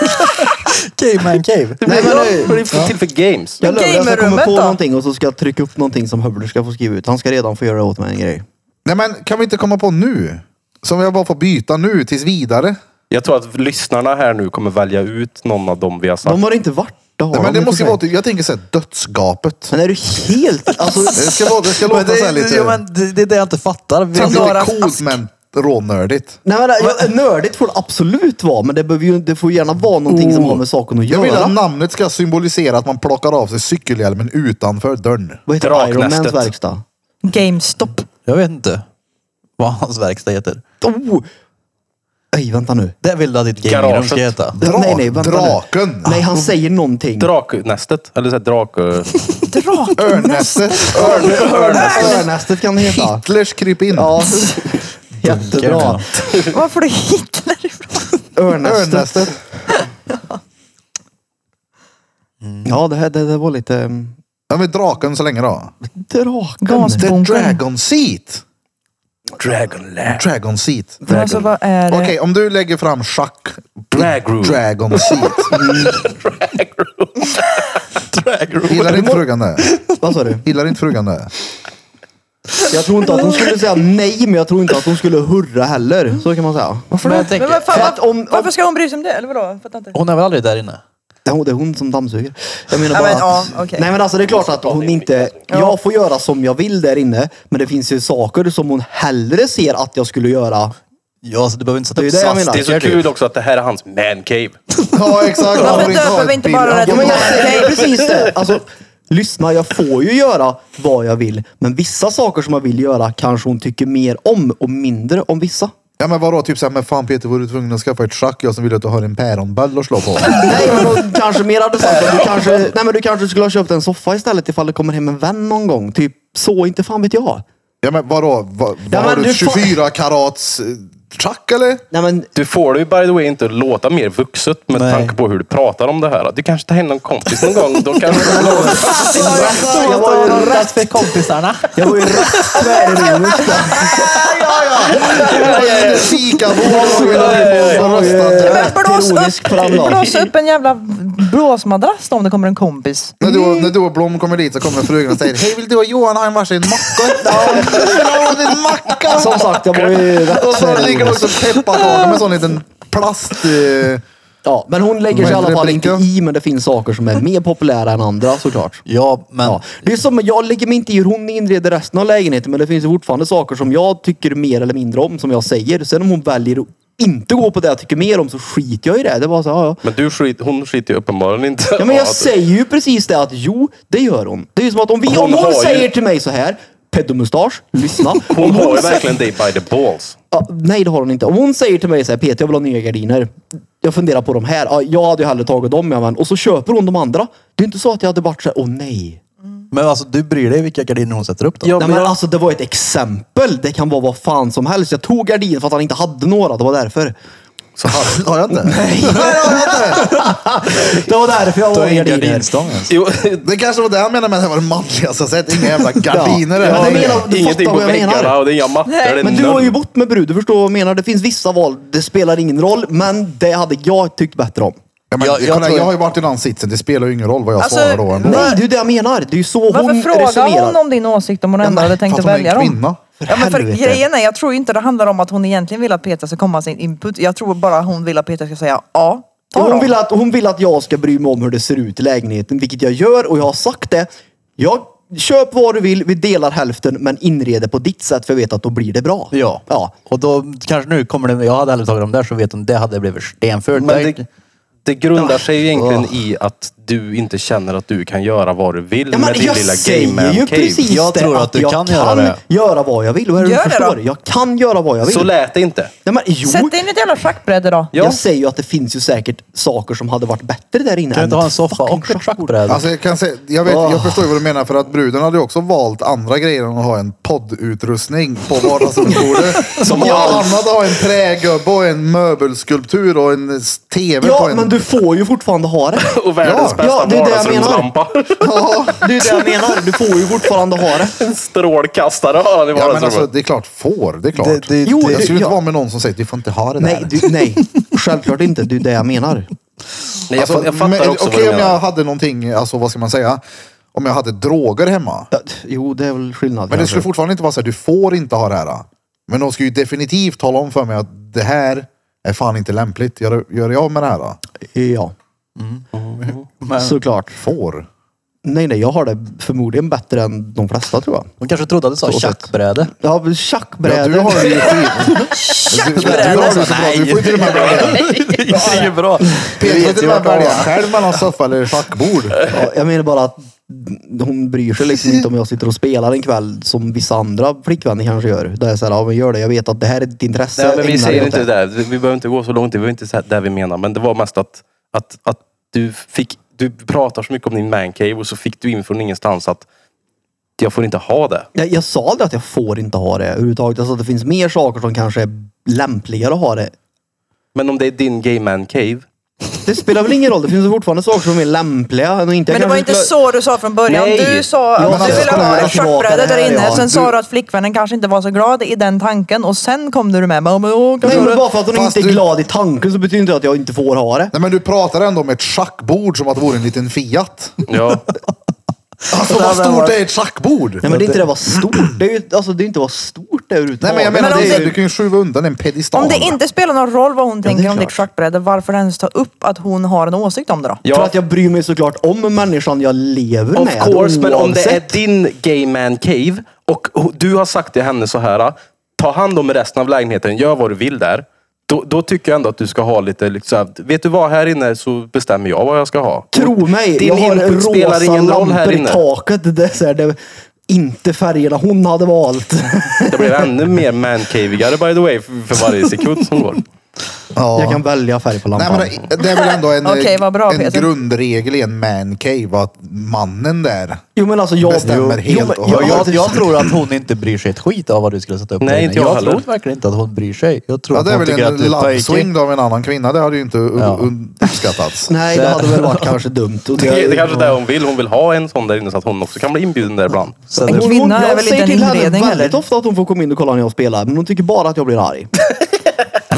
Speaker 4: Game man cave.
Speaker 3: nej men
Speaker 2: Ja,
Speaker 3: nu.
Speaker 2: för det är till för games.
Speaker 3: Jag lovar, jag ska komma
Speaker 5: Gamerrummet
Speaker 3: på
Speaker 5: då?
Speaker 3: någonting och så ska jag trycka upp någonting som Hubbler ska få skriva ut. Han ska redan få göra åt mig en grej.
Speaker 1: Nej men kan vi inte komma på nu? Som jag bara får byta nu tills vidare.
Speaker 2: Jag tror att lyssnarna här nu kommer välja ut någon av dem vi har sagt.
Speaker 3: De har inte varit, det har
Speaker 1: Nej, men
Speaker 3: de
Speaker 1: det
Speaker 3: i och
Speaker 1: måste ju
Speaker 3: för
Speaker 1: vara,
Speaker 3: sig.
Speaker 1: typ- jag tänker såhär dödsgapet.
Speaker 3: Men är du helt... Alltså,
Speaker 1: Det ska, vara- det ska låta såhär lite...
Speaker 4: ja, men det, det är det jag inte fattar. Vi-
Speaker 1: det ska vara
Speaker 5: Pandoras
Speaker 1: coolt
Speaker 5: ask.
Speaker 1: men rånördigt.
Speaker 3: nej men ja, nördigt får det absolut vara. Men det, behöver ju, det får gärna vara någonting som har med saken att
Speaker 1: Jag vill att
Speaker 3: göra.
Speaker 1: namnet ska symbolisera att man plockar av sig cykelhjälmen utanför dörren.
Speaker 3: Vad heter
Speaker 2: Draknästet.
Speaker 3: Ironmans verkstad?
Speaker 5: GameStop.
Speaker 4: Jag vet inte vad hans verkstad heter.
Speaker 3: Oh! Ej, vänta nu.
Speaker 4: Det vill du att ditt gamerum
Speaker 2: Garaget.
Speaker 4: ska heta.
Speaker 1: Dra-
Speaker 3: nej, nej, vänta nu.
Speaker 1: draken!
Speaker 3: Nej, han säger någonting.
Speaker 2: Draknästet. Eller såhär drak...
Speaker 1: Örnnästet! Örn-
Speaker 3: Örnnästet kan det heta.
Speaker 1: Hitlers kryp in.
Speaker 3: Äh! Ja. Jättebra.
Speaker 5: Var får du Hitler ifrån?
Speaker 3: Örnnästet.
Speaker 1: Örnnästet.
Speaker 3: Ja, det, här, det, det var lite... mm,
Speaker 1: Ja men draken så länge då.
Speaker 3: Draken.
Speaker 5: Gas-
Speaker 1: The
Speaker 5: Bunken.
Speaker 1: Dragon Seat!
Speaker 2: Dragonland.
Speaker 1: Dragon Seat.
Speaker 5: Men alltså vad är det?
Speaker 1: Okej, om du lägger fram schack...
Speaker 2: Drag room. Mm.
Speaker 1: Dragon Seat.
Speaker 2: Dragroom.
Speaker 1: Gillar inte frugan det?
Speaker 3: Vad sa du?
Speaker 1: Gillar inte frugan det?
Speaker 3: Jag tror inte att hon skulle säga nej, men jag tror inte att hon skulle hurra heller. Så kan man säga.
Speaker 4: Varför men jag tänker,
Speaker 5: Men vad fan,
Speaker 4: för
Speaker 5: varför,
Speaker 4: att om, om,
Speaker 5: varför ska hon bry sig om det? Eller vadå? Fattar inte.
Speaker 4: hon är väl aldrig där inne?
Speaker 3: Det är hon- det är hon som dammsuger. Jag menar
Speaker 5: Ja,
Speaker 3: bara
Speaker 5: men, ja,
Speaker 3: att,
Speaker 5: okej.
Speaker 3: Nej men alltså det är klart att hon inte... Jag får göra som jag vill där inne, men det finns ju saker som hon hellre ser att jag skulle göra.
Speaker 4: Ja, alltså, du behöver inte sätta
Speaker 3: Det är
Speaker 4: upp
Speaker 3: det jag
Speaker 4: SAS
Speaker 3: menar.
Speaker 2: Det är så
Speaker 3: Tackar,
Speaker 2: kul också att det här är hans mancave.
Speaker 1: Ja exakt.
Speaker 5: Varför
Speaker 1: inte ha
Speaker 5: döper
Speaker 1: ett
Speaker 5: vi inte
Speaker 1: bild-
Speaker 5: bara det
Speaker 1: Ja,
Speaker 5: till
Speaker 1: men-
Speaker 3: Men jag
Speaker 5: Nej,
Speaker 3: säger
Speaker 5: okej.
Speaker 3: precis det. Alltså, lyssna, jag får ju göra vad jag vill, men vissa saker som jag vill göra kanske hon tycker mer om och mindre om vissa.
Speaker 1: Ja men vadå, typ såhär, men fan Peter var du tvungen att skaffa ett schack? Jag som vill att du har en päronböll att slå på.
Speaker 3: Nej men då kanske mer hade sagt att du kanske, nej, men du kanske skulle ha köpt en soffa istället ifall det kommer hem en vän någon gång. Typ så, inte fan vet jag.
Speaker 1: Ja men vadå, var,
Speaker 3: Ja,
Speaker 1: har
Speaker 3: men
Speaker 1: du
Speaker 3: du får-
Speaker 1: 24 karats eh, schack eller?
Speaker 3: Nej men
Speaker 2: Du får det ju by the way inte låta mer vuxet med
Speaker 4: Nej.
Speaker 2: tanke på hur du pratar om det här. Du kanske tar hem någon kompis någon gång. Då kanske du
Speaker 3: Alltså, jag var ju rätt
Speaker 4: för kompisarna.
Speaker 3: Jag var ju rätt tvärironisk.
Speaker 5: Men blås
Speaker 3: Eh, ironisk
Speaker 5: upp,
Speaker 3: på den dagen.
Speaker 5: blås upp en jävla blåsmadrass då om det kommer en kompis.
Speaker 1: När du, när du och Blom kommer dit så kommer frugan och säger Hej vill du och Johan ha en varsin macka? Ja, jag har en macka!
Speaker 3: Som sagt, jag var ju
Speaker 1: Och
Speaker 3: rätt
Speaker 1: så ligger det
Speaker 3: tvärironisk.
Speaker 1: också pepparkakor med en sån liten plast... Eh,
Speaker 3: Ja, men hon lägger sig i alla fall inte
Speaker 1: Repliker.
Speaker 3: i, men det finns saker som är mer populära än andra såklart.
Speaker 4: Ja, men...
Speaker 3: Ja. Det är som, jag lägger mig inte i hur hon inreder resten av lägenheten, men det finns ju fortfarande saker som jag tycker mer eller mindre om, som jag säger. Sen om hon väljer att inte gå på det jag tycker mer om så skiter jag i det. Det var så, ja, ja.
Speaker 2: Men du skit, hon skiter ju uppenbarligen inte.
Speaker 3: Ja men jag
Speaker 2: att-
Speaker 3: säger ju precis det att jo, det gör hon. Det är ju som att om, vi,
Speaker 2: Hon
Speaker 3: om
Speaker 2: har
Speaker 3: hon
Speaker 2: ju-
Speaker 3: säger till mig så här, peddomustasch, lyssna.
Speaker 2: Hon
Speaker 3: Om
Speaker 2: har ju
Speaker 3: säger-
Speaker 2: verkligen dig by the balls.
Speaker 3: Ja, nej det har hon inte. Om hon säger till mig så här, Peter jag vill ha nya gardiner. Jag funderar på de här. Ja, jag hade ju hellre tagit dem ja, men. Och så köper hon de andra. Det är inte så att jag hade varit så här, åh nej.
Speaker 4: Men alltså, du bryr dig vilka gardiner hon sätter upp då?
Speaker 3: nej men alltså det var ett exempel. Det kan vara vad fan som helst. Jag tog gardiner för att han inte hade några. Det var därför.
Speaker 1: så har, har jag inte?
Speaker 3: Det var därför jag
Speaker 4: Du
Speaker 3: var
Speaker 4: har
Speaker 3: i
Speaker 4: ingen
Speaker 3: gardiner.
Speaker 4: gardinstång ens.
Speaker 2: Jo,
Speaker 1: Det kanske var det han menade med att det var det manligaste sättet. Inga jävla gardiner.
Speaker 3: Ja,
Speaker 1: eller
Speaker 3: men det
Speaker 1: någonting.
Speaker 3: menar- du
Speaker 2: ingenting på
Speaker 3: fattar vad jag menar.
Speaker 2: väggarna och det är inga mattor.
Speaker 5: Nej,
Speaker 2: det är
Speaker 3: Men du
Speaker 2: noll.
Speaker 3: har ju bott med brud. Du förstår vad jag menar. Det finns vissa val. Det spelar ingen roll. Men det hade jag tyckt bättre om.
Speaker 1: ja, men,
Speaker 4: Jag-
Speaker 1: jag,
Speaker 4: jag
Speaker 1: kolla,
Speaker 4: tror-
Speaker 1: jag har ju varit i den sitsen. Det spelar ju ingen roll vad jag
Speaker 5: Alltså,
Speaker 1: svarar då ändå.
Speaker 3: Nej, det är ju det jag menar. Det är ju så
Speaker 5: Varför
Speaker 3: hon
Speaker 5: frågar
Speaker 3: resonerar.
Speaker 5: hon om din åsikt om hon ändå hade tänkt
Speaker 1: För
Speaker 5: att
Speaker 1: att hon är en
Speaker 5: välja dem?
Speaker 1: kvinna.
Speaker 5: Ja, men för
Speaker 3: Helvete.
Speaker 5: grejen är, jag tror inte det handlar om att hon egentligen vill att Peter ska komma med sin input. Jag tror bara hon vill att Peter ska säga ja. Ta
Speaker 3: hon,
Speaker 5: dem.
Speaker 3: vill att, hon vill att jag ska bry mig om hur det ser ut i lägenheten, vilket jag gör och jag har sagt det. Jag köp vad du vill, vi delar hälften men inreder på ditt sätt för jag vet att då blir det bra.
Speaker 4: Ja.
Speaker 3: ja.
Speaker 4: Och då kanske nu kommer det... Jag hade hellre tagit dem där så vet hon det hade blivit stenfult.
Speaker 2: Men det, det grundar sig ju egentligen i att du inte känner att du kan göra vad du vill
Speaker 3: Ja, men
Speaker 2: med din
Speaker 3: jag
Speaker 2: lilla
Speaker 3: säger
Speaker 2: game
Speaker 3: ju
Speaker 2: man cave.
Speaker 3: precis
Speaker 4: Jag
Speaker 3: det,
Speaker 4: tror att du
Speaker 3: jag
Speaker 4: kan göra det.
Speaker 3: göra vad jag vill. Vad är det
Speaker 5: Gör
Speaker 3: du
Speaker 5: det
Speaker 3: förstår?
Speaker 5: då.
Speaker 3: Jag kan göra vad jag vill.
Speaker 2: Så lät det inte.
Speaker 3: Nej, men, jo,
Speaker 5: Sätt dig in i ett jävla schackbräde då.
Speaker 2: Ja.
Speaker 3: jag säger ju att det finns ju säkert saker som hade varit bättre där inne.
Speaker 4: Kan du inte
Speaker 3: än
Speaker 4: ha en
Speaker 3: ett
Speaker 4: soffa
Speaker 3: fucking
Speaker 4: och ett
Speaker 3: schackbord?
Speaker 4: schackbräde?
Speaker 1: Alltså jag, kan säga, jag, vet, jag
Speaker 3: Åh.
Speaker 1: förstår ju vad du menar för att bruden hade ju också valt andra grejer än att ha en poddutrustning på vardagsrumsbordet. Som
Speaker 3: Ja.
Speaker 1: allt annat ha en trägubbe och en möbelskulptur och en tv på
Speaker 3: Ja,
Speaker 1: en...
Speaker 3: men du får ju fortfarande ha det.
Speaker 2: Och världens
Speaker 1: Ja,
Speaker 3: ja, det
Speaker 2: bästa
Speaker 3: är det jag
Speaker 2: vardagsrumslampa.
Speaker 1: Ja,
Speaker 3: Det är det jag menar. Du får ju fortfarande ha det.
Speaker 2: En strålkastare har han i
Speaker 1: ja men alltså
Speaker 2: vardagsrummet.
Speaker 1: det är klart får, det är klart.
Speaker 4: Det- det-
Speaker 1: jo,
Speaker 3: det-
Speaker 1: jag skulle inte
Speaker 3: ja.
Speaker 1: vara med någon som säger du får inte ha det
Speaker 3: Nej,
Speaker 1: där.
Speaker 3: du, nej. självklart inte. Det är det jag menar.
Speaker 2: Nej, jag,
Speaker 3: alltså,
Speaker 2: fa- jag fattar
Speaker 1: Alltså, men-
Speaker 2: också
Speaker 1: Okej
Speaker 2: vad du
Speaker 1: om jag
Speaker 2: menar.
Speaker 1: hade någonting, alltså vad ska man säga? Om jag hade droger hemma.
Speaker 3: Ja, Jo, det är väl skillnad.
Speaker 1: Men det
Speaker 3: kanske.
Speaker 1: skulle fortfarande inte vara så här, du får inte ha det här. Men de ska ju definitivt tala om för mig att det här är fan inte lämpligt. Gör, gör jag med det här?
Speaker 3: Ja,
Speaker 4: Men
Speaker 3: såklart.
Speaker 1: Får?
Speaker 3: Nej, nej, jag har det förmodligen bättre än de flesta tror jag.
Speaker 4: hon kanske trodde att du sa
Speaker 3: Så sett.
Speaker 4: tjackbräde.
Speaker 3: Ja, men
Speaker 1: Ja,
Speaker 3: tjackbräde.
Speaker 1: du har det ju skit. Du, du, du har det så bra. Du får ju till och med välja.
Speaker 4: Det är ju bra.
Speaker 1: Peter får till och med
Speaker 4: vart det
Speaker 1: välja
Speaker 4: var.
Speaker 1: själv mellan soffa eller schackbord.
Speaker 3: ja, jag menar bara att hon bryr sig liksom inte om jag sitter och spelar en kväll som vissa andra flickvänner kanske gör. Där jag säger, ja men gör det. Jag vet att det här är ditt intresse.
Speaker 2: Nej, men vi
Speaker 3: Ägna dig
Speaker 2: säger
Speaker 3: åt
Speaker 2: inte det där. Vi vi behöver inte gå så långt. Vi behöver inte säga det vi menar. Men det var mest att, att, att du fick... Du pratar så mycket om din mancave och så fick du in från ingenstans att jag får inte ha det.
Speaker 3: Jag, jag sa aldrig att jag får inte ha det överhuvudtaget. Alltså att det finns mer saker som kanske är lämpligare att ha det.
Speaker 2: Men om det är din gay man cave.
Speaker 3: Det spelar väl ingen roll. Det finns ju fortfarande saker som är lämpliga. än att Inte,
Speaker 5: Men det
Speaker 3: Jag
Speaker 5: var
Speaker 3: kanske
Speaker 5: inte
Speaker 3: skulle-
Speaker 5: så du sa från början.
Speaker 2: Nej.
Speaker 5: Du sa
Speaker 3: Jo,
Speaker 1: men
Speaker 5: att du
Speaker 1: alltså,
Speaker 5: ville ha
Speaker 1: jag
Speaker 5: ett
Speaker 3: tillbaka
Speaker 5: schackbräde
Speaker 3: det här,
Speaker 5: där inne.
Speaker 3: ja.
Speaker 5: Sen
Speaker 3: Du-
Speaker 5: sa du att flickvännen kanske inte var så glad i den tanken och sen kom du med. Men, åh, kan
Speaker 3: Nej,
Speaker 5: du-
Speaker 3: men bara för att hon
Speaker 1: Fast
Speaker 3: inte är
Speaker 1: du-
Speaker 3: glad i tanken så betyder inte det att jag inte får ha det.
Speaker 1: Nej men du pratar ändå om ett schackbord som att det vore en liten Fiat.
Speaker 2: Ja.
Speaker 1: Alltså
Speaker 4: Det
Speaker 1: vad
Speaker 4: hade
Speaker 1: stort
Speaker 4: varit-
Speaker 1: är ett schackbord?
Speaker 3: Nej men det är inte det var stort. Det är ju alltså, det är inte vad stort det är
Speaker 1: Nej
Speaker 3: överhuvudtaget.
Speaker 1: men jag menar,
Speaker 5: Men om
Speaker 1: det är,
Speaker 5: det-
Speaker 1: du kan ju skjuva undan en pedestal.
Speaker 5: Om det inte spelar någon roll vad hon
Speaker 1: det är
Speaker 5: tänker om ditt
Speaker 1: klart.
Speaker 5: schackbräde, varför ens ta upp att hon har en åsikt om det då?
Speaker 2: Ja.
Speaker 3: För att jag bryr mig såklart om människan jag lever
Speaker 2: Of
Speaker 3: med.
Speaker 2: course, men om det är
Speaker 3: oavsett.
Speaker 2: din gay man cave och ho- du har sagt till henne så här. Ta hand om resten av lägenheten, gör vad du vill där. Då, då tycker jag ändå att du ska ha lite, liksom, så här, vet du vad, här inne så bestämmer jag vad jag ska ha.
Speaker 3: Tro mig,
Speaker 2: Din
Speaker 3: jag har
Speaker 2: input spelar
Speaker 3: rosa
Speaker 2: ingen roll här
Speaker 3: lampor i
Speaker 2: inne.
Speaker 3: taket. Det är, så här, det är inte färgerna hon hade valt.
Speaker 2: Det blir ännu mer mancavigare by the way för, för varje sekund som går.
Speaker 1: Ja.
Speaker 3: Jag kan välja färg på
Speaker 1: Nej,
Speaker 3: lampan.
Speaker 1: men det, det är väl ändå en,
Speaker 5: Okej, vad bra,
Speaker 1: en
Speaker 5: Peter.
Speaker 1: grundregel i en man cave att mannen där
Speaker 3: Jo men alltså jag...
Speaker 1: bestämmer
Speaker 4: Jo,
Speaker 1: helt
Speaker 4: men
Speaker 1: och
Speaker 4: jag,
Speaker 1: hållet.
Speaker 4: jag, jag tror att hon inte bryr sig ett skit av vad du skulle sätta upp.
Speaker 2: Nej,
Speaker 4: där inne.
Speaker 2: inte jag heller.
Speaker 4: tror verkligen inte att hon bryr sig. Jag tror
Speaker 1: Ja,
Speaker 4: att
Speaker 1: det är
Speaker 4: hon
Speaker 1: väl
Speaker 4: tycker
Speaker 1: en
Speaker 4: att du
Speaker 1: love
Speaker 4: tar
Speaker 1: swing av en annan kvinna. Det hade ju inte u-
Speaker 4: Ja.
Speaker 1: un- uppskattats.
Speaker 3: Nej det hade väl varit kanske dumt. typ- Och
Speaker 2: Det, det är kanske är det hon vill. Hon vill ha en sån där inne så att hon också kan bli inbjuden där ibland.
Speaker 4: Så
Speaker 3: Hon-
Speaker 4: du,
Speaker 3: hon-
Speaker 5: kvinna är
Speaker 3: jag
Speaker 5: väl
Speaker 3: säger
Speaker 5: inte en
Speaker 3: till henne
Speaker 5: inredning,
Speaker 3: väldigt
Speaker 5: eller?
Speaker 3: ofta att hon får komma in och kolla när jag spelar. Men hon tycker bara att jag blir arg.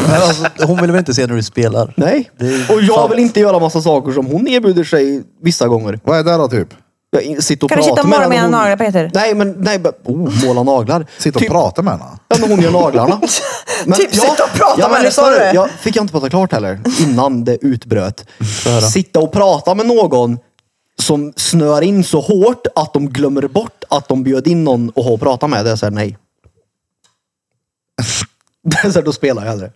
Speaker 4: men alltså, hon vill väl inte se när du spelar?
Speaker 3: Nej.
Speaker 4: Det är
Speaker 3: Och jag
Speaker 4: sant.
Speaker 3: vill inte göra massa saker som hon erbjuder sig vissa gånger.
Speaker 1: Vad är det då typ?
Speaker 3: Jag in- sitter och
Speaker 5: Kan du
Speaker 3: pratar
Speaker 5: sitta och
Speaker 3: med
Speaker 5: måla
Speaker 3: henne
Speaker 5: mina
Speaker 3: och hon-
Speaker 5: naglar, Peter?
Speaker 3: Nej men, nej men, oh, måla naglar.
Speaker 1: Sitta och
Speaker 3: Typ-
Speaker 1: prata med henne?
Speaker 3: Ja, när hon gör naglarna.
Speaker 5: Typ sitta och prata med
Speaker 3: men
Speaker 5: henne,
Speaker 3: lyssna
Speaker 5: sa du
Speaker 3: nu.
Speaker 5: det?
Speaker 3: Jag fick jag inte prata klart heller, innan det utbröt. Sitta och prata med någon som snör in så hårt att de glömmer bort att de bjöd in någon och ha och prata med. Det är såhär, nej. Det är såhär, då spelar jag hellre.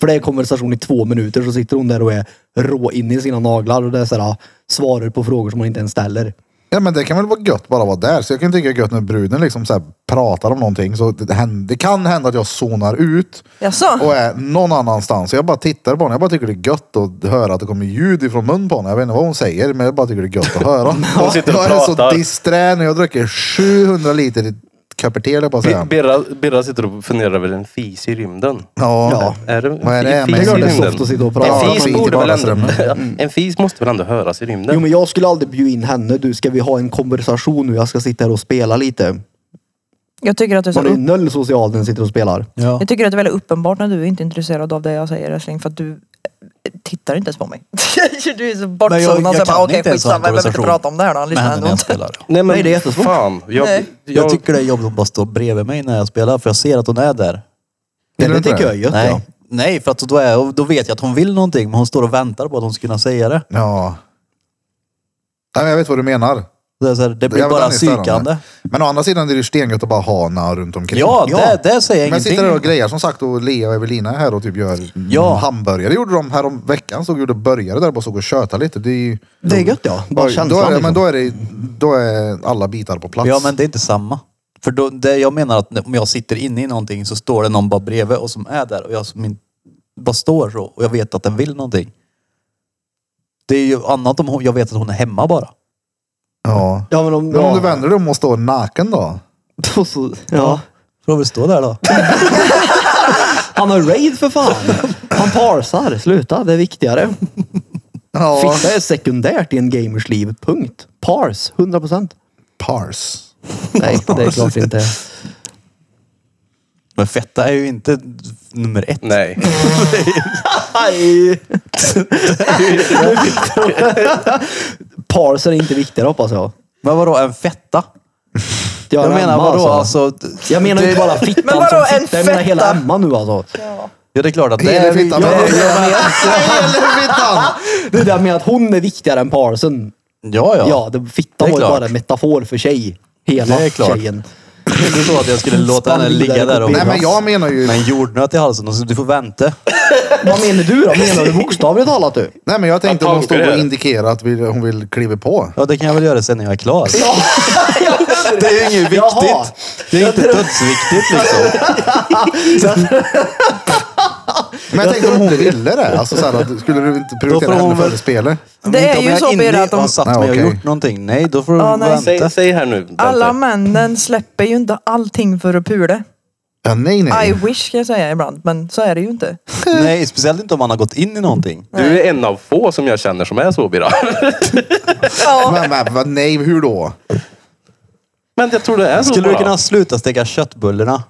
Speaker 3: För det är konversation i två minuter, så sitter hon där och är rå in i sina naglar och det är såhär, ja, svarar på frågor som hon inte ens ställer.
Speaker 1: Ja men det kan väl vara gött bara att vara där. Så jag kan tycka det är gött när bruden liksom så här pratar om någonting. Så det, händer, det kan hända att jag zonar ut
Speaker 5: Jaså?
Speaker 1: och är någon annanstans. Så jag bara tittar på henne. Jag bara tycker det är gött att höra att det kommer ljud ifrån mun på henne. Jag vet inte vad hon säger men jag bara tycker det är gött att höra.
Speaker 2: Hon sitter och
Speaker 1: jag är så
Speaker 2: pratar.
Speaker 1: disträ när jag dricker 700 liter köper te höll jag på att
Speaker 2: Bir-
Speaker 1: säga.
Speaker 2: Birra, Birra sitter och funderar över en fis i rymden.
Speaker 1: Ja.
Speaker 2: Är det,
Speaker 1: Vad är det
Speaker 2: en
Speaker 1: med-
Speaker 2: fis
Speaker 1: Det är
Speaker 2: i
Speaker 1: klart
Speaker 3: det är
Speaker 2: rymden?
Speaker 3: soft att sitta och prata.
Speaker 2: En
Speaker 1: Ja,
Speaker 2: fis,
Speaker 1: skit i
Speaker 2: borde väl ändå,
Speaker 1: vardagsrummen.
Speaker 2: en fis måste väl ändå höras i rymden?
Speaker 3: Jo men jag skulle aldrig bjuda in henne. Du, ska vi ha en konversation nu? Jag ska sitta här och spela lite.
Speaker 5: Jag tycker att du är så
Speaker 3: Man är ju
Speaker 5: upp...
Speaker 3: noll social när den sitter och spelar.
Speaker 4: Ja.
Speaker 5: Jag tycker att det är väldigt uppenbart när du är inte är intresserad av det jag säger älskling för att du eh, tittar inte ens på mig. du är så
Speaker 4: Men jag- jag
Speaker 5: bortzonad. så jag
Speaker 4: kan inte
Speaker 5: bara, Okej
Speaker 4: ens ha en
Speaker 5: skitsamma, jag behöver inte
Speaker 4: konversation
Speaker 5: prata om det här då. Han
Speaker 4: med
Speaker 5: lyssnar
Speaker 4: henne
Speaker 5: ändå
Speaker 4: när jag
Speaker 5: inte.
Speaker 4: spelar.
Speaker 2: Nej, men
Speaker 3: Nej, det är jättesvårt.
Speaker 2: Fan, jag,
Speaker 5: Nej.
Speaker 2: jag,
Speaker 4: Jag tycker det är jobbigt att bara står bredvid mig när jag spelar för jag ser att hon är där.
Speaker 1: Gillar
Speaker 3: Det,
Speaker 1: du
Speaker 3: det
Speaker 1: inte det?
Speaker 3: tycker jag är gött.
Speaker 4: Nej,
Speaker 3: Ja.
Speaker 4: Nej för att då, är, och då vet jag att hon vill någonting men hon står och väntar på att hon ska kunna säga det.
Speaker 1: Ja. Nej, men jag vet vad du menar.
Speaker 4: Det, är så här, det blir
Speaker 1: Jag vet
Speaker 4: bara
Speaker 1: att det är störande.
Speaker 4: psykande.
Speaker 1: Men å andra sidan är det ju stengött att bara ha några runt omkring.
Speaker 4: Ja,
Speaker 3: Ja.
Speaker 4: Det, det säger jag
Speaker 1: Men jag sitter
Speaker 4: ingenting
Speaker 1: där och
Speaker 4: om.
Speaker 1: grejar som sagt och Lea och Evelina är här och typ gör mm,
Speaker 4: Ja.
Speaker 1: hamburgare. Det gjorde de härom veckan. Såg gjorde burgare där bara såg och tjötade lite. Det är ju...
Speaker 3: Det är gött ja. Bara känslan.
Speaker 1: då är, det-
Speaker 3: liksom.
Speaker 1: Men då är, det, då är alla bitar på plats.
Speaker 4: Ja, men det är inte samma. För då, det, jag menar att när- om jag sitter inne i någonting så står det någon bara bredvid och som är där och jag som inte, bara står så och jag vet att den vill någonting. Det är ju annat om hon, jag vet att hon är hemma bara.
Speaker 1: Ja.
Speaker 3: Ja men om,
Speaker 1: Men
Speaker 3: ja.
Speaker 1: om du vänder dig om och står naken då?
Speaker 3: Då så, ja.
Speaker 4: Får hon väl stå där då?
Speaker 3: Han har raid för fan. Han parsar. Sluta, det är viktigare.
Speaker 1: Ja.
Speaker 3: Fitta är sekundärt i en gamers liv. Punkt. Pars, 100 procent.
Speaker 1: Pars.
Speaker 3: Nej, det är klart inte.
Speaker 4: Men fetta är ju inte nummer ett.
Speaker 2: Nej.
Speaker 3: Aj! Pars är inte viktigare hoppas jag.
Speaker 4: Men vadå en fetta?
Speaker 3: Jag,
Speaker 4: Jag menar vadå
Speaker 3: Alltså.
Speaker 4: alltså?
Speaker 3: Jag menar
Speaker 4: det,
Speaker 3: inte bara fittan
Speaker 5: Men vadå,
Speaker 3: som
Speaker 5: en
Speaker 3: fitta. Jag menar hela
Speaker 5: fetta?
Speaker 3: Emma nu alltså.
Speaker 4: Ja det är klart att det
Speaker 1: Hela
Speaker 4: är...
Speaker 1: fittan.
Speaker 4: Ja,
Speaker 1: Hela
Speaker 4: ja,
Speaker 1: fittan!
Speaker 3: Det där med att hon är viktigare än parsen.
Speaker 4: ja.
Speaker 3: Ja,
Speaker 4: ja.
Speaker 3: det, fitta
Speaker 4: Det är
Speaker 3: var ju
Speaker 4: klart.
Speaker 3: bara en metafor för tjej. Hela
Speaker 4: Det är klart.
Speaker 3: tjejen.
Speaker 4: Det är inte så att jag skulle låta henne ligga där och...
Speaker 1: Nej men jag menar ju...
Speaker 4: Med en jordnöt i halsen och så du får vänta.
Speaker 3: Vad menar du då? Menar du bokstavligt talat du?
Speaker 1: Nej men jag tänkte att hon står och
Speaker 2: Tankebröd.
Speaker 1: indikerar att vi, hon vill kliva på.
Speaker 4: Ja, det kan jag väl göra sen när jag är klar. Det är ju inget viktigt.
Speaker 3: Jaha.
Speaker 4: Det är inte dödsviktigt liksom.
Speaker 1: Men jag tänkte om hon ville det. Alltså, så här, att, skulle du inte prioritera
Speaker 4: får hon
Speaker 1: henne
Speaker 4: väl-
Speaker 1: före spelet?
Speaker 5: Det är
Speaker 4: Om
Speaker 5: ju
Speaker 4: jag
Speaker 5: så
Speaker 4: inne i-
Speaker 5: Birra att de,
Speaker 4: och satt
Speaker 1: Nej,
Speaker 4: mig och
Speaker 1: okej.
Speaker 4: gjort någonting. Nej, då får du
Speaker 5: Ja, nej.
Speaker 4: vänta.
Speaker 2: Säg, säg här nu. Dante.
Speaker 5: alla männen släpper ju inte allting för att pula.
Speaker 1: Ja, nej nej.
Speaker 5: I wish ska jag säga ibland, men så är det ju inte.
Speaker 4: Nej, speciellt inte om man har gått in i någonting.
Speaker 2: Du är en av få som jag känner som är så Birra.
Speaker 5: Ja,
Speaker 1: Men, men, men, nej, hur då?
Speaker 2: Men jag tror det är så
Speaker 4: Skulle du
Speaker 2: bara.
Speaker 4: kunna sluta steka köttbullarna?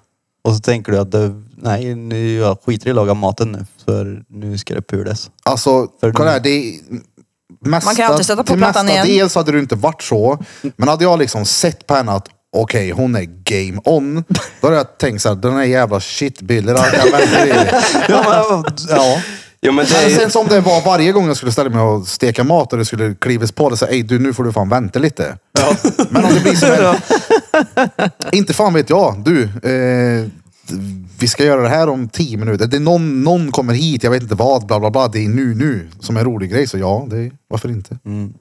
Speaker 4: Och så tänker du att det, nej, nu, jag skiter i att laga maten nu. För nu ska det pules.
Speaker 1: Alltså,
Speaker 4: För-
Speaker 1: kolla här. Det är, mesta,
Speaker 5: Man kan ju alltid sätta på
Speaker 1: till
Speaker 5: plattan
Speaker 1: mesta
Speaker 5: igen.
Speaker 1: del så hade det inte varit så. Men hade jag liksom sett på henne att okej, hon är game on. Då hade jag tänkt så här, den här jävla shitbilden kan jag vänta i.
Speaker 4: Ja, men, ja.
Speaker 2: Jo, men
Speaker 1: Men
Speaker 2: det är,
Speaker 5: Alltså,
Speaker 1: sen som det var varje gång jag skulle ställa mig och steka mat och det skulle klivas på det så här, "Ey, du nu får du fan vänta lite. Men om det blir som en, Inte fan vet jag. Du, eh, vi ska göra det här om tio minuter. Det är någon, någon kommer hit, jag vet inte vad, bla bla bla. Det är nu nu som är en rolig grej. Så ja, det är, varför inte?
Speaker 4: Mm,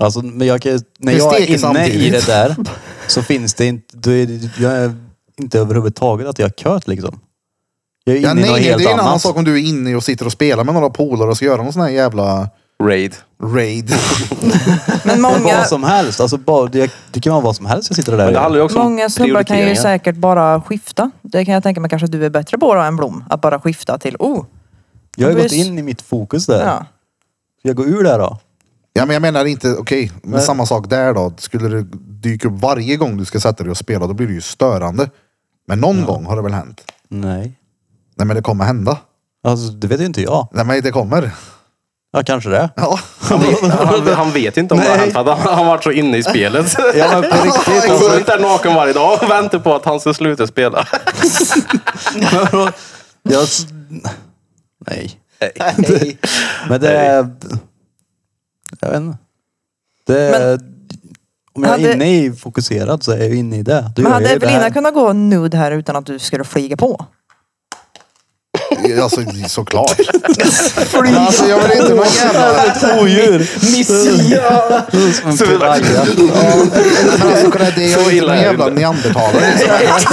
Speaker 4: Alltså, men jag kan, ju- när
Speaker 1: Vi
Speaker 4: jag är
Speaker 1: steker
Speaker 4: inne i
Speaker 1: samtidigt.
Speaker 4: det där så finns det inte... Då är det, jag är inte överhuvudtaget att jag har kört liksom. Jag är inne
Speaker 1: Ja,
Speaker 4: i
Speaker 1: nej,
Speaker 4: något
Speaker 1: nej, det är
Speaker 4: helt
Speaker 1: en annan
Speaker 4: annat.
Speaker 1: sak om du är inne och sitter och spelar med några polare och ska göra någon sån här jävla
Speaker 2: raid.
Speaker 1: raid.
Speaker 5: Men många,
Speaker 4: Vad som helst. Alltså, bara, det, det kan vara vad som helst jag sitter där
Speaker 2: Men
Speaker 4: och
Speaker 2: det
Speaker 4: gör.
Speaker 2: handlar ju också
Speaker 5: många
Speaker 2: om
Speaker 5: snubbar kan ju
Speaker 2: prioriteringar.
Speaker 5: säkert bara skifta. Det kan jag tänka mig kanske du är bättre på då än Blom. Att bara skifta till oh.
Speaker 4: Jag har ju
Speaker 5: Det
Speaker 4: gått
Speaker 5: blir s-
Speaker 4: in i mitt fokus där.
Speaker 5: Ja.
Speaker 4: Ska jag gå ur där då?
Speaker 1: Ja, men jag menar inte, okej, men
Speaker 4: Nej.
Speaker 1: samma sak där då. Skulle det dyka upp varje gång du ska sätta dig och spela, då blir det ju störande. Men någon gång har det väl hänt?
Speaker 4: Nej.
Speaker 1: Nej, men det kommer hända.
Speaker 4: Alltså, det vet ju inte jag.
Speaker 1: Nej, men det kommer.
Speaker 4: Ja, kanske det.
Speaker 1: Ja,
Speaker 2: Han, han vet inte om det har
Speaker 4: Nej.
Speaker 2: hänt. för att Han har varit så inne i spelet.
Speaker 4: Ja, men på riktigt.
Speaker 2: Han
Speaker 4: Alltså,
Speaker 2: står där naken varje dag och väntar på att han ska sluta spela.
Speaker 4: jag... s- Nej. Nej. Men det... är- Jag vet inte. Det... är- Om jag
Speaker 5: Hade-
Speaker 4: är inne i fokuserad så är jag inne i det. Då
Speaker 5: Men
Speaker 4: gör jag
Speaker 5: hade
Speaker 4: ju det
Speaker 5: Evelina
Speaker 4: här.
Speaker 5: kunnat gå nude här utan att du skulle flyga på?
Speaker 1: alltså såklart. Men alltså, jag vill inte någon jävla...
Speaker 3: Missil!
Speaker 2: Så vi-
Speaker 1: Nej, men alltså, kolla, det är
Speaker 2: Så
Speaker 1: jag inte
Speaker 2: illa
Speaker 1: någon
Speaker 2: är det
Speaker 1: jävla
Speaker 2: inte.
Speaker 1: neandertalare.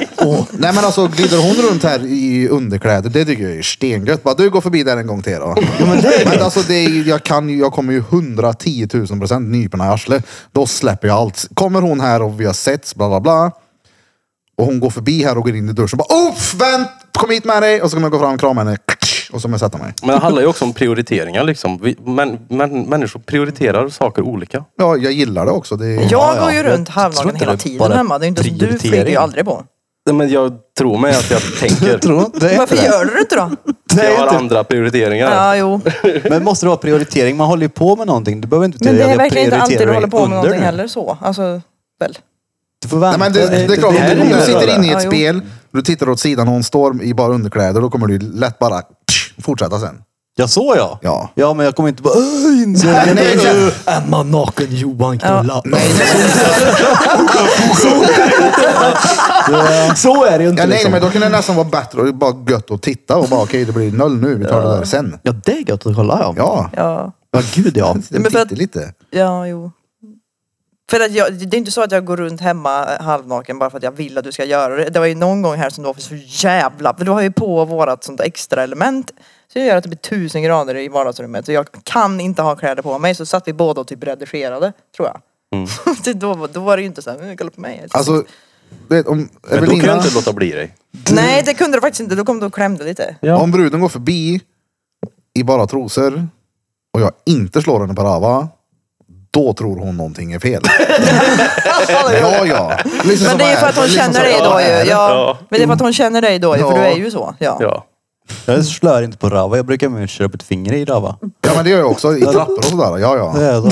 Speaker 1: Liksom. Åh, Nej, men alltså glider hon runt här i underkläder, det tycker jag är stengött. Bara, du går förbi där en gång till då. men alltså, det är, ju- jag, kan, ju- jag kommer ju 110 000 procent nyporna i arslet. Då släpper jag allt. Kommer hon här och vi har setts, bla bla bla. Och hon går förbi här och går in i duschen. Bara, Oof, vänt, kom hit med dig. Och så kommer jag gå fram och krama henne. Och så kommer jag sätta mig.
Speaker 2: Men det handlar ju också om prioriteringar liksom. Vi, men, men, människor prioriterar saker olika.
Speaker 1: Ja, jag gillar det också. Det är...
Speaker 5: Jag
Speaker 4: ja,
Speaker 5: går ju
Speaker 4: jag
Speaker 5: runt
Speaker 4: tror
Speaker 5: halvnaken
Speaker 4: inte
Speaker 5: hela
Speaker 4: det är
Speaker 5: tiden
Speaker 4: bara
Speaker 5: hemma. Det är inte så, du
Speaker 4: prioritering.
Speaker 5: flyger ju aldrig på.
Speaker 2: Nej, Men jag tror mig att jag tänker.
Speaker 4: Tror du det är
Speaker 5: Varför
Speaker 4: inte det?
Speaker 5: gör du det inte då?
Speaker 4: Nej,
Speaker 2: Jag har
Speaker 4: inte.
Speaker 2: andra prioriteringar.
Speaker 5: Ja, jo.
Speaker 4: Men måste det vara prioritering? Man håller ju på med någonting. Du behöver inte
Speaker 5: Men det
Speaker 4: prioritera
Speaker 5: är verkligen inte alltid du
Speaker 4: prioritering
Speaker 5: håller på
Speaker 4: under
Speaker 5: med någonting
Speaker 4: nu.
Speaker 5: heller så. Alltså, väl.
Speaker 4: Du får vänta.
Speaker 1: Nej, men det, det, är klart,
Speaker 4: det
Speaker 1: om du, om
Speaker 4: det
Speaker 1: du
Speaker 4: gör.
Speaker 1: sitter inne i
Speaker 5: Ja,
Speaker 1: ett
Speaker 5: jo.
Speaker 1: spel, du tittar åt sidan och hon står i bara underkläder, då kommer du lätt bara fortsätta sen.
Speaker 4: Ja, så ja.
Speaker 1: Ja.
Speaker 4: Ja, men jag kommer inte bara... "Åh, inse
Speaker 1: Nej,
Speaker 4: det."
Speaker 1: nej, nej.
Speaker 3: Emma naken Johan knulla. Så är det ju inte.
Speaker 1: Ja, nej,
Speaker 3: liksom.
Speaker 1: men då kan det nästan vara bättre och bara gött att titta och bara okej, det blir noll nu, vi tar det där sen.
Speaker 3: Ja, det är gött att kolla ja.
Speaker 1: Ja,
Speaker 5: Ja,
Speaker 3: Ja, gud ja.
Speaker 5: Men för att-
Speaker 1: lite, lite.
Speaker 5: ja jo. För att jag, det är inte så att jag går runt hemma halvnaken bara för att jag vill att du ska göra det. Det var ju någon gång här som du var så jävla... För du har ju på vårat sånt extra element. Så det gör att det blir tusen grader i vardagsrummet. Så jag kan inte ha kläder på mig. Så satt vi båda och typ redigerade, tror jag. Det- då, då var det ju inte så här, "Men kolla på mig.
Speaker 1: Alltså, du vet, om
Speaker 2: Men då kan jag
Speaker 1: Evelina,
Speaker 2: inte låta bli dig.
Speaker 5: Nej, det kunde du faktiskt inte. Då kom du och klämde lite.
Speaker 1: om bruden går förbi i bara trosor och jag inte slår henne på rava, då tror hon någonting är fel. ja, ja. Liksom
Speaker 5: Men
Speaker 1: som
Speaker 5: det är ju
Speaker 1: här,
Speaker 5: för att hon
Speaker 1: liksom
Speaker 5: känner
Speaker 1: som-
Speaker 5: dig då
Speaker 1: Ja,
Speaker 5: ju.
Speaker 1: är det?
Speaker 5: Ja. Men det är för att hon känner dig då ju, för
Speaker 1: Ja.
Speaker 5: du är ju så. Ja.
Speaker 2: Ja.
Speaker 4: Jag slör inte på rava. Jag brukar mer köra upp ett finger i rava.
Speaker 1: Ja, men det gör jag också. I trappor och sådär. Ja, ja.
Speaker 4: Det är jag då.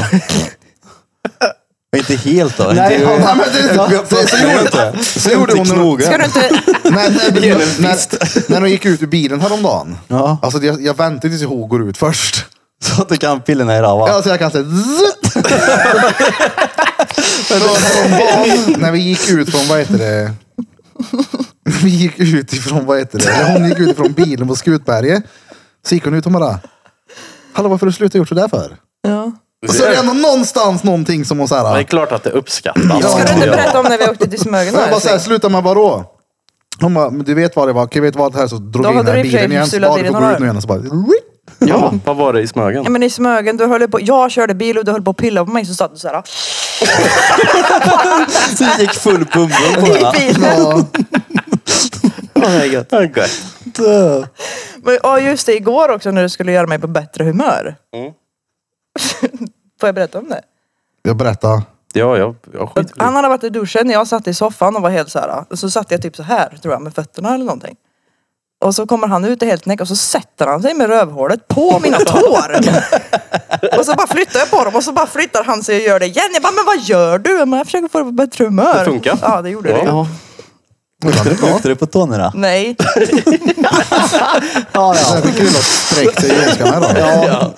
Speaker 4: Men inte helt då.
Speaker 1: Nej,
Speaker 4: inte,
Speaker 1: ja, men det, det, det, så gjorde- så gjorde hon när,
Speaker 5: Ska du inte...
Speaker 1: när, när, eh, när, när hon gick ut ur bilen häromdagen.
Speaker 4: Ja.
Speaker 1: Alltså jag, jag väntade tills hon går ut först.
Speaker 4: Så att du kan pillerna i rava.
Speaker 1: Alltså jag kan säga zzt. Så häromdagen, När vi gick ut från, vad heter det? När vi gick ut ifrån, vad heter det? När hon gick ut ifrån bilen på Skutberget. Så gick hon ut och bara. Hallå varför har du slutat gjort sådär för?
Speaker 5: Ja.
Speaker 1: Och så är det ändå någonstans någonting som hon
Speaker 2: Det är
Speaker 1: såhär.
Speaker 2: klart att det uppskattas.
Speaker 1: Ja.
Speaker 5: Ska du inte berätta om när vi åkte till Smögen?
Speaker 1: Så jag bara såhär,
Speaker 5: då?
Speaker 1: sluta med vadå? Hon bara, men du vet vad det var. Okej, vet du vad det här? Så drog
Speaker 5: Då
Speaker 1: jag in
Speaker 5: hade
Speaker 1: den här
Speaker 5: du i och för sig
Speaker 1: bilen igen. Så
Speaker 5: sulat
Speaker 1: bara,
Speaker 5: i
Speaker 1: du
Speaker 5: den
Speaker 1: får
Speaker 5: några
Speaker 1: gå
Speaker 5: år.
Speaker 1: ut nu igen. Och så bara,
Speaker 2: Ja. Vad var det i Smögen?
Speaker 5: Ja men i Smögen, du höll på... Jag körde bil och du höll på att pilla på mig så "Ah, satt du såhär
Speaker 4: Du gick full bumbum på
Speaker 5: i
Speaker 4: henne.
Speaker 5: bilen.
Speaker 2: Okay.
Speaker 5: Men, ja just det, igår också när du skulle göra mig på bättre humör.
Speaker 2: Mm.
Speaker 5: Får jag berätta om det?
Speaker 1: jag berättade.
Speaker 2: Ja, jag, jag skiter i det.
Speaker 5: Han hade "Ah." varit i duschen, jag satt i soffan och var helt såhär. Så satt jag typ så här tror jag med fötterna eller någonting. Och så kommer han ut i helt näck och så sätter han sig med rövhålet på mina tår. och så bara flyttar jag på dem och så bara flyttar han sig och gör det igen. Jag bara, men vad gör du? Jag, bara, jag försöker få det på bättre humör.
Speaker 2: Det funkar.
Speaker 5: Ja, det gjorde det.
Speaker 3: Ja.
Speaker 4: Luktar det på tårna då?
Speaker 5: Nej,
Speaker 3: Ja,
Speaker 1: Det
Speaker 3: ja.
Speaker 1: är kul att sträcka sig i ljumskarna då.
Speaker 3: ja.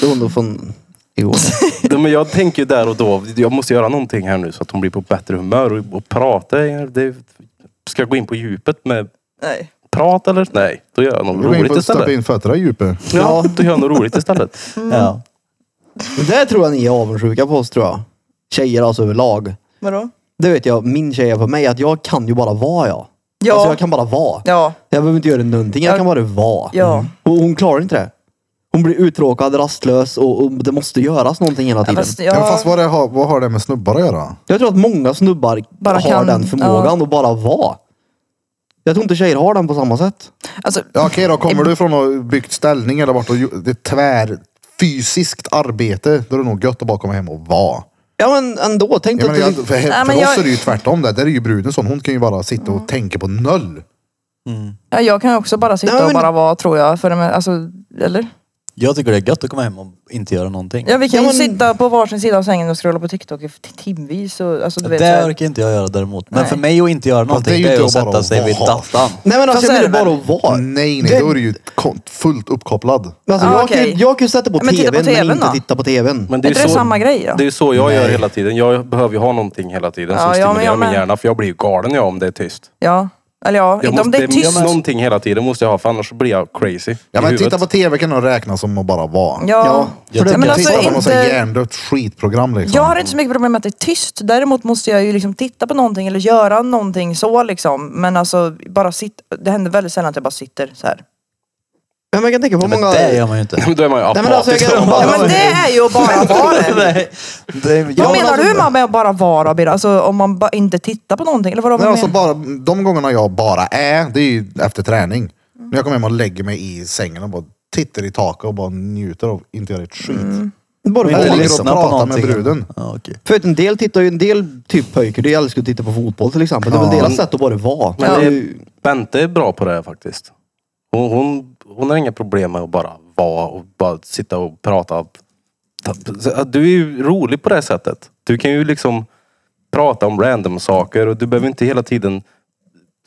Speaker 3: Det var nog från igår.
Speaker 2: Ja, men jag tänker ju där och då, jag måste göra någonting här nu så att hon blir på bättre humör och, och prata. Det, ska jag gå in på djupet med
Speaker 5: nej.
Speaker 2: prat eller? Nej, då gör jag något
Speaker 1: Gå in
Speaker 2: roligt
Speaker 1: på att stoppa
Speaker 2: istället.
Speaker 1: in fötterna i djupet.
Speaker 2: Ja, då gör jag något roligt istället.
Speaker 4: Ja.
Speaker 3: Men det tror jag ni är avundsjuka på oss tror jag. Tjejer alltså överlag.
Speaker 5: Vadå?
Speaker 3: Det vet jag, min tjej är på mig att jag kan ju bara vara jag.
Speaker 5: Ja.
Speaker 3: Alltså jag kan bara vara.
Speaker 5: Ja,
Speaker 3: Jag behöver inte göra någonting, jag kan bara vara.
Speaker 5: Ja.
Speaker 3: Mm. Och hon klarar inte det. Hon blir uttråkad, rastlös och, och det måste göras någonting hela tiden.
Speaker 5: fast
Speaker 1: Ja. Fast
Speaker 5: jag...
Speaker 1: vad, det har, vad har det med snubbar att göra?
Speaker 3: Jag tror att många snubbar
Speaker 5: Bara
Speaker 3: har
Speaker 5: kan-
Speaker 3: den förmågan att bara vara. Jag tror inte tjejer har den på samma sätt.
Speaker 5: Alltså,
Speaker 1: Ja, okej då, kommer du från att ha byggt ställning eller varit och gjort- det är tvär fysiskt arbete, då är det nog gött att bara komma hem och vara.
Speaker 3: Ja men ändå, tänk
Speaker 1: Jag
Speaker 3: dig att
Speaker 1: menar,
Speaker 3: du...
Speaker 1: jag, för för
Speaker 5: Nej, men
Speaker 1: oss
Speaker 5: jag-
Speaker 1: är det ju tvärtom där. Där är ju bruden sån. Hon kan ju bara sitta och tänka på noll.
Speaker 5: ja, jag kan också bara sitta
Speaker 3: Nej, men-
Speaker 5: och bara vara tror jag. För, men, alltså, eller?
Speaker 4: Jag tycker det är gött att komma hem och inte göra någonting.
Speaker 5: Ja, vi kan
Speaker 3: Ja,
Speaker 5: ju
Speaker 3: men-
Speaker 5: sitta på varsin sida av sängen och scrolla på TikTok i t- timvis. Och, alltså, du vet, så
Speaker 4: det
Speaker 5: här.
Speaker 4: orkar inte jag göra däremot. Men
Speaker 5: Nej.
Speaker 4: för mig att inte göra någonting
Speaker 1: det är ju
Speaker 4: det är,
Speaker 1: inte
Speaker 4: att
Speaker 1: bara
Speaker 4: sätta
Speaker 1: att
Speaker 4: sig vid
Speaker 1: vara.
Speaker 4: dattan.
Speaker 3: Nej men alltså
Speaker 5: Fast
Speaker 3: jag
Speaker 5: är
Speaker 3: menar
Speaker 5: det
Speaker 3: bara att vara.
Speaker 1: Nej, nej,
Speaker 3: Det-
Speaker 1: då är det ju kon- fullt uppkopplad.
Speaker 3: Alltså,
Speaker 5: Ah,
Speaker 3: jag,
Speaker 5: okej.
Speaker 3: kan, jag kan ju sätta på
Speaker 5: Ja, men titta
Speaker 3: tvn
Speaker 5: på
Speaker 3: men
Speaker 5: TV:n
Speaker 3: inte
Speaker 5: då.
Speaker 3: titta på tvn.
Speaker 2: Men
Speaker 5: Är inte det samma grej då?
Speaker 2: Det är ju så jag gör hela tiden. Jag behöver ju ha någonting hela tiden som
Speaker 5: Ja, ja, men
Speaker 2: stimulerar
Speaker 5: jag
Speaker 2: min
Speaker 5: med.
Speaker 2: hjärna. För jag blir ju galen jag om det är tyst.
Speaker 5: Ja, eller ja,
Speaker 2: Jag
Speaker 5: inte om
Speaker 2: måste,
Speaker 5: det är tyst.
Speaker 2: Någonting hela tiden måste jag ha för annars så blir jag crazy
Speaker 1: Ja,
Speaker 2: i
Speaker 1: men
Speaker 2: huvudet.
Speaker 1: titta på tv kan nog räknas som att bara vara.
Speaker 5: Ja.
Speaker 3: för det-
Speaker 5: Ja, men
Speaker 1: jag
Speaker 5: alltså
Speaker 1: tittar på något sånt här
Speaker 5: inte...
Speaker 1: hjärndött skitprogram liksom.
Speaker 5: Jag har inte så mycket problem med att det är tyst. Däremot måste jag ju liksom titta på någonting eller göra någonting så liksom. Men alltså, bara sitt... det händer väldigt sällan att jag bara sitter så här.
Speaker 3: Men man kan tänka på
Speaker 4: Men
Speaker 3: många...
Speaker 4: det gör man ju inte.
Speaker 2: Då är man ju
Speaker 3: Nej, men alltså, jag
Speaker 2: apatisk.
Speaker 3: kan-
Speaker 2: om man-
Speaker 5: Ja, men det är ju att bara vara det.
Speaker 4: Nej. Det är-
Speaker 5: Vad
Speaker 4: Ja,
Speaker 5: menar
Speaker 4: alltså-
Speaker 5: du med- med att bara vara Birra? Alltså om man bara inte tittar på någonting? Eller vadå?
Speaker 1: Men
Speaker 5: Vad
Speaker 1: alltså
Speaker 5: menar-
Speaker 1: bara, de gångerna jag bara är, det är ju efter träning. När jag kommer hem och lägger mig i sängen och bara tittar i taket och bara njuter av inte göra ett skit.
Speaker 5: Mm.
Speaker 3: Bara
Speaker 1: Men
Speaker 3: vara.
Speaker 1: det ligger och
Speaker 4: Lyssna på
Speaker 1: pratar med
Speaker 4: någonting.
Speaker 1: bruden.
Speaker 4: Ja, okej.
Speaker 3: För att en del tittar ju, en del typ pojkar, de älskar att titta på fotboll till exempel. Det är väl
Speaker 1: Ja.
Speaker 3: deras sätt att bara vara.
Speaker 2: Men
Speaker 3: Ja.
Speaker 2: det är, Bente är bra på det här faktiskt. Hon, hon, hon har inga problem med att bara vara och bara sitta och prata. Ta- Du är ju rolig på det här sättet. Du kan ju liksom prata om random saker och du behöver inte hela tiden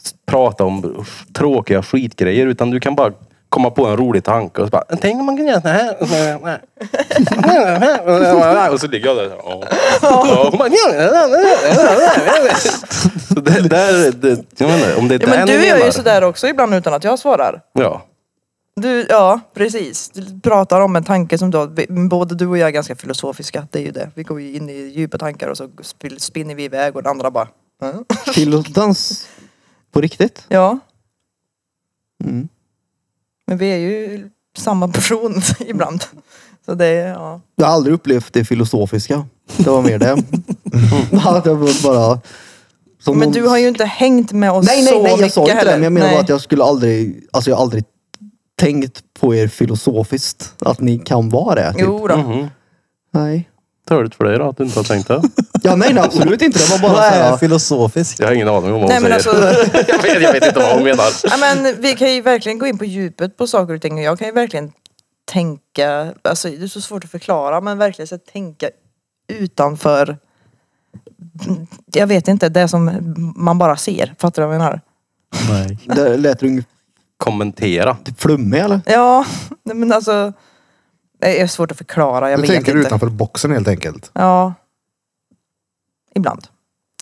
Speaker 2: s- prata om tråkiga skitgrejer utan du kan bara komma på en rolig tanke och så bara, tänk om man kunde göra så här. och så här." Och så ligger jag där. så här, "Ja." Ja, hon bara, Så det, där, det, jag menar, om det är
Speaker 5: Ja,
Speaker 2: den
Speaker 5: men du gör
Speaker 2: menar.
Speaker 5: ju sådär också ibland utan att jag svarar.
Speaker 2: Ja.
Speaker 5: Du, ja, precis. Du pratar om en tanke som du har, vi- både du och jag är ganska filosofiska, det är ju det. Vi går ju in i djupa tankar och så spil- spinner vi iväg och den andra bara, "Mm."
Speaker 3: Filodans på riktigt.
Speaker 5: ja.
Speaker 3: Mm.
Speaker 5: Men vi är ju samma person ibland. Så det är, ja.
Speaker 3: Jag har aldrig upplevt det filosofiska. Det var mer det. Att jag var bara... som
Speaker 5: Men
Speaker 3: någon-
Speaker 5: du har ju inte hängt med oss
Speaker 3: Nej, nej,
Speaker 5: så
Speaker 3: nej, jag
Speaker 5: mycket
Speaker 3: sa inte det.
Speaker 5: heller.
Speaker 3: Men jag menar bara
Speaker 5: Nej.
Speaker 3: att jag skulle aldrig, alltså jag har aldrig tänkt på er filosofiskt. Att ni kan vara det. Typ.
Speaker 5: Jo då.
Speaker 2: Mhm.
Speaker 3: Nej.
Speaker 2: Törligt för dig då att du inte har tänkt det.
Speaker 3: Ja, nej, nej, absolut inte. Det var bara
Speaker 4: Vad
Speaker 3: så
Speaker 4: är
Speaker 3: här,
Speaker 4: filosofiskt?
Speaker 2: Jag har ingen aning om vad
Speaker 5: Nej
Speaker 2: hon
Speaker 5: men
Speaker 2: säger.
Speaker 5: alltså,
Speaker 2: jag, vet, jag vet inte vad hon menar.
Speaker 5: ja, men vi kan ju verkligen gå in på djupet på saker och ting och jag kan ju verkligen tänka, alltså det är så svårt att förklara men verkligen så här, tänka utanför, jag vet inte, det som man bara ser. Fattar du vad jag menar?
Speaker 4: Nej.
Speaker 3: det lät ju
Speaker 2: Kommentera.
Speaker 3: typ flummig eller?
Speaker 5: Ja, nej, men alltså, det är svårt att förklara, jag
Speaker 1: Du
Speaker 5: vet
Speaker 1: tänker
Speaker 5: inte.
Speaker 1: utanför boxen helt enkelt.
Speaker 5: Ja. Ibland.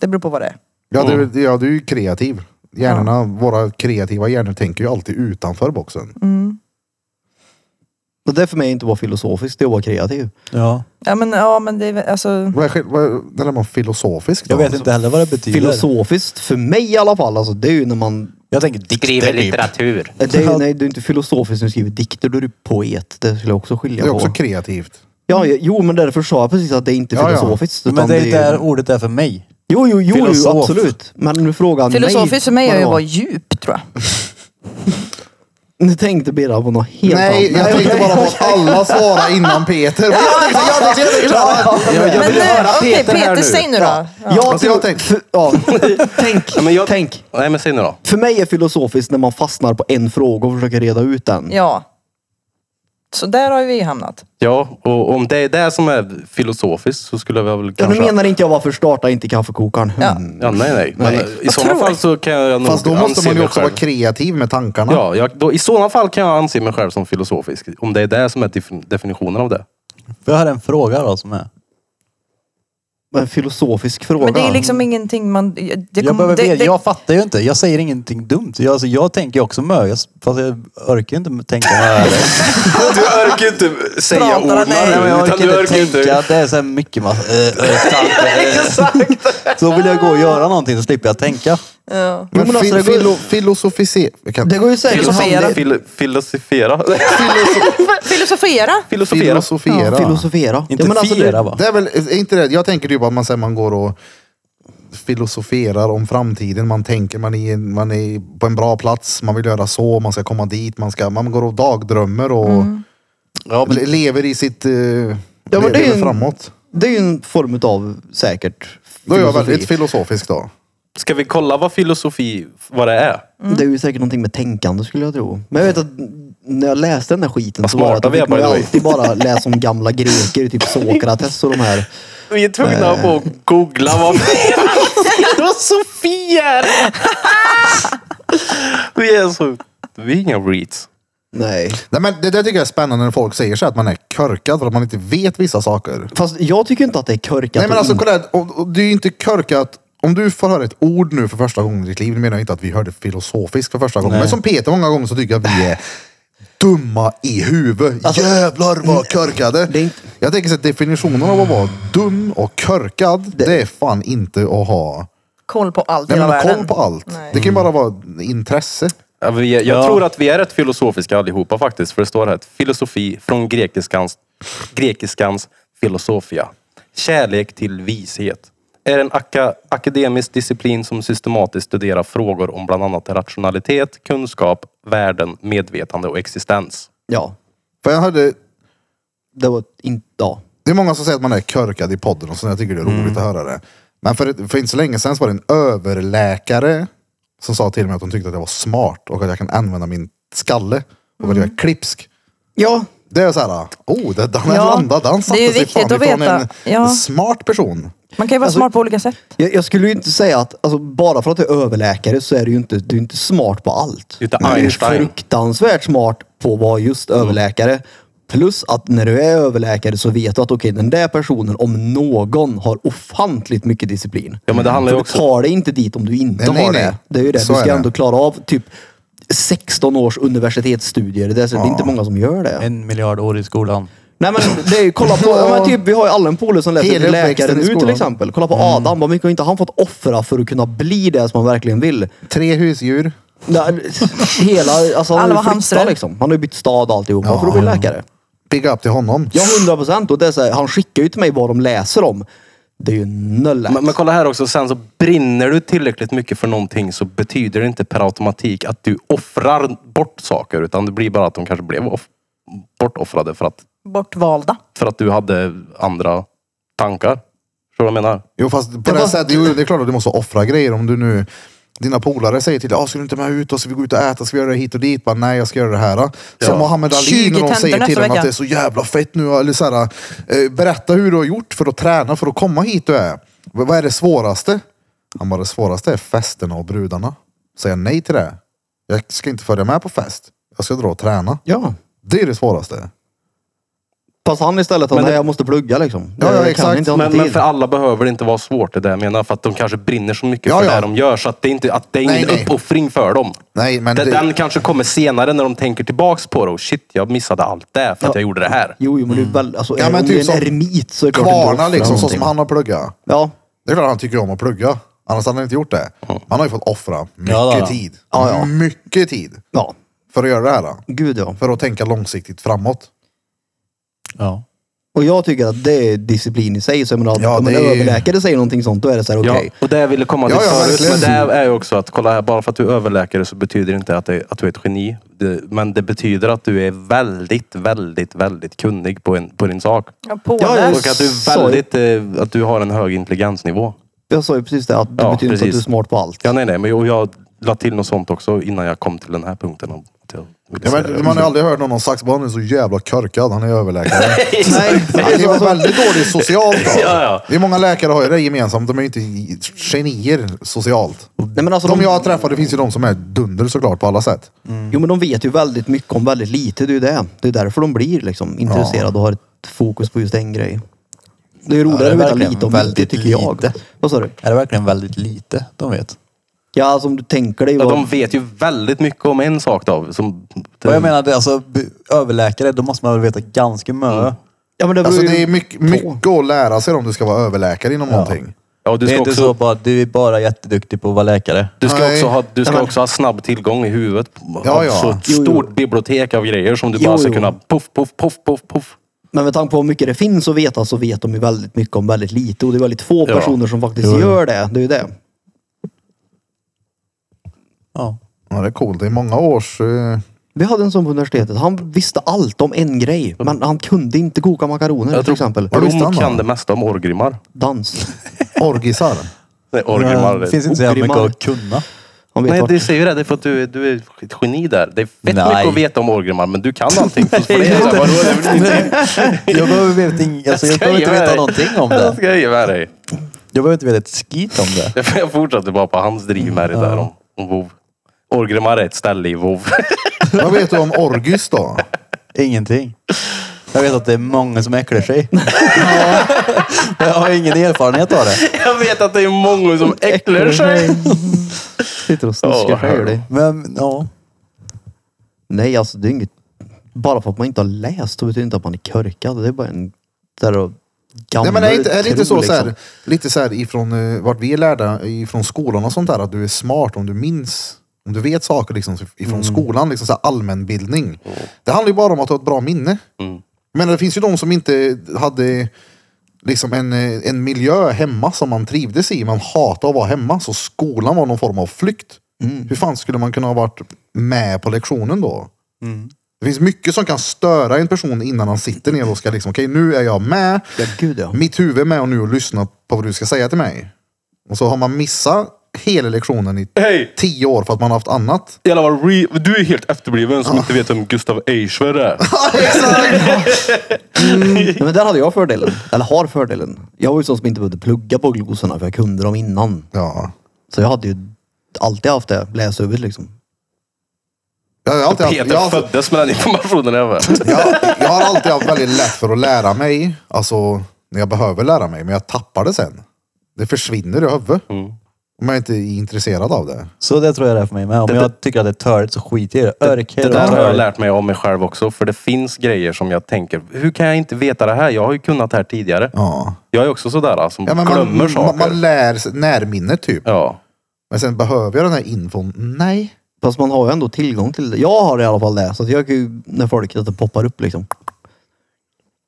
Speaker 5: Det beror på vad det är.
Speaker 1: Ja, du, ja, du är ju kreativ. Hjärnorna, våra kreativa hjärnor tänker ju alltid utanför boxen.
Speaker 5: Mm.
Speaker 3: Så det för mig inte var filosofiskt, det var kreativ.
Speaker 4: Ja.
Speaker 5: Ja men, ja, men det är väl- alltså,
Speaker 1: Vad är, skill- vad är det där med filosofisk då? alltså?
Speaker 4: Jag vet inte heller vad det betyder.
Speaker 3: Filosofiskt, för mig i alla fall, alltså, det är ju när man...
Speaker 4: Jag tänker dikter. typ.
Speaker 2: litteratur.
Speaker 3: Det är, ju- nej, du är inte filosofisk när du skriver dikter, då är du poet. Det skulle jag också
Speaker 1: Det
Speaker 3: skilja
Speaker 1: är
Speaker 3: på.
Speaker 1: också kreativt.
Speaker 3: Ja, ja, jo, men därför sa jag precis att det är inte
Speaker 1: Ja, ja.
Speaker 3: filosofiskt.
Speaker 4: Men
Speaker 3: utan
Speaker 4: det är där
Speaker 3: ju-
Speaker 4: ordet är för mig.
Speaker 3: Jo, jo, jo, jo,
Speaker 4: Filosof.
Speaker 3: absolut. Men nu frågar han mig
Speaker 5: filosofiskt för mig
Speaker 3: vad
Speaker 5: är
Speaker 3: det
Speaker 5: ju att
Speaker 3: var.
Speaker 5: vara djup tror jag.
Speaker 3: Nu tänkte Birra på något helt
Speaker 1: Nej,
Speaker 3: annat.
Speaker 1: jag tänkte bara på att alla svarar innan Peter. Jag tänkte, jag tänkte, jag tänkte, jag tänkte.
Speaker 2: Jag, jag
Speaker 5: Men
Speaker 2: vill
Speaker 5: nu,
Speaker 2: höra
Speaker 5: okej
Speaker 2: Peter, här
Speaker 5: Peter,
Speaker 2: nu.
Speaker 5: säg nu då. Ja.
Speaker 3: Jag,
Speaker 1: Alltså, jag tänkte-
Speaker 3: för, ja, tänk,
Speaker 2: Ja, men jag-
Speaker 3: tänk.
Speaker 2: Nej men säg nu då.
Speaker 3: För mig är filosofiskt när man fastnar på en fråga och försöker reda ut den.
Speaker 5: ja. Så där har ju vi hamnat.
Speaker 2: Ja, och om det är det som är filosofiskt så skulle jag väl
Speaker 3: Ja,
Speaker 2: kanske...
Speaker 3: nu menar inte jag varför starta inte kaffekokaren. Hmm.
Speaker 5: Ja.
Speaker 2: Ja, nej, nej. Men
Speaker 3: Nej.
Speaker 2: i sådana fall så kan jag nog
Speaker 1: Fast då måste
Speaker 2: anse
Speaker 1: man ju
Speaker 2: mig
Speaker 1: också
Speaker 2: själv.
Speaker 1: vara kreativ med tankarna.
Speaker 2: Ja, jag, då, i sådana fall kan jag anse mig själv som filosofisk. Om det är det som är def- definitionen av det.
Speaker 4: För jag har en fråga då som är.
Speaker 3: En filosofisk fråga.
Speaker 5: Men det är liksom ingenting man... Det
Speaker 4: jag,
Speaker 5: kommer-
Speaker 4: behöver,
Speaker 5: det,
Speaker 4: veta-
Speaker 5: det,
Speaker 4: jag fattar ju inte. Jag säger ingenting dumt. Jag, alltså, jag tänker ju också mö. Jag, fast jag orkar inte tänka vad det är.
Speaker 2: Du orkar inte säga
Speaker 5: Pratar
Speaker 2: orden.
Speaker 5: han, nej,
Speaker 4: Nej, men jag orkar inte tänka. Det är så här mycket massa... Äh, så vill jag gå och göra någonting så slipper jag tänka.
Speaker 5: ja.
Speaker 1: Men,
Speaker 3: Jo, men
Speaker 1: fil,
Speaker 3: alltså, det går-
Speaker 1: filo, filosofisera. Jag kan-
Speaker 3: Det går ju säkert att
Speaker 5: Filosofera.
Speaker 3: handla-
Speaker 2: Fil, filosofera.
Speaker 5: Filosofera.
Speaker 2: filosofera.
Speaker 1: Filosofera.
Speaker 3: filosofera.
Speaker 4: Inte
Speaker 3: Ja, men alltså, det-
Speaker 4: fiera va?
Speaker 1: Det är väl, är inte det, jag tänker typ att man, så här, man går och filosoferar om framtiden. Man tänker man är, man är på en bra plats, man vill göra så, man ska komma dit, man, ska, man går och dagdrömmer och
Speaker 4: Ja,
Speaker 1: le- lever i sitt... eh,
Speaker 3: Mm. men
Speaker 1: lever
Speaker 3: det är ju en-
Speaker 1: framåt.
Speaker 3: Det är ju en form av säkert
Speaker 1: Då är jag
Speaker 3: filosofi.
Speaker 1: väldigt filosofisk då.
Speaker 2: Ska vi kolla vad filosofi, vad det är?
Speaker 3: Mm. Det är ju säkert någonting med tänkande skulle jag tro. Men jag vet att när jag läste den där skiten
Speaker 2: Vad
Speaker 3: så var det att
Speaker 2: smarta
Speaker 3: jag
Speaker 2: vi är,
Speaker 3: fick man ju
Speaker 2: by the way.
Speaker 3: alltid bara läsa om gamla greker, typ Sokrates och de här.
Speaker 2: Vi är tvungna att googla vad filosofi är. Vi är så... Vi är inga reeds.
Speaker 3: Nej.
Speaker 1: Nej, men det, det tycker jag är spännande när folk säger så här att man är körkad för att man inte vet vissa saker.
Speaker 3: Fast jag tycker inte att det är korkat.
Speaker 1: Nej men
Speaker 3: att
Speaker 1: alltså
Speaker 3: in-
Speaker 1: kolla här, och- och det är ju inte körkat. Om du får höra ett ord nu för första gången i ditt liv, nu menar jag inte att vi hörde filosofiskt för första gången. Men som Peter många gånger så tycker jag vi är dumma i huvudet. Jävlar vad körkade.
Speaker 3: det är inte-
Speaker 1: Jag tänker så att definitionen av att vara dum och körkad, det, är fan inte att ha
Speaker 5: Koll på allt i
Speaker 1: Nej,
Speaker 5: hela
Speaker 1: men att
Speaker 5: världen.
Speaker 1: koll på allt.
Speaker 5: Nej.
Speaker 1: Det kan ju bara vara intresse.
Speaker 2: Ja, vi är, jag
Speaker 4: Ja.
Speaker 2: tror att vi är rätt filosofiska allihopa faktiskt. För det står här, filosofi från grekiskans, grekiskans filosofia. Kärlek till vishet. Är en aka, akademisk disciplin som systematiskt studerar frågor om bland annat rationalitet, kunskap, värden, medvetande och existens.
Speaker 3: Ja.
Speaker 1: För jag hörde,
Speaker 3: Det var inte... Ja.
Speaker 1: det är många som säger att man är körkad i podden och så jag tycker det är
Speaker 5: Mm.
Speaker 1: roligt att höra det. Men för, för inte så länge sedan så var det en överläkare som sa till mig att hon tyckte att jag var smart och att jag kan använda min skalle och
Speaker 5: Mm.
Speaker 1: att jag är klipsk.
Speaker 3: Ja.
Speaker 1: Det är så här, oh, det, den här
Speaker 5: Ja,
Speaker 1: landade, den
Speaker 5: det är
Speaker 1: satte
Speaker 5: ju
Speaker 1: sig
Speaker 5: viktigt
Speaker 1: fan
Speaker 5: att
Speaker 1: ifrån
Speaker 5: veta.
Speaker 1: en
Speaker 5: Ja.
Speaker 1: smart person.
Speaker 5: Man kan ju vara
Speaker 3: Alltså-
Speaker 5: smart på olika sätt.
Speaker 3: Jag, jag skulle ju inte säga att, alltså, bara för att du är överläkare så är du ju inte, du är inte smart på allt.
Speaker 2: Inte
Speaker 3: Du är ju
Speaker 2: Einstein. Mm.
Speaker 3: fruktansvärt smart på att vara just överläkare. Plus att när du är överläkare så vet du att okej, den där personen om någon har ofantligt mycket disciplin.
Speaker 2: Ja, men det handlar ju
Speaker 3: För
Speaker 2: också-
Speaker 3: Du tar dig inte dit om du inte
Speaker 1: Nej, nej,
Speaker 3: har
Speaker 1: nej.
Speaker 3: det. Det är ju det.
Speaker 1: Så
Speaker 3: du
Speaker 1: är
Speaker 3: ska
Speaker 1: det.
Speaker 3: ändå klara av typ 16 års universitetsstudier. Det är, så, det är inte många som gör det.
Speaker 4: En miljard år i skolan.
Speaker 3: Nej men det är ju, kolla på, ja, men typ, vi har ju alla en polare som läser
Speaker 1: Hela
Speaker 3: till läkare
Speaker 1: uppväxten i
Speaker 3: nu till
Speaker 1: skolan. Mm.
Speaker 3: exempel. Kolla på Adam, vad mycket har inte han fått offra för att kunna bli det som han verkligen vill?
Speaker 1: Tre husdjur.
Speaker 3: Nej, Hela, alltså han har
Speaker 5: Alla var
Speaker 3: ju
Speaker 5: hamstrar.
Speaker 3: flyttat liksom. Han har ju bytt stad och alltihopa för att bli läkare.
Speaker 1: Pigga upp till honom.
Speaker 3: Ja, hundra procent. Och det är så här, han skickar ju till mig vad de läser om. Det är ju noll lätt.
Speaker 2: Men, men kolla här också, sen så brinner du tillräckligt mycket för någonting så betyder det inte per automatik att du offrar bort saker. Utan det blir bara att de kanske blev off- bortoffrade för att,
Speaker 5: Bortvalda.
Speaker 2: för att du hade andra tankar. Förstår du vad jag menar?
Speaker 1: Jo fast på
Speaker 3: Jag
Speaker 1: det
Speaker 3: bara-
Speaker 1: sättet, jo, det är klart att du måste offra grejer om du nu dina polare säger till dig, ah, ska du inte med ut och ska vi gå ut och äta, ska vi göra det hit och dit? Bara, Nej, jag ska göra det här. Som Muhammad Ali
Speaker 5: 20
Speaker 1: när de
Speaker 5: tentor
Speaker 1: säger
Speaker 5: nästa
Speaker 1: till honom att
Speaker 5: vecka.
Speaker 1: det är så jävla fett nu. Eller så här, eh, berätta hur du har gjort för att träna för att komma hit du är. V- Vad är det svåraste? Han bara, det svåraste är festerna och brudarna. Säga nej till det. Jag ska inte följa med på fest. Jag ska dra och träna.
Speaker 3: Ja.
Speaker 1: Det är det svåraste.
Speaker 3: Fast han istället, han,
Speaker 2: Men det-
Speaker 3: nej jag måste plugga liksom.
Speaker 1: Ja, ja,
Speaker 3: Jag kan
Speaker 1: exakt.
Speaker 3: Inte, jag har
Speaker 2: Men,
Speaker 3: inte
Speaker 2: men
Speaker 3: tid.
Speaker 2: för alla behöver det inte vara svårt det där jag menar. För att de kanske brinner så mycket
Speaker 1: Ja,
Speaker 2: för
Speaker 1: ja.
Speaker 2: det de gör. Så att det är inte att det är
Speaker 1: Nej,
Speaker 2: ingen
Speaker 1: nej.
Speaker 2: uppoffring för dem.
Speaker 1: Nej, men
Speaker 2: Den,
Speaker 1: det,
Speaker 2: den kanske kommer senare när de tänker tillbaks på det. Och shit, jag missade allt det för att jag gjorde det här.
Speaker 3: Jo, jo, men det är väl, alltså,
Speaker 1: Ja,
Speaker 3: är-
Speaker 1: men
Speaker 3: om
Speaker 1: typ
Speaker 3: du är en
Speaker 1: som
Speaker 3: eremit så är det klart du inte
Speaker 1: kvarna
Speaker 3: offrar
Speaker 1: liksom, så som
Speaker 3: någonting.
Speaker 1: han har pluggat.
Speaker 3: Ja.
Speaker 1: Det är klart han tycker om att plugga. Annars hade han inte gjort det. Han har ju fått offra mycket
Speaker 4: Ja, det har han.
Speaker 1: tid.
Speaker 3: Ja, ja.
Speaker 1: Mycket tid.
Speaker 3: Ja.
Speaker 1: För att göra det här.
Speaker 3: Gud ja.
Speaker 1: För att tänka långsiktigt framåt.
Speaker 4: Ja.
Speaker 3: Och jag tycker att det är disciplin i sig. Så jag menar, att
Speaker 1: Ja,
Speaker 3: om en
Speaker 1: det är ju-
Speaker 3: överläkare säger någonting sånt, då är det så här, okej.
Speaker 2: Ja, och det jag ville komma till
Speaker 1: Ja, ja,
Speaker 2: förut, men det
Speaker 1: verkligen.
Speaker 2: är ju också att kolla här, bara för att du är överläkare så betyder det inte att, det, att du är ett geni. Det, men det betyder att du är väldigt, väldigt, väldigt kunnig på, en, på din sak.
Speaker 5: Ja, på
Speaker 3: Ja,
Speaker 5: det.
Speaker 3: jag
Speaker 2: Och att du, är
Speaker 3: sa ju-
Speaker 2: väldigt, eh, att du har en hög intelligensnivå.
Speaker 3: Jag sa ju precis det, att det
Speaker 2: Ja,
Speaker 3: betyder inte att du är
Speaker 2: precis.
Speaker 3: smart på allt.
Speaker 2: Ja, nej, nej, men jag, jag la till något sånt också innan jag kom till den här punkten. om Att jag ville
Speaker 1: Ja,
Speaker 2: säga
Speaker 1: men,
Speaker 2: det.
Speaker 1: man har aldrig hört någon om Saxbo, han är så jävla körkad, han är överläkare.
Speaker 3: Nej, alltså,
Speaker 1: Han är ju väldigt dålig socialt. Då.
Speaker 2: Ja, ja.
Speaker 1: Det är många läkare har ju det gemensamt, de är ju inte genier socialt.
Speaker 3: nej men alltså,
Speaker 1: de
Speaker 3: de, Mm.
Speaker 1: jag träffar, det finns ju de som är dunder såklart på alla sätt.
Speaker 3: jo, men de vet ju väldigt mycket om väldigt lite. Det är ju det. Det är därför de blir liksom intresserade och har ett fokus på just en grej. Det är ju
Speaker 4: det är
Speaker 3: roligare att veta
Speaker 4: verkligen
Speaker 3: lite om
Speaker 4: väldigt
Speaker 3: lite, tycker jag.
Speaker 4: lite.
Speaker 3: Vad sa du?
Speaker 4: Är det verkligen väldigt lite de vet?
Speaker 3: Ja, som du tänker dig.
Speaker 2: Ja,
Speaker 3: vad-
Speaker 2: de vet ju väldigt mycket om en sak då. Som,
Speaker 4: Vad jag menar, det, är alltså b- överläkare, då måste man väl veta ganska mycket.
Speaker 3: ja, men det,
Speaker 1: Alltså
Speaker 3: beror ju
Speaker 1: det är mycket, mycket att lära sig om du ska vara överläkare inom någonting.
Speaker 2: Ja, du
Speaker 4: Det är
Speaker 2: ska
Speaker 4: inte
Speaker 2: också,
Speaker 4: så bara, du är bara jätteduktig på att vara läkare.
Speaker 2: Du ska,
Speaker 1: Nej.
Speaker 2: också ha, du ska
Speaker 3: Nej, men-
Speaker 2: också ha snabb tillgång i huvudet.
Speaker 1: Ja, ja.
Speaker 2: Så ett
Speaker 3: Jo, jo.
Speaker 2: stort bibliotek av grejer som du
Speaker 3: Jo,
Speaker 2: bara ska
Speaker 3: jo.
Speaker 2: kunna puff, puff, puff, puff, puff.
Speaker 3: Men med tanke på hur mycket det finns att veta så vet de ju väldigt mycket om väldigt lite. Och det är väldigt få
Speaker 2: Ja.
Speaker 3: personer som faktiskt gör det. Det är ju det.
Speaker 4: Ja.
Speaker 1: Ja, det är coolt. Det är många års... eh,
Speaker 3: Vi hade en sån på universitetet. Han visste allt om en grej. Men han kunde inte koka makaroner till exempel.
Speaker 1: Vad visste
Speaker 2: Rom
Speaker 1: han då?
Speaker 2: kan det mesta om orgrimmar.
Speaker 3: Dans.
Speaker 1: orgisar.
Speaker 2: Nej, orgrimmar.
Speaker 4: det finns inte så jävla mycket
Speaker 3: Ogrimmar.
Speaker 4: att kunna.
Speaker 2: Alltså,
Speaker 3: Han vet
Speaker 2: Nej,
Speaker 3: vart.
Speaker 2: det säger ju det. Det är för att du, är- du är ett geni där. Det är fett
Speaker 4: Nej.
Speaker 2: mycket att veta om orgrimmar, men du kan allting. För för det är så här, vadå? Det är väl inte-
Speaker 4: Jag behöver, veta ing- alltså, jag
Speaker 2: ska
Speaker 4: behöver inte
Speaker 2: ge
Speaker 4: veta
Speaker 2: dig.
Speaker 4: någonting om
Speaker 2: Jag
Speaker 4: det.
Speaker 2: ska ge med dig.
Speaker 4: Jag behöver inte veta ett skit om det.
Speaker 2: Jag- Jag fortsätter bara på hans driv med det där om, om vov. Orgrimmar är ett ställe i vov.
Speaker 1: Vad vet du om orgis då?
Speaker 4: Ingenting. Jag vet att det är många som äcklar sig. Men jag har ingen erfarenhet av det.
Speaker 2: Jag vet att det är många som äcklar sig.
Speaker 3: Sitter och snuskar
Speaker 2: Ja,
Speaker 3: sig. gör det.
Speaker 4: Men ja.
Speaker 3: Nej, alltså det är inget... Bara för att man inte har läst så betyder det inte att man är körkad. Det är bara en... Där och
Speaker 1: Nej,
Speaker 3: gammal
Speaker 1: men är det inte, är det inte
Speaker 3: tro, liksom.
Speaker 1: så, så här, lite så här ifrån eh, vart vi är lärda, ifrån skolan och sånt där, att du är smart om du minns, om du vet saker liksom, ifrån skolan, liksom så här allmänbildning. Det handlar ju bara om att ha ett bra minne. Men det finns ju de som inte hade liksom en, eh, en miljö hemma som man trivdes i. Man hatade att vara hemma, så skolan var någon form av flykt. Hur fan skulle man kunna ha varit med på lektionen då? Det finns mycket som kan störa en person innan han sitter ner och ska liksom, okej nu är jag med.
Speaker 3: Ja, gud ja.
Speaker 1: Mitt huvud är med och nu och lyssnar på vad du ska säga till mig. Och så har man missat hela lektionen i
Speaker 2: Hej!
Speaker 1: tio år för att man har haft annat.
Speaker 2: Jävlar vad re... Du är helt efterbliven som inte vet vem Gustav Eichwer är.
Speaker 3: Nej, men där hade jag fördelen. Eller har fördelen. Jag var ju sån som inte behövde plugga på glosarna för jag kunde dem innan.
Speaker 1: Ja.
Speaker 3: Så jag hade ju alltid haft det läshuvudet liksom.
Speaker 1: Jag har alltid haft,
Speaker 2: Peter
Speaker 1: jag, har alltid-
Speaker 2: föddes med den informationen även.
Speaker 1: jag, jag har alltid haft väldigt lätt för att lära mig. Alltså när jag behöver lära mig. Men jag tappar det sen. Det försvinner i huvudet.
Speaker 2: Mm.
Speaker 1: Om jag inte är intresserad av det.
Speaker 4: Så det tror jag det är för mig med. Om
Speaker 2: Det-
Speaker 4: jag tycker att det är törligt så skiter jag i det. Örk,
Speaker 2: Det där har jag lärt mig om mig själv också. För det finns grejer som jag tänker, hur kan jag inte veta det här? Jag har ju kunnat det här tidigare.
Speaker 1: Ja.
Speaker 2: Jag är också sådär alltså, som
Speaker 1: ja men
Speaker 2: glömmer
Speaker 1: man,
Speaker 2: saker.
Speaker 1: man, man lär sig närminnet typ.
Speaker 2: Ja.
Speaker 1: Men sen behöver jag den här infon? Nej.
Speaker 3: Fast man har ju ändå tillgång till det. Jag har i alla fall det. Så att jag kan ju, när folk, att det poppar upp liksom.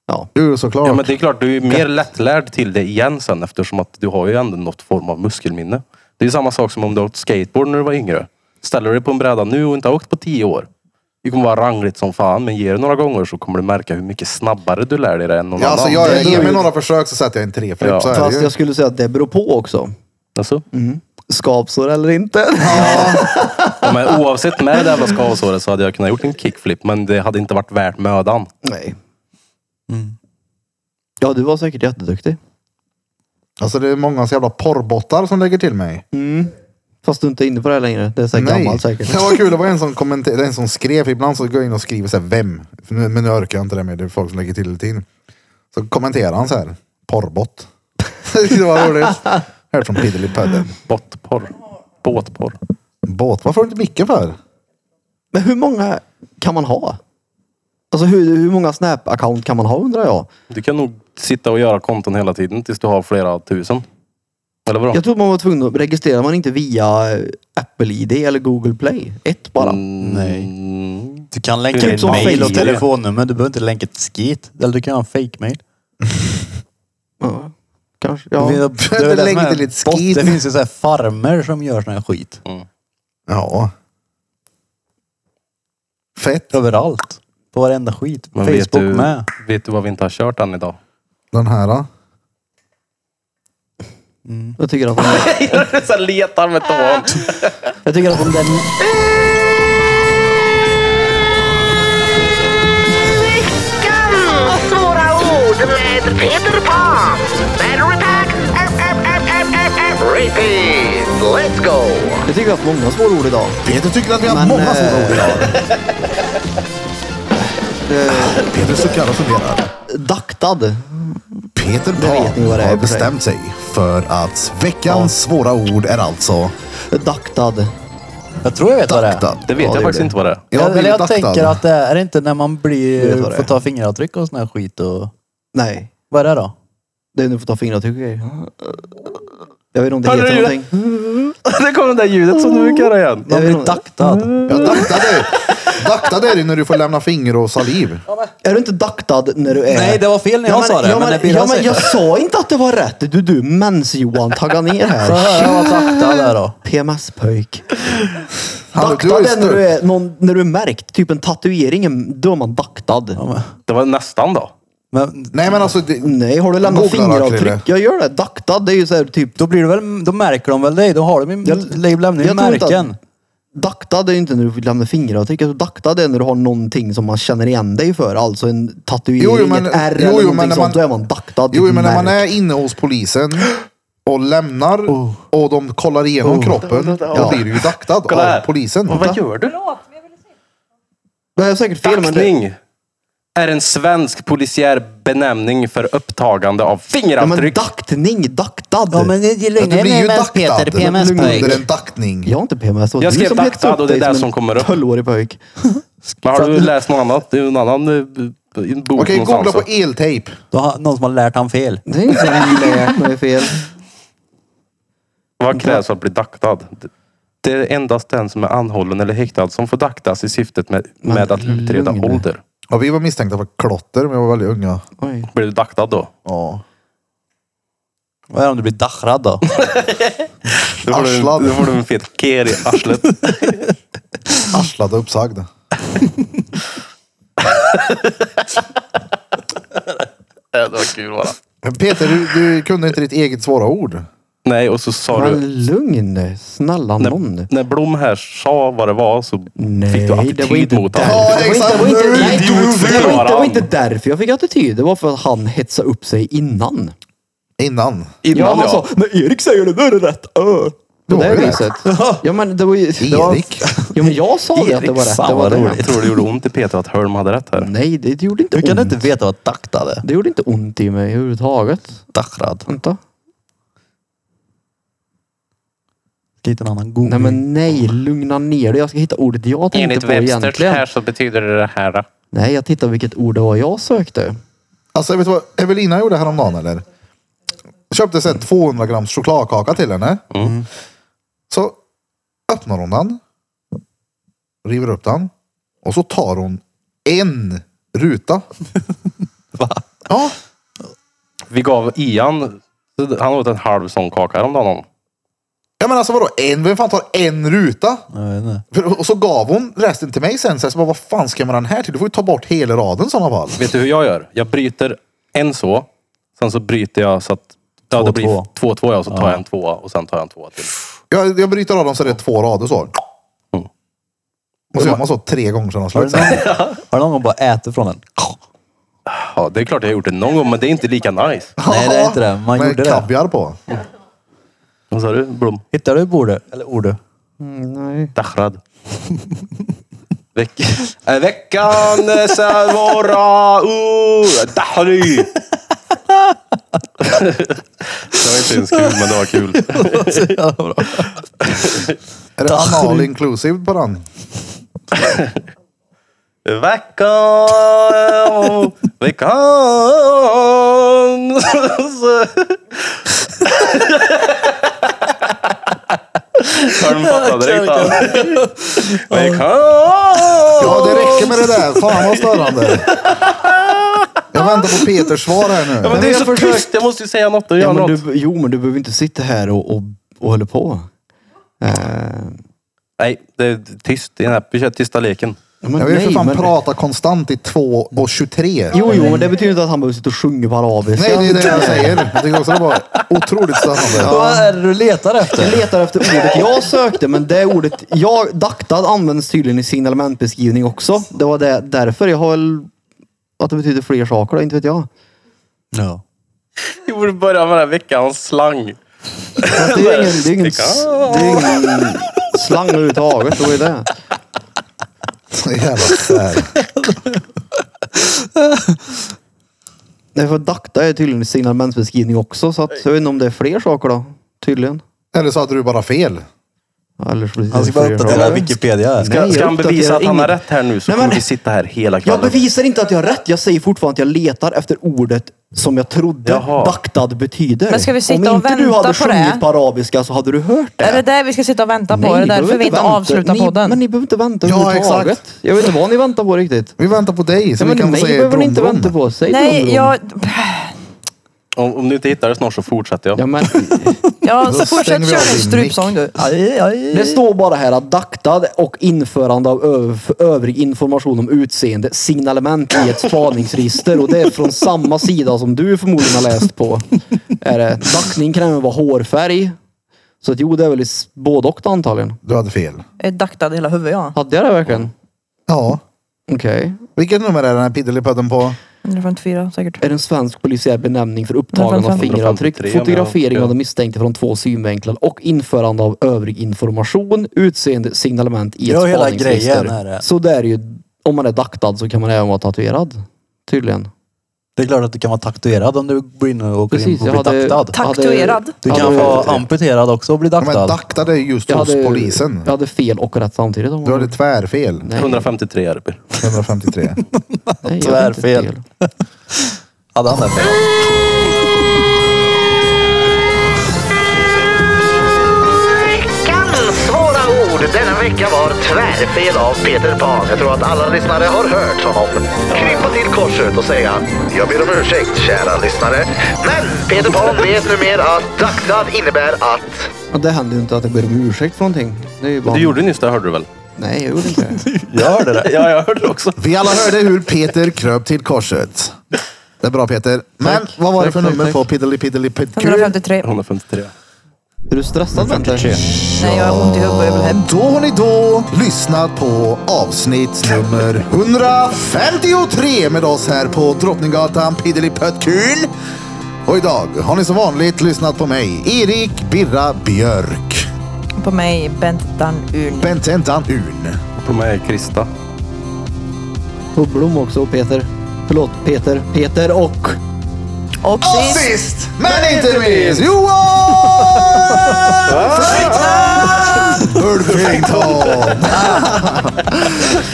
Speaker 3: Ja.
Speaker 1: Jo såklart.
Speaker 2: ja, men det är klart, du är ju mer lättlärd till det igen sen eftersom att du har ju ändå något form av muskelminne. Det är ju samma sak som om du har åkt skateboard när du var yngre. Ställer du dig på en bräda nu och inte har åkt på tio år. Det kommer vara rangligt som fan, men ger det några gånger så kommer du märka hur mycket snabbare du lär dig det än någon
Speaker 1: Ja, alltså,
Speaker 2: annan.
Speaker 1: jag,
Speaker 3: Det är
Speaker 1: ge
Speaker 3: ju-
Speaker 1: mig några försök så sätter jag en treflipp.
Speaker 2: Ja.
Speaker 1: Så är det
Speaker 3: Fast
Speaker 1: ju.
Speaker 3: jag skulle säga att det beror på också.
Speaker 2: Alltså?
Speaker 1: Mm.
Speaker 3: Skavsår eller inte.
Speaker 2: Ja, men oavsett med det jävla skavsåret så hade jag kunnat gjort en kickflip, men det hade inte varit värt mödan.
Speaker 3: Nej.
Speaker 2: Mm.
Speaker 3: Ja, du var säkert jätteduktig.
Speaker 1: Alltså det är många så jävla porrbottar som lägger till mig.
Speaker 3: Fast du inte är inne på det här längre. Det är så här gammalt säkert.
Speaker 1: Det var kul, det var en som, kommenter- en som skrev, ibland så går jag in och skriver så här, vem? För nu, men nu orkar jag inte det med, det är folk som lägger till hela tiden. Så kommenterar han så här, porrbott. det var roligt. Hört från Piddelipödden.
Speaker 2: Båtporr. Båtporr.
Speaker 1: Båt, varför har du inte micken för?
Speaker 3: Men hur många kan man ha? Alltså hur, hur många Snap-account kan man ha undrar jag?
Speaker 2: Du kan nog sitta och göra konton hela tiden tills du har flera tusen. Eller vadå?
Speaker 3: Jag tror man var tvungen att registrera man inte via eh, Apple ID eller Google Play. Ett bara.
Speaker 4: Nej.
Speaker 2: Mm.
Speaker 4: Du kan
Speaker 2: Typ
Speaker 4: länka ditt
Speaker 2: som
Speaker 4: mail och
Speaker 2: Facebook.
Speaker 4: telefonnummer. Du behöver inte länka ett skit. Eller du kan ha en fake mail
Speaker 3: Ja, kanske.
Speaker 4: Det,
Speaker 3: Ja.
Speaker 4: det, är väl
Speaker 1: lägger
Speaker 4: som är
Speaker 1: till lite
Speaker 4: bot-
Speaker 1: skit.
Speaker 4: det finns ju så här farmer som gör sån här skit.
Speaker 1: Ja. Fett.
Speaker 4: Överallt. På varenda skit.
Speaker 2: Men vet
Speaker 4: Facebook
Speaker 2: du-
Speaker 4: med.
Speaker 2: Vet du vad vi inte har kört än idag?
Speaker 1: Den här. då?
Speaker 3: Jag tycker att de,
Speaker 2: Så letar med tån.
Speaker 4: Ah.
Speaker 3: jag tycker att de där...
Speaker 6: Veckans svåra ord med Peter Pan. Battery pack. App, app, app, app, app, app. Repeat. Let's go.
Speaker 3: Jag tycker att många svåra ord idag.
Speaker 1: Peter tycker att vi har
Speaker 3: Men,
Speaker 1: haft många svåra
Speaker 3: eh,
Speaker 1: ord idag.
Speaker 3: Eh,
Speaker 1: Peter suckar och funderar.
Speaker 3: daktad.
Speaker 1: Peter
Speaker 3: vet
Speaker 1: Pan
Speaker 3: ni vad det är
Speaker 1: har
Speaker 3: för sig.
Speaker 1: bestämt sig för att veckans svåra ord är alltså
Speaker 3: Daktad.
Speaker 4: Jag tror jag vet vad det är.
Speaker 1: daktad.
Speaker 2: Det vet
Speaker 3: Ja, det
Speaker 2: jag faktiskt
Speaker 3: blir-
Speaker 2: inte vad det är.
Speaker 1: Jag har
Speaker 4: Eller
Speaker 1: blivit
Speaker 4: jag
Speaker 1: daktad.
Speaker 4: tänker att det är, är det inte när man
Speaker 3: Du vet
Speaker 4: blir,
Speaker 3: vad det
Speaker 4: får
Speaker 3: är.
Speaker 4: ta fingeravtryck och sån här skit och...
Speaker 3: Nej,
Speaker 4: Vad är det då?
Speaker 3: det är nu får ta fingeravtryck och grejer. Jag vet inte om det
Speaker 2: Hörde
Speaker 3: heter
Speaker 2: du det?
Speaker 3: någonting.
Speaker 2: Det kom det där ljudet som du brukar göra igen.
Speaker 3: Jag vet
Speaker 4: Man blir
Speaker 3: inte. Mm.
Speaker 4: daktad.
Speaker 1: Ja, daktad är, daktad är det när du får lämna finger och saliv.
Speaker 3: Är du inte daktad när du är...
Speaker 4: Nej, det var fel när jag sa det,
Speaker 3: Ja, men,
Speaker 4: men när Birra
Speaker 3: ja, men
Speaker 4: säger
Speaker 3: jag
Speaker 4: det.
Speaker 3: sa inte att det var rätt. Du, du mens-Johan, tagga ner
Speaker 4: Så
Speaker 3: här.
Speaker 4: hör jag vad daktad är då.
Speaker 3: PMS-pöjk.
Speaker 1: Hallå,
Speaker 3: Daktad
Speaker 1: du är
Speaker 3: är när du
Speaker 1: stört.
Speaker 3: är, någon, när du är märkt. Typ en tatuering, en- då är man daktad.
Speaker 2: Det var nästan då.
Speaker 4: Men
Speaker 1: Nej men alltså, det,
Speaker 3: Nej, har du lämnat
Speaker 1: Googla då, Krille.
Speaker 3: fingeravtryck? Jag gör det. Daktad, det är ju så här typ...
Speaker 4: då blir det väl, då märker de väl dig. Då har de ju
Speaker 3: Jag-
Speaker 4: lämnar ju
Speaker 3: jag tror inte att-
Speaker 4: märken.
Speaker 3: Daktad är ju inte när du lämnar fingeravtryck. Alltså, daktad är när du har någonting som man känner igen dig för. Alltså en tatuering,
Speaker 1: Jo, jo, men-
Speaker 3: ett ärr
Speaker 1: jo, jo,
Speaker 3: eller
Speaker 1: men
Speaker 3: någonting
Speaker 1: när
Speaker 3: sånt.
Speaker 1: man-
Speaker 3: Då är man daktad.
Speaker 1: jo
Speaker 3: typ
Speaker 1: men när man
Speaker 3: märkt.
Speaker 1: är inne hos polisen och lämnar och de kollar igenom kroppen, då
Speaker 3: Ja.
Speaker 1: blir du ju daktad
Speaker 2: Kolla här.
Speaker 1: av polisen.
Speaker 2: Vad gör du?
Speaker 3: Det här är säkert fel, men det,
Speaker 2: Daktning är en svensk polisiär benämning för upptagande av
Speaker 3: ja, men
Speaker 2: fingeravtryck.
Speaker 3: daktning, daktad.
Speaker 4: Ja men det
Speaker 1: Ja, du
Speaker 4: lugna
Speaker 1: blir ju
Speaker 4: ner PMS
Speaker 1: daktad
Speaker 4: Peter. PMS-pöjk.
Speaker 1: under en daktning.
Speaker 3: Jag har inte PMS. Det var
Speaker 2: Jag
Speaker 3: du
Speaker 2: skrev
Speaker 3: som hetsade
Speaker 2: daktad
Speaker 3: upp
Speaker 2: och det är
Speaker 3: dig
Speaker 2: det som kommer upp.
Speaker 3: Tolvårig pojk.
Speaker 2: Men har du läst något annat? Det är ju en annan eh, b- en bok
Speaker 1: Okej,
Speaker 2: någonstans. alltså.
Speaker 1: googla på eltejp.
Speaker 4: Då har någon som har lärt han fel.
Speaker 3: Det är inte så lärt mig fel.
Speaker 2: Vad krävs för att bli daktad? Det är endast den som är anhållen eller häktad som får daktas i syftet med, med att utreda
Speaker 3: lugn.
Speaker 2: ålder.
Speaker 1: Ja, vi var misstänkta för klotter, men vi var väldigt unga.
Speaker 3: Oj.
Speaker 2: Blir du daktad då?
Speaker 1: Ja.
Speaker 4: Vad är det om du blir dachrad då?
Speaker 2: Då får du,
Speaker 1: Arslad.
Speaker 2: då får du en fet ker i arslet.
Speaker 1: Arslad och uppsagd.
Speaker 2: det var kul bara.
Speaker 1: Men Peter, du, du kunde inte ditt eget svåra ord.
Speaker 2: Nej, och så sa
Speaker 3: Men
Speaker 2: du...
Speaker 3: lugn. Snälla någon.
Speaker 2: När, när Blom här sa vad det var så fick
Speaker 3: Nej,
Speaker 2: du
Speaker 3: det var
Speaker 2: attityd
Speaker 3: inte
Speaker 2: mot honom.
Speaker 1: Ja,
Speaker 3: därför. Det var
Speaker 1: exakt.
Speaker 3: inte- det var inte-
Speaker 1: Nej,
Speaker 3: nej, det
Speaker 2: du
Speaker 3: var inte- det var inte- det var
Speaker 2: föraren.
Speaker 3: inte därför jag fick attityd. Det var för att han hetsade upp sig innan.
Speaker 1: Innan.
Speaker 2: Innan
Speaker 3: Ja, han
Speaker 2: jag...
Speaker 3: sa, men Erik säger det, då är det rätt. Ö. På
Speaker 1: var
Speaker 3: det
Speaker 1: ju
Speaker 3: viset. Ja men det var ju... det var-
Speaker 1: Erik.
Speaker 3: Ja men jag sa det att det
Speaker 4: Erik,
Speaker 3: var rätt. Det
Speaker 4: fan,
Speaker 3: var
Speaker 4: vad
Speaker 3: det.
Speaker 4: roligt.
Speaker 2: Jag tror det gjorde ont i Peter att Hölm hade rätt här.
Speaker 3: Nej, det det gjorde inte
Speaker 4: Hur kan
Speaker 3: ont.
Speaker 4: du inte veta vad daktad är?
Speaker 3: Det gjorde inte ont i mig överhuvudtaget.
Speaker 4: Dachrad.
Speaker 3: Vänta.
Speaker 4: Ska hitta en annan god.
Speaker 3: Nej men nej, lugna ner dig. Jag ska hitta ordet jag tänkte på egentligen.
Speaker 2: så betyder det det här.
Speaker 3: Nej, jag tittar vilket ord det var jag sökte.
Speaker 1: Alltså, vet du vad Evelina gjorde häromdagen eller? Köpte så här 200 grams chokladkaka till henne.
Speaker 2: Mm.
Speaker 1: Så öppnar hon den. River upp den. Och så tar hon en ruta.
Speaker 4: Va?
Speaker 1: Ja,
Speaker 2: Vi gav Ian, han åt en halv sån kaka häromdagen.
Speaker 1: ja men alltså vadå en? Vem fan tar en ruta?
Speaker 4: Jag vet inte.
Speaker 1: För, och så gav hon resten till mig sen. Så jag bara, vad fan ska man den här till? Du får ju ta bort hela raden i sådana fall.
Speaker 2: Vet du hur jag gör? Jag bryter en så, sen så bryter jag så att Ja, det blir
Speaker 4: Två, två.
Speaker 2: två två ja, så tar jag en tvåa och sen tar jag en tvåa till.
Speaker 1: Jag, jag bryter av dem så det är två rader så.
Speaker 2: Mm.
Speaker 1: Och så gör man så tre gånger sedan de
Speaker 4: Har
Speaker 1: slut.
Speaker 4: du någon, har du någon gång bara ätit från den?
Speaker 2: Ja, det är klart jag har gjort det någon gång, men det är inte lika nice.
Speaker 4: Nej det är inte det. Man
Speaker 1: Med
Speaker 4: gjorde det.
Speaker 1: kaviar på.
Speaker 2: Vad sa du? Blom?
Speaker 4: Hittar du bordet? Eller ordet?
Speaker 3: nej.
Speaker 2: Dahrad. Veck äh, veckan eh, så våra uh, Dahri. det var inte ens kul, men det var kul.
Speaker 1: Är det anal inclusive på den?
Speaker 2: Veckan, veckan. Har du fattat direkt? då? Veckan.
Speaker 1: Ja, det räcker med det där. Fan vad störande. Jag väntar på Peters svar här nu.
Speaker 2: men det är
Speaker 3: jag
Speaker 2: så
Speaker 3: försöker-
Speaker 2: tyst! Jag måste ju säga något. Jag
Speaker 3: Ja,
Speaker 2: gör
Speaker 3: men
Speaker 2: något.
Speaker 3: du, jo, men du behöver inte sitta här och, och, och hålla på. Eh,
Speaker 2: Nej, det är tyst. i den här- Vi kör tysta leken.
Speaker 3: ja, men
Speaker 1: jag vill för
Speaker 3: nej,
Speaker 1: fan
Speaker 3: men-
Speaker 1: prata konstant i 2 och 23.
Speaker 3: Jo, jo, men det betyder inte att han behöver sitta och sjunga på arabiska.
Speaker 1: Nej, det är det jag säger. Jag tycker också det var otroligt spännande.
Speaker 4: Vad är det du letar
Speaker 3: Jag
Speaker 4: efter?
Speaker 3: letar efter ordet jag sökte, men det ordet jag... Daktad används tydligen i signalementbeskrivning också. Det var det, därför. Jag har väl... Att det betyder fler saker då, inte vet jag.
Speaker 4: Ja.
Speaker 2: Vi borde börja med den här veckans slang.
Speaker 3: Fast Det är ju ingen, det är ingen, s- det är ingen slang överhuvudtaget. Det var ju det.
Speaker 1: Så jävla sär.
Speaker 3: Nej, för dakta är tydligen i signalementsbeskrivning också, så att, jag vet inte om det är fler saker då. Tydligen.
Speaker 1: Eller så hade du bara fel.
Speaker 3: Eller så blir det
Speaker 4: Han ska bara
Speaker 3: fler
Speaker 4: uppdatera
Speaker 3: saker.
Speaker 4: Wikipedia. här.
Speaker 2: Ska,
Speaker 3: Nej,
Speaker 2: ska
Speaker 3: jag
Speaker 2: han bevisa
Speaker 3: uppdaterar
Speaker 2: att han har
Speaker 3: inget.
Speaker 2: rätt här nu så
Speaker 3: Nej, men-
Speaker 2: kommer vi sitta här hela
Speaker 3: Jag
Speaker 2: kvällen.
Speaker 3: bevisar inte att jag har rätt. Jag säger fortfarande att jag letar efter ordet som jag trodde
Speaker 2: Jaha.
Speaker 3: daktad betyder.
Speaker 5: Men ska vi sitta
Speaker 3: Om
Speaker 5: och
Speaker 3: inte du
Speaker 5: vänta
Speaker 3: hade
Speaker 5: på det?
Speaker 3: sjungit på arabiska så hade du hört det.
Speaker 5: Är det det vi ska sitta och vänta på?
Speaker 3: Nej,
Speaker 5: är det
Speaker 3: ni behöver
Speaker 5: därför vi inte
Speaker 3: vänta.
Speaker 5: avslutar
Speaker 3: ni,
Speaker 5: podden?
Speaker 3: Men ni behöver inte vänta
Speaker 1: Ja,
Speaker 3: överhuvudtaget.
Speaker 1: exakt.
Speaker 3: Jag vet inte vad ni väntar på riktigt.
Speaker 1: Vi väntar på dig så
Speaker 3: Nej,
Speaker 1: vi
Speaker 3: men
Speaker 1: kan
Speaker 3: mig
Speaker 1: få säga
Speaker 3: behöver ni
Speaker 1: brum,
Speaker 3: inte
Speaker 1: brum.
Speaker 3: vänta på. Säg brum,
Speaker 5: Nej,
Speaker 3: brum.
Speaker 5: jag...
Speaker 2: Om, om du inte hittar det snart så fortsätter jag.
Speaker 3: Ja, men,
Speaker 5: Ja,
Speaker 1: Då
Speaker 5: så fortsätt
Speaker 1: stänger vi
Speaker 5: köra
Speaker 1: av
Speaker 5: din
Speaker 1: din
Speaker 5: strupsång du.
Speaker 3: det står bara här att daktad och införande av öv, övrig information om utseende signalement i ett spaningsregister och det är från samma sida som du förmodligen har läst på. Är det, daktning kan även vara hårfärg. Så att, jo, det är väl i s- både och då, antagligen.
Speaker 1: Du hade fel.
Speaker 5: Jag är daktad i hela huvudet jag.
Speaker 3: Hade jag det verkligen?
Speaker 1: Ja.
Speaker 3: Okej.
Speaker 1: Vilket nummer är den här piddelipudden på?
Speaker 5: 154 säkert.
Speaker 3: är en svensk polisiär benämning för upptagande av
Speaker 5: 153,
Speaker 3: fingeravtryck,
Speaker 2: om jag-
Speaker 3: fotografering av
Speaker 2: ja.
Speaker 3: den misstänkte från två synvinklar och införande av övrig information, utseende, signalement i ett
Speaker 4: Ja, hela
Speaker 3: spaningsregister.
Speaker 4: grejen är det.
Speaker 3: Så det är ju, om man är daktad så kan man även vara tatuerad. Tydligen.
Speaker 4: Det är klart att du kan vara tatuerad om du går in och åker in
Speaker 3: Precis,
Speaker 4: och blir
Speaker 3: jag hade-
Speaker 4: daktad.
Speaker 5: Tatuerad.
Speaker 4: Du
Speaker 3: Ja,
Speaker 4: kan
Speaker 3: det-
Speaker 4: vara amputerad också och bli
Speaker 1: Ja, men
Speaker 4: daktad.
Speaker 1: daktade är just
Speaker 3: Jag
Speaker 1: hos
Speaker 3: hade,
Speaker 1: polisen.
Speaker 3: Jag hade fel och rätt samtidigt. Om
Speaker 1: Du
Speaker 3: man-
Speaker 1: hade tvärfel.
Speaker 3: Nej,
Speaker 2: 153 Erber.
Speaker 1: 153.
Speaker 3: nej, jag hade inte
Speaker 4: tvärfel.
Speaker 3: fel.
Speaker 4: Hade han det fel?
Speaker 6: Veckans svåra ord denna vecka var tvärfel av Peter Pan. Jag tror att alla lyssnare har hört honom krypa till korset och säga Jag ber om ursäkt kära lyssnare. Men Peter Pan vet numera att daktad innebär att
Speaker 3: Ja, det händer ju inte att jag ber om ursäkt för någonting. Det är ju bara...
Speaker 2: Du gjorde det nyss, det hörde du väl?
Speaker 3: Nej, jag gjorde inte det.
Speaker 2: Jag hörde det. ja, jag hörde det också.
Speaker 1: Vi alla hörde hur Peter kröp till korset. Det är bra Peter. Men
Speaker 3: Tack.
Speaker 1: vad var det
Speaker 3: Tack,
Speaker 1: för
Speaker 3: tack,
Speaker 1: nummer
Speaker 3: tack.
Speaker 1: på piddelipiddelipiddelipiddelipiddelipiddelipiddelip?
Speaker 5: 153.
Speaker 2: 153.
Speaker 3: Är du stressad Bente?
Speaker 5: Nej, jag har ont i huvudet. Jag vill hem.
Speaker 1: Då har ni då lyssnat på avsnitt nummer 153 med oss här på Drottninggatan Piddelipöttkul. Och idag har ni som vanligt lyssnat på mig, Erik Birra Björk.
Speaker 5: På mig, Bent Danun.
Speaker 1: Bententan Un.
Speaker 2: På mig Krista.
Speaker 3: Och Blom också och Peter. Förlåt, Peter. Peter och...
Speaker 5: Och
Speaker 1: Och
Speaker 5: sist,
Speaker 1: sist men inte minst Ah. Johan Ulfington!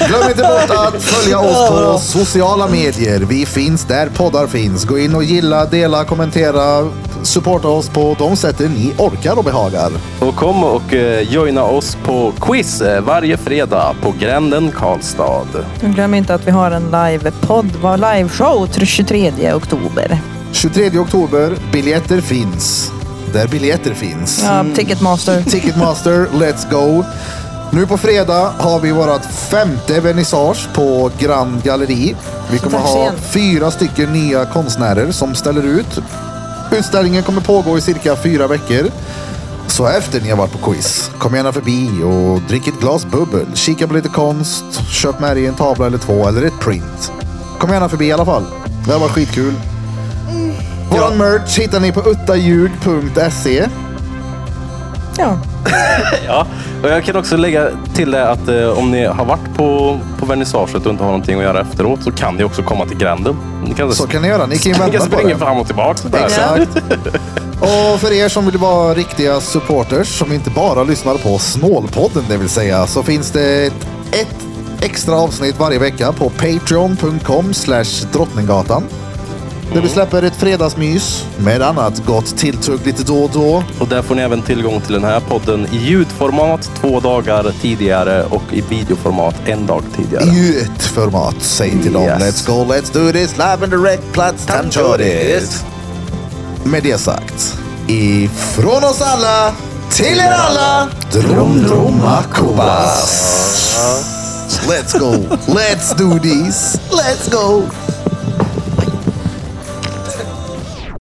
Speaker 1: Glöm inte bort att följa oss på sociala medier. Vi finns där poddar finns. Gå in och gilla, dela, kommentera, supporta oss på de sätten ni orkar och behagar.
Speaker 2: Och kom och eh, joina oss på quiz eh, varje fredag på Gränden Karlstad.
Speaker 5: glöm inte att vi har en livepodd, var liveshow 23 oktober.
Speaker 1: 23 oktober, biljetter finns. Där biljetter finns.
Speaker 5: Ja, Ticketmaster.
Speaker 1: Ticketmaster, let's go. Nu på fredag har vi vårt femte vernissage på Grand Galleri. Vi kommer
Speaker 5: Dags
Speaker 1: ha
Speaker 5: igen.
Speaker 1: fyra stycken nya konstnärer som ställer ut. Utställningen kommer pågå i cirka fyra veckor. Så efter ni har varit på quiz, kom gärna förbi och drick ett glas bubbel, kika på lite konst, köp med dig en tavla eller två eller ett print. Kom gärna förbi i alla fall. Det här var skitkul.
Speaker 5: Mm.
Speaker 1: Våran merch hittar ni på uttaljug.se.
Speaker 5: Ja.
Speaker 2: Ja, och jag kan också lägga till det att eh, om ni har varit på, på vernissaget och inte har någonting att göra efteråt så kan ni också komma till Gränden. Ni kan,
Speaker 1: Så kan ni göra. Ni kan ju
Speaker 2: ni kan
Speaker 1: vänta på
Speaker 2: springa
Speaker 1: det.
Speaker 2: fram och tillbaka där.
Speaker 1: Exakt. Och för er som vill vara riktiga supporters som inte bara lyssnar på Snålpodden det vill säga så finns det ett, ett extra avsnitt varje vecka på patreon.com slash drottninggatan. Där vi släpper ett fredagsmys med annat gott tilltugg lite då och då.
Speaker 2: Och där får ni även tillgång till den här podden i ljudformat två dagar tidigare och i videoformat en dag tidigare.
Speaker 1: I ett format. Säg till dem.
Speaker 2: Yes.
Speaker 1: Let's go, let's do this. Live and direct, plats, time to this. Med det sagt. Ifrån oss alla, till er alla. Drom, droma, kubas. Let's go. Let's do this. Let's go.